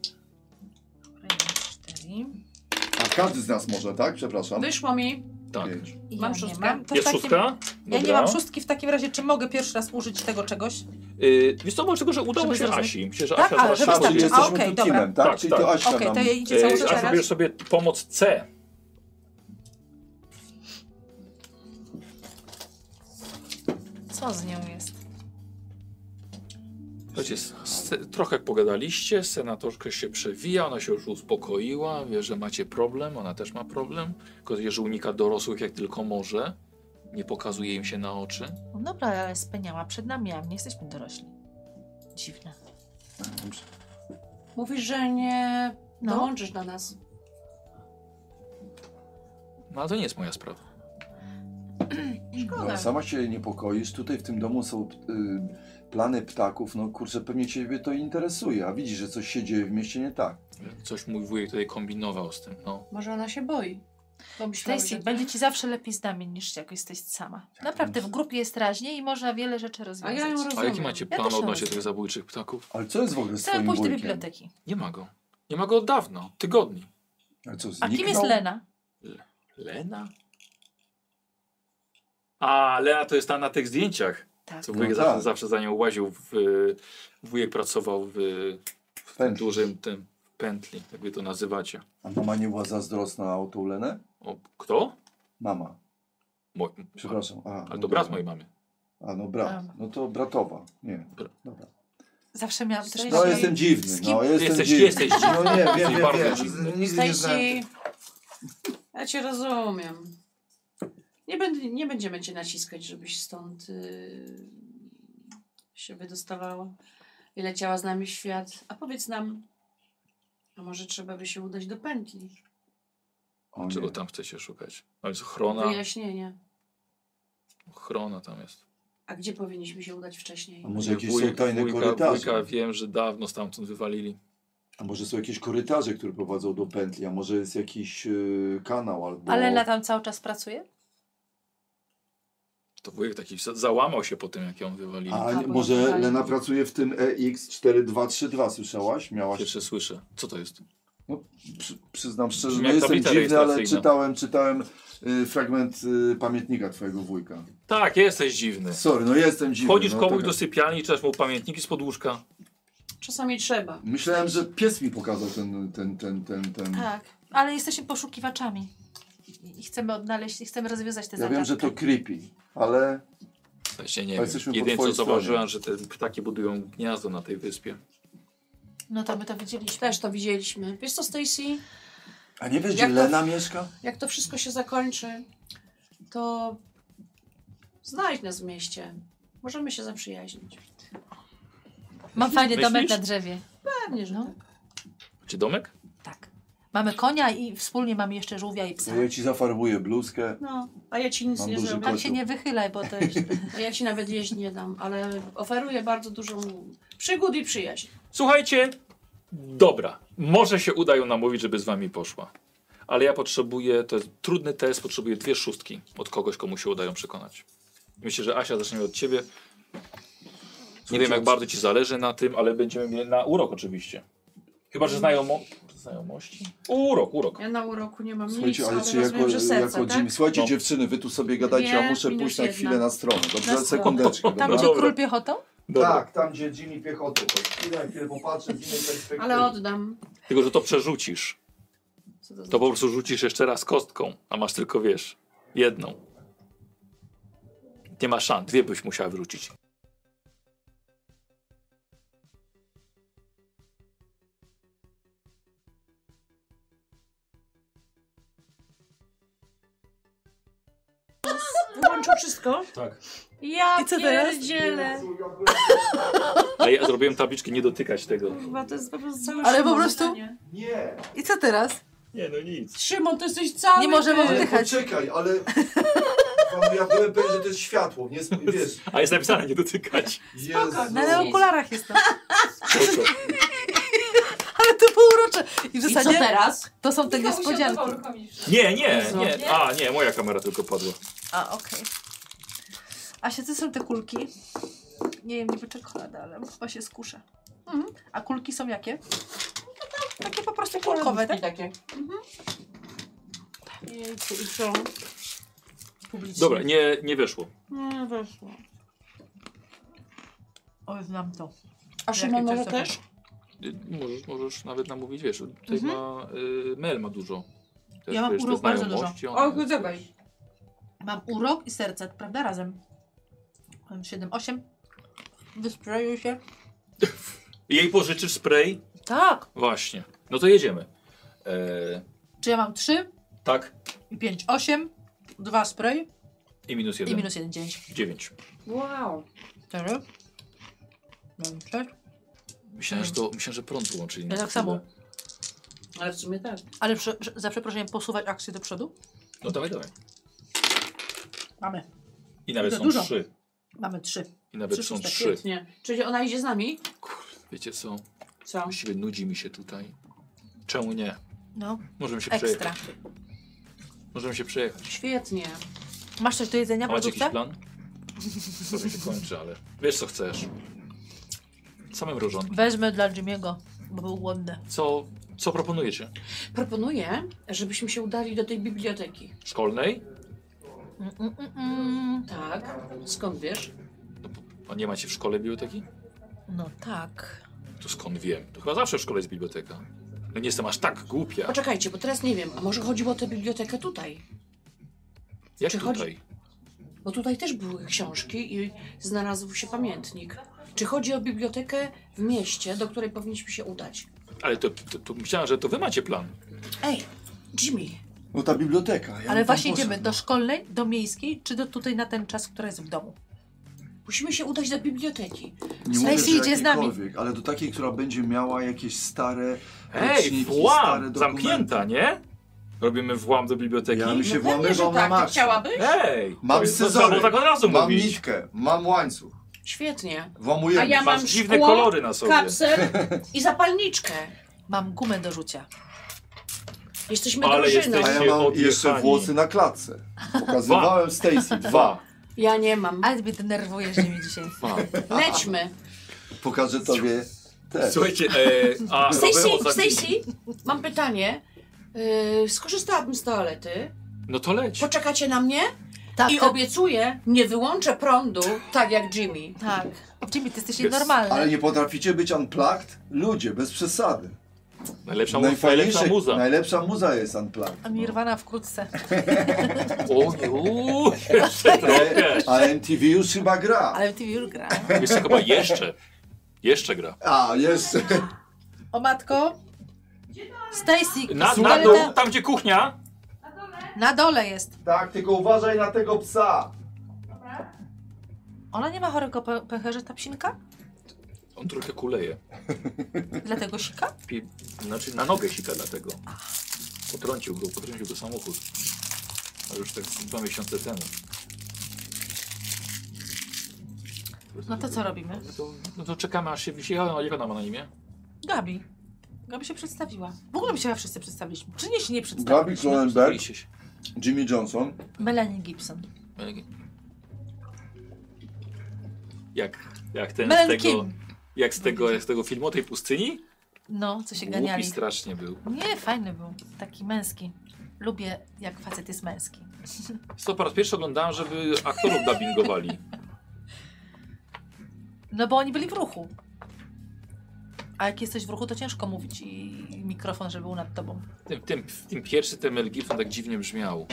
Cztery.
A każdy z nas może, tak? Przepraszam.
Wyszło mi.
Tak.
Pięć.
I
Mam
ja nie
szóstkę.
mam. To w
Jest
takim-
szóstka?
Ja nie
Dobra.
mam szóstki, w takim razie czy mogę pierwszy raz użyć tego czegoś?
Y, Wiesz co, dlatego, że udało
Żeby
się
się rozwi-
Asi. Myślę, że
Tak,
Asia
ale
zaraz
żeby
szybko
Czyli
starczy.
będzie-
A,
jesteśmy
okej,
tu
dobra.
teamem, tak?
Tak,
Czyli
tak.
to Aśka
Okej,
nam...
to jej idzie
E,
cały
co
Asiu,
teraz?
bierz sobie pomoc C.
Co z nią jest?
Słuchajcie, s- s- trochę pogadaliście, senatorka się przewija, ona się już uspokoiła, wie, że macie problem, ona też ma problem, tylko wie, że unika dorosłych jak tylko może, nie pokazuje im się na oczy.
No Dobra, ale speniała przed nami, a my nie jesteśmy dorośli. Dziwne.
Mówisz, że nie
No.
dołączysz do nas.
No ale to nie jest moja sprawa.
No, ale sama się niepokoisz. Tutaj w tym domu są y, plany ptaków. No kurczę, pewnie ciebie to interesuje, a widzisz, że coś się dzieje w mieście nie tak.
Coś mój wujek tutaj kombinował z tym, no.
Może ona się boi. Bo myślały,
Stacy,
że...
będzie ci zawsze lepiej z nami niż jak jesteś sama.
Tak,
Naprawdę w grupie jest raźniej i można wiele rzeczy
A
rozwiązać.
ja ją
A jaki
rozumiem.
macie
Ja
plan
też
odnośnie
rozumiem.
tych zabójczych ptaków?
Ale co jest w ogóle z
Chcemy
twoim
pójść do
wujkiem?
biblioteki.
Nie ma go. Nie ma go od dawna, od tygodni.
Ale co,
A kim jest
zniknął?
Lena?
Lena? A, Lena to jest ta na tych zdjęciach,
Tak.
co wujek
No
zawsze,
tak.
zawsze za nią łaził. W, y, wujek pracował w... y,
W pętli.
dużym tym pętli, jak wy to nazywacie.
A mama nie była zazdrosna o tą Lenę?
O, kto?
Mama.
Mo-
Przepraszam. A,
ale to
no
brat
dobra.
mojej mamy.
A no brat.
A.
No to bratowa. Nie.
Bra-
Dobra.
Zawsze miałam też...
Stacy-
No
takie-
jestem
Z
dziwny.
kim-
No jestem
Jesteś-
dziwny.
jesteś dziwny.
No nie, wiem, wiem,
bardzo
wiem.
dziwny.
Z- Nigdy nie znałem.
Stacy, ja cię rozumiem. Nie, będę, nie będziemy cię naciskać, żebyś stąd y, się wydostawała i leciała z nami w świat. A powiedz nam, a może trzeba by się udać do pętli?
O nie.
Czego tam chcecie szukać? Tam jest ochrona,
Wyjaśnienie.
ochrona tam jest.
A gdzie powinniśmy się udać wcześniej?
A może jakieś są
tak? Wujek-
tajne
wujka-
korytarze?
Wujka wiem, że dawno stamtąd wywalili.
A może są jakieś korytarze, które prowadzą do pętli, a może jest jakiś y, kanał albo...
A Lena tam cały czas pracuje?
To wujek taki za- załamał się po tym, jak ją wywalili.
A
Albo
nie, może
lokal.
Lena pracuje w tym E EX4232, słyszałaś? Miałaś?
Pierwsze słyszę. Co to jest?
Przy, przyznam szczerze,
Brzmi
no
jak
jestem
tablica
dziwny, ale
rejestracyjna.
czytałem, czytałem y, fragment y, pamiętnika twojego wujka.
Tak, jesteś dziwny.
Sorry, no jestem dziwny.
Chodzisz
no,
komuś
tak.
do sypialni, czytasz mu pamiętniki spod łóżka.
Czasami trzeba.
Myślałem, że pies mi pokazał ten, ten, ten, ten, ten.
Tak. Ale jesteśmy poszukiwaczami. I i chcemy odnaleźć, i chcemy rozwiązać te
Ja
zagadki.
wiem, że to creepy, ale
W sensie nie
Ale
wiem.
jesteśmy po
Jedyne co
twojej stronie.
zauważyłem, że te ptaki budują gniazdo na tej wyspie.
No to my to widzieliśmy.
Też to widzieliśmy. Wiesz co, Stacy?
A nie
Jak
wiesz, gdzie
to-
Lena mieszka?
Jak to wszystko się zakończy, to znajdź nas w mieście. Możemy się zaprzyjaźnić.
Mam fajny
Myślisz?
domek na drzewie.
Pewnie, że
No.
tak.
Czy domek?
Tak. Mamy konia i wspólnie mamy jeszcze żółwia i
Tak.
psa.
Ja ci zafarbuję bluzkę.
No, a ja ci nic
Mam
nie
duży
zrobię.
Tak się nie wychylaj, bo to jest...
A Ja ci nawet jeść nie dam, ale oferuję bardzo dużo przygód i przyjaźń.
Słuchajcie, dobra, może się uda ją namówić, żeby z wami poszła. Ale ja potrzebuję, to jest trudny test, potrzebuję dwie szóstki od kogoś, komu się uda ją przekonać. Myślę, że Asia zaczniemy od ciebie. Nie wiem, jak bardzo ci zależy na tym, ale będziemy mieli na urok oczywiście. Chyba, że znajomo... znajomości? Urok, urok.
Ja na uroku nie mam
Słuchajcie,
nic,
ale
ale
czy
rozumiem,
jako,
że serce,
jako
tak?
Jimmy. Słuchajcie,
No.
dziewczyny, wy tu sobie gadajcie,
Dwie
ja muszę
minus
pójść na
jedna.
chwilę na stronę.
Na
Dobrze,
stronę.
sekundeczkę.
Tam,
No Dobra. Tak,
gdzie
Dobra.
król piechotą?
Dobra.
tam gdzie Jimmy piechotę. To chwilę, chwilę popatrzę z innej perspektywy.
Ale oddam.
Tylko, że to przerzucisz.
Co to
To
znaczy?
po prostu rzucisz jeszcze raz kostką, a masz tylko, wiesz, jedną. Nie ma szans, dwie byś musiała wyrzucić.
skończył wszystko?
Tak.
Ja
I co teraz?
pierdzielę.
A ja zrobiłem tabliczki nie dotykać tego.
Chyba to jest po prostu całe
Ale po
Szymon
prostu-
zadanie.
I co teraz?
Nie, no nic.
Szymon, to jesteś cały
Nie możemy
ty.
Ale
oddychać.
poczekaj, ale... Pan, ja byłem pewien, że to jest światło, nie? Sp- Wiesz,
A jest napisane nie dotykać.
Jezu.
No, ale na okularach jest to.
Spoko.
Ale to było urocze. I w
I co
zasadzie
teraz? tak
to są te
Tylko musiał to
niespodzianki.
uruchomić wszystko.
Nie, nie, nie. A, nie, moja kamera tylko padła.
A, okej. A się co są te kulki? Nie wiem, niby czekolada, ale chyba się skuszę. Mhm. A kulki są jakie? Takie po prostu kulkowe, tak?
takie.
Jejku, i co? Publicznie.
Dobra, nie, nie wyszło.
Nie weszło.
O, znam to.
A
Jakie
Szymon może
to są?
też?
Y, Możesz, możesz nawet namówić, wiesz, tutaj
Mhm.
ma, y, Mel ma dużo. Też,
Ja mam
wiesz, te
urok bardzo dużo.
znajomości, ona-
O, zobacz.
Mam urok i serce, prawda? Razem. Mam 7, 8. Wysprajuj się.
Jej pożyczysz spray?
Tak.
Właśnie. No to jedziemy. E,
Czy ja mam 3,
tak
5, 8, 2 spray
i minus
i
jeden.
minus 1, 9.
Dziewięć.
Wow.
4. Mam 6.
Myślałem, że to, myślałem, że prąd łączyli.
Ja tak samo.
Ale w sumie tak.
Ale prze, za przeproszeniem posuwać akcję do przodu?
No dawaj, dawaj.
Mamy.
I nawet
To
są
dużo.
trzy.
Mamy 3.
I nawet
Trzy
są
szóstek,
trzy.
Świetnie. Czyli ona idzie z nami?
Wiecie co?
Co?
Właściwie nudzi mi się tutaj. Czemu nie?
No,
Możemy się przejechać.
ekstra.
Możemy się przejechać.
Świetnie.
Masz coś do jedzenia,
A macie jakiś
produkcja?
plan? To mi się kończy, ale wiesz co chcesz. Samym różonkiem.
Weźmy dla Jimmy'ego, bo był głodny.
Co, co proponujecie?
Proponuję, żebyśmy się udali do tej biblioteki.
Szkolnej?
Mm, mm, mm, mm.
Tak. Skąd wiesz?
A No nie macie w szkole biblioteki?
No tak.
To skąd wiem? To chyba zawsze w szkole jest biblioteka. No nie jestem aż tak głupia.
Poczekajcie, bo teraz nie wiem, a może chodziło o tę bibliotekę tutaj?
Jak
czy
tutaj?
chodzi- Bo tutaj też były książki i znalazł się pamiętnik. Czy chodzi o bibliotekę w mieście, do której powinniśmy się udać?
Ale to, to, to myślałem, że to wy macie plan.
Ej, Jimmy,
No ta biblioteka. Ja bym
Ale
tam
właśnie
poszedł.
idziemy
no.
do szkolnej, do miejskiej, czy do tutaj na ten czas, która jest w domu?
musimy się udać do biblioteki.
Nie
Stacy
że
idzie z nami.
jakiejkolwiek, Ale do takiej, która będzie miała jakieś stare
Ej,
roczniki,
włam!
dokumenty.
Zamknięta, nie? Robimy włam do biblioteki.
Ja bym się
Pewnie, że
włamywał na
tak, ty
masz.
chciałabyś?
Ej!
Mam
to jest-
scyzory.
To, trzeba było tak od razu
Mam
mówić.
nitkę, mam łańcuch.
Świetnie.
Włamujemy.
A ja mam
Masz dziwne
szkło,
kolory na sobie. (laughs)
Kapsel i zapalniczkę.
Mam gumę do rzucia.
Jesteśmy
Ale
drużyną.
A ja
Jesteście
mam
odjechani.
jeszcze włosy na klatce. Pokazywałem Stacy, dwa.
Ja nie mam.
Ale mnie denerwujesz Jimmy
(laughs)
dzisiaj.
A.
Lećmy.
Pokażę tobie też.
Słuchajcie, e, a
Stacy,
Robeo za-
Stacy, mam pytanie. Yy, skorzystałabym z toalety.
No to leć.
Poczekacie na mnie?
Tak,
I
tak,
obiecuję, nie wyłączę prądu tak jak Jimmy.
tak. Jimmy, ty
Jest.
jesteś nienormalny.
Ale nie potraficie być unplugged? Ludzie, bez przesady.
Najlepsza, mu- najlepsza
Najfajniejsze,
muza.
najlepsza muza jest unplugged.
A Mirwana wkrótce.
O nie, uuu, jeszcze trochę.
A MTV już chyba gra.
Ale ty już gra.
Jeszcze chyba jeszcze. Jeszcze gra.
A, jeszcze.
O matko.
Na,
Stacy,
na
toaleta-
dół, tam gdzie kuchnia.
na dole jest.
Tak, tylko uważaj na tego psa.
Ona nie ma chorego pę- pęcherza, ta psinka?
On trochę kuleje.
Dlatego sika?
Pi- Znaczy na nogę sika dlatego. Potrącił go, potrącił go samochód. Ale już tak dwa miesiące temu.
No to co robimy?
No to, no to czekamy aż się wisi. Jak ona- jak ona ma na imię?
Gabi. Gabi się przedstawiła. W ogóle my się chyba wszyscy przedstawiliśmy. Czy nie się nie
Gabi
przedstawiliśmy?
Tak.
Cronenberg,
Zabiliście się.
Jimmy Johnson.
Melanie Gibson.
Jak, jak ten z
Mel
tego,
Kim.
jak z tego, jak z tego filmu o tej pustyni?
No, co się
Głupi
ganiali.
strasznie był.
Nie, fajny był. Taki męski. Lubię, jak facet jest męski.
To po raz pierwszy oglądałem, żeby aktorów dubbingowali.
No bo oni byli w ruchu. A jak jesteś w ruchu, to ciężko mówić i i mikrofon, żeby był nad tobą.
Tym, tym, tym pierwszy, ten Mel Gibson tak dziwnie brzmiał.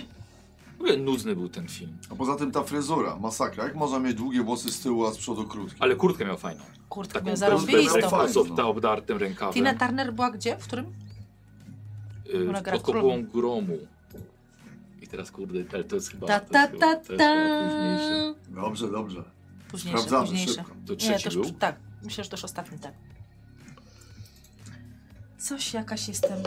W ogóle nudny był ten film.
A poza tym ta fryzura, masakra. Jak można mieć długie włosy z tyłu, a z przodu krótkie?
Ale kurtkę miał fajną.
Kurtkę
Taką
miał
bez
to.
zarąbistą.
fajną.
softa obdartym rękawem.
Tina Turner była gdzie? W którym?
y,
Ona gra
pod
królową.
kopułą gromu. I I teraz kurde, ale to jest chyba.
Ta,
to
ta,
jest chyba-
ta,
to
ta.
jest chyba późniejsze.
Dobrze, dobrze.
Późniejsze,
Sprawdzamy
późniejsze.
szybko.
To
Nie,
trzeci
też,
był.
tak. Myślę, że też ostatni, tak. Coś jakaś jestem,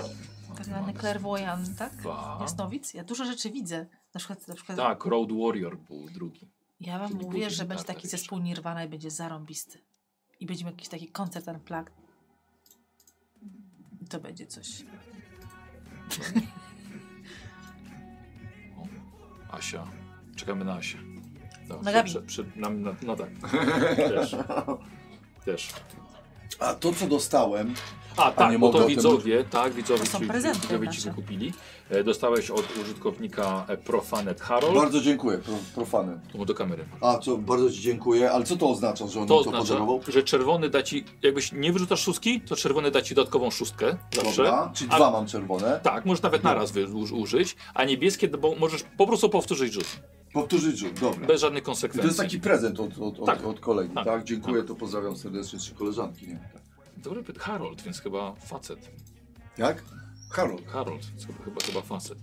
tak zwany clairvoyant, tak?
Dwa.
Jasnowic? Ja dużo rzeczy widzę. Na przykład, na przykład
Tak, Road Warrior był drugi.
ja wam
czyli
mówię,
Guzin
że będzie
Carter
taki
jeszcze.
zespół Nirvana i będzie zarąbisty. I będziemy jakiś taki koncert unplugged. I to będzie coś.
O, Asia. Czekamy na Asię. No,
Na Gabi.
przy- przy- na, na, no
(laughs)
tak. Też. Też.
A to, co dostałem,
A tak,
nie
bo
mogę o
to
tym
widzowie, tak, widzowie,
To są
ci,
prezenty
widzowie ci
nasze.
wykupili. E, Dostałeś od użytkownika e, Profanet Harold.
bardzo dziękuję, pro, profany.
Tu mu do kamery.
A, co, bardzo Ci dziękuję, ale co to oznacza, że on
To
to, to
oznacza,
podarował?
że czerwony da ci, jakbyś nie wyrzucasz szóstki, to czerwony da ci dodatkową szóstkę zawsze.
Dobra, czyli
A-
dwa No. mam czerwone.
Tak, możesz nawet naraz wy- uż- użyć, a niebieskie, no bo możesz po prostu powtórzyć rzut,
Powtórzyć rzut, dobra.
bez żadnych
I to jest
konsekwencji.
taki prezent od, od, od,
Tak.
od kolegi,
Tak.
tak? Dziękuję, to pozdrawiam serdecznie trzy koleżanki, nie? Tak.
Dobry pyt- Harold, więc chyba facet.
Jak? Karol.
Harold, więc chyba, chyba, chyba facet.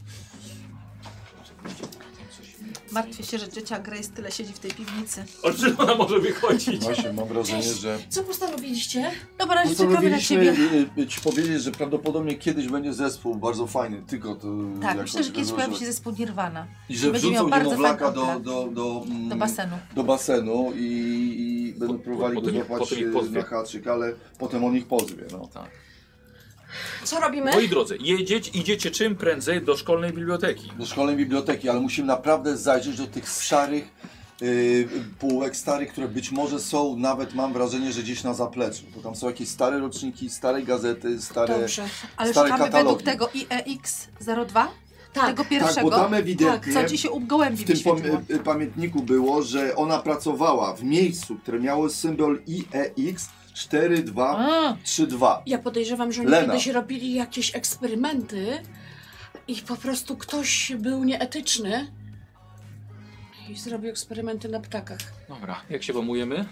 Martwię się, że ciocia Grace tyle siedzi w tej piwnicy.
O czym ona może wychodzić?
No Właśnie, mam wrażenie,
Cześć.
że...
Co postanowiliście?
No
Dobra, razie czekamy na
Postanowiliśmy
ciebie.
y, y, ci powiedzieć, że prawdopodobnie kiedyś będzie zespół bardzo fajny, tylko to...
Tak,
jakoś
myślę, że kiedyś pojawi się
wyłożyłeś.
zespół Nirvana.
I że
będzie miał
wrzucą
bardzo
niemowlaka
fajny
do,
plan.
do, do, mm,
Do basenu.
do basenu i, i będą
po-
próbowali
po
go
tym ich- po
złapać
tym ich
y,
pozwie.
na haczyk, ale potem on ich pozwie, no.
Co robimy?
Moi drodzy, jedziecie, idziecie czym prędzej do szkolnej biblioteki.
Do szkolnej biblioteki, ale musimy naprawdę zajrzeć do tych szarych y, półek starych, które być może są nawet, mam wrażenie, że gdzieś na zapleczu, bo tam są jakieś stare roczniki, stare gazety, stare...
Dobrze.
Ale
Stare
szukamy
katalogi.
według tego
E
IEX02,
Tak.
tego
Tak, bo
pierwszego,
tam ewidentnie...
co ci się
w
obgołębi
tym
wyświetliło.
pom- y, pamiętniku było, że ona pracowała w miejscu, które miało symbol E IEX 4232.
A,
Ja podejrzewam, że oni
Lena.
kiedyś robili jakieś eksperymenty i po prostu ktoś był nieetyczny i zrobił eksperymenty na ptakach.
Dobra, jak się łamujemy?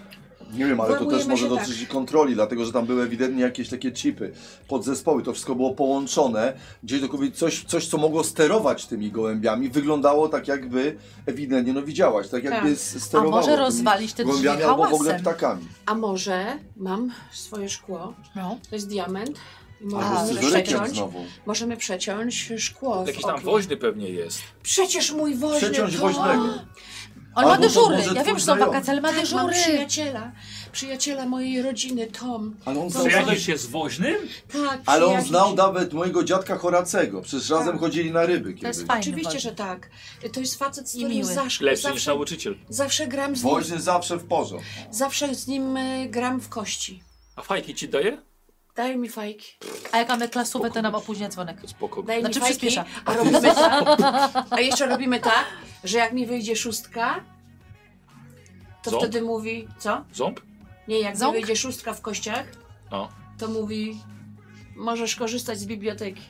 Nie wiem, ale to
Zajmujemy
też może
się
dotyczyć kontroli, dlatego że tam były ewidentnie jakieś takie chipy, podzespoły, to wszystko było połączone, gdzieś dokładnie coś, coś, co mogło sterować tymi gołębiami, wyglądało tak jakby ewidentnie, no widziałaś, tak jakby
Tak.
s- sterowało
może
tymi
rozwalić te drzwi
gołębiami albo w ogóle
hałasem.
ptakami.
A może mam swoje szkło,
no.
to jest diament i
Albo
A,
z
możemy
scyzorykiem
przeciąć,
znowu.
możemy przeciąć szkło w
Jakiś tam
oknie.
woźny pewnie jest.
Przecież mój woźny
Przeciąć
to...
woźnego.
On
Albo
ma
to
dyżury,
może
ja
twój
wiem, że są
znajomy.
wakacje, ale ma
Tak, mam
dyżury.
przyjaciela, przyjaciela mojej rodziny, Tom.
Ale
No,
on znał,
Przyjaźnisz się z woźnym?
Tak,
ale on
przyjaźni
znał
się.
nawet mojego dziadka Horacego, przecież razem chodzili na ryby
To
kiedyś.
jest fajne.
Oczywiście, że tak. To jest facet, z
I
którym
miły.
zawsze,
Lepszy niż
zawsze,
nauczyciel.
zawsze gram z nim
Woźny zawsze w porządku.
Zawsze z nim y, gram w kości.
A fajki ci daje?
Daje mi fajki.
A jak mamy klasówę, to nam opóźnia dzwonek.
To spoko.
Daje
Znaczy
mi fajki.
przyspiesza.
A, robimy tak, a jeszcze robimy tak, że jak mi wyjdzie szóstka, to
Ząb?
wtedy mówi. Co?
Ząb?
Nie, jak
Ząb?
mi wyjdzie szóstka w kościach,
O.
to mówi. Możesz korzystać z biblioteki.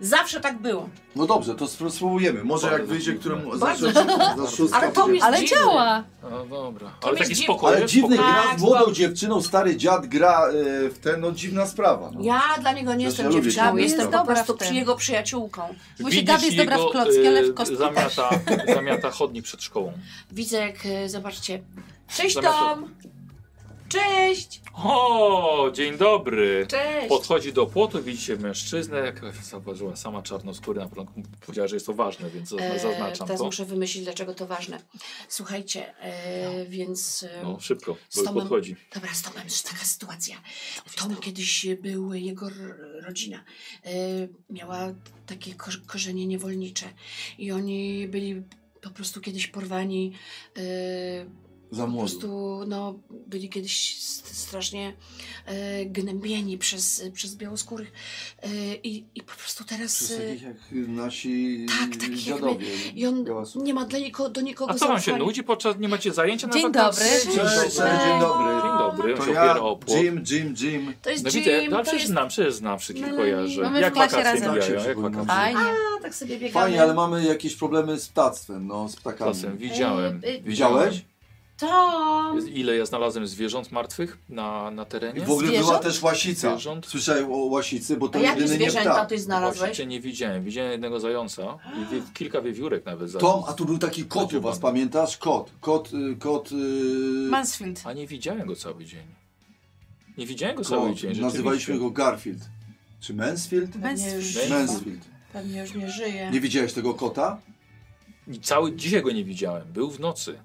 Zawsze tak było.
No dobrze, to spró- spróbujemy. Może
Bardzo
jak wyjdzie,
dziwne.
któremu za,
Bardzo
za, za szóstkę
Ale to mi
będzie.
jest
Ale
dziwne.
działa!
No dobra. Ale taki
jest dziw-
spokojny.
Ale dziwny
spoko-
gra
Tak,
z młodą
bo-
dziewczyną, stary dziad gra y, w ten, no dziwna sprawa. No.
Ja dla niego nie
Ja
jestem
lubię
dziewczyną,
dziewczyny.
jestem po
Dobra w
prostu
tym.
przy jego przyjaciółką.
Bo się Gabi jest dobra w klocki,
y,
ale w kostki też.
zamiata,
(laughs)
zamiata chodnik przed szkołą.
Widzę, jak y, zobaczcie. Cześć,
Zamiast-
Tom! Cześć!
O, dzień dobry.
Cześć!
Podchodzi do płotu, widzicie mężczyznę, jak zauważyła sama czarnoskóry na początku powiedziała, że jest to ważne, więc zazna-
E,
No, zaznaczam
teraz
to.
muszę wymyślić, dlaczego to ważne. Słuchajcie, e, więc. E,
No, szybko,
Z
bo już
Tomem.
podchodzi.
Dobra, z Tomem jest taka sytuacja. Tom kiedyś był, jego r- rodzina e, miała takie ko korzenie niewolnicze i oni byli po prostu kiedyś porwani. E,
Za
po
młodu.
prostu no, byli kiedyś st- strasznie e, gnębieni przez, przez białoskórych e, i, i po prostu teraz.
Przez
E,
takich jak y, nasi
Tak, tak, jak
dziadowie. no.
i on
Białasów.
nie ma dla niko, do nikogo
A co wam się
zaufania.
nudzi? Podczas nie macie zajęcia na
Dzień
wakacje?
dobry.
Cześć, cześć, dzień dobry.
Dzień dobry, on
To
się
ja,
opiera o płot.
Jim, Jim, Jim.
To jest
No
Jim,
widzę, no,
to
przecież
jest...
znam, przecież znam, wszystkich
Melanie.
kojarzę.
Mamy w
Jak
klasie
wakacje
razem.
mijają, jak
Przypominam.
wakacje.
Fajnie.
A, tak sobie biegamy.
Fajnie, ale mamy jakieś problemy z ptactwem, no, z ptakami.
Czasem widziałem.
Y, y,
Widziałeś?
tam.
Jest- Ile ja znalazłem zwierząt martwych na, na
I
terenie?
w ogóle była
Zwierząt?
też łasica.
Zwierząt?
Słyszałem o łasicy, bo
A
to
jakie
jedyny nie
zwierzęta
ptak.
ty znalazłeś?
Właściwie nie widziałem. Widziałem jednego zająca i wie, kilka wiewiórek nawet. Za...
Tom, a tu był taki kot u was, pamiętasz? Kot, kot, y, kot... y,
Mansfield.
A nie widziałem go cały dzień. Nie widziałem go cały
kot.
dzień. rzeczywiście.
No, Nazywaliśmy go Garfield. Czy Mansfield?
Pewnie już,
Mansfield.
Mansfield.
pewnie już nie żyje.
Nie widziałeś tego kota?
I Cały dzisiaj go nie widziałem. Był w nocy.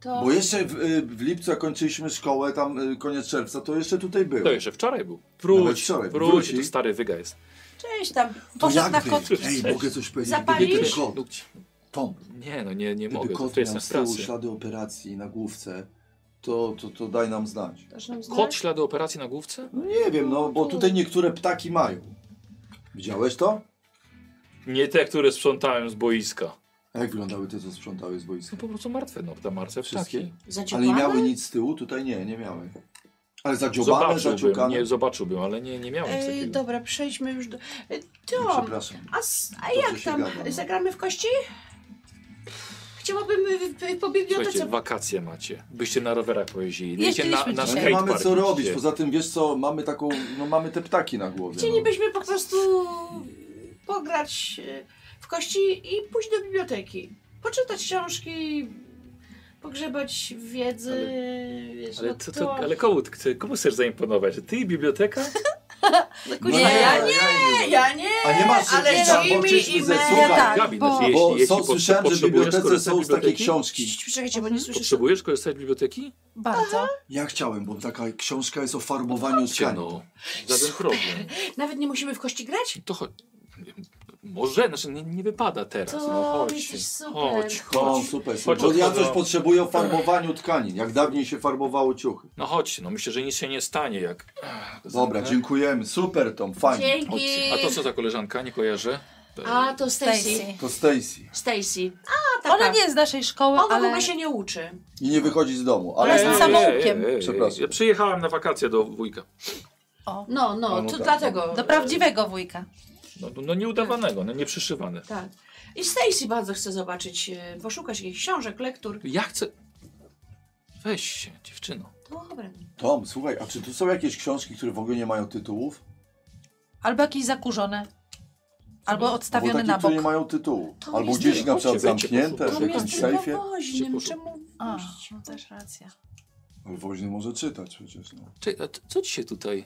To
Bo jeszcze w, y, w lipcu, jak kończyliśmy szkołę, tam y, koniec czerwca, to jeszcze tutaj był.
To jeszcze wczoraj był.
Nawet
Wróć,
wczoraj.
wróć,
Wróci.
to stary wyga jest.
cześć tam.
To
Poszedł na
jakby-
kot.
Ej, mogę coś powiedzieć?
Zapalisz?
Gdyby
No,
kot, Tom,
Nie, no nie, nie
gdyby
mogę, to,
kot
to
miał
jestem
z
w
tyłu
pracy.
ślady operacji na główce, to, to, to daj nam znać.
Dasz nam znać?
Kot ślady operacji na główce?
No nie wiem, no bo tutaj niektóre ptaki mają. Widziałeś to?
Nie te, które sprzątałem z boiska.
A jak wyglądały te, co sprzątały z boiska?
Są po prostu martwe, no te martwe
Wszystkie?
ptaki.
Ale nie
Zaciekłane?
miały nic z tyłu? Tutaj nie, nie miały. Ale zadziobane,
Zobaczyłbym,
zaciukane.
nie, zobaczyłbym, ale nie, nie miałem nic
Ej,
takiego.
E, Dobra, przejdźmy już do... Ej,
No,
Tom,
Przepraszam.
a, s- a
Dobrze
jak
się
tam?
gada, no.
Zagramy w kości? Chciałabym y, y, po
Słuchajcie,
bibliotece...
wakacje macie. Byście na rowerach pojeździli. Jeźdźcie
Jeździliśmy
na, na
dzisiaj.
Ale
skatepark.
nie mamy co robić,
idźcie.
poza tym wiesz co, mamy taką, no mamy te ptaki na głowie. No.
Chcielibyśmy po prostu pograć y, w kości i pójść do biblioteki. Poczytać książki, pogrzebać w wiedzy. wiesz,
Ale,
no
to, to, ale komu, ty- komu chcesz zaimponować? Ty i biblioteka?
No,
No
kuźwa, ja nie, ja nie.
A nie masz
Ale
jakichś tam, bo
Jimmy
przecież
i
my ze-
Mel-
słuchaj,
tak.
Gabi,
bo-
znaczy, jeśli,
Bo
jeśli
są,
po-
słyszałem, że w
potrzebujesz
bibliotece
korzystać
są z takiej
biblioteki?
książki.
Czekajcie, bo nie słyszę.
Potrzebujesz korzystać z biblioteki?
Bardzo.
Ja chciałem, bo taka książka jest o farmowaniu skani.
no. Żaden problem.
Nawet nie musimy w kości grać?
To chodź. Może, znaczy nie, nie wypada teraz.
To
no chodź.
jesteś super.
Chodź,
No,
chodź.
super,
Chodź,
super. Bo ja
chodź,
coś
no.
potrzebuję o farmowaniu tkanin, jak dawniej się farbowało ciuchy.
No chodź, no myślę, że nic się nie stanie jak. Ach,
Dobra,
zamknę.
dziękujemy, super Tom, fajnie.
Dzięki.
A to co za koleżanka, nie kojarzę? E,
A to Stacy.
Stacy.
To Stacy.
Stacy. A taka.
Ona nie jest z naszej szkoły,
Ona w
ale
ogóle się nie uczy.
I
No.
nie wychodzi z domu,
Ona
ale...
jest
Ej,
samoukiem.
ej, ej, ej.
Przepraszam.
e, Ja przyjechałem na wakacje do wujka.
No,
No,
no,
no
to
tak.
dlatego.
do prawdziwego wujka.
No, no nieudawanego, no nieprzyszywane.
Tak. I Stacy bardzo chce zobaczyć, e, poszukać jakichś książek, lektur.
Ja chcę. Weź się, dziewczyno.
Dobra.
Tom, słuchaj, a czy tu są jakieś książki, które w ogóle nie mają tytułów?
Albo jakieś zakurzone. Albo
Albo
odstawione
takie,
na bok.
które nie mają tytułu.
To
Albo
jest
gdzieś
tylko-
na przykład
Chodźcie, wejdźcie,
zamknięte w
posłuchajcie.
Tam jest
jakimś
tylko
sejfie.
woźnym,
Gdzie
czemu
A,
wóźć?
no też racja.
Ale woźny może czytać przecież, no.
Czy, a t- co ci się tutaj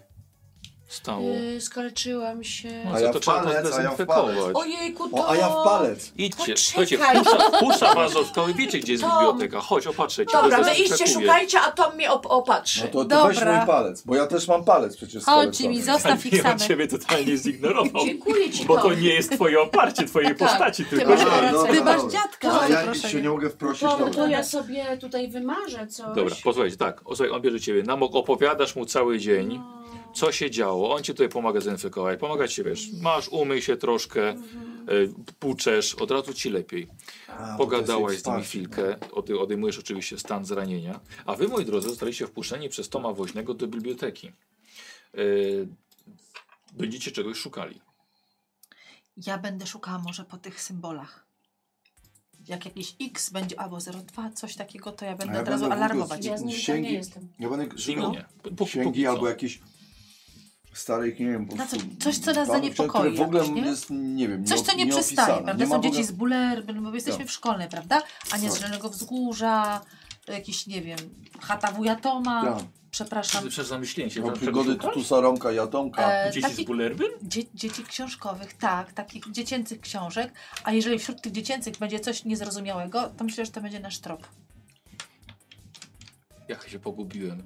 stało?
Yy, skaleczyłam się.
No,
A
co,
ja
to
w
trzeba to
palec, a ja w
zdezynfekować.
Ojejku, to...
O, a ja w palec.
Idźcie,
Poczekaj.
słuchajcie, pusza, pusza was
(laughs)
od szkoły, wiecie gdzie jest
Tom.
biblioteka, chodź opatrzę cię.
Dobra,
to
wy idźcie,
zaskakuje.
szukajcie, a Tom mnie op opatrzy.
No to, to
Dobra.
weź mój palec, bo ja też mam palec przecież
Chodź
skolecony.
mi, zostaw
(laughs)
ich
Ja bym
samych.
ciebie totalnie
no,
zignorował,
Dziękuję Tak, ci,
bo to
Tom.
nie jest twoje oparcie twojej postaci,
ty
tylko...
masz rację.
dobra,
Ty masz
dobra.
dziadka.
A
za
ja
zaproszenie.
się nie mogę wprosić,
Tom, to
dobra.
ja sobie tutaj wymarzę coś.
Dobra, posłuchajcie, tak, o, słuchaj, on bierze ciebie na mok, opowiadasz mu cały dzień,
No.
co się działo, on ci tutaj pomaga zinfekować, pomaga ci, wiesz, masz, umyj się troszkę,
Mhm.
e, płuczesz, od razu ci lepiej.
A, bo to jest no.
Pogadałaś z nimi
ekspansja.
chwilkę, ody- odejmujesz oczywiście stan zranienia, a wy, moi drodzy, zostaliście wpuszczeni przez Toma Woźnego do biblioteki. Yy, będziecie czegoś szukali.
Ja będę szukała może po tych symbolach. Jak jakiś X będzie albo 02, coś takiego, to ja będę
ja
od razu
będę w ogóle
alarmować.
Ja z nim tam nie
Sięgi-
jestem.
Ja będę
Z nimi
szukał
nie. Po- po- póki
no. księgi
co.
albo jakieś starej, nie wiem, po
Na co-
prostu
coś, co nas
panów,
zaniepokoi
które w ogóle
jakoś, nie?
jest, nie wiem,
Coś, co nie przestaje,
nieopisane.
prawda?
ma
Są
w ogóle-
dzieci z bulerbyn, bo jesteśmy
Tak.
w szkole, prawda? A nie z
Tak.
Zielonego Wzgórza, jakiś, nie wiem, chata wuja Toma,
Tak.
przepraszam,
Przecież zamyśliłem się,
Mam
że
przygody
czego szukasz?
Tutusa, Romka i Atomka.
E,
Dzieci z
taki-
Bulerbyn?
dzie dzieci książkowych, tak, takich dziecięcych książek. A jeżeli wśród tych dziecięcych będzie coś niezrozumiałego, to myślę, że to będzie nasz trop.
Jak się pogubiłem.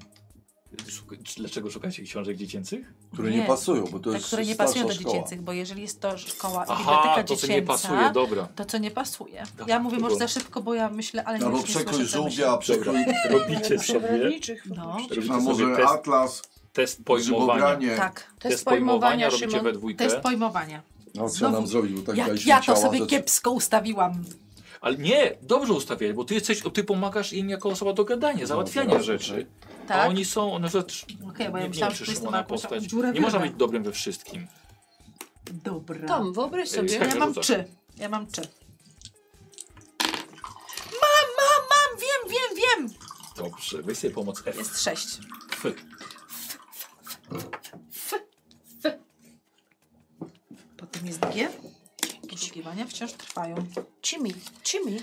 Szuka, dlaczego szukacie książek dziecięcych?
które nie,
nie.
pasują, bo to
Te,
jest
które nie
starsza
pasują do
szkoła.
dziecięcych, bo jeżeli jest to szkoła i
Aha,
biblioteka
to co
dziecięca,
nie pasuje, dobra.
to co nie pasuje.
Dobra,
ja mówię może
dobra.
za szybko, bo ja myślę, ale nie,
Albo
już nie
No, przekrój
słyszę, co myślę.
żółwia, przekrój
Robicie sobie
Przyrodniczych.
No.
Robicie
a
sobie
może
test.
atlas,
test pojmowania.
grzybobranie.
Tak,
Test pojmowania robicie we
test
dwójkę.
pojmowania.
No co
Znowu.
nam zrobił, tak
Jak
daliśmy
ja to
ciała,
sobie
rzeczy.
kiepsko ustawiłam.
Ale nie, dobrze ustawiać, bo ty jesteś, ty pomagasz im jako osoba do gadania, załatwiania
No, dobra,
rzeczy. A
Tak.
oni są, one rzecz.
Okej, bo ja
nie
myślałam,
wiem,
że
czy
to jest
Szymona
jakąś
postać.
dziurę
Nie można
wyrwę.
być dobrym we wszystkim.
Dobra.
Tom, wyobraź sobie. no,
Ej,
ja mam
rzucam.
trzy. Ja mam trzy. Mam, mam, mam, wiem, wiem, wiem.
Dobrze, weź sobie pomoc F.
Jest sześć. Potem jest G. Poszukiwania wciąż trwają.
Cimi, cimi.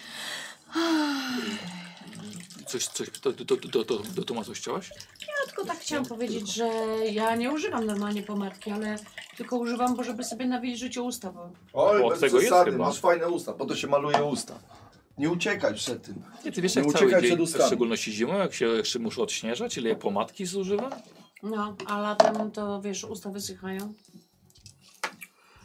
Coś, coś, to, to, to, to, to, to, to ma coś chciałaś?
Ja tylko tak chciałam powiedzieć, że ja nie używam normalnie pomadki, ale tylko używam, bo żeby sobie nawilżyć usta, bo
Bo
Oj,
od
bez
tego jest
przesady,
chyba.
masz fajne usta, po to się maluje usta. Nie uciekać przed tym.
Nie, ty wiesz,
Nie
jak cały
uciekaj
dzień,
przed
w
ustami.
szczególności zimą, jak się jeszcze muszę odśnieżać, ile ja pomadki zużywam?
no, a latem to wiesz, usta wysychają.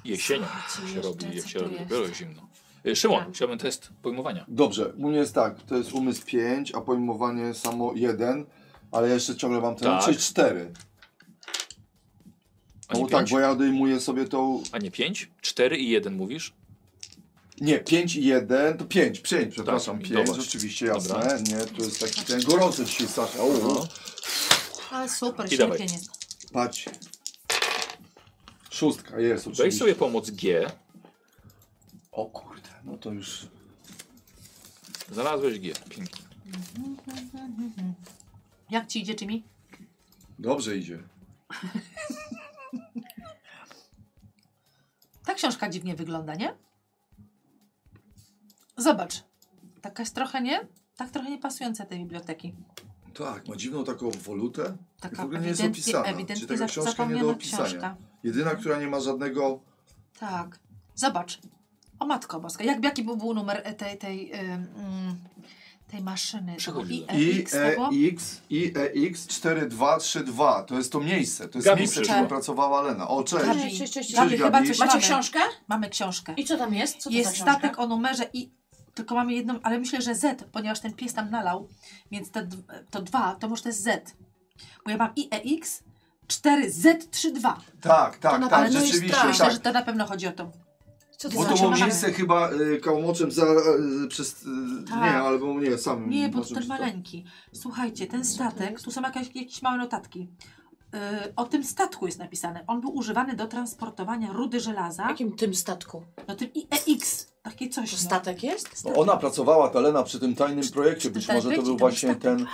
Jesienią
Słuchajcie,
się
jeszcze
robi, jak
co
się
tu
robi
jest?
dopiero zimno. Y, Szymon,
Tak.
chciałbym test pojmowania.
Dobrze, u mnie jest tak, to jest umysł 5, a pojmowanie samo 1, ale ja jeszcze ciągle mam ten
Tak.
3-4.
A
No
nie
bo tak,
pięć?
bo ja odejmuję sobie tą...
A nie pięć? Cztery i jeden mówisz?
Nie, 5 i 1, to 5, 5, przepraszam,
Tak,
5,
dobra.
rzeczywiście jasne,
Dobra.
nie, tu jest taki ten gorący dzisiaj, Sasza, o,
No.
Ale super,
I dawaj.
świetnie jest.
patrz. Szóstka, jest
Weź
oczywiście.
sobie pomoc G.
O kurde, no to już...
Znalazłeś G. Pięknie.
Jak ci idzie, Jimmy?
Dobrze idzie.
Ta książka dziwnie wygląda, nie? Zobacz. Taka jest trochę, nie? Tak trochę nie pasująca tej biblioteki.
Tak, ma dziwną taką wolutę. I w
Taka
ogóle nie jest
ewidentnie,
opisana. Czy
ewidentnie
taka
za-
książka nie do
zapomniana
opisania?
książka.
Jedyna, która nie ma żadnego...
Tak. Zobacz. O Matko Boska. Jak, jaki był, był numer e, tej, tej, ym, mm, tej maszyny? e, To był
Przechodzi.
IEX,
e,
to było?
IEX, IEX 4232. To jest to miejsce. To jest
Gabi
miejsce, w
przyszła.
którym pracowała Lena. O, cześć.
Gabi.
Cześć, cześć, cześć.
Cześć,
Gabi, chyba
Gabi.
coś
Macie
mamy.
książkę?
Mamy książkę.
I co tam jest? Co to
Jest
za książka?
statek o numerze i tylko mamy jedną, ale myślę, że Z, ponieważ ten pies tam nalał, więc te, d- to dwa, to może to jest Z. Bo ja mam E IEX 4Z32.
Tak,
To
tak,
na
tak,
pewno jest
rzeczywiście.
tak.
Myślę, że
Tak.
to na pewno chodzi o to.
Co
Bo
za
to było
książka?
miejsce chyba y, kałamoczem za, y, przez... Y,
Tak.
Nie, albo nie, sam.
Nie, bo to
znaczy,
ten
że to-
maleńki. Słuchajcie, ten statek, tu są jakieś, jakieś małe notatki. Yy, o tym statku jest napisane. On był używany do transportowania rudy
W
żelaza.
jakim tym statku?
No tym IEX, takie coś.
To
no.
statek jest?
No ona pracowała, ta Lena, przy tym tajnym projekcie. Być
ten
może to
projekt,
był
to był
właśnie ten...
No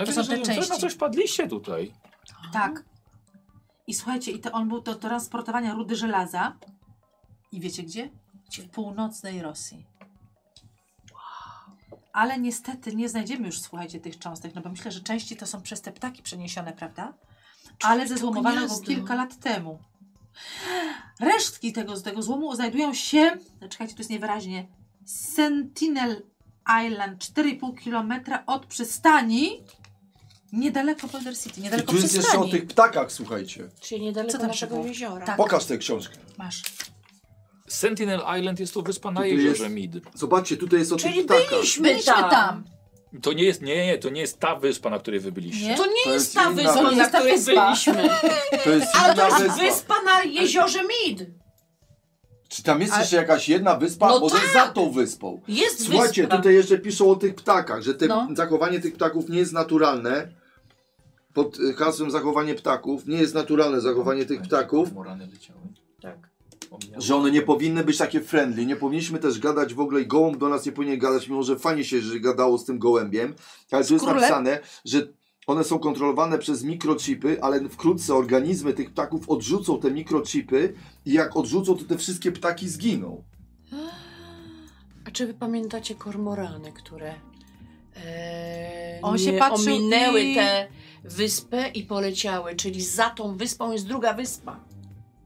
To
wiesz,
są
że
te
coś na
części.
coś wpadliście tutaj.
Tak. I słuchajcie, i to on był do, do transportowania rudy żelaza. I wiecie gdzie? W północnej Rosji. Ale niestety nie znajdziemy już, słuchajcie, tych cząstek, no bo myślę, że części to są przez te ptaki przeniesione, prawda? Ale ze złomowanego
gniazdo.
kilka lat temu. Resztki tego, z tego złomu znajdują się, no czekajcie, tu jest niewyraźnie, Sentinel Island, 4,5 km od przystani, niedaleko Boulder City,
I
niedaleko
tu jest
przystani.
jeszcze o tych ptakach, słuchajcie.
Czyli niedaleko
Co tam
naszego
było?
jeziora.
Tak.
Pokaż tę książkę.
Masz.
Sentinel Island jest to wyspa na
Tutaj
jeziorze
jest-
Mid.
Zobaczcie, tutaj jest o
Czyli
tych ptakach.
byliśmy,
Byliśmy tam.
To nie jest, nie, nie, to nie jest ta wyspa, na której wy byliście.
Nie?
To nie
To
jest
jest
ta
inna
wyspa, na
wyspa.
której byliśmy.
To jest
Ale to
inna
jest
wyspa.
wyspa na jeziorze Mid.
Czy tam jest jeszcze jakaś jedna wyspa?
No
Może za tą wyspą.
Jest
Słuchajcie,
wyspa.
tutaj jeszcze piszą o tych ptakach, że te,
No.
zachowanie tych ptaków nie jest naturalne. Pod y, hasłem zachowanie ptaków nie jest naturalne zachowanie tych ptaków,
Morany leciały.
Tak.
Omijały.
że one nie powinny być takie friendly. Nie powinniśmy też gadać w ogóle i gołąb do nas nie powinien gadać, mimo że fajnie się że gadało z tym gołębiem. Ale tu jest
królem?
napisane, że one są kontrolowane przez mikrochipy, ale wkrótce organizmy tych ptaków odrzucą te mikrochipy i jak odrzucą, to te wszystkie ptaki zginą.
A czy wy pamiętacie kormorany, które e,
On
nie
się patrzył
ominęły
i-
tę wyspę i poleciały? Czyli za tą wyspą jest druga wyspa.
(laughs)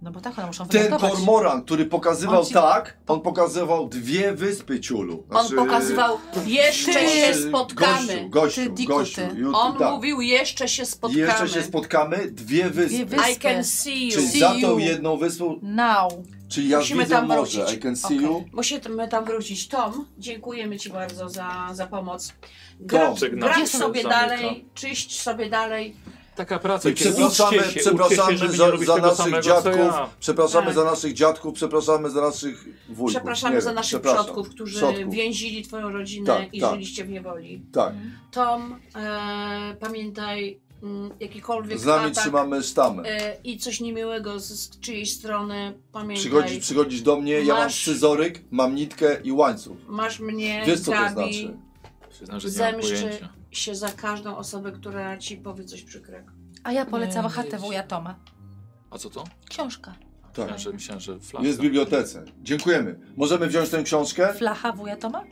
No bo tak, one muszą
Ten
wylądować.
kormoran, który pokazywał
On ci-
tak, on pokazywał dwie wyspy ciulu.
On
Znaczy,
pokazywał, jeszcze
znaczy,
się spotkamy.
Gościu, gościu,
Ty, Diku,
gościu.
ty.
YouTube,
On
tak.
mówił, jeszcze się spotkamy.
Jeszcze się spotkamy, dwie wyspy.
Dwie wyspy.
I can see you.
Czyli
See
za tą
you.
jedną wyspą,
Now.
czyli ja
Musimy
widzę
tam
morze,
wrócić.
I can see
Okej.
you.
Musimy tam wrócić. Tom, dziękujemy Ci bardzo za, za pomoc. Gra,
Tom,
żegnamy.
gracz
Jestem,
sobie
zamykam.
dalej, czyść sobie dalej.
Taka praca.
I
kiedy
przepraszamy,
uczcie się,
przepraszamy
uczcie się, żeby nie
za,
robić
za
tego
naszych
samego, co
dziadków,
ja.
przepraszamy
Tak.
za naszych dziadków, przepraszamy za naszych wujków. nie
Przepraszamy za
wiem,
naszych
przepraszam.
przodków, którzy
Przodków,
więzili Twoją rodzinę
Tak,
i
tak.
żyliście w niewoli.
Tak,
Tom, e, pamiętaj mm, jakikolwiek
z nami
atak
trzymamy sztamę.
tak. e, i coś niemiłego z, z czyjejś strony, pamiętaj.
Przychodzisz, przychodzisz do mnie, ja mam
Masz-
scyzoryk, mam nitkę i łańcuch.
Masz mnie,
Wiesz co to
Gabi,
znaczy?
Przyznam, że nie mam
zemszczy
pojęcia.
się za każdą osobę, która ci powie coś przykrego.
A ja polecam
Nie,
HTW
wiecie.
Jatoma.
A co to?
Książka.
Tak.
Myślałem, że, myślałem, że flaszka.
Jest w bibliotece. Dziękujemy. Możemy wziąć tę książkę?
Flacha Wujatoma?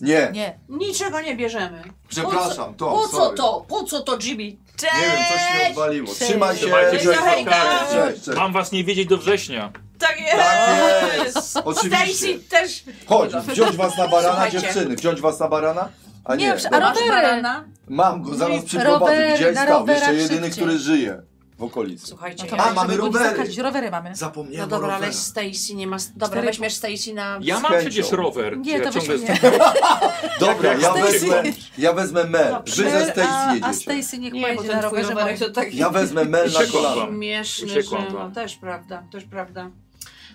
Nie.
Nie.
Niczego nie bierzemy.
Przepraszam, to.
Po co
sorry.
to? Po co to, Jimmy?
Nie wiem, coś mi
Cześć!
odwaliło.
Cześć.
Trzymaj się.
Trzymajcie się.
Cześć,
Hejka.
cześć. cześć.
Mam was nie wiedzieć do września.
Tak
Tak
jest!
jest.
Stacy
Oczywiście.
też.
Chodź, wziąć was na barana,
Słuchajcie.
dziewczyny. Wziąć was na barana? A
Nie,
nie.
przy- a
dobra.
Masz
Rowery.
barana?
Mam go, zaraz
Nie,
przyprowadzę.
rowery, na
Gdzie stał? Jeszcze
rowerach
jedyny,
szybciej.
który żyje w okolicy.
Słuchajcie,
No to
ja-
A,
a,
mamy
mamy
rowery.
rowery. rowery mamy.
Zapomniałem
no
o
dobra, ale
rowerze.
Stacy nie ma... Dobra,
Cztery-
weźmiesz Stacy na...
Ja mam
chęcią.
przecież rower.
Nie,
ja
to
ciągle
byśmy nie.
jestem-
Dobra, ja
Stacy.
wezmę, ja wezmę Mel. Wy ze
Mel, a,
Stacy
a
jedziecie.
Stacy niech
Nie, bo
pojedzie na
ten twój
rowerze.
rowerek
moim.
to taki
Ja wezmę Mel na
Uciekłam
kolano.
wam.
śmieszny, że...
Uciekłam
No,
wam.
też prawda, też prawda.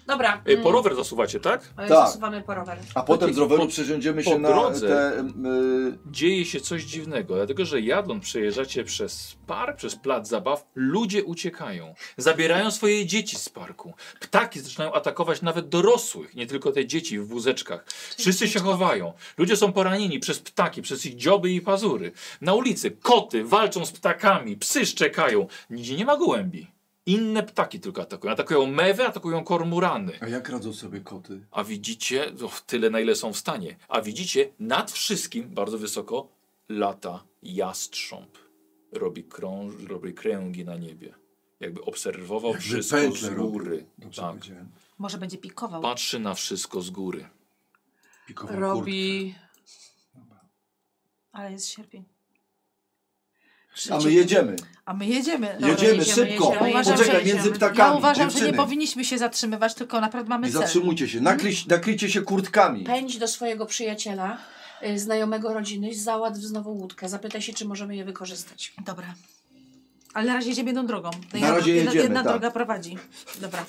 Dobra.
Ej, E, Po
mm,
rower zasuwacie, tak?
ale
Tak.
Zasuwamy po rower.
A potem z
Po-
roweru przesiądziemy
po
się na
drodze.
te... y,
Dzieje się coś dziwnego, dlatego że jadąc przejeżdżacie przez park, przez plac zabaw, ludzie uciekają. Zabierają swoje dzieci z parku. Ptaki zaczynają atakować nawet dorosłych, nie tylko te dzieci w wózeczkach. Wszyscy się chowają. Ludzie są poranieni przez ptaki, przez ich dzioby i pazury. Na ulicy koty walczą z ptakami, psy szczekają. Nigdzie nie ma gołębi. Inne ptaki tylko atakują. Atakują mewy, atakują kormorany.
A jak radzą sobie koty?
A widzicie, no, w tyle na ile są w stanie, a widzicie nad wszystkim, bardzo wysoko, lata jastrząb. Robi, krąż, robi kręgi na niebie. Jakby obserwował
Jakby
wszystko
pętlę
z
robił.
góry.
Dobrze
Tak.
powiedziałem.
Może będzie pikował.
Patrzy na wszystko z góry.
Pikową
Robi...
Ale jest sierpień.
kurtkę. A my jedziemy.
A my jedziemy. Dobra,
Jedziemy
jedziemy,
szybko.
jedziemy.
Ja uważam,
Poczekaj,
że
między
jedziemy.
ptakami.
Ja uważam,
dziewczyny.
że nie powinniśmy się zatrzymywać, tylko naprawdę mamy
Nie
cel.
zatrzymujcie się. Nakryć, nakryjcie się kurtkami.
Pędź do swojego przyjaciela, y, znajomego rodziny, załatw znowu łódkę. Zapytaj się, czy możemy je wykorzystać.
Dobra. Ale na razie jedziemy jedną drogą. To
Na razie
jedna,
jedziemy,
jedna
tak.
droga prowadzi.
(laughs)
Dobra.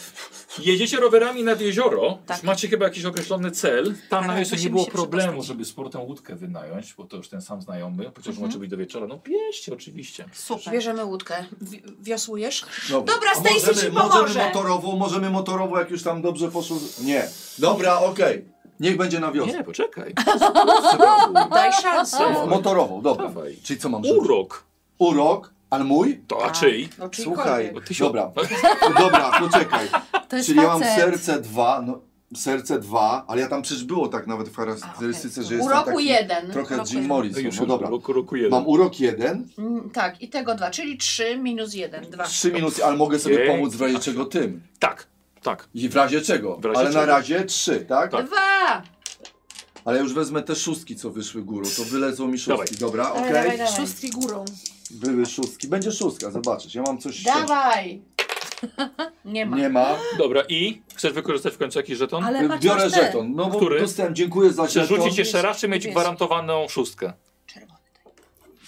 Jedziecie rowerami nad jezioro,
Tak.
już macie chyba jakiś określony cel. Tam
Tak,
na jeziorze nie
musimy
było
się
problemu,
przedostać.
żeby z portem łódkę wynająć, bo to już ten sam znajomy, chociaż
Mhm.
może być do wieczora. No bierzcie oczywiście.
Super.
Bierzemy łódkę. Wi- wiosłujesz?
Dobra,
Stacy
możemy,
ci pomoże.
Możemy motorową, możemy motorową, jak już tam dobrze poszło. Nie. Dobra, okej. Niech będzie na wiosnę.
Nie, poczekaj.
(laughs)
(laughs)
Daj szansę.
Mo- Motorową, dobra.
Dawaj.
Czyli co mam zrobić?
Urok.
Urok, ale mój?
To
Tak.
a czyj?
No, czyli
Słuchaj,
Bo ty się-
dobra, dobra, poczekaj.
To jest
Czyli ja mam
facet.
serce dwa, no, serce dwa, ale ja tam przecież było tak nawet w charakterystyce,
A, okej.
że jestem
Uroku
taki
jeden.
trochę
Uroku
Jim
jeden.
No
Morrison.
już
No dobra,
Urok, urok jeden.
mam urok jeden,
Mm, tak, i tego dwa, czyli trzy minus jeden, dwa.
trzy minusy, ale mogę sobie
Tak. Pięknie.
pomóc w razie czego tym.
Tak, tak.
I w razie czego,
W razie
ale
czego.
na razie trzy, tak?
Tak.
Dwa!
Ale ja już wezmę te szóstki, co wyszły górą, to wylecą mi szóstki, dobra,
Dawaj,
okej?
dawaj, dawaj.
Szóstki górą.
Były szóstki, będzie szóstka, zobaczysz, ja mam coś...
Dawaj! Nie ma.
Nie ma.
Dobra, i chcesz wykorzystać w końcu jakiś żeton?
Ale masz
Biorę
masz te.
żeton, no bo
Który?
dostałem, dziękuję za
Chcesz
żeton.
rzucić jeszcze raz, czy mieć
Jest.
gwarantowaną szóstkę?
Czerwony.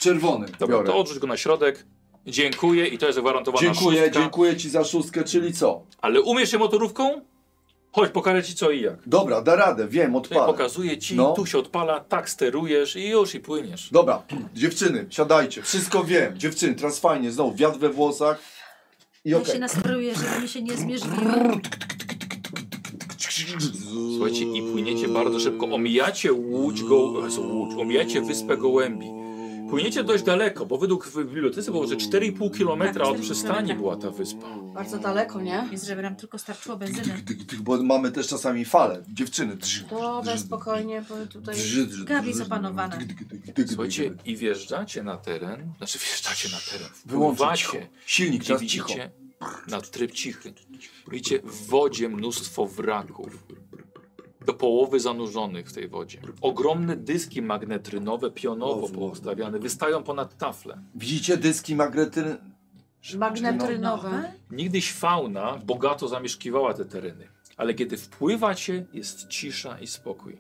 Czerwony
Dobra,
biorę.
to odrzuć go na środek. Dziękuję i to jest gwarantowana
Dziękuję,
szóstka.
dziękuję ci za szóstkę, czyli co?
Ale umiesz się motorówką? Chodź, pokażę ci co i jak.
Dobra, da radę, wiem,
Tutaj
odpalę.
pokazuję ci,
No.
tu się odpala, tak sterujesz i już i płyniesz.
Dobra, dziewczyny, siadajcie, wszystko wiem. Dziewczyny, teraz fajnie, znowu wiatr we włosach. I
Ja
okej.
się nastroję, żeby mi się nie zmierzyli.
Słuchajcie, i płyniecie bardzo szybko, omijacie łódź, go, e, co łódź omijacie wyspę Gołębi. Płyniecie dość daleko, bo według w bibliotece było, że 4,5 km od przystani była ta wyspa.
Bardzo daleko, nie?
Jest, żeby nam tylko starczyło benzyny.
Tyk, tyk, Bo mamy też czasami fale, dziewczyny.
Dobra, spokojnie, bo tutaj...
Gabi jest opanowana.
Słuchajcie, i wjeżdżacie na teren, znaczy wjeżdżacie na teren,
Wyłączyć
wpływacie,
silnik,
gdzie
teraz cicho.
widzicie na tryb cichy. Widzicie w wodzie mnóstwo wraków, do połowy zanurzonych w tej wodzie. Ogromne dyski magnetrynowe, pionowo poustawiane, wystają ponad tafle.
Widzicie dyski magnetry...
Magnetrynowe.
Niegdyś fauna bogato zamieszkiwała te tereny, ale kiedy wpływacie, jest cisza i spokój.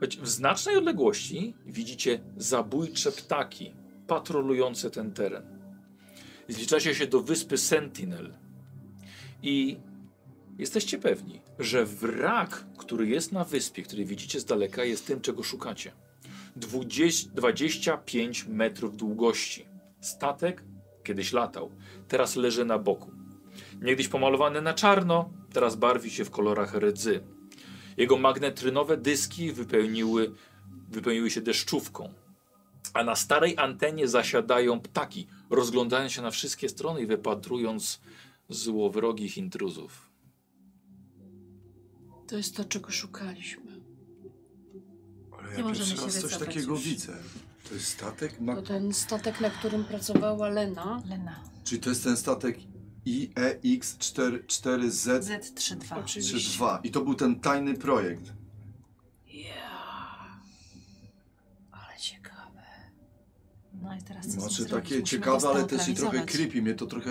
Choć w znacznej odległości widzicie zabójcze ptaki patrolujące ten teren. Zliczacie się do wyspy Sentinel i jesteście pewni, że wrak, który jest na wyspie, który widzicie z daleka, jest tym, czego szukacie. 20, 25 metrów długości. Statek kiedyś latał, teraz leży na boku. Niegdyś pomalowany na czarno, teraz barwi się w kolorach rdzy. Jego magnetrynowe dyski wypełniły, wypełniły się deszczówką. A na starej antenie zasiadają ptaki, rozglądając się na wszystkie strony i wypatrując złowrogich intruzów.
To jest to, czego szukaliśmy.
Ale
Nie
ja
możemy
pierwszy
się
raz coś
wycofać
takiego
już.
widzę. To jest statek? Na...
To ten statek, na którym pracowała Lena.
Lena.
Czyli to jest ten statek E IEX44Z32.
Z32.
Oczywiście.
I to był ten tajny projekt.
Yeah. Ale ciekawe.
No i teraz co z
Znaczy
tym
takie
zrobić? Musimy
ciekawe,
go
ale też i trochę
zneutralizować.
creepy. Mnie to trochę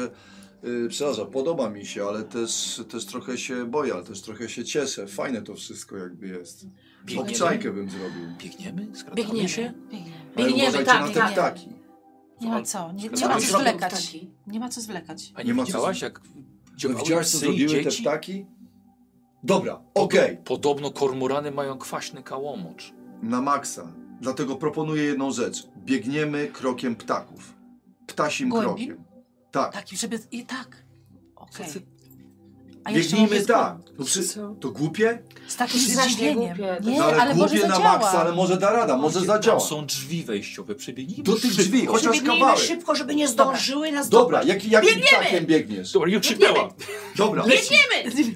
yy, przeraża. Podoba mi się, ale też, też trochę się boję, ale też trochę się cieszę. Fajne to wszystko jakby jest.
Biegniemy?
Obczajkę bym zrobił.
Biegniemy? Skradamy
Biegniemy.
się?
Biegniemy.
Ale
Biegniemy,
uważajcie
tak,
na te
biegniemy.
ptaki.
Nie ma co, nie, nie ma
Skradamy
co
się?
zwlekać. Nie ma co zwlekać.
A
Nie
nie
ma co
widziałaś
z-
jak
No,
działały
widziałeś co
psy i
zrobiły te
dzieci?
ptaki? Dobra, okej.
Podobno kormorany mają kwaśny kałomocz.
Na maksa. Dlatego proponuję jedną rzecz. Biegniemy krokiem ptaków. Ptasim
Głębi?
krokiem. Tak.
Tak, i żeby... I tak. Okej.
Tacy-
A jeszcze
Biegnijmy
mówię-
tak. To, przy... to głupie?
Z takim
Strasznie
zdziwieniem.
głupie.
Nie,
No, ale,
ale może
głupie na
zadziała.
maksa, ale może da rada, może
Tam
zadziała.
są drzwi wejściowe, przebiegnijmy
Do tych
szybko.
drzwi, chociaż
Przebiegnijmy
kawałek.
szybko, żeby nie zdążyły nas
Dobra, jak, jakim
Biegniemy!
ptakiem biegniesz?
Dobra, nie krzyknęła.
Dobra,
Biegniemy!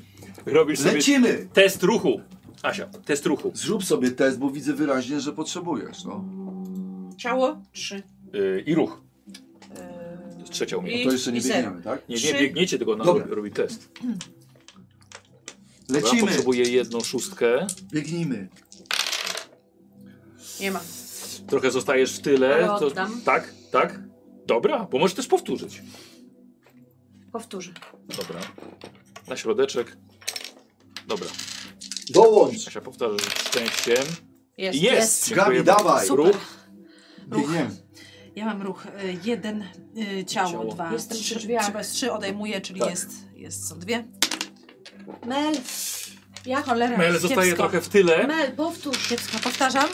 Robisz sobie
lecimy!
test ruchu. Asia, test ruchu.
Zrób sobie test, bo widzę wyraźnie, że potrzebujesz. No.
Ciało? Trzy.
Yy, I ruch.
Yy,
Trzecia umiejętność.
To jeszcze nie
I zero.
biegniemy, tak?
Nie,
Trzy.
nie biegniecie, tylko ona
Dobra.
robi, robi test. Bo Ja
Lecimy!
potrzebuję jedną szóstkę.
Biegnijmy.
Nie ma.
Trochę zostajesz w tyle.
Ale oddam.
tak, tak. Dobra, bo możesz też powtórzyć.
Powtórzę.
Dobra. Na środeczek. Dobra.
Dołącz!
Asia powtarza z szczęściem.
Jest.
Jest!
jest.
Dziękuję
Gabi,
bardzo.
dawaj!
Super.
Ruch.
Biegniemy.
Ja mam ruch. y, Jeden, y, ciało,
Ciało.
dwa.
Jestem przy
trzy,
drzwiach.
Trzeba trzy odejmuję, czyli
Tak.
jest, jest, są dwie.
Mel. Jak?
Cholera,
Mel zostaje
kiepsko.
trochę w tyle.
Mel, powtórz.
Kiepsko, powtarzam.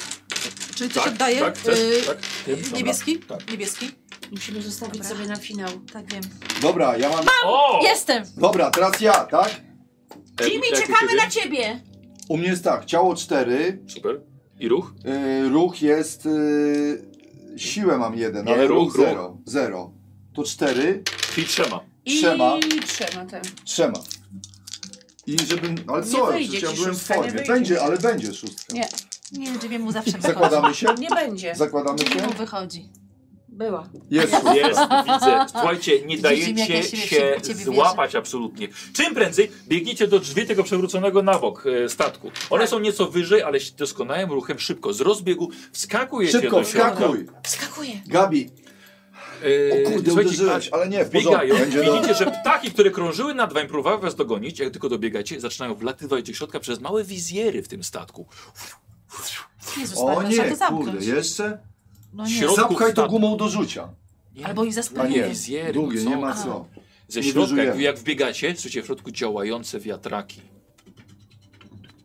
Czyli coś
Tak,
oddaję.
tak, chcesz,
Y,
tak. Dobra.
Niebieski?
Tak.
Niebieski?
Musimy zostawić
Dobra.
sobie na finał.
Tak wiem.
Dobra, ja mam...
O!
Jestem!
Dobra, teraz ja, tak?
E,
Jimmy,
jak u
czekamy
ciebie?
na ciebie!
U mnie jest tak, ciało 4,
Super. I ruch?
yy, ruch jest... Yy, siłę mam 1,
Nie,
ale ruch
ruch, ruch.
0. 0. To 4,
I
(laughs)
trzema.
I
Trzema.
trzema, tak.
trzema. I żebym... no Ale
Nie
co,
wyjdzie
przecież ja
ci
byłem w
szóstka, nie
formie.
wyjdzie.
Będzie, ale będzie szóstka.
Nie.
Nie, dziwię mu zawsze wychodzi.
Zakładamy się?
Nie będzie.
Zakładamy się?
Dziwię mu wychodzi.
Była.
Jest szóstka.
Jest, widzę. Słuchajcie, nie
Widzicie, jak ja
dajecie
siebie
się
w ciebie
złapać absolutnie. Czym prędzej biegniecie do drzwi tego przewróconego na bok e, statku.
Tak.
One są nieco wyżej, ale się doskonałym ruchem szybko, z rozbiegu wskakujecie
Szybko,
do środka.
wskakuj!
Wskakuję.
Gabi,
E,
o kurde,
słuchajcie,
uderzyłeś, ale nie, w porządku.
Biegają,
Będzie dobrze.
widzicie, że ptaki, które krążyły nad wami, próbowały was dogonić, jak tylko dobiegacie, zaczynają wlatywać do środka przez małe wizjery w tym statku.
Jezus,
O
Maria, trzeba
nie,
to zamknąć.
kurde, jeszcze?
No nie.
Środ-
Zapchaj to
statku.
gumą do rzucia.
Nie,
Albo ich
A
zaspakuję.
nie,
wizjery,
długie,
no co?
nie ma co.
Ze
nie
środka, jak,
dożyjemy.
jak wbiegacie, słyszycie w środku działające wiatraki.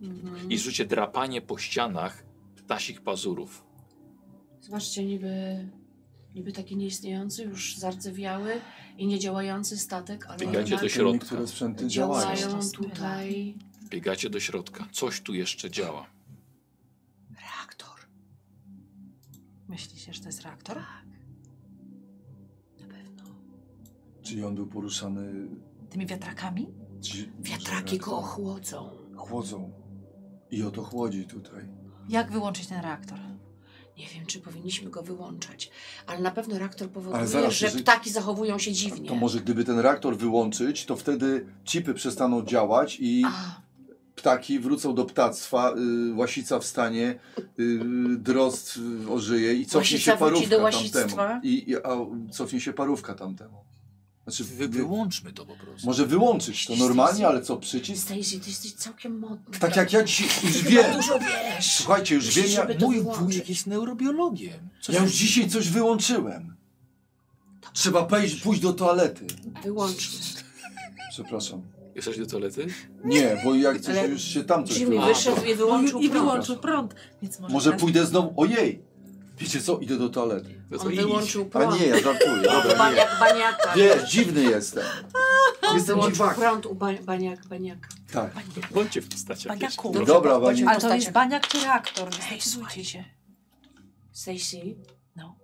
Mhm.
I słyszycie drapanie po ścianach ptasich pazurów.
Zobaczcie, niby, niby taki nieistniejący, już zardzewiały i niedziałający statek, ale
Wbiegacie
jednak
do środka.
Niektóre sprzęty działają.
Działają.
działają tutaj.
Wbiegacie do środka. Coś tu jeszcze działa.
Reaktor.
Myślicie, że to jest reaktor?
Na pewno.
Czyli on był poruszany...
Tymi wiatrakami?
czy-
Wiatraki go ochłodzą.
Chłodzą. I o to chłodzi tutaj.
Jak wyłączyć ten reaktor?
Nie wiem, czy powinniśmy go wyłączać, ale na pewno reaktor powoduje,
Ale zaraz,
że
jeżeli-
ptaki zachowują się dziwnie.
To może gdyby ten reaktor wyłączyć, to wtedy chipy przestaną działać i
A,
ptaki wrócą do ptactwa, y, łasica wstanie, y, drost y, ożyje i cofnie
Łasica
się
wróci
parówka
do
tamtemu.
łasictwa?
I, i, a, cofnie się parówka tamtemu. Znaczy,
Wy,
wy,
wyłączmy to po prostu.
może wyłączyć to normalnie, ale co, przycisk?
Stacey, ty jesteś całkiem modny.
Tak jak ja dziś już
Ty
wiem,
chyba dużo wiesz.
słuchajcie, już wiem, ja,
Żeby to
Mój wujek
wyłączyć.
jest neurobiologiem. Co
ja
się-
już dzisiaj coś wyłączyłem. Trzeba pójść, pójść do toalety.
Wyłączmy.
Tak Przepraszam.
Jesteś do toalety?
Nie, bo jak coś,
Ale
już się tam coś
Jimmy
wyłączy.
wyszedł i wyłączył
No I
prąd.
wyłączył prąd. Więc może
Może
teraz-
pójdę znowu, ojej, wiecie co, idę do toalety.
No to
On
idź.
wyłączył
A
prąd.
nie, ja żartuję,
U
dobra, nie.
baniak, baniaka.
Wiesz, dziwny jestem.
On
Jestem
wyłączył
dziwak.
prąd u ba baniak, baniaka.
Tak,
Bądźcie w postaci.
Baniaku.
Dobrze,
Dobra,
chodźmy
Baniak.
w
Ale to jest
postaciach.
baniak czy reaktor? Nie
Ej,
zdecydujcie się.
Stacey,
No.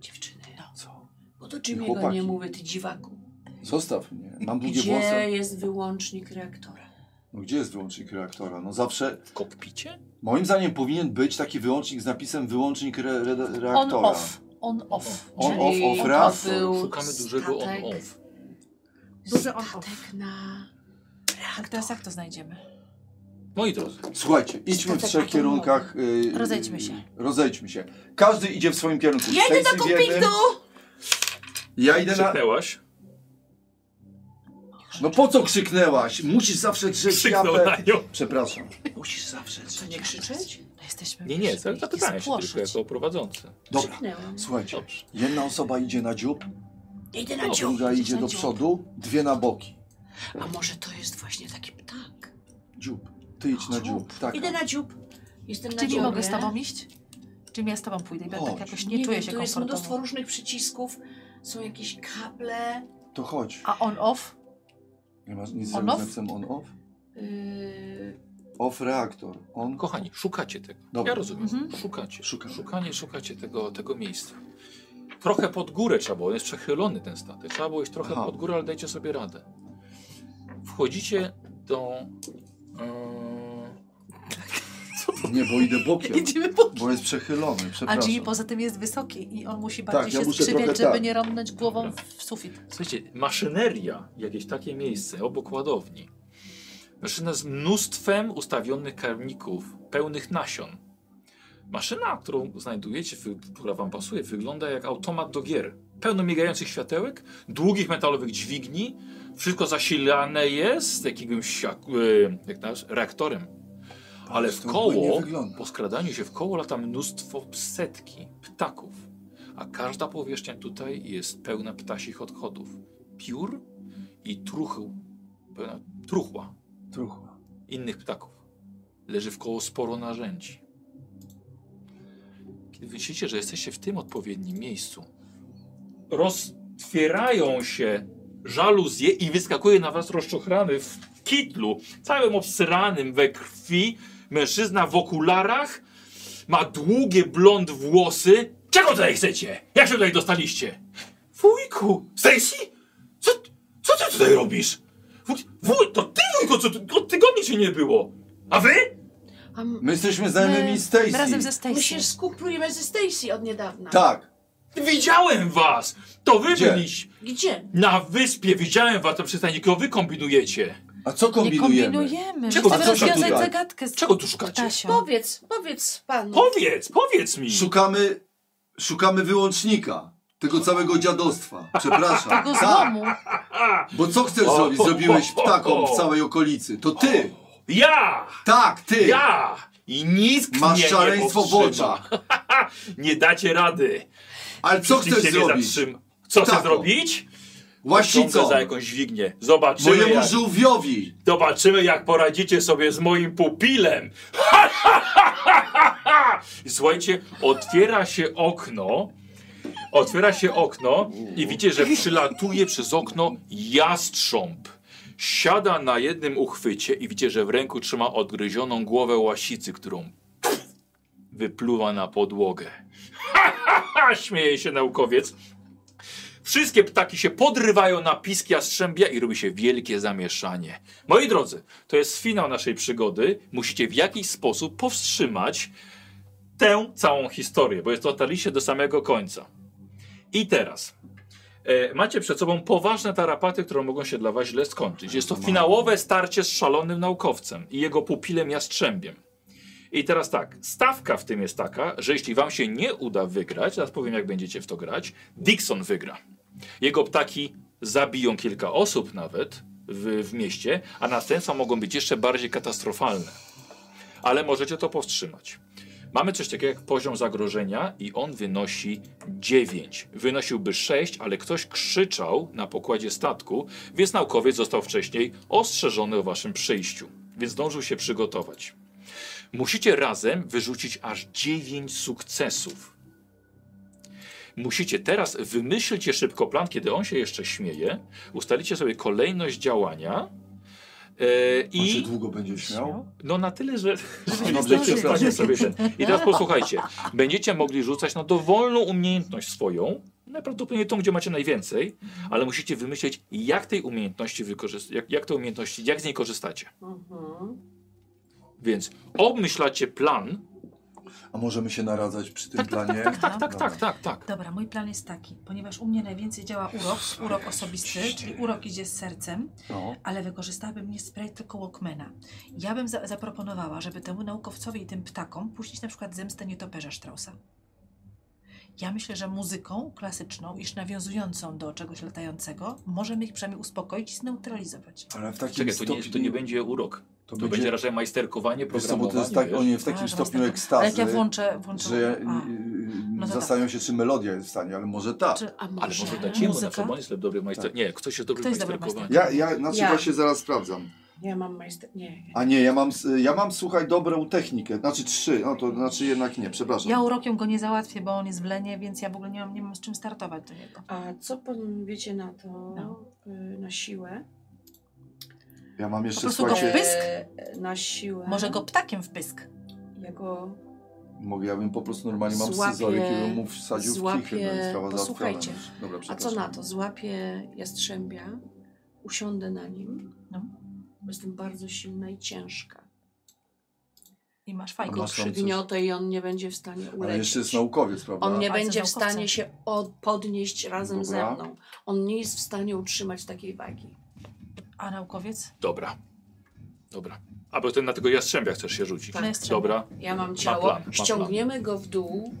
Dziewczyny,
Co?
bo do Jimmy'ego
Chłopaki.
nie mówię, ty dziwaku.
Zostaw mnie. Mam długie
Gdzie
włosy.
jest wyłącznik reaktora?
No, gdzie jest wyłącznik reaktora? No zawsze,
W kokpicie?
moim zdaniem powinien być taki wyłącznik z napisem wyłącznik re, re, reaktora.
On off. On off.
On
Czyli
off, off,
to
reaktor.
był
Szukamy dużego
statek-
on-off.
Duży on off.
Statek na...
Tak, teraz jak to znajdziemy?
Moi drodzy,
Słuchajcie, idźmy w
Statek
trzech
atomowy.
kierunkach. y,
Rozejdźmy się.
Rozejdźmy się. Każdy idzie w swoim kierunku.
Jedę
Stacy
do
w jednym,
kupitu!
Ja idę na...
krzyknęłaś.
No po co krzyknęłaś? Musisz zawsze drzeć
Krzyknął na
japę.
nią.
Przepraszam.
Musisz zawsze
Co, nie krzyczeć?
No jesteśmy
Nie, nie, tak
musimy
zapytałem się
spłoszyć.
tylko jako prowadzący.
Dobra,
Krzyknęłam.
słuchajcie.
Dobrze.
Jedna osoba idzie na dziób,
Idę na
Dobra.
dziób.
druga idzie
na
do
dziób.
przodu, dwie na boki.
A może to jest właśnie taki ptak?
Dziób. Ty idź na dziób. Tak.
Idę na dziób. Jestem na
Czyli
dziobie.
mogę z tobą iść? Czyli ja z tobą pójdę i będę tak
Chodź.
jakoś nie, czuję się
tu jest mnóstwo
komfortowo.
różnych przycisków, są jakieś kable.
To chodź.
A on off?
Nie masz nic
On
zrobić
off?
z napisem on off?
Yy,
Off reaktor. On...
Kochani, szukacie tego.
Dobra.
Ja rozumiem.
Mhm.
Szukacie.
Szukamy.
Szukanie, szukacie tego, tego miejsca. Trochę pod górę trzeba było, on jest przechylony ten statek. Trzeba było iść trochę
Aha.
pod górę, ale dajcie sobie radę. Wchodzicie do... e,
Nie, bo idę bokiem.
(laughs) Idziemy po...
Bo jest przechylony,
A Jimmy
przepraszam.
poza tym jest wysoki i on musi
Tak,
bardziej
ja
się
muszę
skrzywiać,
trochę
żeby
tak.
nie rąbnąć głową w sufit.
E, słuchajcie, maszyneria, jakieś takie miejsce obok ładowni. Maszyna z mnóstwem ustawionych karmników, pełnych nasion. Maszyna, którą znajdujecie, wy- która wam pasuje, wygląda jak automat do gier. Pełno migających światełek, długich metalowych dźwigni. Wszystko zasilane jest jakimś jak, e, jak nasz, reaktorem. Ale w
To ładnie
koło,
wygląda.
po skradaniu się w koło lata mnóstwo setki ptaków. A każda powierzchnia tutaj jest pełna ptasich odchodów. Piór i truchu, pełna truchła
Truchła.
innych ptaków. Leży w koło sporo narzędzi. Kiedy myślicie, że jesteście w tym odpowiednim miejscu, roztwierają się żaluzje i wyskakuje na was rozczochrany w kitlu, całym obsranym we krwi, mężczyzna w okularach, ma długie blond włosy. Czego tutaj chcecie? Jak się tutaj dostaliście? Wujku! Stacy? Co, co ty tutaj robisz? Wuj, wuj, to ty, wujku, co tu- od tygodni się nie było. A wy?
a m-
My jesteśmy znajomymi Stacy.
Razem ze
my
Stacy.
się skuplujemy ze Stacy od niedawna.
Tak.
Widziałem was! To wy
Gdzie?
byliście.
Gdzie?
Na wyspie widziałem was, to przystanie, tylko wy kombinujecie.
A co
Nie
kombinujemy?
kombinujemy.
Czego-
Chcemy
a co się
rozwiązać
tutaj-
zagadkę z
Czego tu szukacie?
Ptasią.
Powiedz, powiedz panu.
Powiedz, powiedz mi!
Szukamy, szukamy wyłącznika. Tego całego dziadostwa. Przepraszam.
Tego
Tak,
złomu.
bo co chcesz zrobić? Zrobiłeś ptakom w całej okolicy. To ty!
Ja!
Tak, ty!
Ja! I nikt
Masz
mnie nie
szaleństwo w
powstrzyma.
oczach.
Nie dacie rady.
Ale co
Nikt się
chcesz
nie
zrobić?
zatrzyma. Co chcę
Ptako.
zrobić? Ciągnę
Łasicą!
za jakąś dźwignię. Zobaczymy
Mojemu
jak,
żółwiowi!
zobaczymy, jak poradzicie sobie z moim pupilem. (laughs) Ha, ha, ha, ha, ha. I Słuchajcie, otwiera się okno. Otwiera się okno i widzicie, że przylatuje przez okno jastrząb. Siada na jednym uchwycie i widzicie, że w ręku trzyma odgryzioną głowę łasicy, którą wypluwa na podłogę. (laughs) Ha, śmieje się naukowiec. Wszystkie ptaki się podrywają na pisk jastrzębia i robi się wielkie zamieszanie. Moi drodzy, to jest finał naszej przygody. Musicie w jakiś sposób powstrzymać tę całą historię, bo jest to dotarliście do samego końca. I teraz. E, macie przed sobą poważne tarapaty, które mogą się dla was źle skończyć. Jest to finałowe starcie z szalonym naukowcem i jego pupilem jastrzębiem. I teraz tak, stawka w tym jest taka, że jeśli wam się nie uda wygrać, teraz powiem jak będziecie w to grać, Dixon wygra. Jego ptaki zabiją kilka osób nawet w, w mieście, a następstwa mogą być jeszcze bardziej katastrofalne. Ale możecie to powstrzymać. Mamy coś takiego jak poziom zagrożenia i on wynosi 9. Wynosiłby 6, ale ktoś krzyczał na pokładzie statku, więc naukowiec został wcześniej ostrzeżony o waszym przyjściu, więc zdążył się przygotować. Musicie razem wyrzucić aż 9 sukcesów. Musicie teraz wymyślcie szybko plan, kiedy on się jeszcze śmieje, ustalicie sobie kolejność działania E,
I... Czy
I
długo będzie śmiał?
no na tyle, że (laughs)
Dobrze,
jesteście w
przepraszam.
stanie sobie ten. I teraz posłuchajcie. Będziecie mogli rzucać na dowolną umiejętność swoją, najprawdopodobniej tą, gdzie macie najwięcej, ale musicie wymyśleć, jak tej umiejętności wykorzystać, jak, jak tej umiejętności, jak z niej korzystacie.
Mhm.
Więc obmyślacie plan.
A możemy się naradzać przy tym planie?
Tak,
No.
tak, tak, tak, tak.
Dobra, mój plan jest taki, ponieważ u mnie najwięcej działa urok, urok osobisty, czyli urok idzie z sercem,
No.
ale wykorzystałabym nie spray, tylko Walkmana. Ja bym za zaproponowała, żeby temu naukowcowi i tym ptakom puścić na przykład zemstę nietoperza Straussa. Ja myślę, że muzyką klasyczną, iż nawiązującą do czegoś latającego, możemy ich przynajmniej uspokoić i zneutralizować.
Ale w takim
Czekaj, to nie,
stopniu...
to nie będzie urok.
To
To będzie,
będzie...
raczej majsterkowanie,
Wiesz co, bo
programowanie.
to jest tak,
wiesz?
oni w
A,
takim
że
stopniu
masz taką- Ale jak
ekstazy,
ja włączę, włączę
że ja,
a, No to
zastanawiam się, czy melodia jest w stanie, ale może tak.
czy,
A
Ale
może...
może dać jemu na
muzyka?
przykład, on jest dobry majster... Nie, ktoś jest dobry
Kto
w
jest dobrym
majsterkowaniu.
Ja, ja, znaczy
Ja.
właśnie zaraz sprawdzam.
Ja mam majster... Nie.
A nie, ja mam, s- ja mam, słuchaj, dobrą technikę, znaczy trzy, no to znaczy jednak nie, przepraszam.
Ja urokiem go nie załatwię, bo on jest w lenie, więc ja w ogóle nie mam, nie mam z czym startować do niego.
A co pan wiecie na to,
No.
y, na siłę?
Ja mam
Po
jeszcze,
prostu go
słuchajcie,
wpy- Pysk?
E, na siłę.
Może go ptakiem w pysk.
Ja go
mogę, ja bym po prostu normalnie mam
Złapię-
scyzoryk i bym mu wsadził w kichy,
złapię-
no i sprawa załatwiona.
posłuchajcie.
Dobra,
A co
przepraszam.
na to? Złapię jastrzębia, usiądę na nim.
No.
Bo Jestem bardzo silna i ciężka.
I masz
I
A
fajkę.
go
masz tam coś?
przygniotę i on nie będzie w stanie ulecieć.
Ale jeszcze jest naukowiec, prawda?
On nie
A
będzie w
co naukowcy?
stanie się od, podnieść razem ze
Dobra.
mną. On nie jest w stanie utrzymać takiej wagi.
A naukowiec?
Dobra. Dobra. A bo ten na tego jastrzębia chcesz się rzucić.
Na jastrzębia.
Dobra.
Ja mam
Ma
ciało.
plan, ma plan.
Ściągniemy go w dół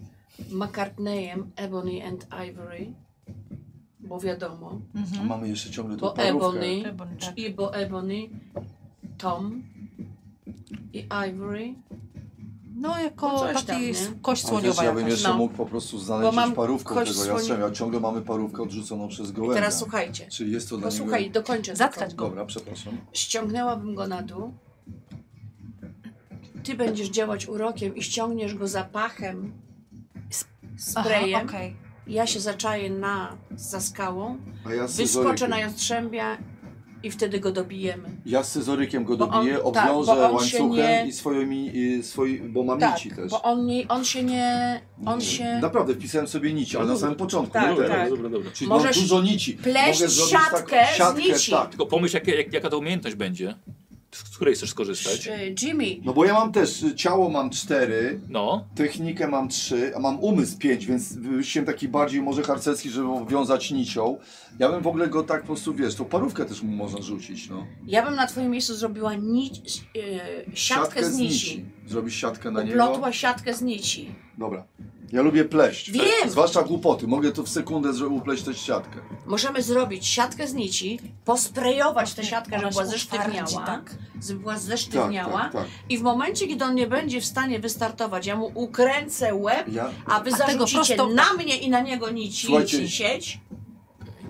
McCartneyem, Ebony and Ivory. Bo wiadomo.
A
Mhm.
Mamy jeszcze ciągle tą
Bo
parówkę.
Ebony,
Ebony, tak.
i bo Ebony, Tom i Ivory.
No
No
jako
coś
taki
tam, nie?
s- kość
Ale wiesz,
słoniowa
ja bym
jakaś.
jeszcze
no.
mógł po prostu
Bo
znaleźć
mam
parówkę
kość
tego
słoni-
jastrzębia. Ciągle mamy parówkę odrzuconą przez
I
gołębia.
teraz słuchajcie.
Czyli jest to dla
Posłuchaj,
niego...
dokończę.
Zatkać
tylko.
go.
Dobra, przepraszam.
Ściągnęłabym go na dół. Ty będziesz działać urokiem i ściągniesz go zapachem, s-
Aha,
sprayem.
okej.
Ja się zaczaję na, za skałą,
A ja z
wyskoczę
scyzorykiem.
na jastrzębia i wtedy go dobijemy.
Ja z scyzorykiem go
Bo on-
dobiję,
tak,
obwiążę
bo on się
łańcuchem
nie-
i swoimi, i swoi, bo mam
Tak,
nici też.
bo on, nie, on się nie... On się...
Naprawdę, wpisałem sobie nici, ale na samym początku,
Tak,
nie
dobra,
teraz.
tak.
dobra, dobra.
Czyli
Możesz
mam dużo nici.
pleść
Mogę zrobić tak-
siatkę z
siatkę,
nici.
Tak.
Tylko pomyśl, jak, jak, jaka to umiejętność będzie, z z której chcesz skorzystać.
Y, Jimmy,
No bo ja mam też, y, ciało mam cztery,
No,
technikę mam trzy, a mam umysł pięć, więc wymyśliłem taki bardziej może harcerski, żeby wiązać nicią. Ja bym w ogóle go tak po prostu, wiesz, tą parówkę też mu można rzucić, no.
ja bym na twoim miejscu zrobiła ni... y, siatkę z nici.
Zrobisz siatkę na niego.
Uplotła siatkę z nici.
Dobra. Ja lubię pleść. Tak,
Wiem!
Zwłaszcza głupoty. Mogę to w sekundę zro- upleść też siatkę.
Możemy zrobić siatkę z nici, posprejować tę
Właśnie
siatkę,
ona
żeby była
się utwardzi,
zesztywniała,
tak?
żeby była
Tak,
zesztywniała
tak, tak.
i w momencie, kiedy on nie będzie w stanie wystartować, ja mu ukręcę łeb,
Ja,
a wy
A tego
zarzucicie
prosto-
na mnie i na niego nici,
Słuchajcie,
nici sieć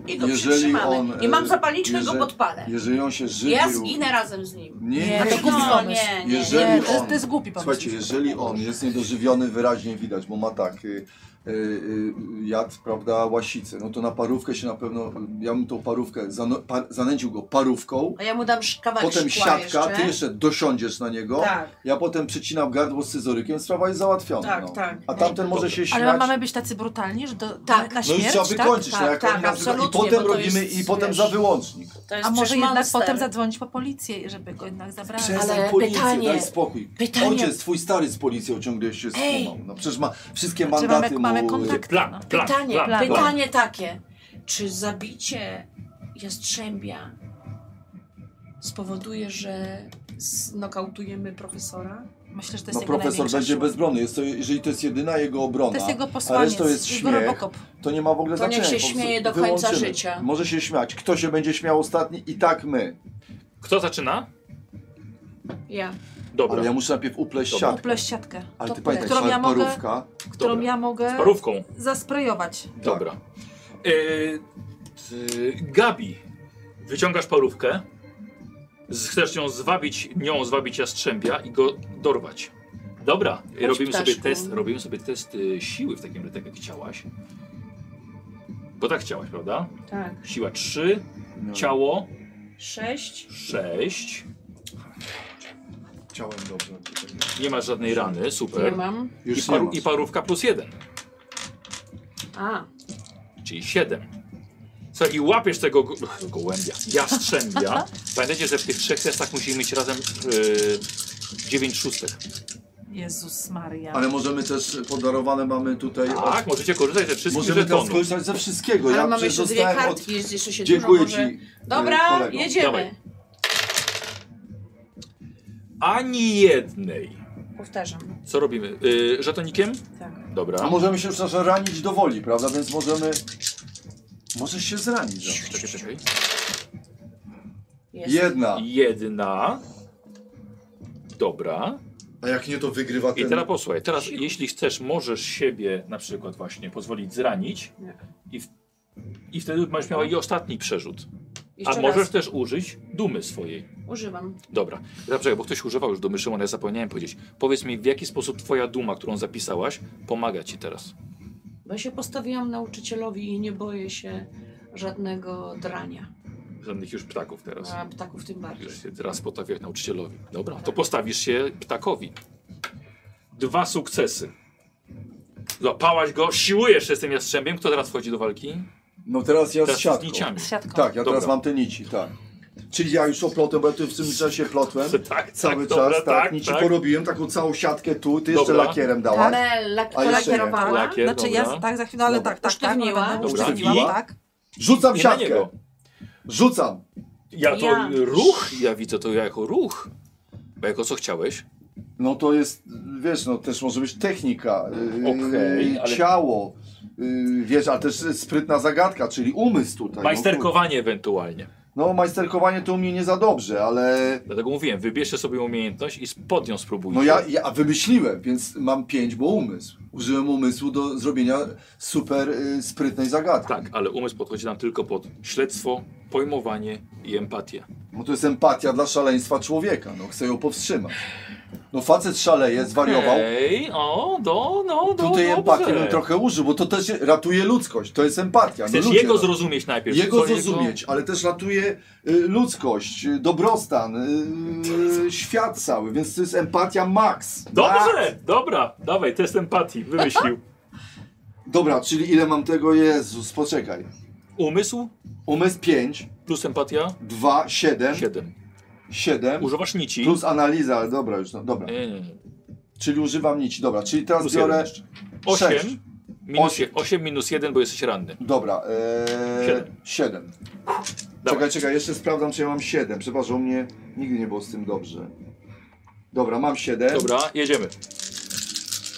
i go
jeżeli
przytrzymamy.
on,
I mam
e,
zapalniczkę,
jeżeli-
go podpalę.
jeżeli on się żywił...
Ja zginę razem z nim.
Nie,
Nie,
nie,
to
nie.
głupi
no,
pomysł.
nie, nie,
Jeżeli
Nie,
nie.
to jest,
on-
to jest głupi pomysł.
Słuchajcie, jeżeli
tak
on jest niedożywiony, wyraźnie widać, bo ma tak y, y, y, jad, prawda, łasicy, no to na parówkę się na pewno, ja bym tą parówkę, zano, pa, zanęcił go parówką,
A ja mu dam sz- kawałek
potem
szkła
siatka,
jeszcze.
ty jeszcze dosiądziesz na niego,
Tak,
ja potem przycinam gardło scyzorykiem, sprawa jest załatwiona.
tak,
no.
tak.
A tamten może się śmiać.
Ale mamy być tacy brutalni, że do,
Tak.
na
No już
śmierć,
trzeba
tak?
wykończyć,
tak,
no, jak
tak,
oni nas- I
absolutnie,
potem
bo to
robimy,
jest,
i potem
wiesz,
za wyłącznik.
To jest
A może
przecież
jednak
monster.
potem zadzwonić po policję, żeby go jednak zabrali.
Przestań
Tak, Ale
policję,
pytanie-
daj spokój.
pytanie-
Ojciec twój stary z policją ciągle się
Ej!
skumał. No przecież ma wszystkie
Znaczy,
mandaty
mamy- mamy No.
mu...
kontakt.
plan, plan,
Pytanie,
plan, plan.
pytanie takie. Czy zabicie jastrzębia spowoduje, że znokautujemy profesora?
Myślę, że to jest
No
jego
profesor
największa
będzie
siła.
bezbronny, jest to, jeżeli to jest jedyna jego obrona,
To jest jego
a
posłaniec,
reszta jest
jego
śmiech,
robokop.
to nie ma w ogóle
To niech
znaczenia.
się
po prostu
śmieje do końca
wyłączymy.
życia.
Może się śmiać. Kto się będzie śmiał ostatni i tak my.
Kto zaczyna?
Ja.
Dobra.
Ale ja muszę najpierw upleść
Dobra.
siatkę.
Upleść siatkę,
Ale ty
To
pamiętaj,
którą
to
ja
jest
mogę-
parówka.
którą
Dobra.
ja mogę
Z parówką.
zasprejować.
Dobra. Yy, ty, Gabi, wyciągasz parówkę, z, chcesz ją zwabić, nią zwabić jastrzębia i go dorwać. Dobra, robimy sobie
ptaszku.
test, robimy sobie test y, siły w takim razie, tak jak chciałaś. Bo tak chciałaś, prawda?
Tak.
Siła 3,
No.
ciało
Sześć.
Sześć.
Chciałem dobrze.
Nie masz żadnej rany,
Nie
super.
mam.
I,
Już nie
paru,
masz.
I parówka plus jeden,
A,
czyli siedem. Co, i łapiesz tego go, gołębia, jastrzębia. Pamiętajcie, że w tych trzech testach musimy mieć razem yy, dziewięć szóstek.
Jezus Maria.
Ale możemy też, podarowane mamy tutaj...
Tak, możecie korzystać ze wszystkich
Możemy teraz
żetonów.
korzystać ze wszystkiego.
ale
ja
mamy
przecież
jeszcze dwie
dostałem
kartki, jest jeszcze się
Od... Dziękuję
dużo może...
ci. e,
Dobra,
kolego.
jedziemy.
Dawaj. Ani jednej.
Powtarzam.
Co robimy? Yy, żetonikiem?
Tak.
Dobra.
A możemy się już nasze ranić do woli, prawda? Więc możemy... Możesz się zranić. Że...
Czekaj, czekaj.
Jest.
Jedna.
Jedna. Dobra.
A jak nie, to wygrywa
I
ten...
teraz posłuchaj, teraz jeśli chcesz, możesz siebie na przykład właśnie pozwolić zranić
Nie.
i, w, i wtedy będziesz miała i ostatni przerzut.
Jeszcze
A możesz
raz.
też użyć dumy swojej.
Używam.
Dobra, teraz czekaj, bo ktoś używał już dumy Szymona, ja zapomniałem powiedzieć. Powiedz mi, w jaki sposób twoja duma, którą zapisałaś, pomaga ci teraz?
Bo ja się postawiłam nauczycielowi i nie boję się żadnego drania.
Żadnych już ptaków teraz.
A ptaków tym bardziej.
Już się teraz postawiłeś nauczycielowi. Dobra, to postawisz się ptakowi. Dwa sukcesy. Złapałaś go, siłujesz się z tym jastrzębiem. Kto teraz wchodzi do walki?
No teraz ja
Teraz
z
z
siatką.
niciami.
Z siatką.
Tak, ja
Dobra.
teraz mam te nici, tak. Czyli ja już oplotem, bo ja tu w tym czasie plotłem.
Tak, (laughs) tak,
Cały czas,
dobra,
tak,
tak,
nici
tak.
porobiłem, taką całą siatkę tu, ty jeszcze
Dobra.
lakierem dałaś.
Ale lak-
A jeszcze nie.
lakierowana.
Lakier,
Znaczy
dobra.
ja tak za chwilę, ale
Dobra.
tak, tak, tak.
Usztywniła.
no,
Dobra.
Usztywniłam,
I?
tak.
Rzucam
I na
siatkę,
niego.
rzucam.
no. Ja to
Ja.
ruch, ja widzę to ja jako ruch. Bo jako co chciałeś?
No to jest, wiesz, no też może być technika, yy,
Okej, ale-
ciało, yy, wiesz, ale też sprytna zagadka, czyli umysł tutaj.
Majsterkowanie ewentualnie.
No, no majsterkowanie to u mnie nie za dobrze, ale
Dlatego mówiłem, wybierzcie sobie umiejętność i pod nią spróbujcie.
no ja, ja wymyśliłem, więc mam pięć, bo umysł. Użyłem umysłu do zrobienia super yy, sprytnej zagadki.
Tak, ale umysł podchodzi nam tylko pod śledztwo, pojmowanie i empatię.
Bo No to jest empatia dla szaleństwa człowieka, no chcę ją powstrzymać. No facet szaleje, zwariował.
Ej, o, do, Eee. no, do,
Tutaj
dobrze.
empatii bym trochę użył, bo to też ratuje ludzkość, to jest empatia. No,
Chcesz
ludzie,
jego
no.
zrozumieć najpierw.
Jego
co
zrozumieć, ale też ratuje y, ludzkość, y, dobrostan, y, świat cały, więc to jest empatia max. Max.
Dobrze, dobra, dawaj, test empatii, wymyślił.
Dobra, czyli ile mam tego? Jezus, poczekaj.
Umysł
Umysł 5,
plus empatia
2, 7,
7.
7,
Używasz nici.
plus analiza, ale dobra już, no, dobra.
Nie, nie, nie.
Czyli używam nici, dobra, czyli teraz
E. Plus
biorę...
jeden
sześć.
8 minus,
Osiem.
8 minus 1, bo jesteś ranny.
Dobra,
Siedem.
7.
Dawaj.
Czekaj, czekaj, jeszcze sprawdzam, czy ja mam 7. Przepraszam, u mnie nigdy nie było z tym dobrze. Dobra, mam 7.
Dobra, jedziemy.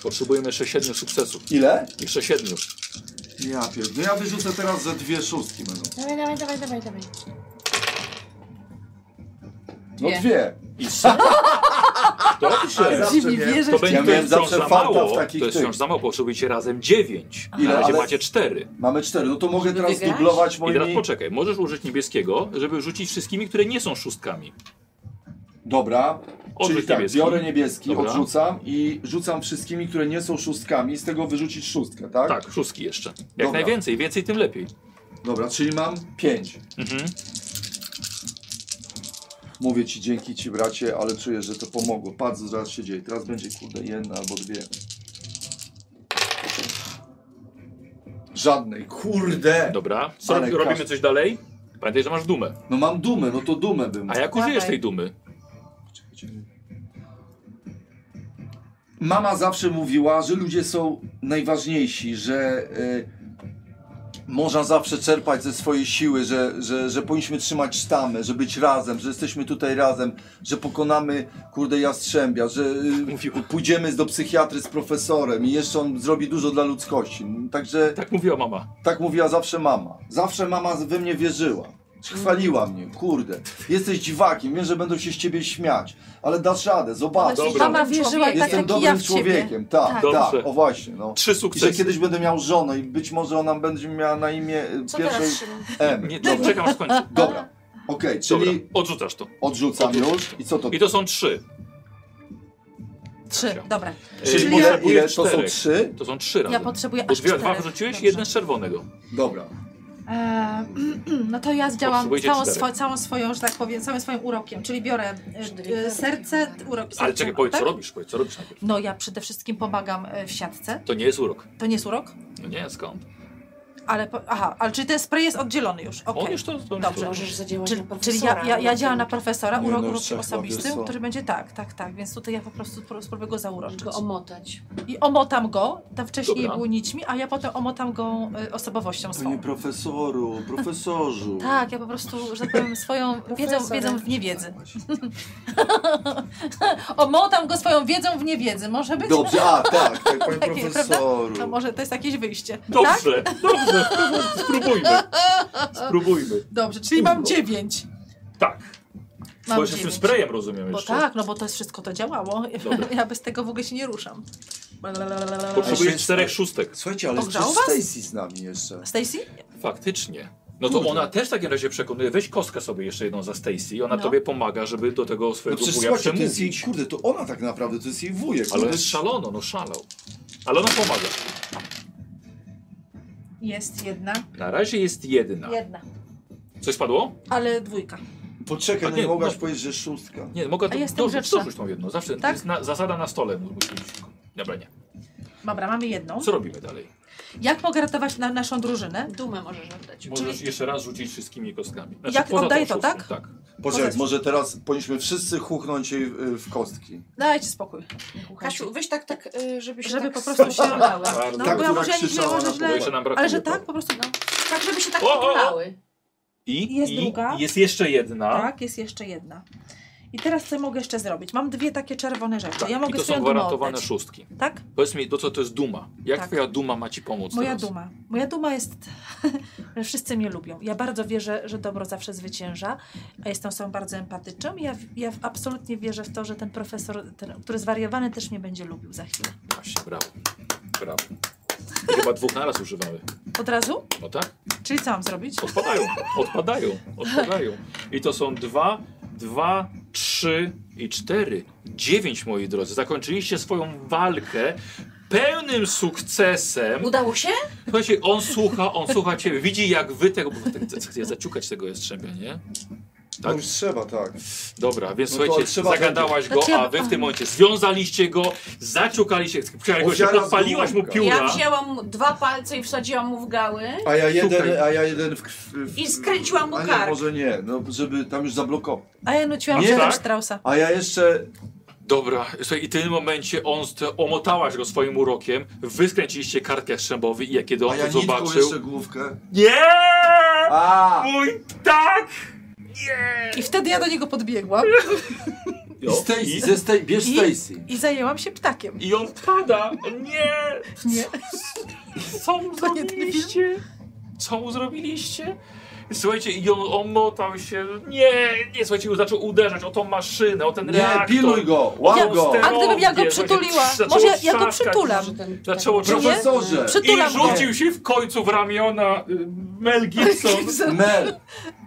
Potrzebujemy jeszcze 7 sukcesów.
Ile?
Jeszcze 7.
Ja pierdolę. Ja wyrzucę teraz ze dwie szóstki będą.
Dawaj, dawaj, dawaj, dawaj, dawaj.
No
Dwie.
dwie.
I s-
Ale
Dobrze.
zawsze
mi
miałem-
wierzę
To
w
będzie
Ja
to
miałem
jest wciąż
zawsze
za
farta w
mało.
takich
To jest
tych.
wciąż za mało, potrzebujecie razem 9.
Ile?
Na razie
Ale-
macie 4.
Mamy cztery. No to mogę
Żeby
teraz
wygrać?
dublować
I
moimi...
teraz poczekaj, możesz użyć niebieskiego, żeby rzucić wszystkimi, które nie są szóstkami.
Dobra.
Odrzuć
Czyli tak,
niebieski.
biorę niebieski,
Dobra.
odrzucam i rzucam wszystkimi, które nie są szóstkami. Z tego wyrzucić szóstkę, tak?
Tak, szóstki jeszcze. Jak
Dobra.
najwięcej, więcej tym lepiej.
Dobra, czyli mam pięć.
Mhm.
Mówię ci dzięki ci bracie, ale czuję, że to pomogło. Patrz, zaraz się dzieje. Teraz będzie kurde jedna albo dwie. Żadnej, kurde!
Dobra, co
Ale
robimy
każdy-
coś dalej? Pamiętaj, że masz dumę.
No mam dumę, no to dumę bym.
A jak
Dawaj.
użyjesz tej dumy?
Mama zawsze mówiła, że ludzie są najważniejsi, że y, można zawsze czerpać ze swojej siły, że, że, że powinniśmy trzymać sztamę, że być razem, że jesteśmy tutaj razem, że pokonamy kurde jastrzębia, że
Mówiła.
y, pójdziemy do psychiatry z profesorem i jeszcze on zrobi dużo dla ludzkości. Także
Tak mówiła mama.
tak mówiła zawsze mama. Zawsze mama we mnie wierzyła. Chwaliła mnie, kurde. Jesteś dziwakiem, wiem, że będą się z ciebie śmiać, ale dasz radę, zobacz.
Dobra.
Mama wierzyła tak
Jestem
jak i ja
dobrym
w ciebie.
człowiekiem, tak,
Tak.
tak,
Dobrze.
o właśnie. No.
Trzy
I że
sukcesy.
kiedyś będę miał żonę i być może ona będzie miała na imię y,
Co
pierwszej
teraz, Szymon?
M.
Nie, no,
Dobra,
czekam aż kończy.
dobra. okej, czyli
Dobra, odrzucasz to.
odrzucam już i co to?
I to są trzy.
Trzy, dobra.
Czyli
Yy,
ile,
potrzebuję
ile to są
czterech.
trzy?
To są trzy razy.
Ja potrzebuję
Bo
aż
dwie, dwa
czterech.
wrzuciłeś,
Dobrze.
jeden z czerwonego.
Dobra.
E, (clears throat) no to ja zdziałam
Potrzebujecie
całą,
czterech.
swo, całą swoją, że tak powiem, całym swoim urokiem, czyli biorę e, e, serce, t- urok serca.
Ale czekaj, powiedz,
tak?
co robisz, powiedz, co robisz najpierw.
No ja przede wszystkim pomagam e, w siatce.
To nie jest urok.
To nie jest urok,
No nie, skąd?
ale... Po, aha, ale czyli ten spray jest oddzielony już, okej.
On No, już to... to on
Dobrze.
już to-
Możesz zadziałać
Czyli,
na
czyli
profesora.
ja, ja, ja działam na profesora,
Nie,
urok
no,
urokiem
trzech
osobistym,
profesor.
który będzie tak, tak, tak, więc tutaj ja po prostu pró- spróbuję go zauroczyć.
Tylko omotać.
I omotam go, tam wcześniej
Dobra.
był nićmi, a ja potem omotam go y, osobowością
Panie
swą.
profesoru, profesorzu.
Tak, ja po prostu, że tak powiem, swoją wiedzą, wiedzą w niewiedzy. (laughs) omotam go swoją wiedzą w niewiedzy, może być?
Dobrze, a tak, tak,
(laughs)
panie
Takie, prawda?
profesoru.
To może to jest jakieś wyjście. Tak?
Dobrze, dobrze, spróbujmy. Spróbujmy.
Dobrze, czyli mam dziewięć.
Tak.
Mam
Bo jeszcze z tym
dziewięć.
sprayem rozumiem
Bo
jeszcze.
tak, no bo to jest wszystko to działało.
Dobra.
(laughs) Ja bez tego w ogóle się nie ruszam. Blablabla.
Potrzebujesz
Ale-
czterech szóstek.
Słuchajcie, ale jeszcze
Pogrzało was?
Stacy z nami jeszcze.
Stacy?
Faktycznie. No to ona też w takim razie przekonuje, weź kostkę sobie jeszcze jedną za Stacy i ona
No.
tobie pomaga, żeby do tego
No
swojego
przecież
wuja
słuchajcie, to jest jej,
przemówić.
kurde, to ona tak naprawdę, to jest jej wujek.
Ale
to
jest
jest
szalono, no szalał. Ale ona pomaga.
Jest jedna.
Na razie jest jedna.
Jedna.
Coś padło?
Ale dwójka.
Poczekaj,
A
no
nie,
nie mogłaś
no.
powiedzieć, że szóstka.
Nie, mogę
A
to
jestem
dorzuć,
grzeczna.
dorzuć tą jedną. Zawsze to
Tak?
jest na, zasada na stole. musisz- Dobra, nie.
Dobra, mamy jedną.
Co robimy dalej?
Jak mogę ratować na naszą drużynę?
Dumę możesz oddać.
Możesz jeszcze raz rzucić wszystkimi kostkami. Znaczy,
Jak
poza tą
oddaję to,
szóstką,
tak?
Tak.
Poczekaj,
Poza-
może teraz powinniśmy wszyscy huchnąć jej y, w kostki.
Dajcie spokój.
Kasiu, weź tak, tak, y, żeby się
żeby
tak
po
(laughs)
prostu się
strzelały.
oddała.
Tak,
No, bo ja
która
może ja nie
krzyczała
może
na
Bo
źle.
jeszcze nam brakuje.
Ale że tak,
to.
po prostu, no.
Tak, żeby się tak
O, o, o!
pochylały.
I
Jest
i-
druga.
Jest jeszcze jedna.
Tak, jest jeszcze jedna. I teraz co mogę jeszcze zrobić? Mam dwie takie czerwone rzeczy.
Tak,
Ja
I
mogę
to są
swoją dumę
gwarantowane
oddać.
szóstki.
Tak?
Powiedz mi, do co to jest duma? Jak
Tak.
twoja duma ma ci pomóc
Moja
teraz?
duma. Moja duma jest, (laughs) że wszyscy mnie lubią. Ja bardzo wierzę, że dobro zawsze zwycięża, a jestem osobą bardzo empatyczną. i Ja, ja absolutnie wierzę w to, że ten profesor, ten, który zwariowany, też mnie będzie lubił za chwilę.
Właśnie, brawo. Brawo. I Chyba dwóch naraz używamy.
Od razu?
No tak?
Czyli co mam zrobić?
Odpadają, odpadają, odpadają. I to są dwa, dwa, trzy i cztery. Dziewięć, moi drodzy. Zakończyliście swoją walkę pełnym sukcesem.
Udało się?
Słuchajcie, on słucha, on słucha ciebie, widzi jak wy tego... bo tak Chcę zaciukać tego jastrzębia, nie?
No
Tak.
już trzeba, tak.
Dobra, więc
No to
słuchajcie,
trzeba
zagadałaś go,
Znaczy ja-
a wy w tym momencie związaliście go, zaciukaliście, się,
Ofiara
podpaliłaś mu
zgubiła.
pióra.
Ja wzięłam dwa palce i wsadziłam mu w gały.
A ja jeden,
Słuchaj.
a ja jeden w, w, w
I skręciłam mu
A nie,
kark.
może nie, no żeby tam już zablokował.
A ja nuciłam
Nie,
żywym
tak?
Strausa.
A ja jeszcze,
Dobra, słuchaj, i w tym momencie on st- omotałaś go swoim urokiem, wy skręciliście kartkę strzębowy i jak kiedy
a
on
ja
to
nitką
zobaczył...
jeszcze główkę.
Nie!
A!
Mój tak!
I wtedy ja do niego podbiegłam
I Stacy, ze Stacy, bierz
I-
Stacy.
i zajęłam się ptakiem.
I on pada! Nie!
Nie.
Co mu
To nie ten
zrobiliście? Co mu zrobiliście? Słuchajcie, i on omotał się. Nie, nie, słuchajcie, zaczął uderzać o tą maszynę, o ten
Nie,
reaktor.
piluj go, łap
Ja-
go.
A gdybym ja go
Robię,
przytuliła?
zaczęło
Może ja, ja go
trzaskać.
przytulam.
Może ten-
Zaczęło
tak-
trzaskać.
Profesorze!
I
Przytulam go.
rzucił się w końcu w ramiona y, Mel Gibson.
Mel!
Zaczął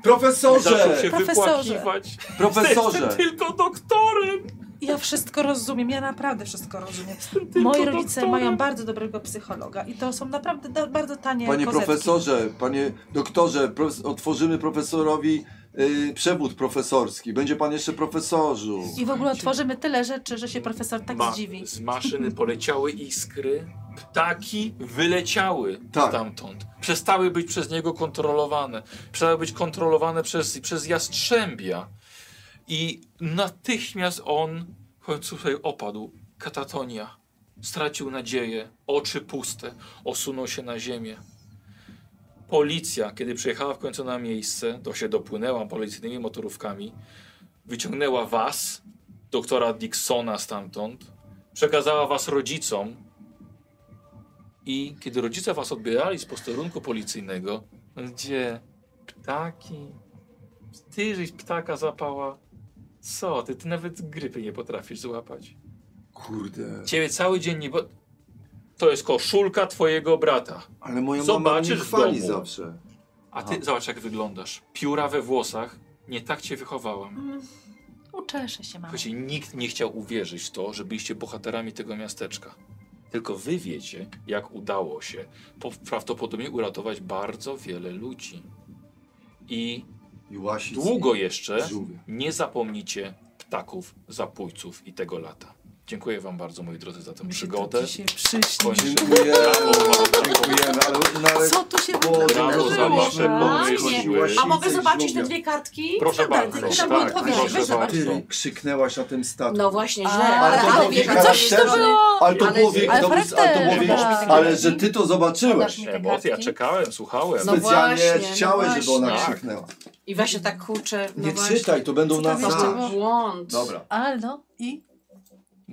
Profesorze!
się
Profesorze.
wypłakiwać.
Profesorze!
Jestem tylko doktorem.
Ja wszystko rozumiem, ja naprawdę wszystko rozumiem.
tylko
Moi rodzice
doktorem.
mają bardzo dobrego psychologa i to są naprawdę da, bardzo tanie
Panie
kozetki.
profesorze, panie doktorze, profes otworzymy profesorowi y, przewód profesorski. Będzie pan jeszcze profesorzu.
I w ogóle tworzymy tyle rzeczy, że się profesor tak
Ma-
zdziwi.
Z maszyny poleciały iskry. Ptaki wyleciały
Tak.
stamtąd. Przestały być przez niego kontrolowane. Przestały być kontrolowane przez, przez jastrzębia. I natychmiast on w końcu tutaj opadł. Katatonia. Stracił nadzieję. Oczy puste. Osunął się na ziemię. Policja, kiedy przyjechała w końcu na miejsce, to się dopłynęła policyjnymi motorówkami, wyciągnęła was, doktora Dixona stamtąd, przekazała was rodzicom i kiedy rodzice was odbierali z posterunku policyjnego, gdzie ptaki, ty żeś ptaka zapała, co ty, ty nawet grypy nie potrafisz złapać.
Kurde.
Ciebie cały dzień nie... Bo... To jest koszulka twojego brata.
Ale moja mama mnie
Zobaczysz w
chwali
domu.
zawsze.
A ty
Aha.
zobacz jak wyglądasz. Pióra we włosach. Nie tak cię wychowałam.
Uczeszę się, mamo.
Słuchajcie, nikt nie chciał uwierzyć w to, że byliście bohaterami tego miasteczka. Tylko wy wiecie, jak udało się po, prawdopodobnie uratować bardzo wiele ludzi. I
I łasic.
długo jeszcze
żółwie.
nie zapomnicie ptaków, zapójców i tego lata. Dziękuję wam bardzo, moi drodzy, za tę
Mi się to
przygodę.
Dzisiaj przyśni.
Kończymy.
Dziękujemy,
Brawo,
dziękujemy, ale, no, ale
Co tu się
Bo-
brawo za
wydarzyło?
wasze
Fajnie.
pomysły.
A mogę zobaczyć te dwie kartki?
Proszę
Dobra,
bardzo.
tylko
Tak,
tam było odpowiedzi,
proszę
weź zobacz.
bardzo.
ty krzyknęłaś na tym statku.
No właśnie, źle.
A, ale-
to
ale
było
wiesz,
wielka-
coś to
charakterze.
było.
Ale to
Ale-
było wiek,
ale
ale, ale, to było wiek,
charakter.
ale że ty to zobaczyłeś.
Podasz mi te
Emocje, ja
kartki.
czekałem, słuchałem.
No
Specjalnie
właśnie, no
chciałeś, żeby ona
właśnie.
krzyknęła.
I właśnie tak kurczę. No
Nie
właśnie.
czytaj, to
Co
będą
tam
na
jeszcze
zawsze.
było?
To błąd.
Dobra.
Ale no i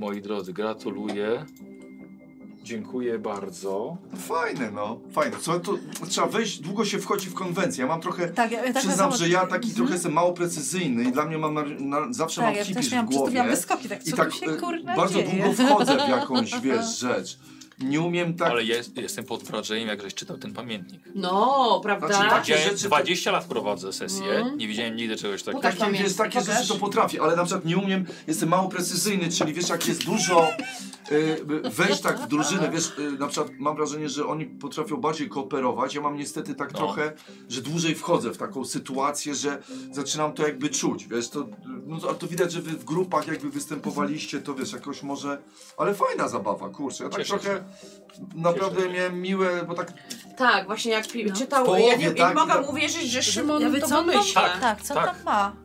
Moi drodzy, gratuluję. Dziękuję bardzo.
Fajne, no. Fajne. Co, to trzeba wejść, długo się wchodzi w konwencję. Ja mam trochę.
tak, ja, ja tak
przyznam,
samo-
że ja taki
Mhm.
trochę jestem mało precyzyjny i dla mnie mam na, na, zawsze
tak,
mam
ja
hipisz
też
w
miałam, przez to miałam
głowie.
wyskoki, tak
I
co
tak
tu się
e,
kurna
bardzo
dzieje?
długo wchodzę w
(laughs)
jakąś, wiesz, rzecz. Nie umiem tak.
Ale ja jest, jestem pod wrażeniem, jak żeś czytał ten pamiętnik.
No,
Znaczy,
prawda?
tak- No.
Ja
rzeczy to-
20 lat prowadzę sesję,
Mm.
nie widziałem nigdy czegoś takiego.
Pokaż
Takie, wiesz, Tak, takie
Pokaż.
rzeczy to potrafię, ale na przykład nie umiem, jestem mało precyzyjny, czyli wiesz, jak jest dużo, y, wejść tak w drużynę, wiesz, y, na przykład mam wrażenie, że oni potrafią bardziej kooperować, ja mam niestety tak
No.
trochę, że dłużej wchodzę w taką sytuację, że zaczynam to jakby czuć, wiesz, to, no, to, a to widać, że wy w grupach jakby występowaliście, to wiesz, jakoś może, ale fajna zabawa, kurczę, ja tak
Cieszę
trochę, naprawdę
Cieszę się.
miałem miłe, bo tak
Tak, właśnie jak pi- czytał,
W połowie,
ja nie, ja nie
tak,
mogłam
tak.
uwierzyć, że
Ja
Szymon
mówię,
to
co on
wymyśla.
ma? Tak, co
tak.
tam ma?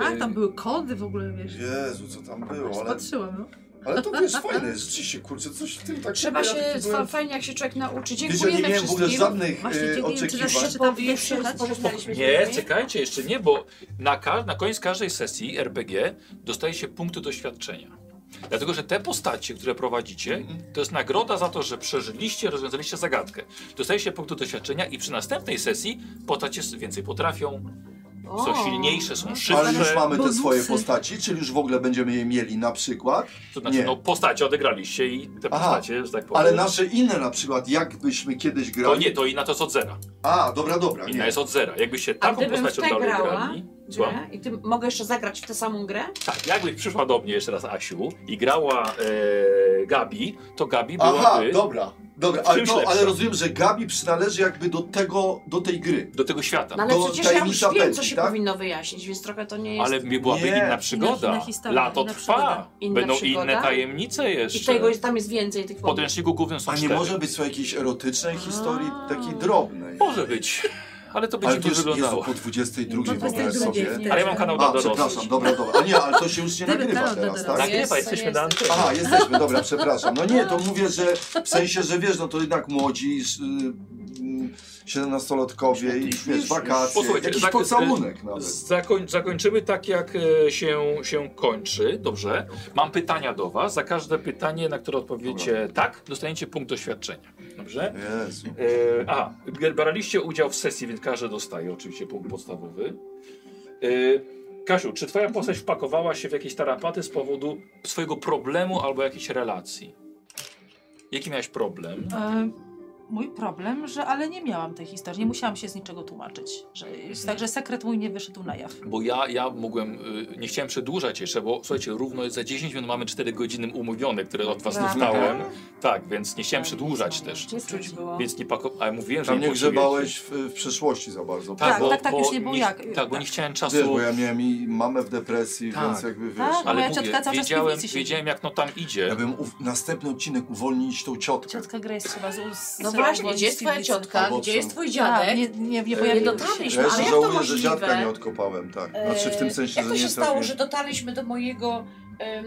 Tak, tam były kody w ogóle, wiesz.
Jezu, co tam było, Y, ale, y,
Patrzyłam, no.
ale to wiesz, fajne jest, rzeczywiście, kurczę, coś w tym tak
Trzeba
ja
się,
taki byłem-
fa- fajnie jak się człowiek nauczy.
Wiecie,
Dziękujemy
nie miałem w ogóle
wszystkim.
żadnych
Właśnie,
e,
dziękuję, czy
oczekiwań.
też się tam
Powietrze,
przyjechać?
porozmawialiśmy
Nie,
z nimi.
czekajcie, jeszcze nie, bo na, ka- na koniec każdej sesji RPG dostaje się punkty doświadczenia. Dlatego, że te postacie, które prowadzicie,
Mhm.
to jest nagroda za to, że przeżyliście, rozwiązaliście zagadkę. Dostaje się punkty doświadczenia i przy następnej sesji postacie s- więcej potrafią, są
O.
silniejsze, są
Ale
szybsze.
już mamy te
bonusy.
swoje postaci, czyli już w ogóle będziemy je mieli na przykład.
To znaczy,
nie.
no postacie odegraliście i te
Aha,
postacie, że tak powiem.
Ale nasze inne na przykład, jakbyśmy kiedyś
To
grali.
nie, to inna to jest od zera.
A, dobra, dobra.
Inna
Nie.
jest od zera. Jakbyście
A
taką
gdybym w
postacią
tę
dalej
grała
grali. Słucham?
grę i ty mogę jeszcze zagrać w tę samą grę?
Tak, jakbyś przyszła do mnie jeszcze raz, Asiu, i grała e, Gabi, to Gabi
Aha,
byłaby
dobra. Dobra,
W
ale,
czymś
to, ale
lepsza.
rozumiem, że Gabi przynależy jakby do tego, do tej gry.
do tego świata.
No ale
To
przecież ja już
tajemnica
wiem, co
pętli,
się
tak?
powinno wyjaśnić, więc trochę to nie jest...
Ale mi byłaby
Nie.
inna przygoda.
Inna- inna historia,
Lato
inna
trwa.
przygoda.
Inna
Będą
przygoda.
inne tajemnice jeszcze.
I tego jest, tam jest więcej tych
W
wątków.
podręczniku głównym są
A nie
cztery.
może być to jakiejś erotycznej historii,
A.
takiej drobnej.
Może być, ale to będzie
Ale
nie
to już Jezu,
wyglądało.
po 22
No
Po
wyobraź
22
sobie.
nie.
Ale ja mam kanał dla
A,
dorosłych.
przepraszam, dobra, dobra. A nie, ale to się już nie
Dobra,
nagrywa
dobra,
teraz,
dobra.
tak?
Tak, nie,
Jest,
pa, jesteśmy
jest.
na antenie.
Aha, jesteśmy, dobra, przepraszam. No nie, to mówię, że w sensie, że wiesz, no to jednak młodzi, sz- y, mm, 17-latkowie i wiesz, wakacje,
Posłuchajcie, tak, y,
jakiś
zak- e,
pocałunek nawet.
Zakoń, zakończymy tak, jak e, się, się kończy. Dobrze. Mam pytania do Was. Za każde pytanie, na które odpowiecie tak, dostaniecie punkt doświadczenia. Dobrze?
Jezu.
E, aha, braliście udział w sesji, więc każdy dostaje oczywiście punkt podstawowy. E, Kasiu, czy Twoja postać wpakowała się w jakieś tarapaty z powodu swojego problemu albo jakiejś relacji? Jaki miałeś problem?
E, Mój problem, że ale nie miałam tej historii, nie musiałam się z niczego tłumaczyć. Że, także sekret mój nie wyszedł na jaw.
Bo ja, ja mogłem, y, nie chciałem przedłużać jeszcze, bo słuchajcie, równo za 10 minut mamy 4 godziny umówione, które od was
Prawda?
dostałem. Tak, więc nie chciałem przedłużać
tak.
też.
Gdzie czuć było?
Więc nie pako... Ale mówiłem, że
Tam nie
potrzebuję-
grzebałeś w, w przeszłości za bardzo.
Tak, tak, tak, już nie było jak.
Tak, bo nie
Tak.
chciałem czasu...
Wiesz, bo ja miałem i mamę w depresji,
Tak.
więc jakby wiesz. no,
Tak,
Ale
Moja
mówię,
ciotka cały czas w
wiedziałem,
piwnicy siedzi.
wiedziałem jak no tam idzie.
Ja bym uw- następny odcinek uwolnić tą ciotkę.
Ciotka Grace trzeba z z-
No
z-
właśnie,
uwolnić
gdzie
z
jest twoja
piwnicy.
ciotka?
Albo
Gdzie
psa.
jest twój
Tak,
dziadek?
nie, nie, nie no,
E,
pojawił
dotarliśmy,
Ja
się.
ale
jeszcze
jak to
żałuję, że
możliwe? Eee,
dziadka nie odkopałem, tak. Znaczy w tym sensie,
Jak
że
to
nie
się stało,
trafiłem.
że dotarliśmy do mojego, em,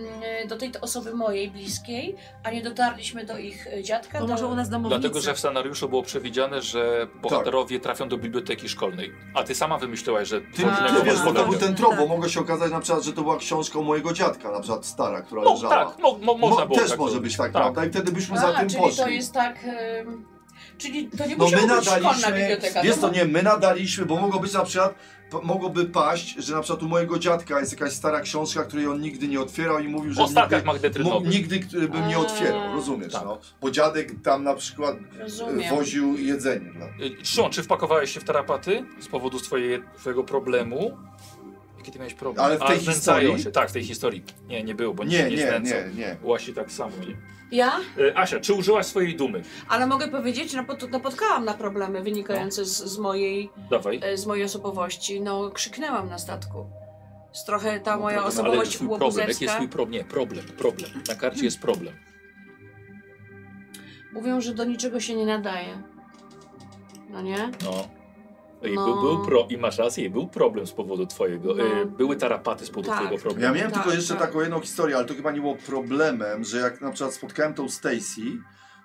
do tej osoby mojej bliskiej, a nie dotarliśmy do ich e, dziadka?
Bo
do...
może u nas domownicy.
Dlatego, że w scenariuszu było przewidziane, że bohaterowie trafią do biblioteki szkolnej. A ty sama wymyśliłaś, że
Ty,
można
ty
było
wiesz, bo to
podać.
był ten trop, bo
Tak.
mogło się okazać na przykład, że to była książka mojego dziadka, na przykład stara, która
No
leżała.
tak, mo, mo, można
Mo-
było
też
tak
może
zrobić.
być tak,
Tak.
prawda? I wtedy byśmy za
A,
tym
czyli
poszli.
to jest tak... em, Czyli to nie
No my
musiała być szkolna
nadaliśmy,
biblioteka.
jest to
mo-
nie, my nadaliśmy, bo mogło być na przykład, p- mogłoby paść, że na przykład u mojego dziadka jest jakaś stara książka, której on nigdy nie otwierał i mówił, że
O
nigdy,
statkach
mo,
magnetynowych.
nigdy który bym nie otwierał, rozumiesz,
Tak.
no. Bo dziadek tam na przykład e,
Rozumiem.
woził jedzenie dla
Y, Szymon, czy wpakowałeś się w tarapaty z powodu swoje, twojego problemu? jaki ty miałeś problem.
Ale w tej
A, znęcają
historii?
Się. Tak, w tej historii. Nie, nie było, bo nikt
Nie,
się nie
nie,
znęcał.
nie, nie.
Łasi tak samo. Nie.
Ja?
E, Asia, czy użyłaś swojej dumy?
Ale mogę powiedzieć, no, pot- napotkałam na problemy wynikające z, z mojej
Dawaj.
e, z mojej osobowości. No, krzyknęłam na statku. Z trochę ta
No,
moja
Ale
trochę,
jest
osobowość
twój problem. Jaki jest
łobuzerska.
twój problem? Nie, problem, problem. Na karcie jest problem.
Mówią, że do niczego się nie nadaje. No nie?
No. I
No.
był, był pro, i masz rację, i był problem z powodu twojego.
No.
e, Były tarapaty z powodu
Tak.
twojego problemu.
Ja miałem
Tak,
tylko jeszcze
tak.
taką jedną historię, ale to chyba nie było problemem, że jak na przykład spotkałem tą Stacy,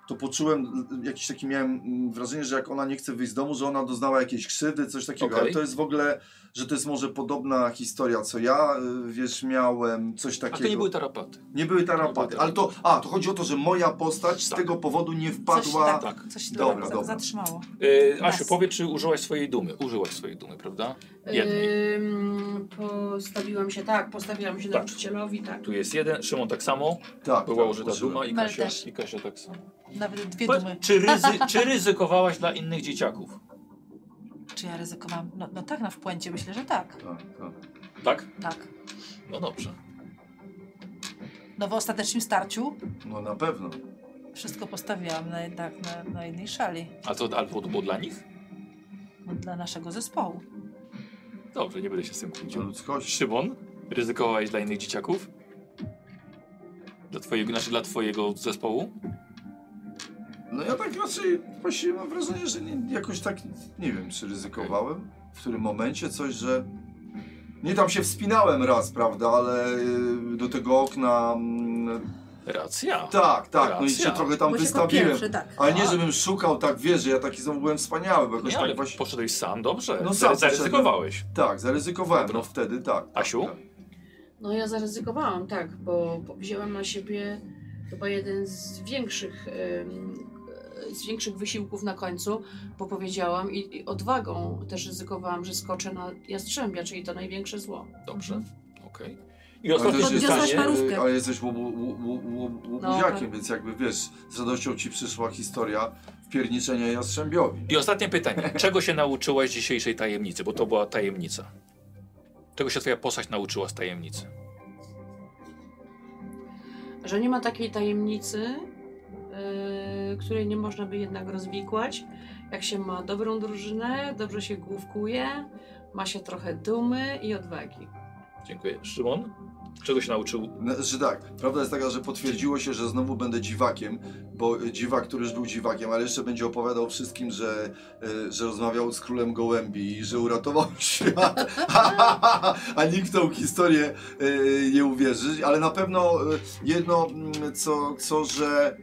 to poczułem y, jakiś taki miałem mm, wrażenie, że jak ona nie chce wyjść z domu, że ona doznała jakiejś krzywdy, coś takiego.
Okej.
Ale to jest w ogóle, że to jest może podobna historia, co ja, y, wiesz, miałem coś
A
takiego.
to nie były tarapaty.
Nie były
Nie były
tarapaty, ale to, a, to chodzi o to, że moja postać z
Tak.
tego powodu nie
Coś,
wpadła...
tak,
tak.
coś
Dobra,
za-
dobra.
zatrzymało.
E,
Nas.
Asiu, powiedz, czy użyłaś swojej dumy? Użyłaś swojej dumy, prawda?
Y,
Jednej.
Ym, postawiłam się tak, postawiłam się
Tak.
nauczycielowi, tak.
Tu jest jeden, Szymon tak samo,
tak,
była
tak,
użyta
użyłem.
duma i
Mel
Kasia,
też.
i Kasia tak samo.
Nawet dwie
Powiedz,
dumy.
Czy, ryzy, (laughs) czy ryzykowałaś dla innych dzieciaków?
Czy ja ryzykowałam? No, no tak, na wpłęcie myślę, że tak.
Tak, tak.
Tak?
Tak.
No dobrze.
No w ostatecznym starciu
No na pewno.
wszystko postawiłam na, tak, na, na jednej szali.
A to albo to było dla nich?
Dla naszego zespołu.
Dobrze, nie będę się z tym kłócił.
Do ludzkości.
Szymon, ryzykowałeś dla innych dzieciaków? Dla twojego, znaczy dla twojego zespołu?
No ja tak raczej właściwie mam wrażenie, że nie, jakoś tak nie wiem, czy ryzykowałem w którym momencie coś, że nie tam się wspinałem raz, prawda, ale y, do tego okna mm,
Racja.
tak, tak, no i
Racja.
się trochę tam
Byłeś jako
wystawiłem.
pierwszy, tak.
Ale nie żebym szukał tak, wiesz, że ja taki znowu byłem wspaniały, bo jakoś
Nie,
tak
ale
właśnie
poszedłeś sam, dobrze.
No
No
sam
sam Zaryzykowałeś.
tak, zaryzykowałem, no wtedy tak. tak,
Asiu?
tak.
No ja zaryzykowałam, tak, bo bo wzięłam na siebie chyba jeden z większych, ym, e, z większych wysiłków na końcu, bo powiedziałam i, i odwagą też ryzykowałam, że skoczę na jastrzębia, czyli to największe zło.
Dobrze, okej. I
Ale
ostatnie
też No, jest tak,
Podniosłaś
takie,
pytanie.
paru- parówkę.
Ale jesteś łobu- łobu- łobu-
No,
łobuziakiem,
tak.
więc jakby wiesz, z radością ci przyszła historia pierniczenia Jastrzębiowi.
I ostatnie pytanie. Czego się nauczyłaś z dzisiejszej tajemnicy? Bo to była tajemnica. Czego się twoja postać nauczyła z tajemnicy?
Że nie ma takiej tajemnicy, yy, której nie można by jednak rozwikłać. Jak się ma dobrą drużynę, dobrze się główkuje, ma się trochę dumy i odwagi.
Dziękuję. Szymon? Czego się nauczył?
No, Znaczy tak, prawda jest taka, że potwierdziło się, że znowu będę dziwakiem, bo y, dziwak, który już był dziwakiem, ale jeszcze będzie opowiadał wszystkim, że, y, że rozmawiał z królem gołębi i że uratował (laughs) świat, a nikt w tą historię y, nie uwierzy, ale na pewno y, jedno, mm, co, co że,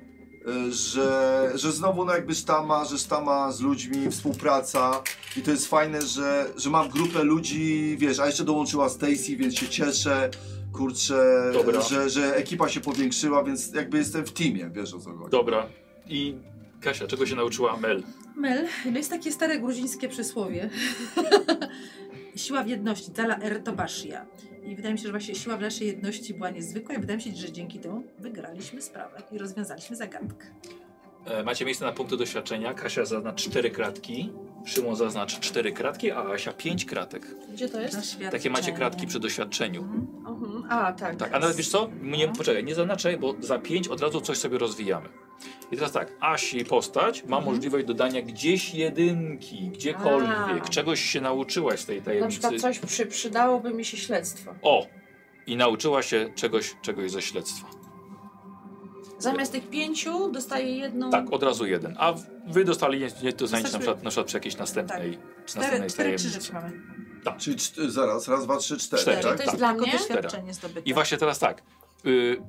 y, że, że znowu no jakby sztama, że sztama z ludźmi, współpraca i to jest fajne, że, że mam grupę ludzi, wiesz, a jeszcze dołączyła Stacy, więc się cieszę, kurczę,
Dobra.
że, że ekipa się powiększyła, więc jakby jestem w teamie, wiesz o co chodzi.
Dobra. I Kasia, czego się nauczyła Mel?
Mel, no jest takie stare gruzińskie przysłowie.
(laughs) Siła w jedności, Dala Ertobashia. I wydaje mi się, że właśnie siła w naszej jedności była niezwykła i wydaje mi się, że dzięki temu wygraliśmy sprawę i rozwiązaliśmy zagadkę.
E, Macie miejsce na punkty doświadczenia. Kasia zaznacz cztery kratki. Szymon zaznacz cztery kratki, a Asia pięć kratek.
Gdzie to jest?
Takie macie kratki przy doświadczeniu.
Mhm.
Mhm. No. A, tak.
Tak, a nawet wiesz co? Nie, poczekaj, nie zaznaczaj, bo za pięć od razu coś sobie rozwijamy. I teraz tak, Asi postać ma
Mhm.
możliwość dodania gdzieś jedynki, gdziekolwiek.
A.
Czegoś się nauczyłaś z tej
Na
tajemnicy.
przykład coś przy, przydałoby mi się śledztwo.
O! I nauczyła się czegoś, czegoś ze śledztwa.
Zamiast tych pięciu dostaję jedną.
Tak, od razu jeden. A wy dostali, nie dostaniecie na
Dostaliśmy-
przykład, na przykład przy jakiejś następnej, przy
Znaczy, tak, Cztery,
następnej
cztery
tajemnicy.
krzyżyki mamy.
Czyli czt- zaraz, raz, dwa, trzy, cztery,
Cztery,
tak?
to jest
tak.
dla
Jako
mnie.
doświadczenie zdobyte.
I właśnie teraz tak. Y,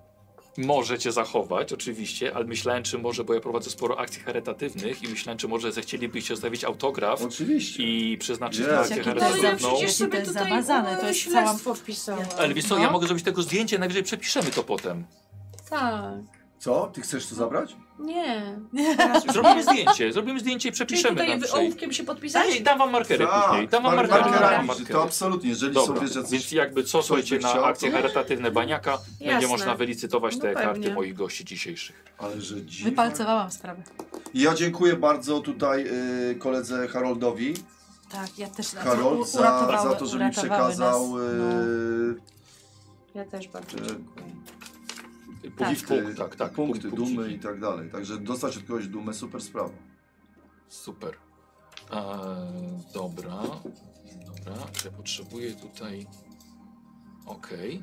możecie zachować, oczywiście, ale myślałem, czy może, bo ja prowadzę sporo akcji charytatywnych i myślałem, czy może zechcielibyście zostawić autograf
Tak. Oczywiście.
i przeznaczyć
Jest.
na akcję
Jakie
Ale ja
charytatywną.
przecież sobie
To jest
tutaj
zamazane, to
e,
jest cała-
śledztwo wpisałam.
No. Ale wiesz co,
No.
ja mogę zrobić tego zdjęcie, najwyżej przepiszemy to potem.
Tak.
Co? Ty chcesz to zabrać?
Nie.
Zrobimy zdjęcie, zrobimy zdjęcie i
Czyli
przepiszemy
tutaj
na
wy-
przykład.
ołówkiem się podpisać?
Tak?
Daj, dam wam markery później, dam wam
par-
markery. dam wam
markerami, że
markery.
Tak. to absolutnie, jeżeli są
Dobra,
wiesz, jacyś-
więc jakby co,
coś
słuchajcie,
by
na
chciał,
akcje
to-
charytatywne Baniaka będzie
Jasne.
można wylicytować te
No pewnie.
karty moich gości dzisiejszych.
Ale że dziwak.
Wypalcowałam sprawę.
Ja dziękuję bardzo tutaj y, koledze Haroldowi
Tak, ja też na
Karol za, za to, że mi przekazał
Nas,
e,
no.
Ja też bardzo
E,
dziękuję.
punkty,
Punkty, tak, tak.
punkty,
punkciki.
dumy i tak dalej. Także dostać od kogoś dumę, super sprawa.
Super. Eee, dobra. Dobra, ja potrzebuję tutaj. Okej.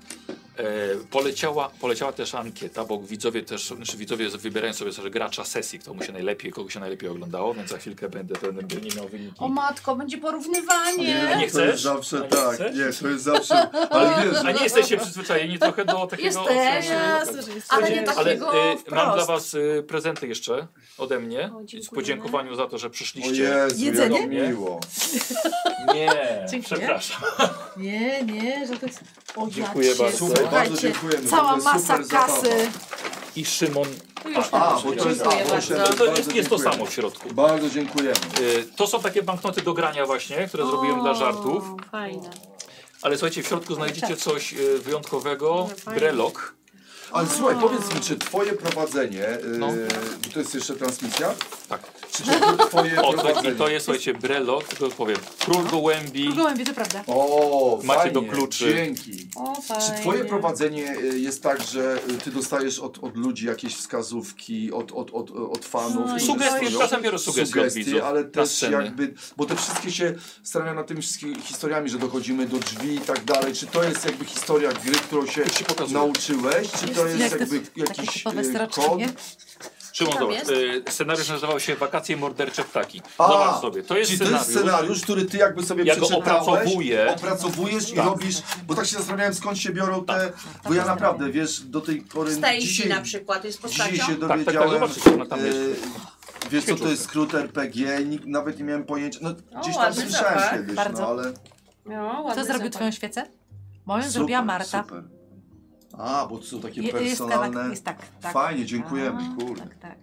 Eee, Poleciała, poleciała też ankieta, bo widzowie też, znaczy widzowie wybierają sobie też gracza sesji, kto mu się najlepiej, kogo się najlepiej oglądało, więc za chwilkę będę, będę nie miał wyniki.
O matko, będzie porównywanie!
A nie
to
chcesz?
jest zawsze
A nie
tak.
chcesz?
Nie, to jest zawsze. Ale wiesz,
A nie jesteście przyzwyczajeni trochę do takiego...
Jesteśmy.
Okej.
tak.
ale nie
Ale
takiego
y, mam dla
wprost.
was y, prezenty jeszcze ode mnie.
O, dziękujemy.
z podziękowaniu za to, że
o
przyszliście.
Jezu,
Jedzenie?
jak miło.
(laughs)
Nie,
Dziękuję.
przepraszam.
Nie, nie, że to jest... O,
Dziękuję
ja cię-
bardzo.
Super, bardzo
Słuchajcie,
dziękujemy.
cała
to była
masa
super zabawa.
kasy.
I Szymon.
Tu już
A,
mam.
bo to jest, a,
Dziękuję
bo się-
bardzo.
To
bardzo
jest, jest to
dziękujemy.
samo w środku.
Bardzo dziękujemy.
Y, To są takie banknoty do grania właśnie, które zrobiłem
O,
dla żartów.
Fajne.
Ale słuchajcie, w środku znajdziecie coś y, wyjątkowego.
Ale Tak. fajnie.
Brelok.
Ale słuchaj, powiedz mi, czy twoje prowadzenie, yy,
No.
bo to jest jeszcze transmisja?
Tak.
Czy to
(laughs)
twoje
O, to,
prowadzenie?
i to jest, słuchajcie, brelok, tylko powiem. Król gołębi.
Gołębie, to prawda.
O,
Macie
fajnie,
do kluczy.
Dzięki.
O, fajnie.
Czy twoje prowadzenie y, jest tak, że y, ty dostajesz od, od ludzi jakieś wskazówki, od, od, od, od
Mm,
fanów?
No i
którzy
to
Sugestie,
jest-
stoją?
czasem biorę sugestie od widzów.
ale
na
też
sceny.
jakby, bo te wszystkie się starają nad tymi wszystkimi historiami, że dochodzimy do drzwi i tak dalej. Czy to jest jakby historia gry, którą się
Już ci pokazuję.
No. nauczyłeś? Czy to jest
Jak te-
jakby
Takie
jakiś
typowe
y,
straczki,
kod?
nie?
Szymon,
Tam
zobacz.
jest?
y, Scenariusz nazywał się Wakacje mordercze ptaki.
A,
Zobacz sobie. To jest
Czyli to jest
scenariusz.
scenariusz, który ty jakby sobie
Ja go
przeczytałeś,
opracowuję.
opracowujesz i robisz, bo tak się zastanawiałem skąd się biorą
Tak,
te, bo ja
jest
naprawdę, wiesz, do tej pory
Stacy
dzisiaj,
na przykład jest
dzisiaj
postacią.
się
tak, tak,
dowiedziałem,
zobaczycie, ona tam
e,
jest.
wiesz co to
Świeciutko.
jest skrót RPG, nikt, nawet nie miałem pojęcia, no
O,
gdzieś tam
ładny
słyszałem
zapach.
kiedyś, no
Bardzo.
ale
No, ładny
Kto zrobił
zapach.
twoją świecę? Moją
super,
zrobiła Marta.
Super. A, bo to są takie
Je- Jest,
personalne,
tak, jest tak, tak.
fajnie, dziękujemy,
A,
kurde,
Tak, tak.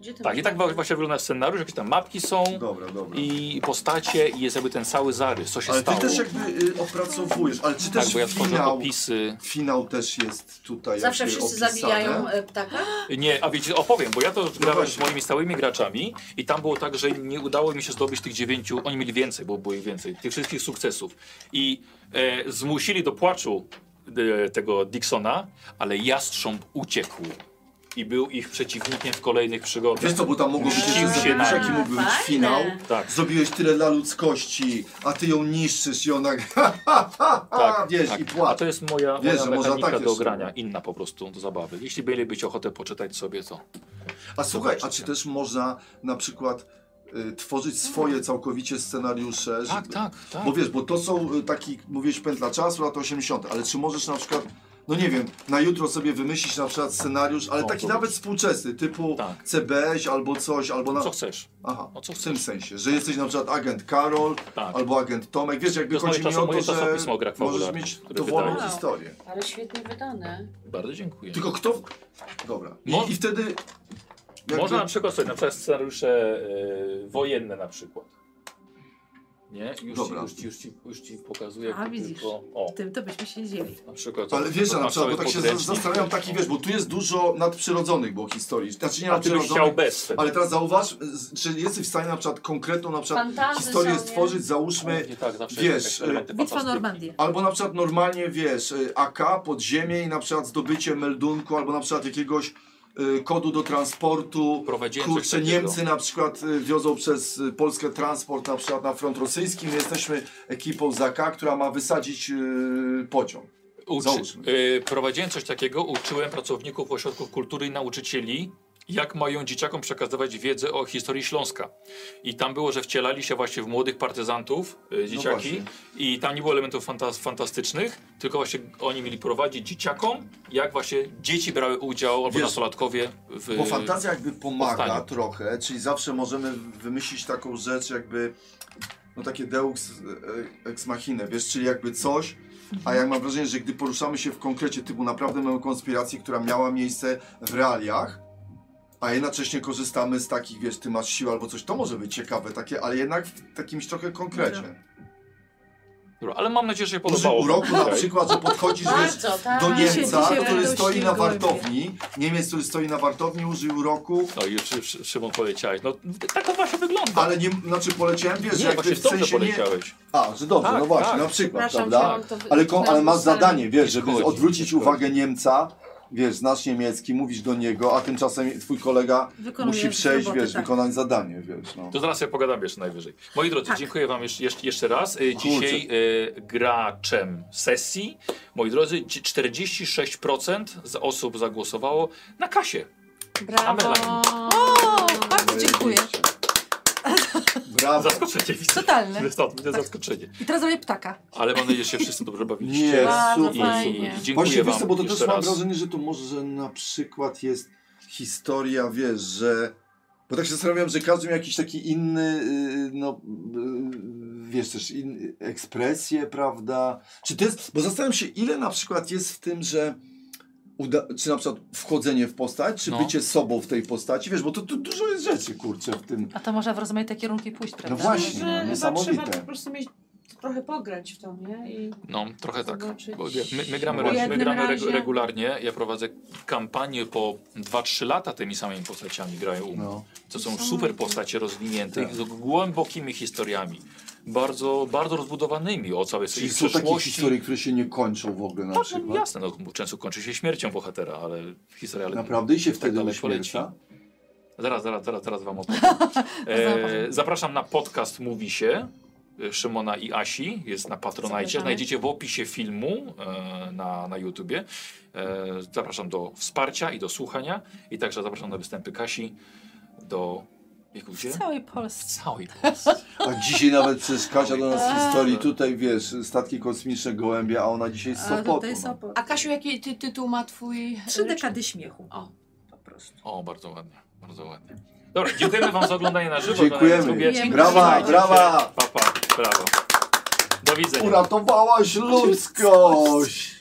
Gdzie ty
Tak, i
masz?
tak wa- właśnie wygląda scenariusz, jakieś tam mapki są
dobra, dobra.
i postacie i jest jakby ten cały zarys, co się
Ale ty
stało.
też jakby y, opracowujesz, ale czy
tak,
też
bo ja tworzę
finał,
opisy.
Finał też jest tutaj.
Zawsze
jakby
wszyscy
opisany.
zabijają e, ptaka.
Nie, a wiecie, opowiem, bo ja to grałem z
No właśnie.
moimi stałymi graczami i tam było tak, że nie udało mi się zdobyć tych dziewięciu, oni mieli więcej, bo było ich więcej, tych wszystkich sukcesów. I e, zmusili do płaczu e, tego Dixona, ale jastrząb uciekł i był ich przeciwnikiem w kolejnych przygodach.
Wiesz co, bo tam mogło być
Mścił
jeszcze
się
zapis,
na-
jaki mógł być
Fajne.
finał.
Tak.
Zrobiłeś tyle dla ludzkości, a ty ją niszczysz i ona (laughs) tak, wiesz i
A to
płacze.
jest moja,
Wiesz,
moja
że może
mechanika
tak
do
jest.
grania, inna po prostu do zabawy. Jeśli mielibyście ochotę poczytać sobie, to
A słuchaj, a czy też można na przykład y, tworzyć swoje całkowicie scenariusze?
tak,
żeby-
tak, tak.
Bo wiesz, bo to są y, taki, mówiłeś pętla czasu, lata 80., ale czy możesz na przykład, no nie wiem, na jutro sobie wymyślić na przykład scenariusz, ale
O,
taki
zobacz.
nawet współczesny, typu
No, Tak.
CBŚ albo coś, albo na...
Co chcesz?
Aha,
O co
w tym sensie, że jesteś na przykład agent Karol
Tak.
albo agent Tomek. Wiesz, jakby
To są
chodzi mi
moje czasy-
o
moje
to, że
czasopismo gra
możesz
fabularna,
mieć
które No.
dowolną
wydaje.
historię.
Ale świetnie wydane.
Bardzo dziękuję.
Tylko kto... Dobra. I,
Mo-
i wtedy... Jakby...
Można na przykład sobie, na przykład scenariusze y, wojenne na przykład. Nie? Już,
Dobra.
Ci, już, ci, już, ci, już ci pokazuję.
A,
jak
widzisz.
Tylko, o,
Tym to byśmy się dzieli.
na przykład.
Ale wiesz, że na
masz
przykład, bo
cały
tak się za-
podręcznik.
zastanawiam, taki wiesz, bo tu jest dużo nadprzyrodzonych było historii. Znaczy nie
A ty byś
nadprzyrodzonych,
chciał bez tego.
ale teraz zauważ, z- czy jesteś w stanie na przykład konkretną na przykład
Fantazy
historię
są, nie?
stworzyć, załóżmy,
Nie, tak, zawsze
wiesz,
jakieś elementy
Bitwa
fantastyki.
Normandię.
Albo na przykład normalnie, wiesz, y, AK, podziemie i na przykład zdobycie meldunku, albo na przykład jakiegoś y, kodu do transportu.
Prowadziłem coś
Kurczę,
takiego.
Niemcy na przykład y, wiozą przez y, Polskę transport na przykład na front rosyjski. My jesteśmy ekipą z AK, która ma wysadzić y, pociąg.
Uczy,
Załóżmy.
y, prowadziłem coś takiego, uczyłem pracowników ośrodków kultury i nauczycieli, jak mają dzieciakom przekazywać wiedzę o historii Śląska. I tam było, że wcielali się właśnie w młodych partyzantów, y, dzieciaki,
No właśnie.
i tam nie było elementów fantas- fantastycznych, tylko właśnie oni mieli prowadzić dzieciakom, jak właśnie dzieci brały udział, albo
Wiesz,
nastolatkowie w...
Bo fantazja jakby pomaga
powstanie.
trochę, czyli zawsze możemy wymyślić taką rzecz jakby, no takie deus e, ex machina, wiesz, czyli jakby coś, a jak mam wrażenie, że gdy poruszamy się w konkrecie typu naprawdę mamy konspirację, która miała miejsce w realiach, a jednocześnie korzystamy z takich, wiesz, ty masz siłę albo coś, to może być ciekawe takie, ale jednak w takimś trochę konkrecie.
Dobra, ale mam nadzieję, że się
Duży
podobało.
uroku na
Okej.
przykład, że podchodzisz wiesz,
Bardzo, tak.
do
dzisiaj-
Niemca,
dzisiaj
który
radośnie
stoi na
były.
wartowni, Niemiec, który stoi na wartowni, użyj uroku,
No i już, już Szymon poleciałeś. No tak on właśnie wygląda.
ale nie, znaczy poleciałem, wiesz,
nie,
jakby
właśnie
w
dobrze
sensie nie...
poleciałeś.
A, że dobrze,
Tak,
no właśnie,
tak.
na przykład,
Przepraszam,
prawda?
że mam to
Ale, ko- ale masz
wycisnąłem
zadanie, wiesz, żeby
Szkodzi,
odwrócić
szkodzi.
uwagę Niemca, wiesz, znasz niemiecki, mówisz do niego, a tymczasem twój kolega
Wykonuje
musi przejść,
roboty,
wiesz,
tak.
wykonać zadanie, wiesz, no.
To zaraz ja pogadam jeszcze najwyżej. Moi drodzy,
Tak.
dziękuję wam jeszcze, jeszcze, jeszcze raz. Y, Dzisiaj y, graczem sesji, moi drodzy, ci- 46% z osób zagłosowało na kasie.
Brawo!
O, bardzo dziękuję.
Brawo.
Zaskoczenie widzę.
Totalne.
Następne zaskoczenie.
I teraz robię ptaka.
Ale mam nadzieję, że się wszyscy dobrze bawiliście.
Nie,
Bardzo
super,
No, fajnie.
I dziękuję
Właśnie, wiesz
wam
co, bo to też
jeszcze
mam
raz.
wrażenie, że to może na przykład jest historia, wiesz, że... Bo tak się zastanawiam, że każdy miał jakiś taki inny, yy, no, yy, wiesz, też in, ekspresję, prawda? Czy to jest... Bo zastanawiam się, ile na przykłład jest w tym, że... Uda, czy na przykład wchodzenie w postać, czy
No.
bycie sobą w tej postaci, wiesz, bo to, to dużo jest rzeczy, kurczę, w tym.
A to można w rozmaite kierunki pójść, prawda?
No właśnie.
Że
Niesamowite.
Trzeba po prostu mieć trochę pograć w to, nie? I
No, trochę tak.
Zobaczyć.
Bo jak my, my gramy,
W
re, my
jednym
gramy regu-
razie-
regularnie. Ja prowadzę kampanię po 2-3 lata tymi samymi postaciami grają u mnie.
No.
To są super postacie rozwinięte
Tak.
z głębokimi historiami. Bardzo, bardzo rozbudowanymi o całej swojej
Czyli są takie
przeszłości.
historie, które się nie kończą w ogóle na
Tak, no,
przykład.
jasne, no, bo często kończy się śmiercią bohatera, ale historia... ale-
Naprawdę i się wtedy
Tak dalej
uśmierca?
Zaraz, zaraz, zaraz, zaraz wam opowiem. E, zapraszam na podcast Mówi się e, Szymona i Asi, jest na Patronajcie.
Zapraszamy.
Znajdziecie w opisie filmu e, na, na YouTubie. E, zapraszam do wsparcia i do słuchania. I także zapraszam na występy Kasi do... Jak gdzie?
W całej Polsce.
Całej Polsce.
Tak dzisiaj nawet przez Kasia do nas z historii tutaj, wiesz, statki kosmiczne, gołębie, a ona dzisiaj z
A
Sopotu.
tutaj jest
no.
Sopot.
A Kasiu, jaki ty, tytuł ma twój? y,
Trzy dekady śmiechu.
O.
po prostu.
O, bardzo ładnie, bardzo ładnie. Dobra, dziękujemy wam za oglądanie na żywo.
Dziękujemy.
Na YouTubie.
Dziękujemy.
Brawa,
Trzymajcie się.
brawa.
Pa, pa, brawa. Do widzenia.
Uratowałaś ludzkość!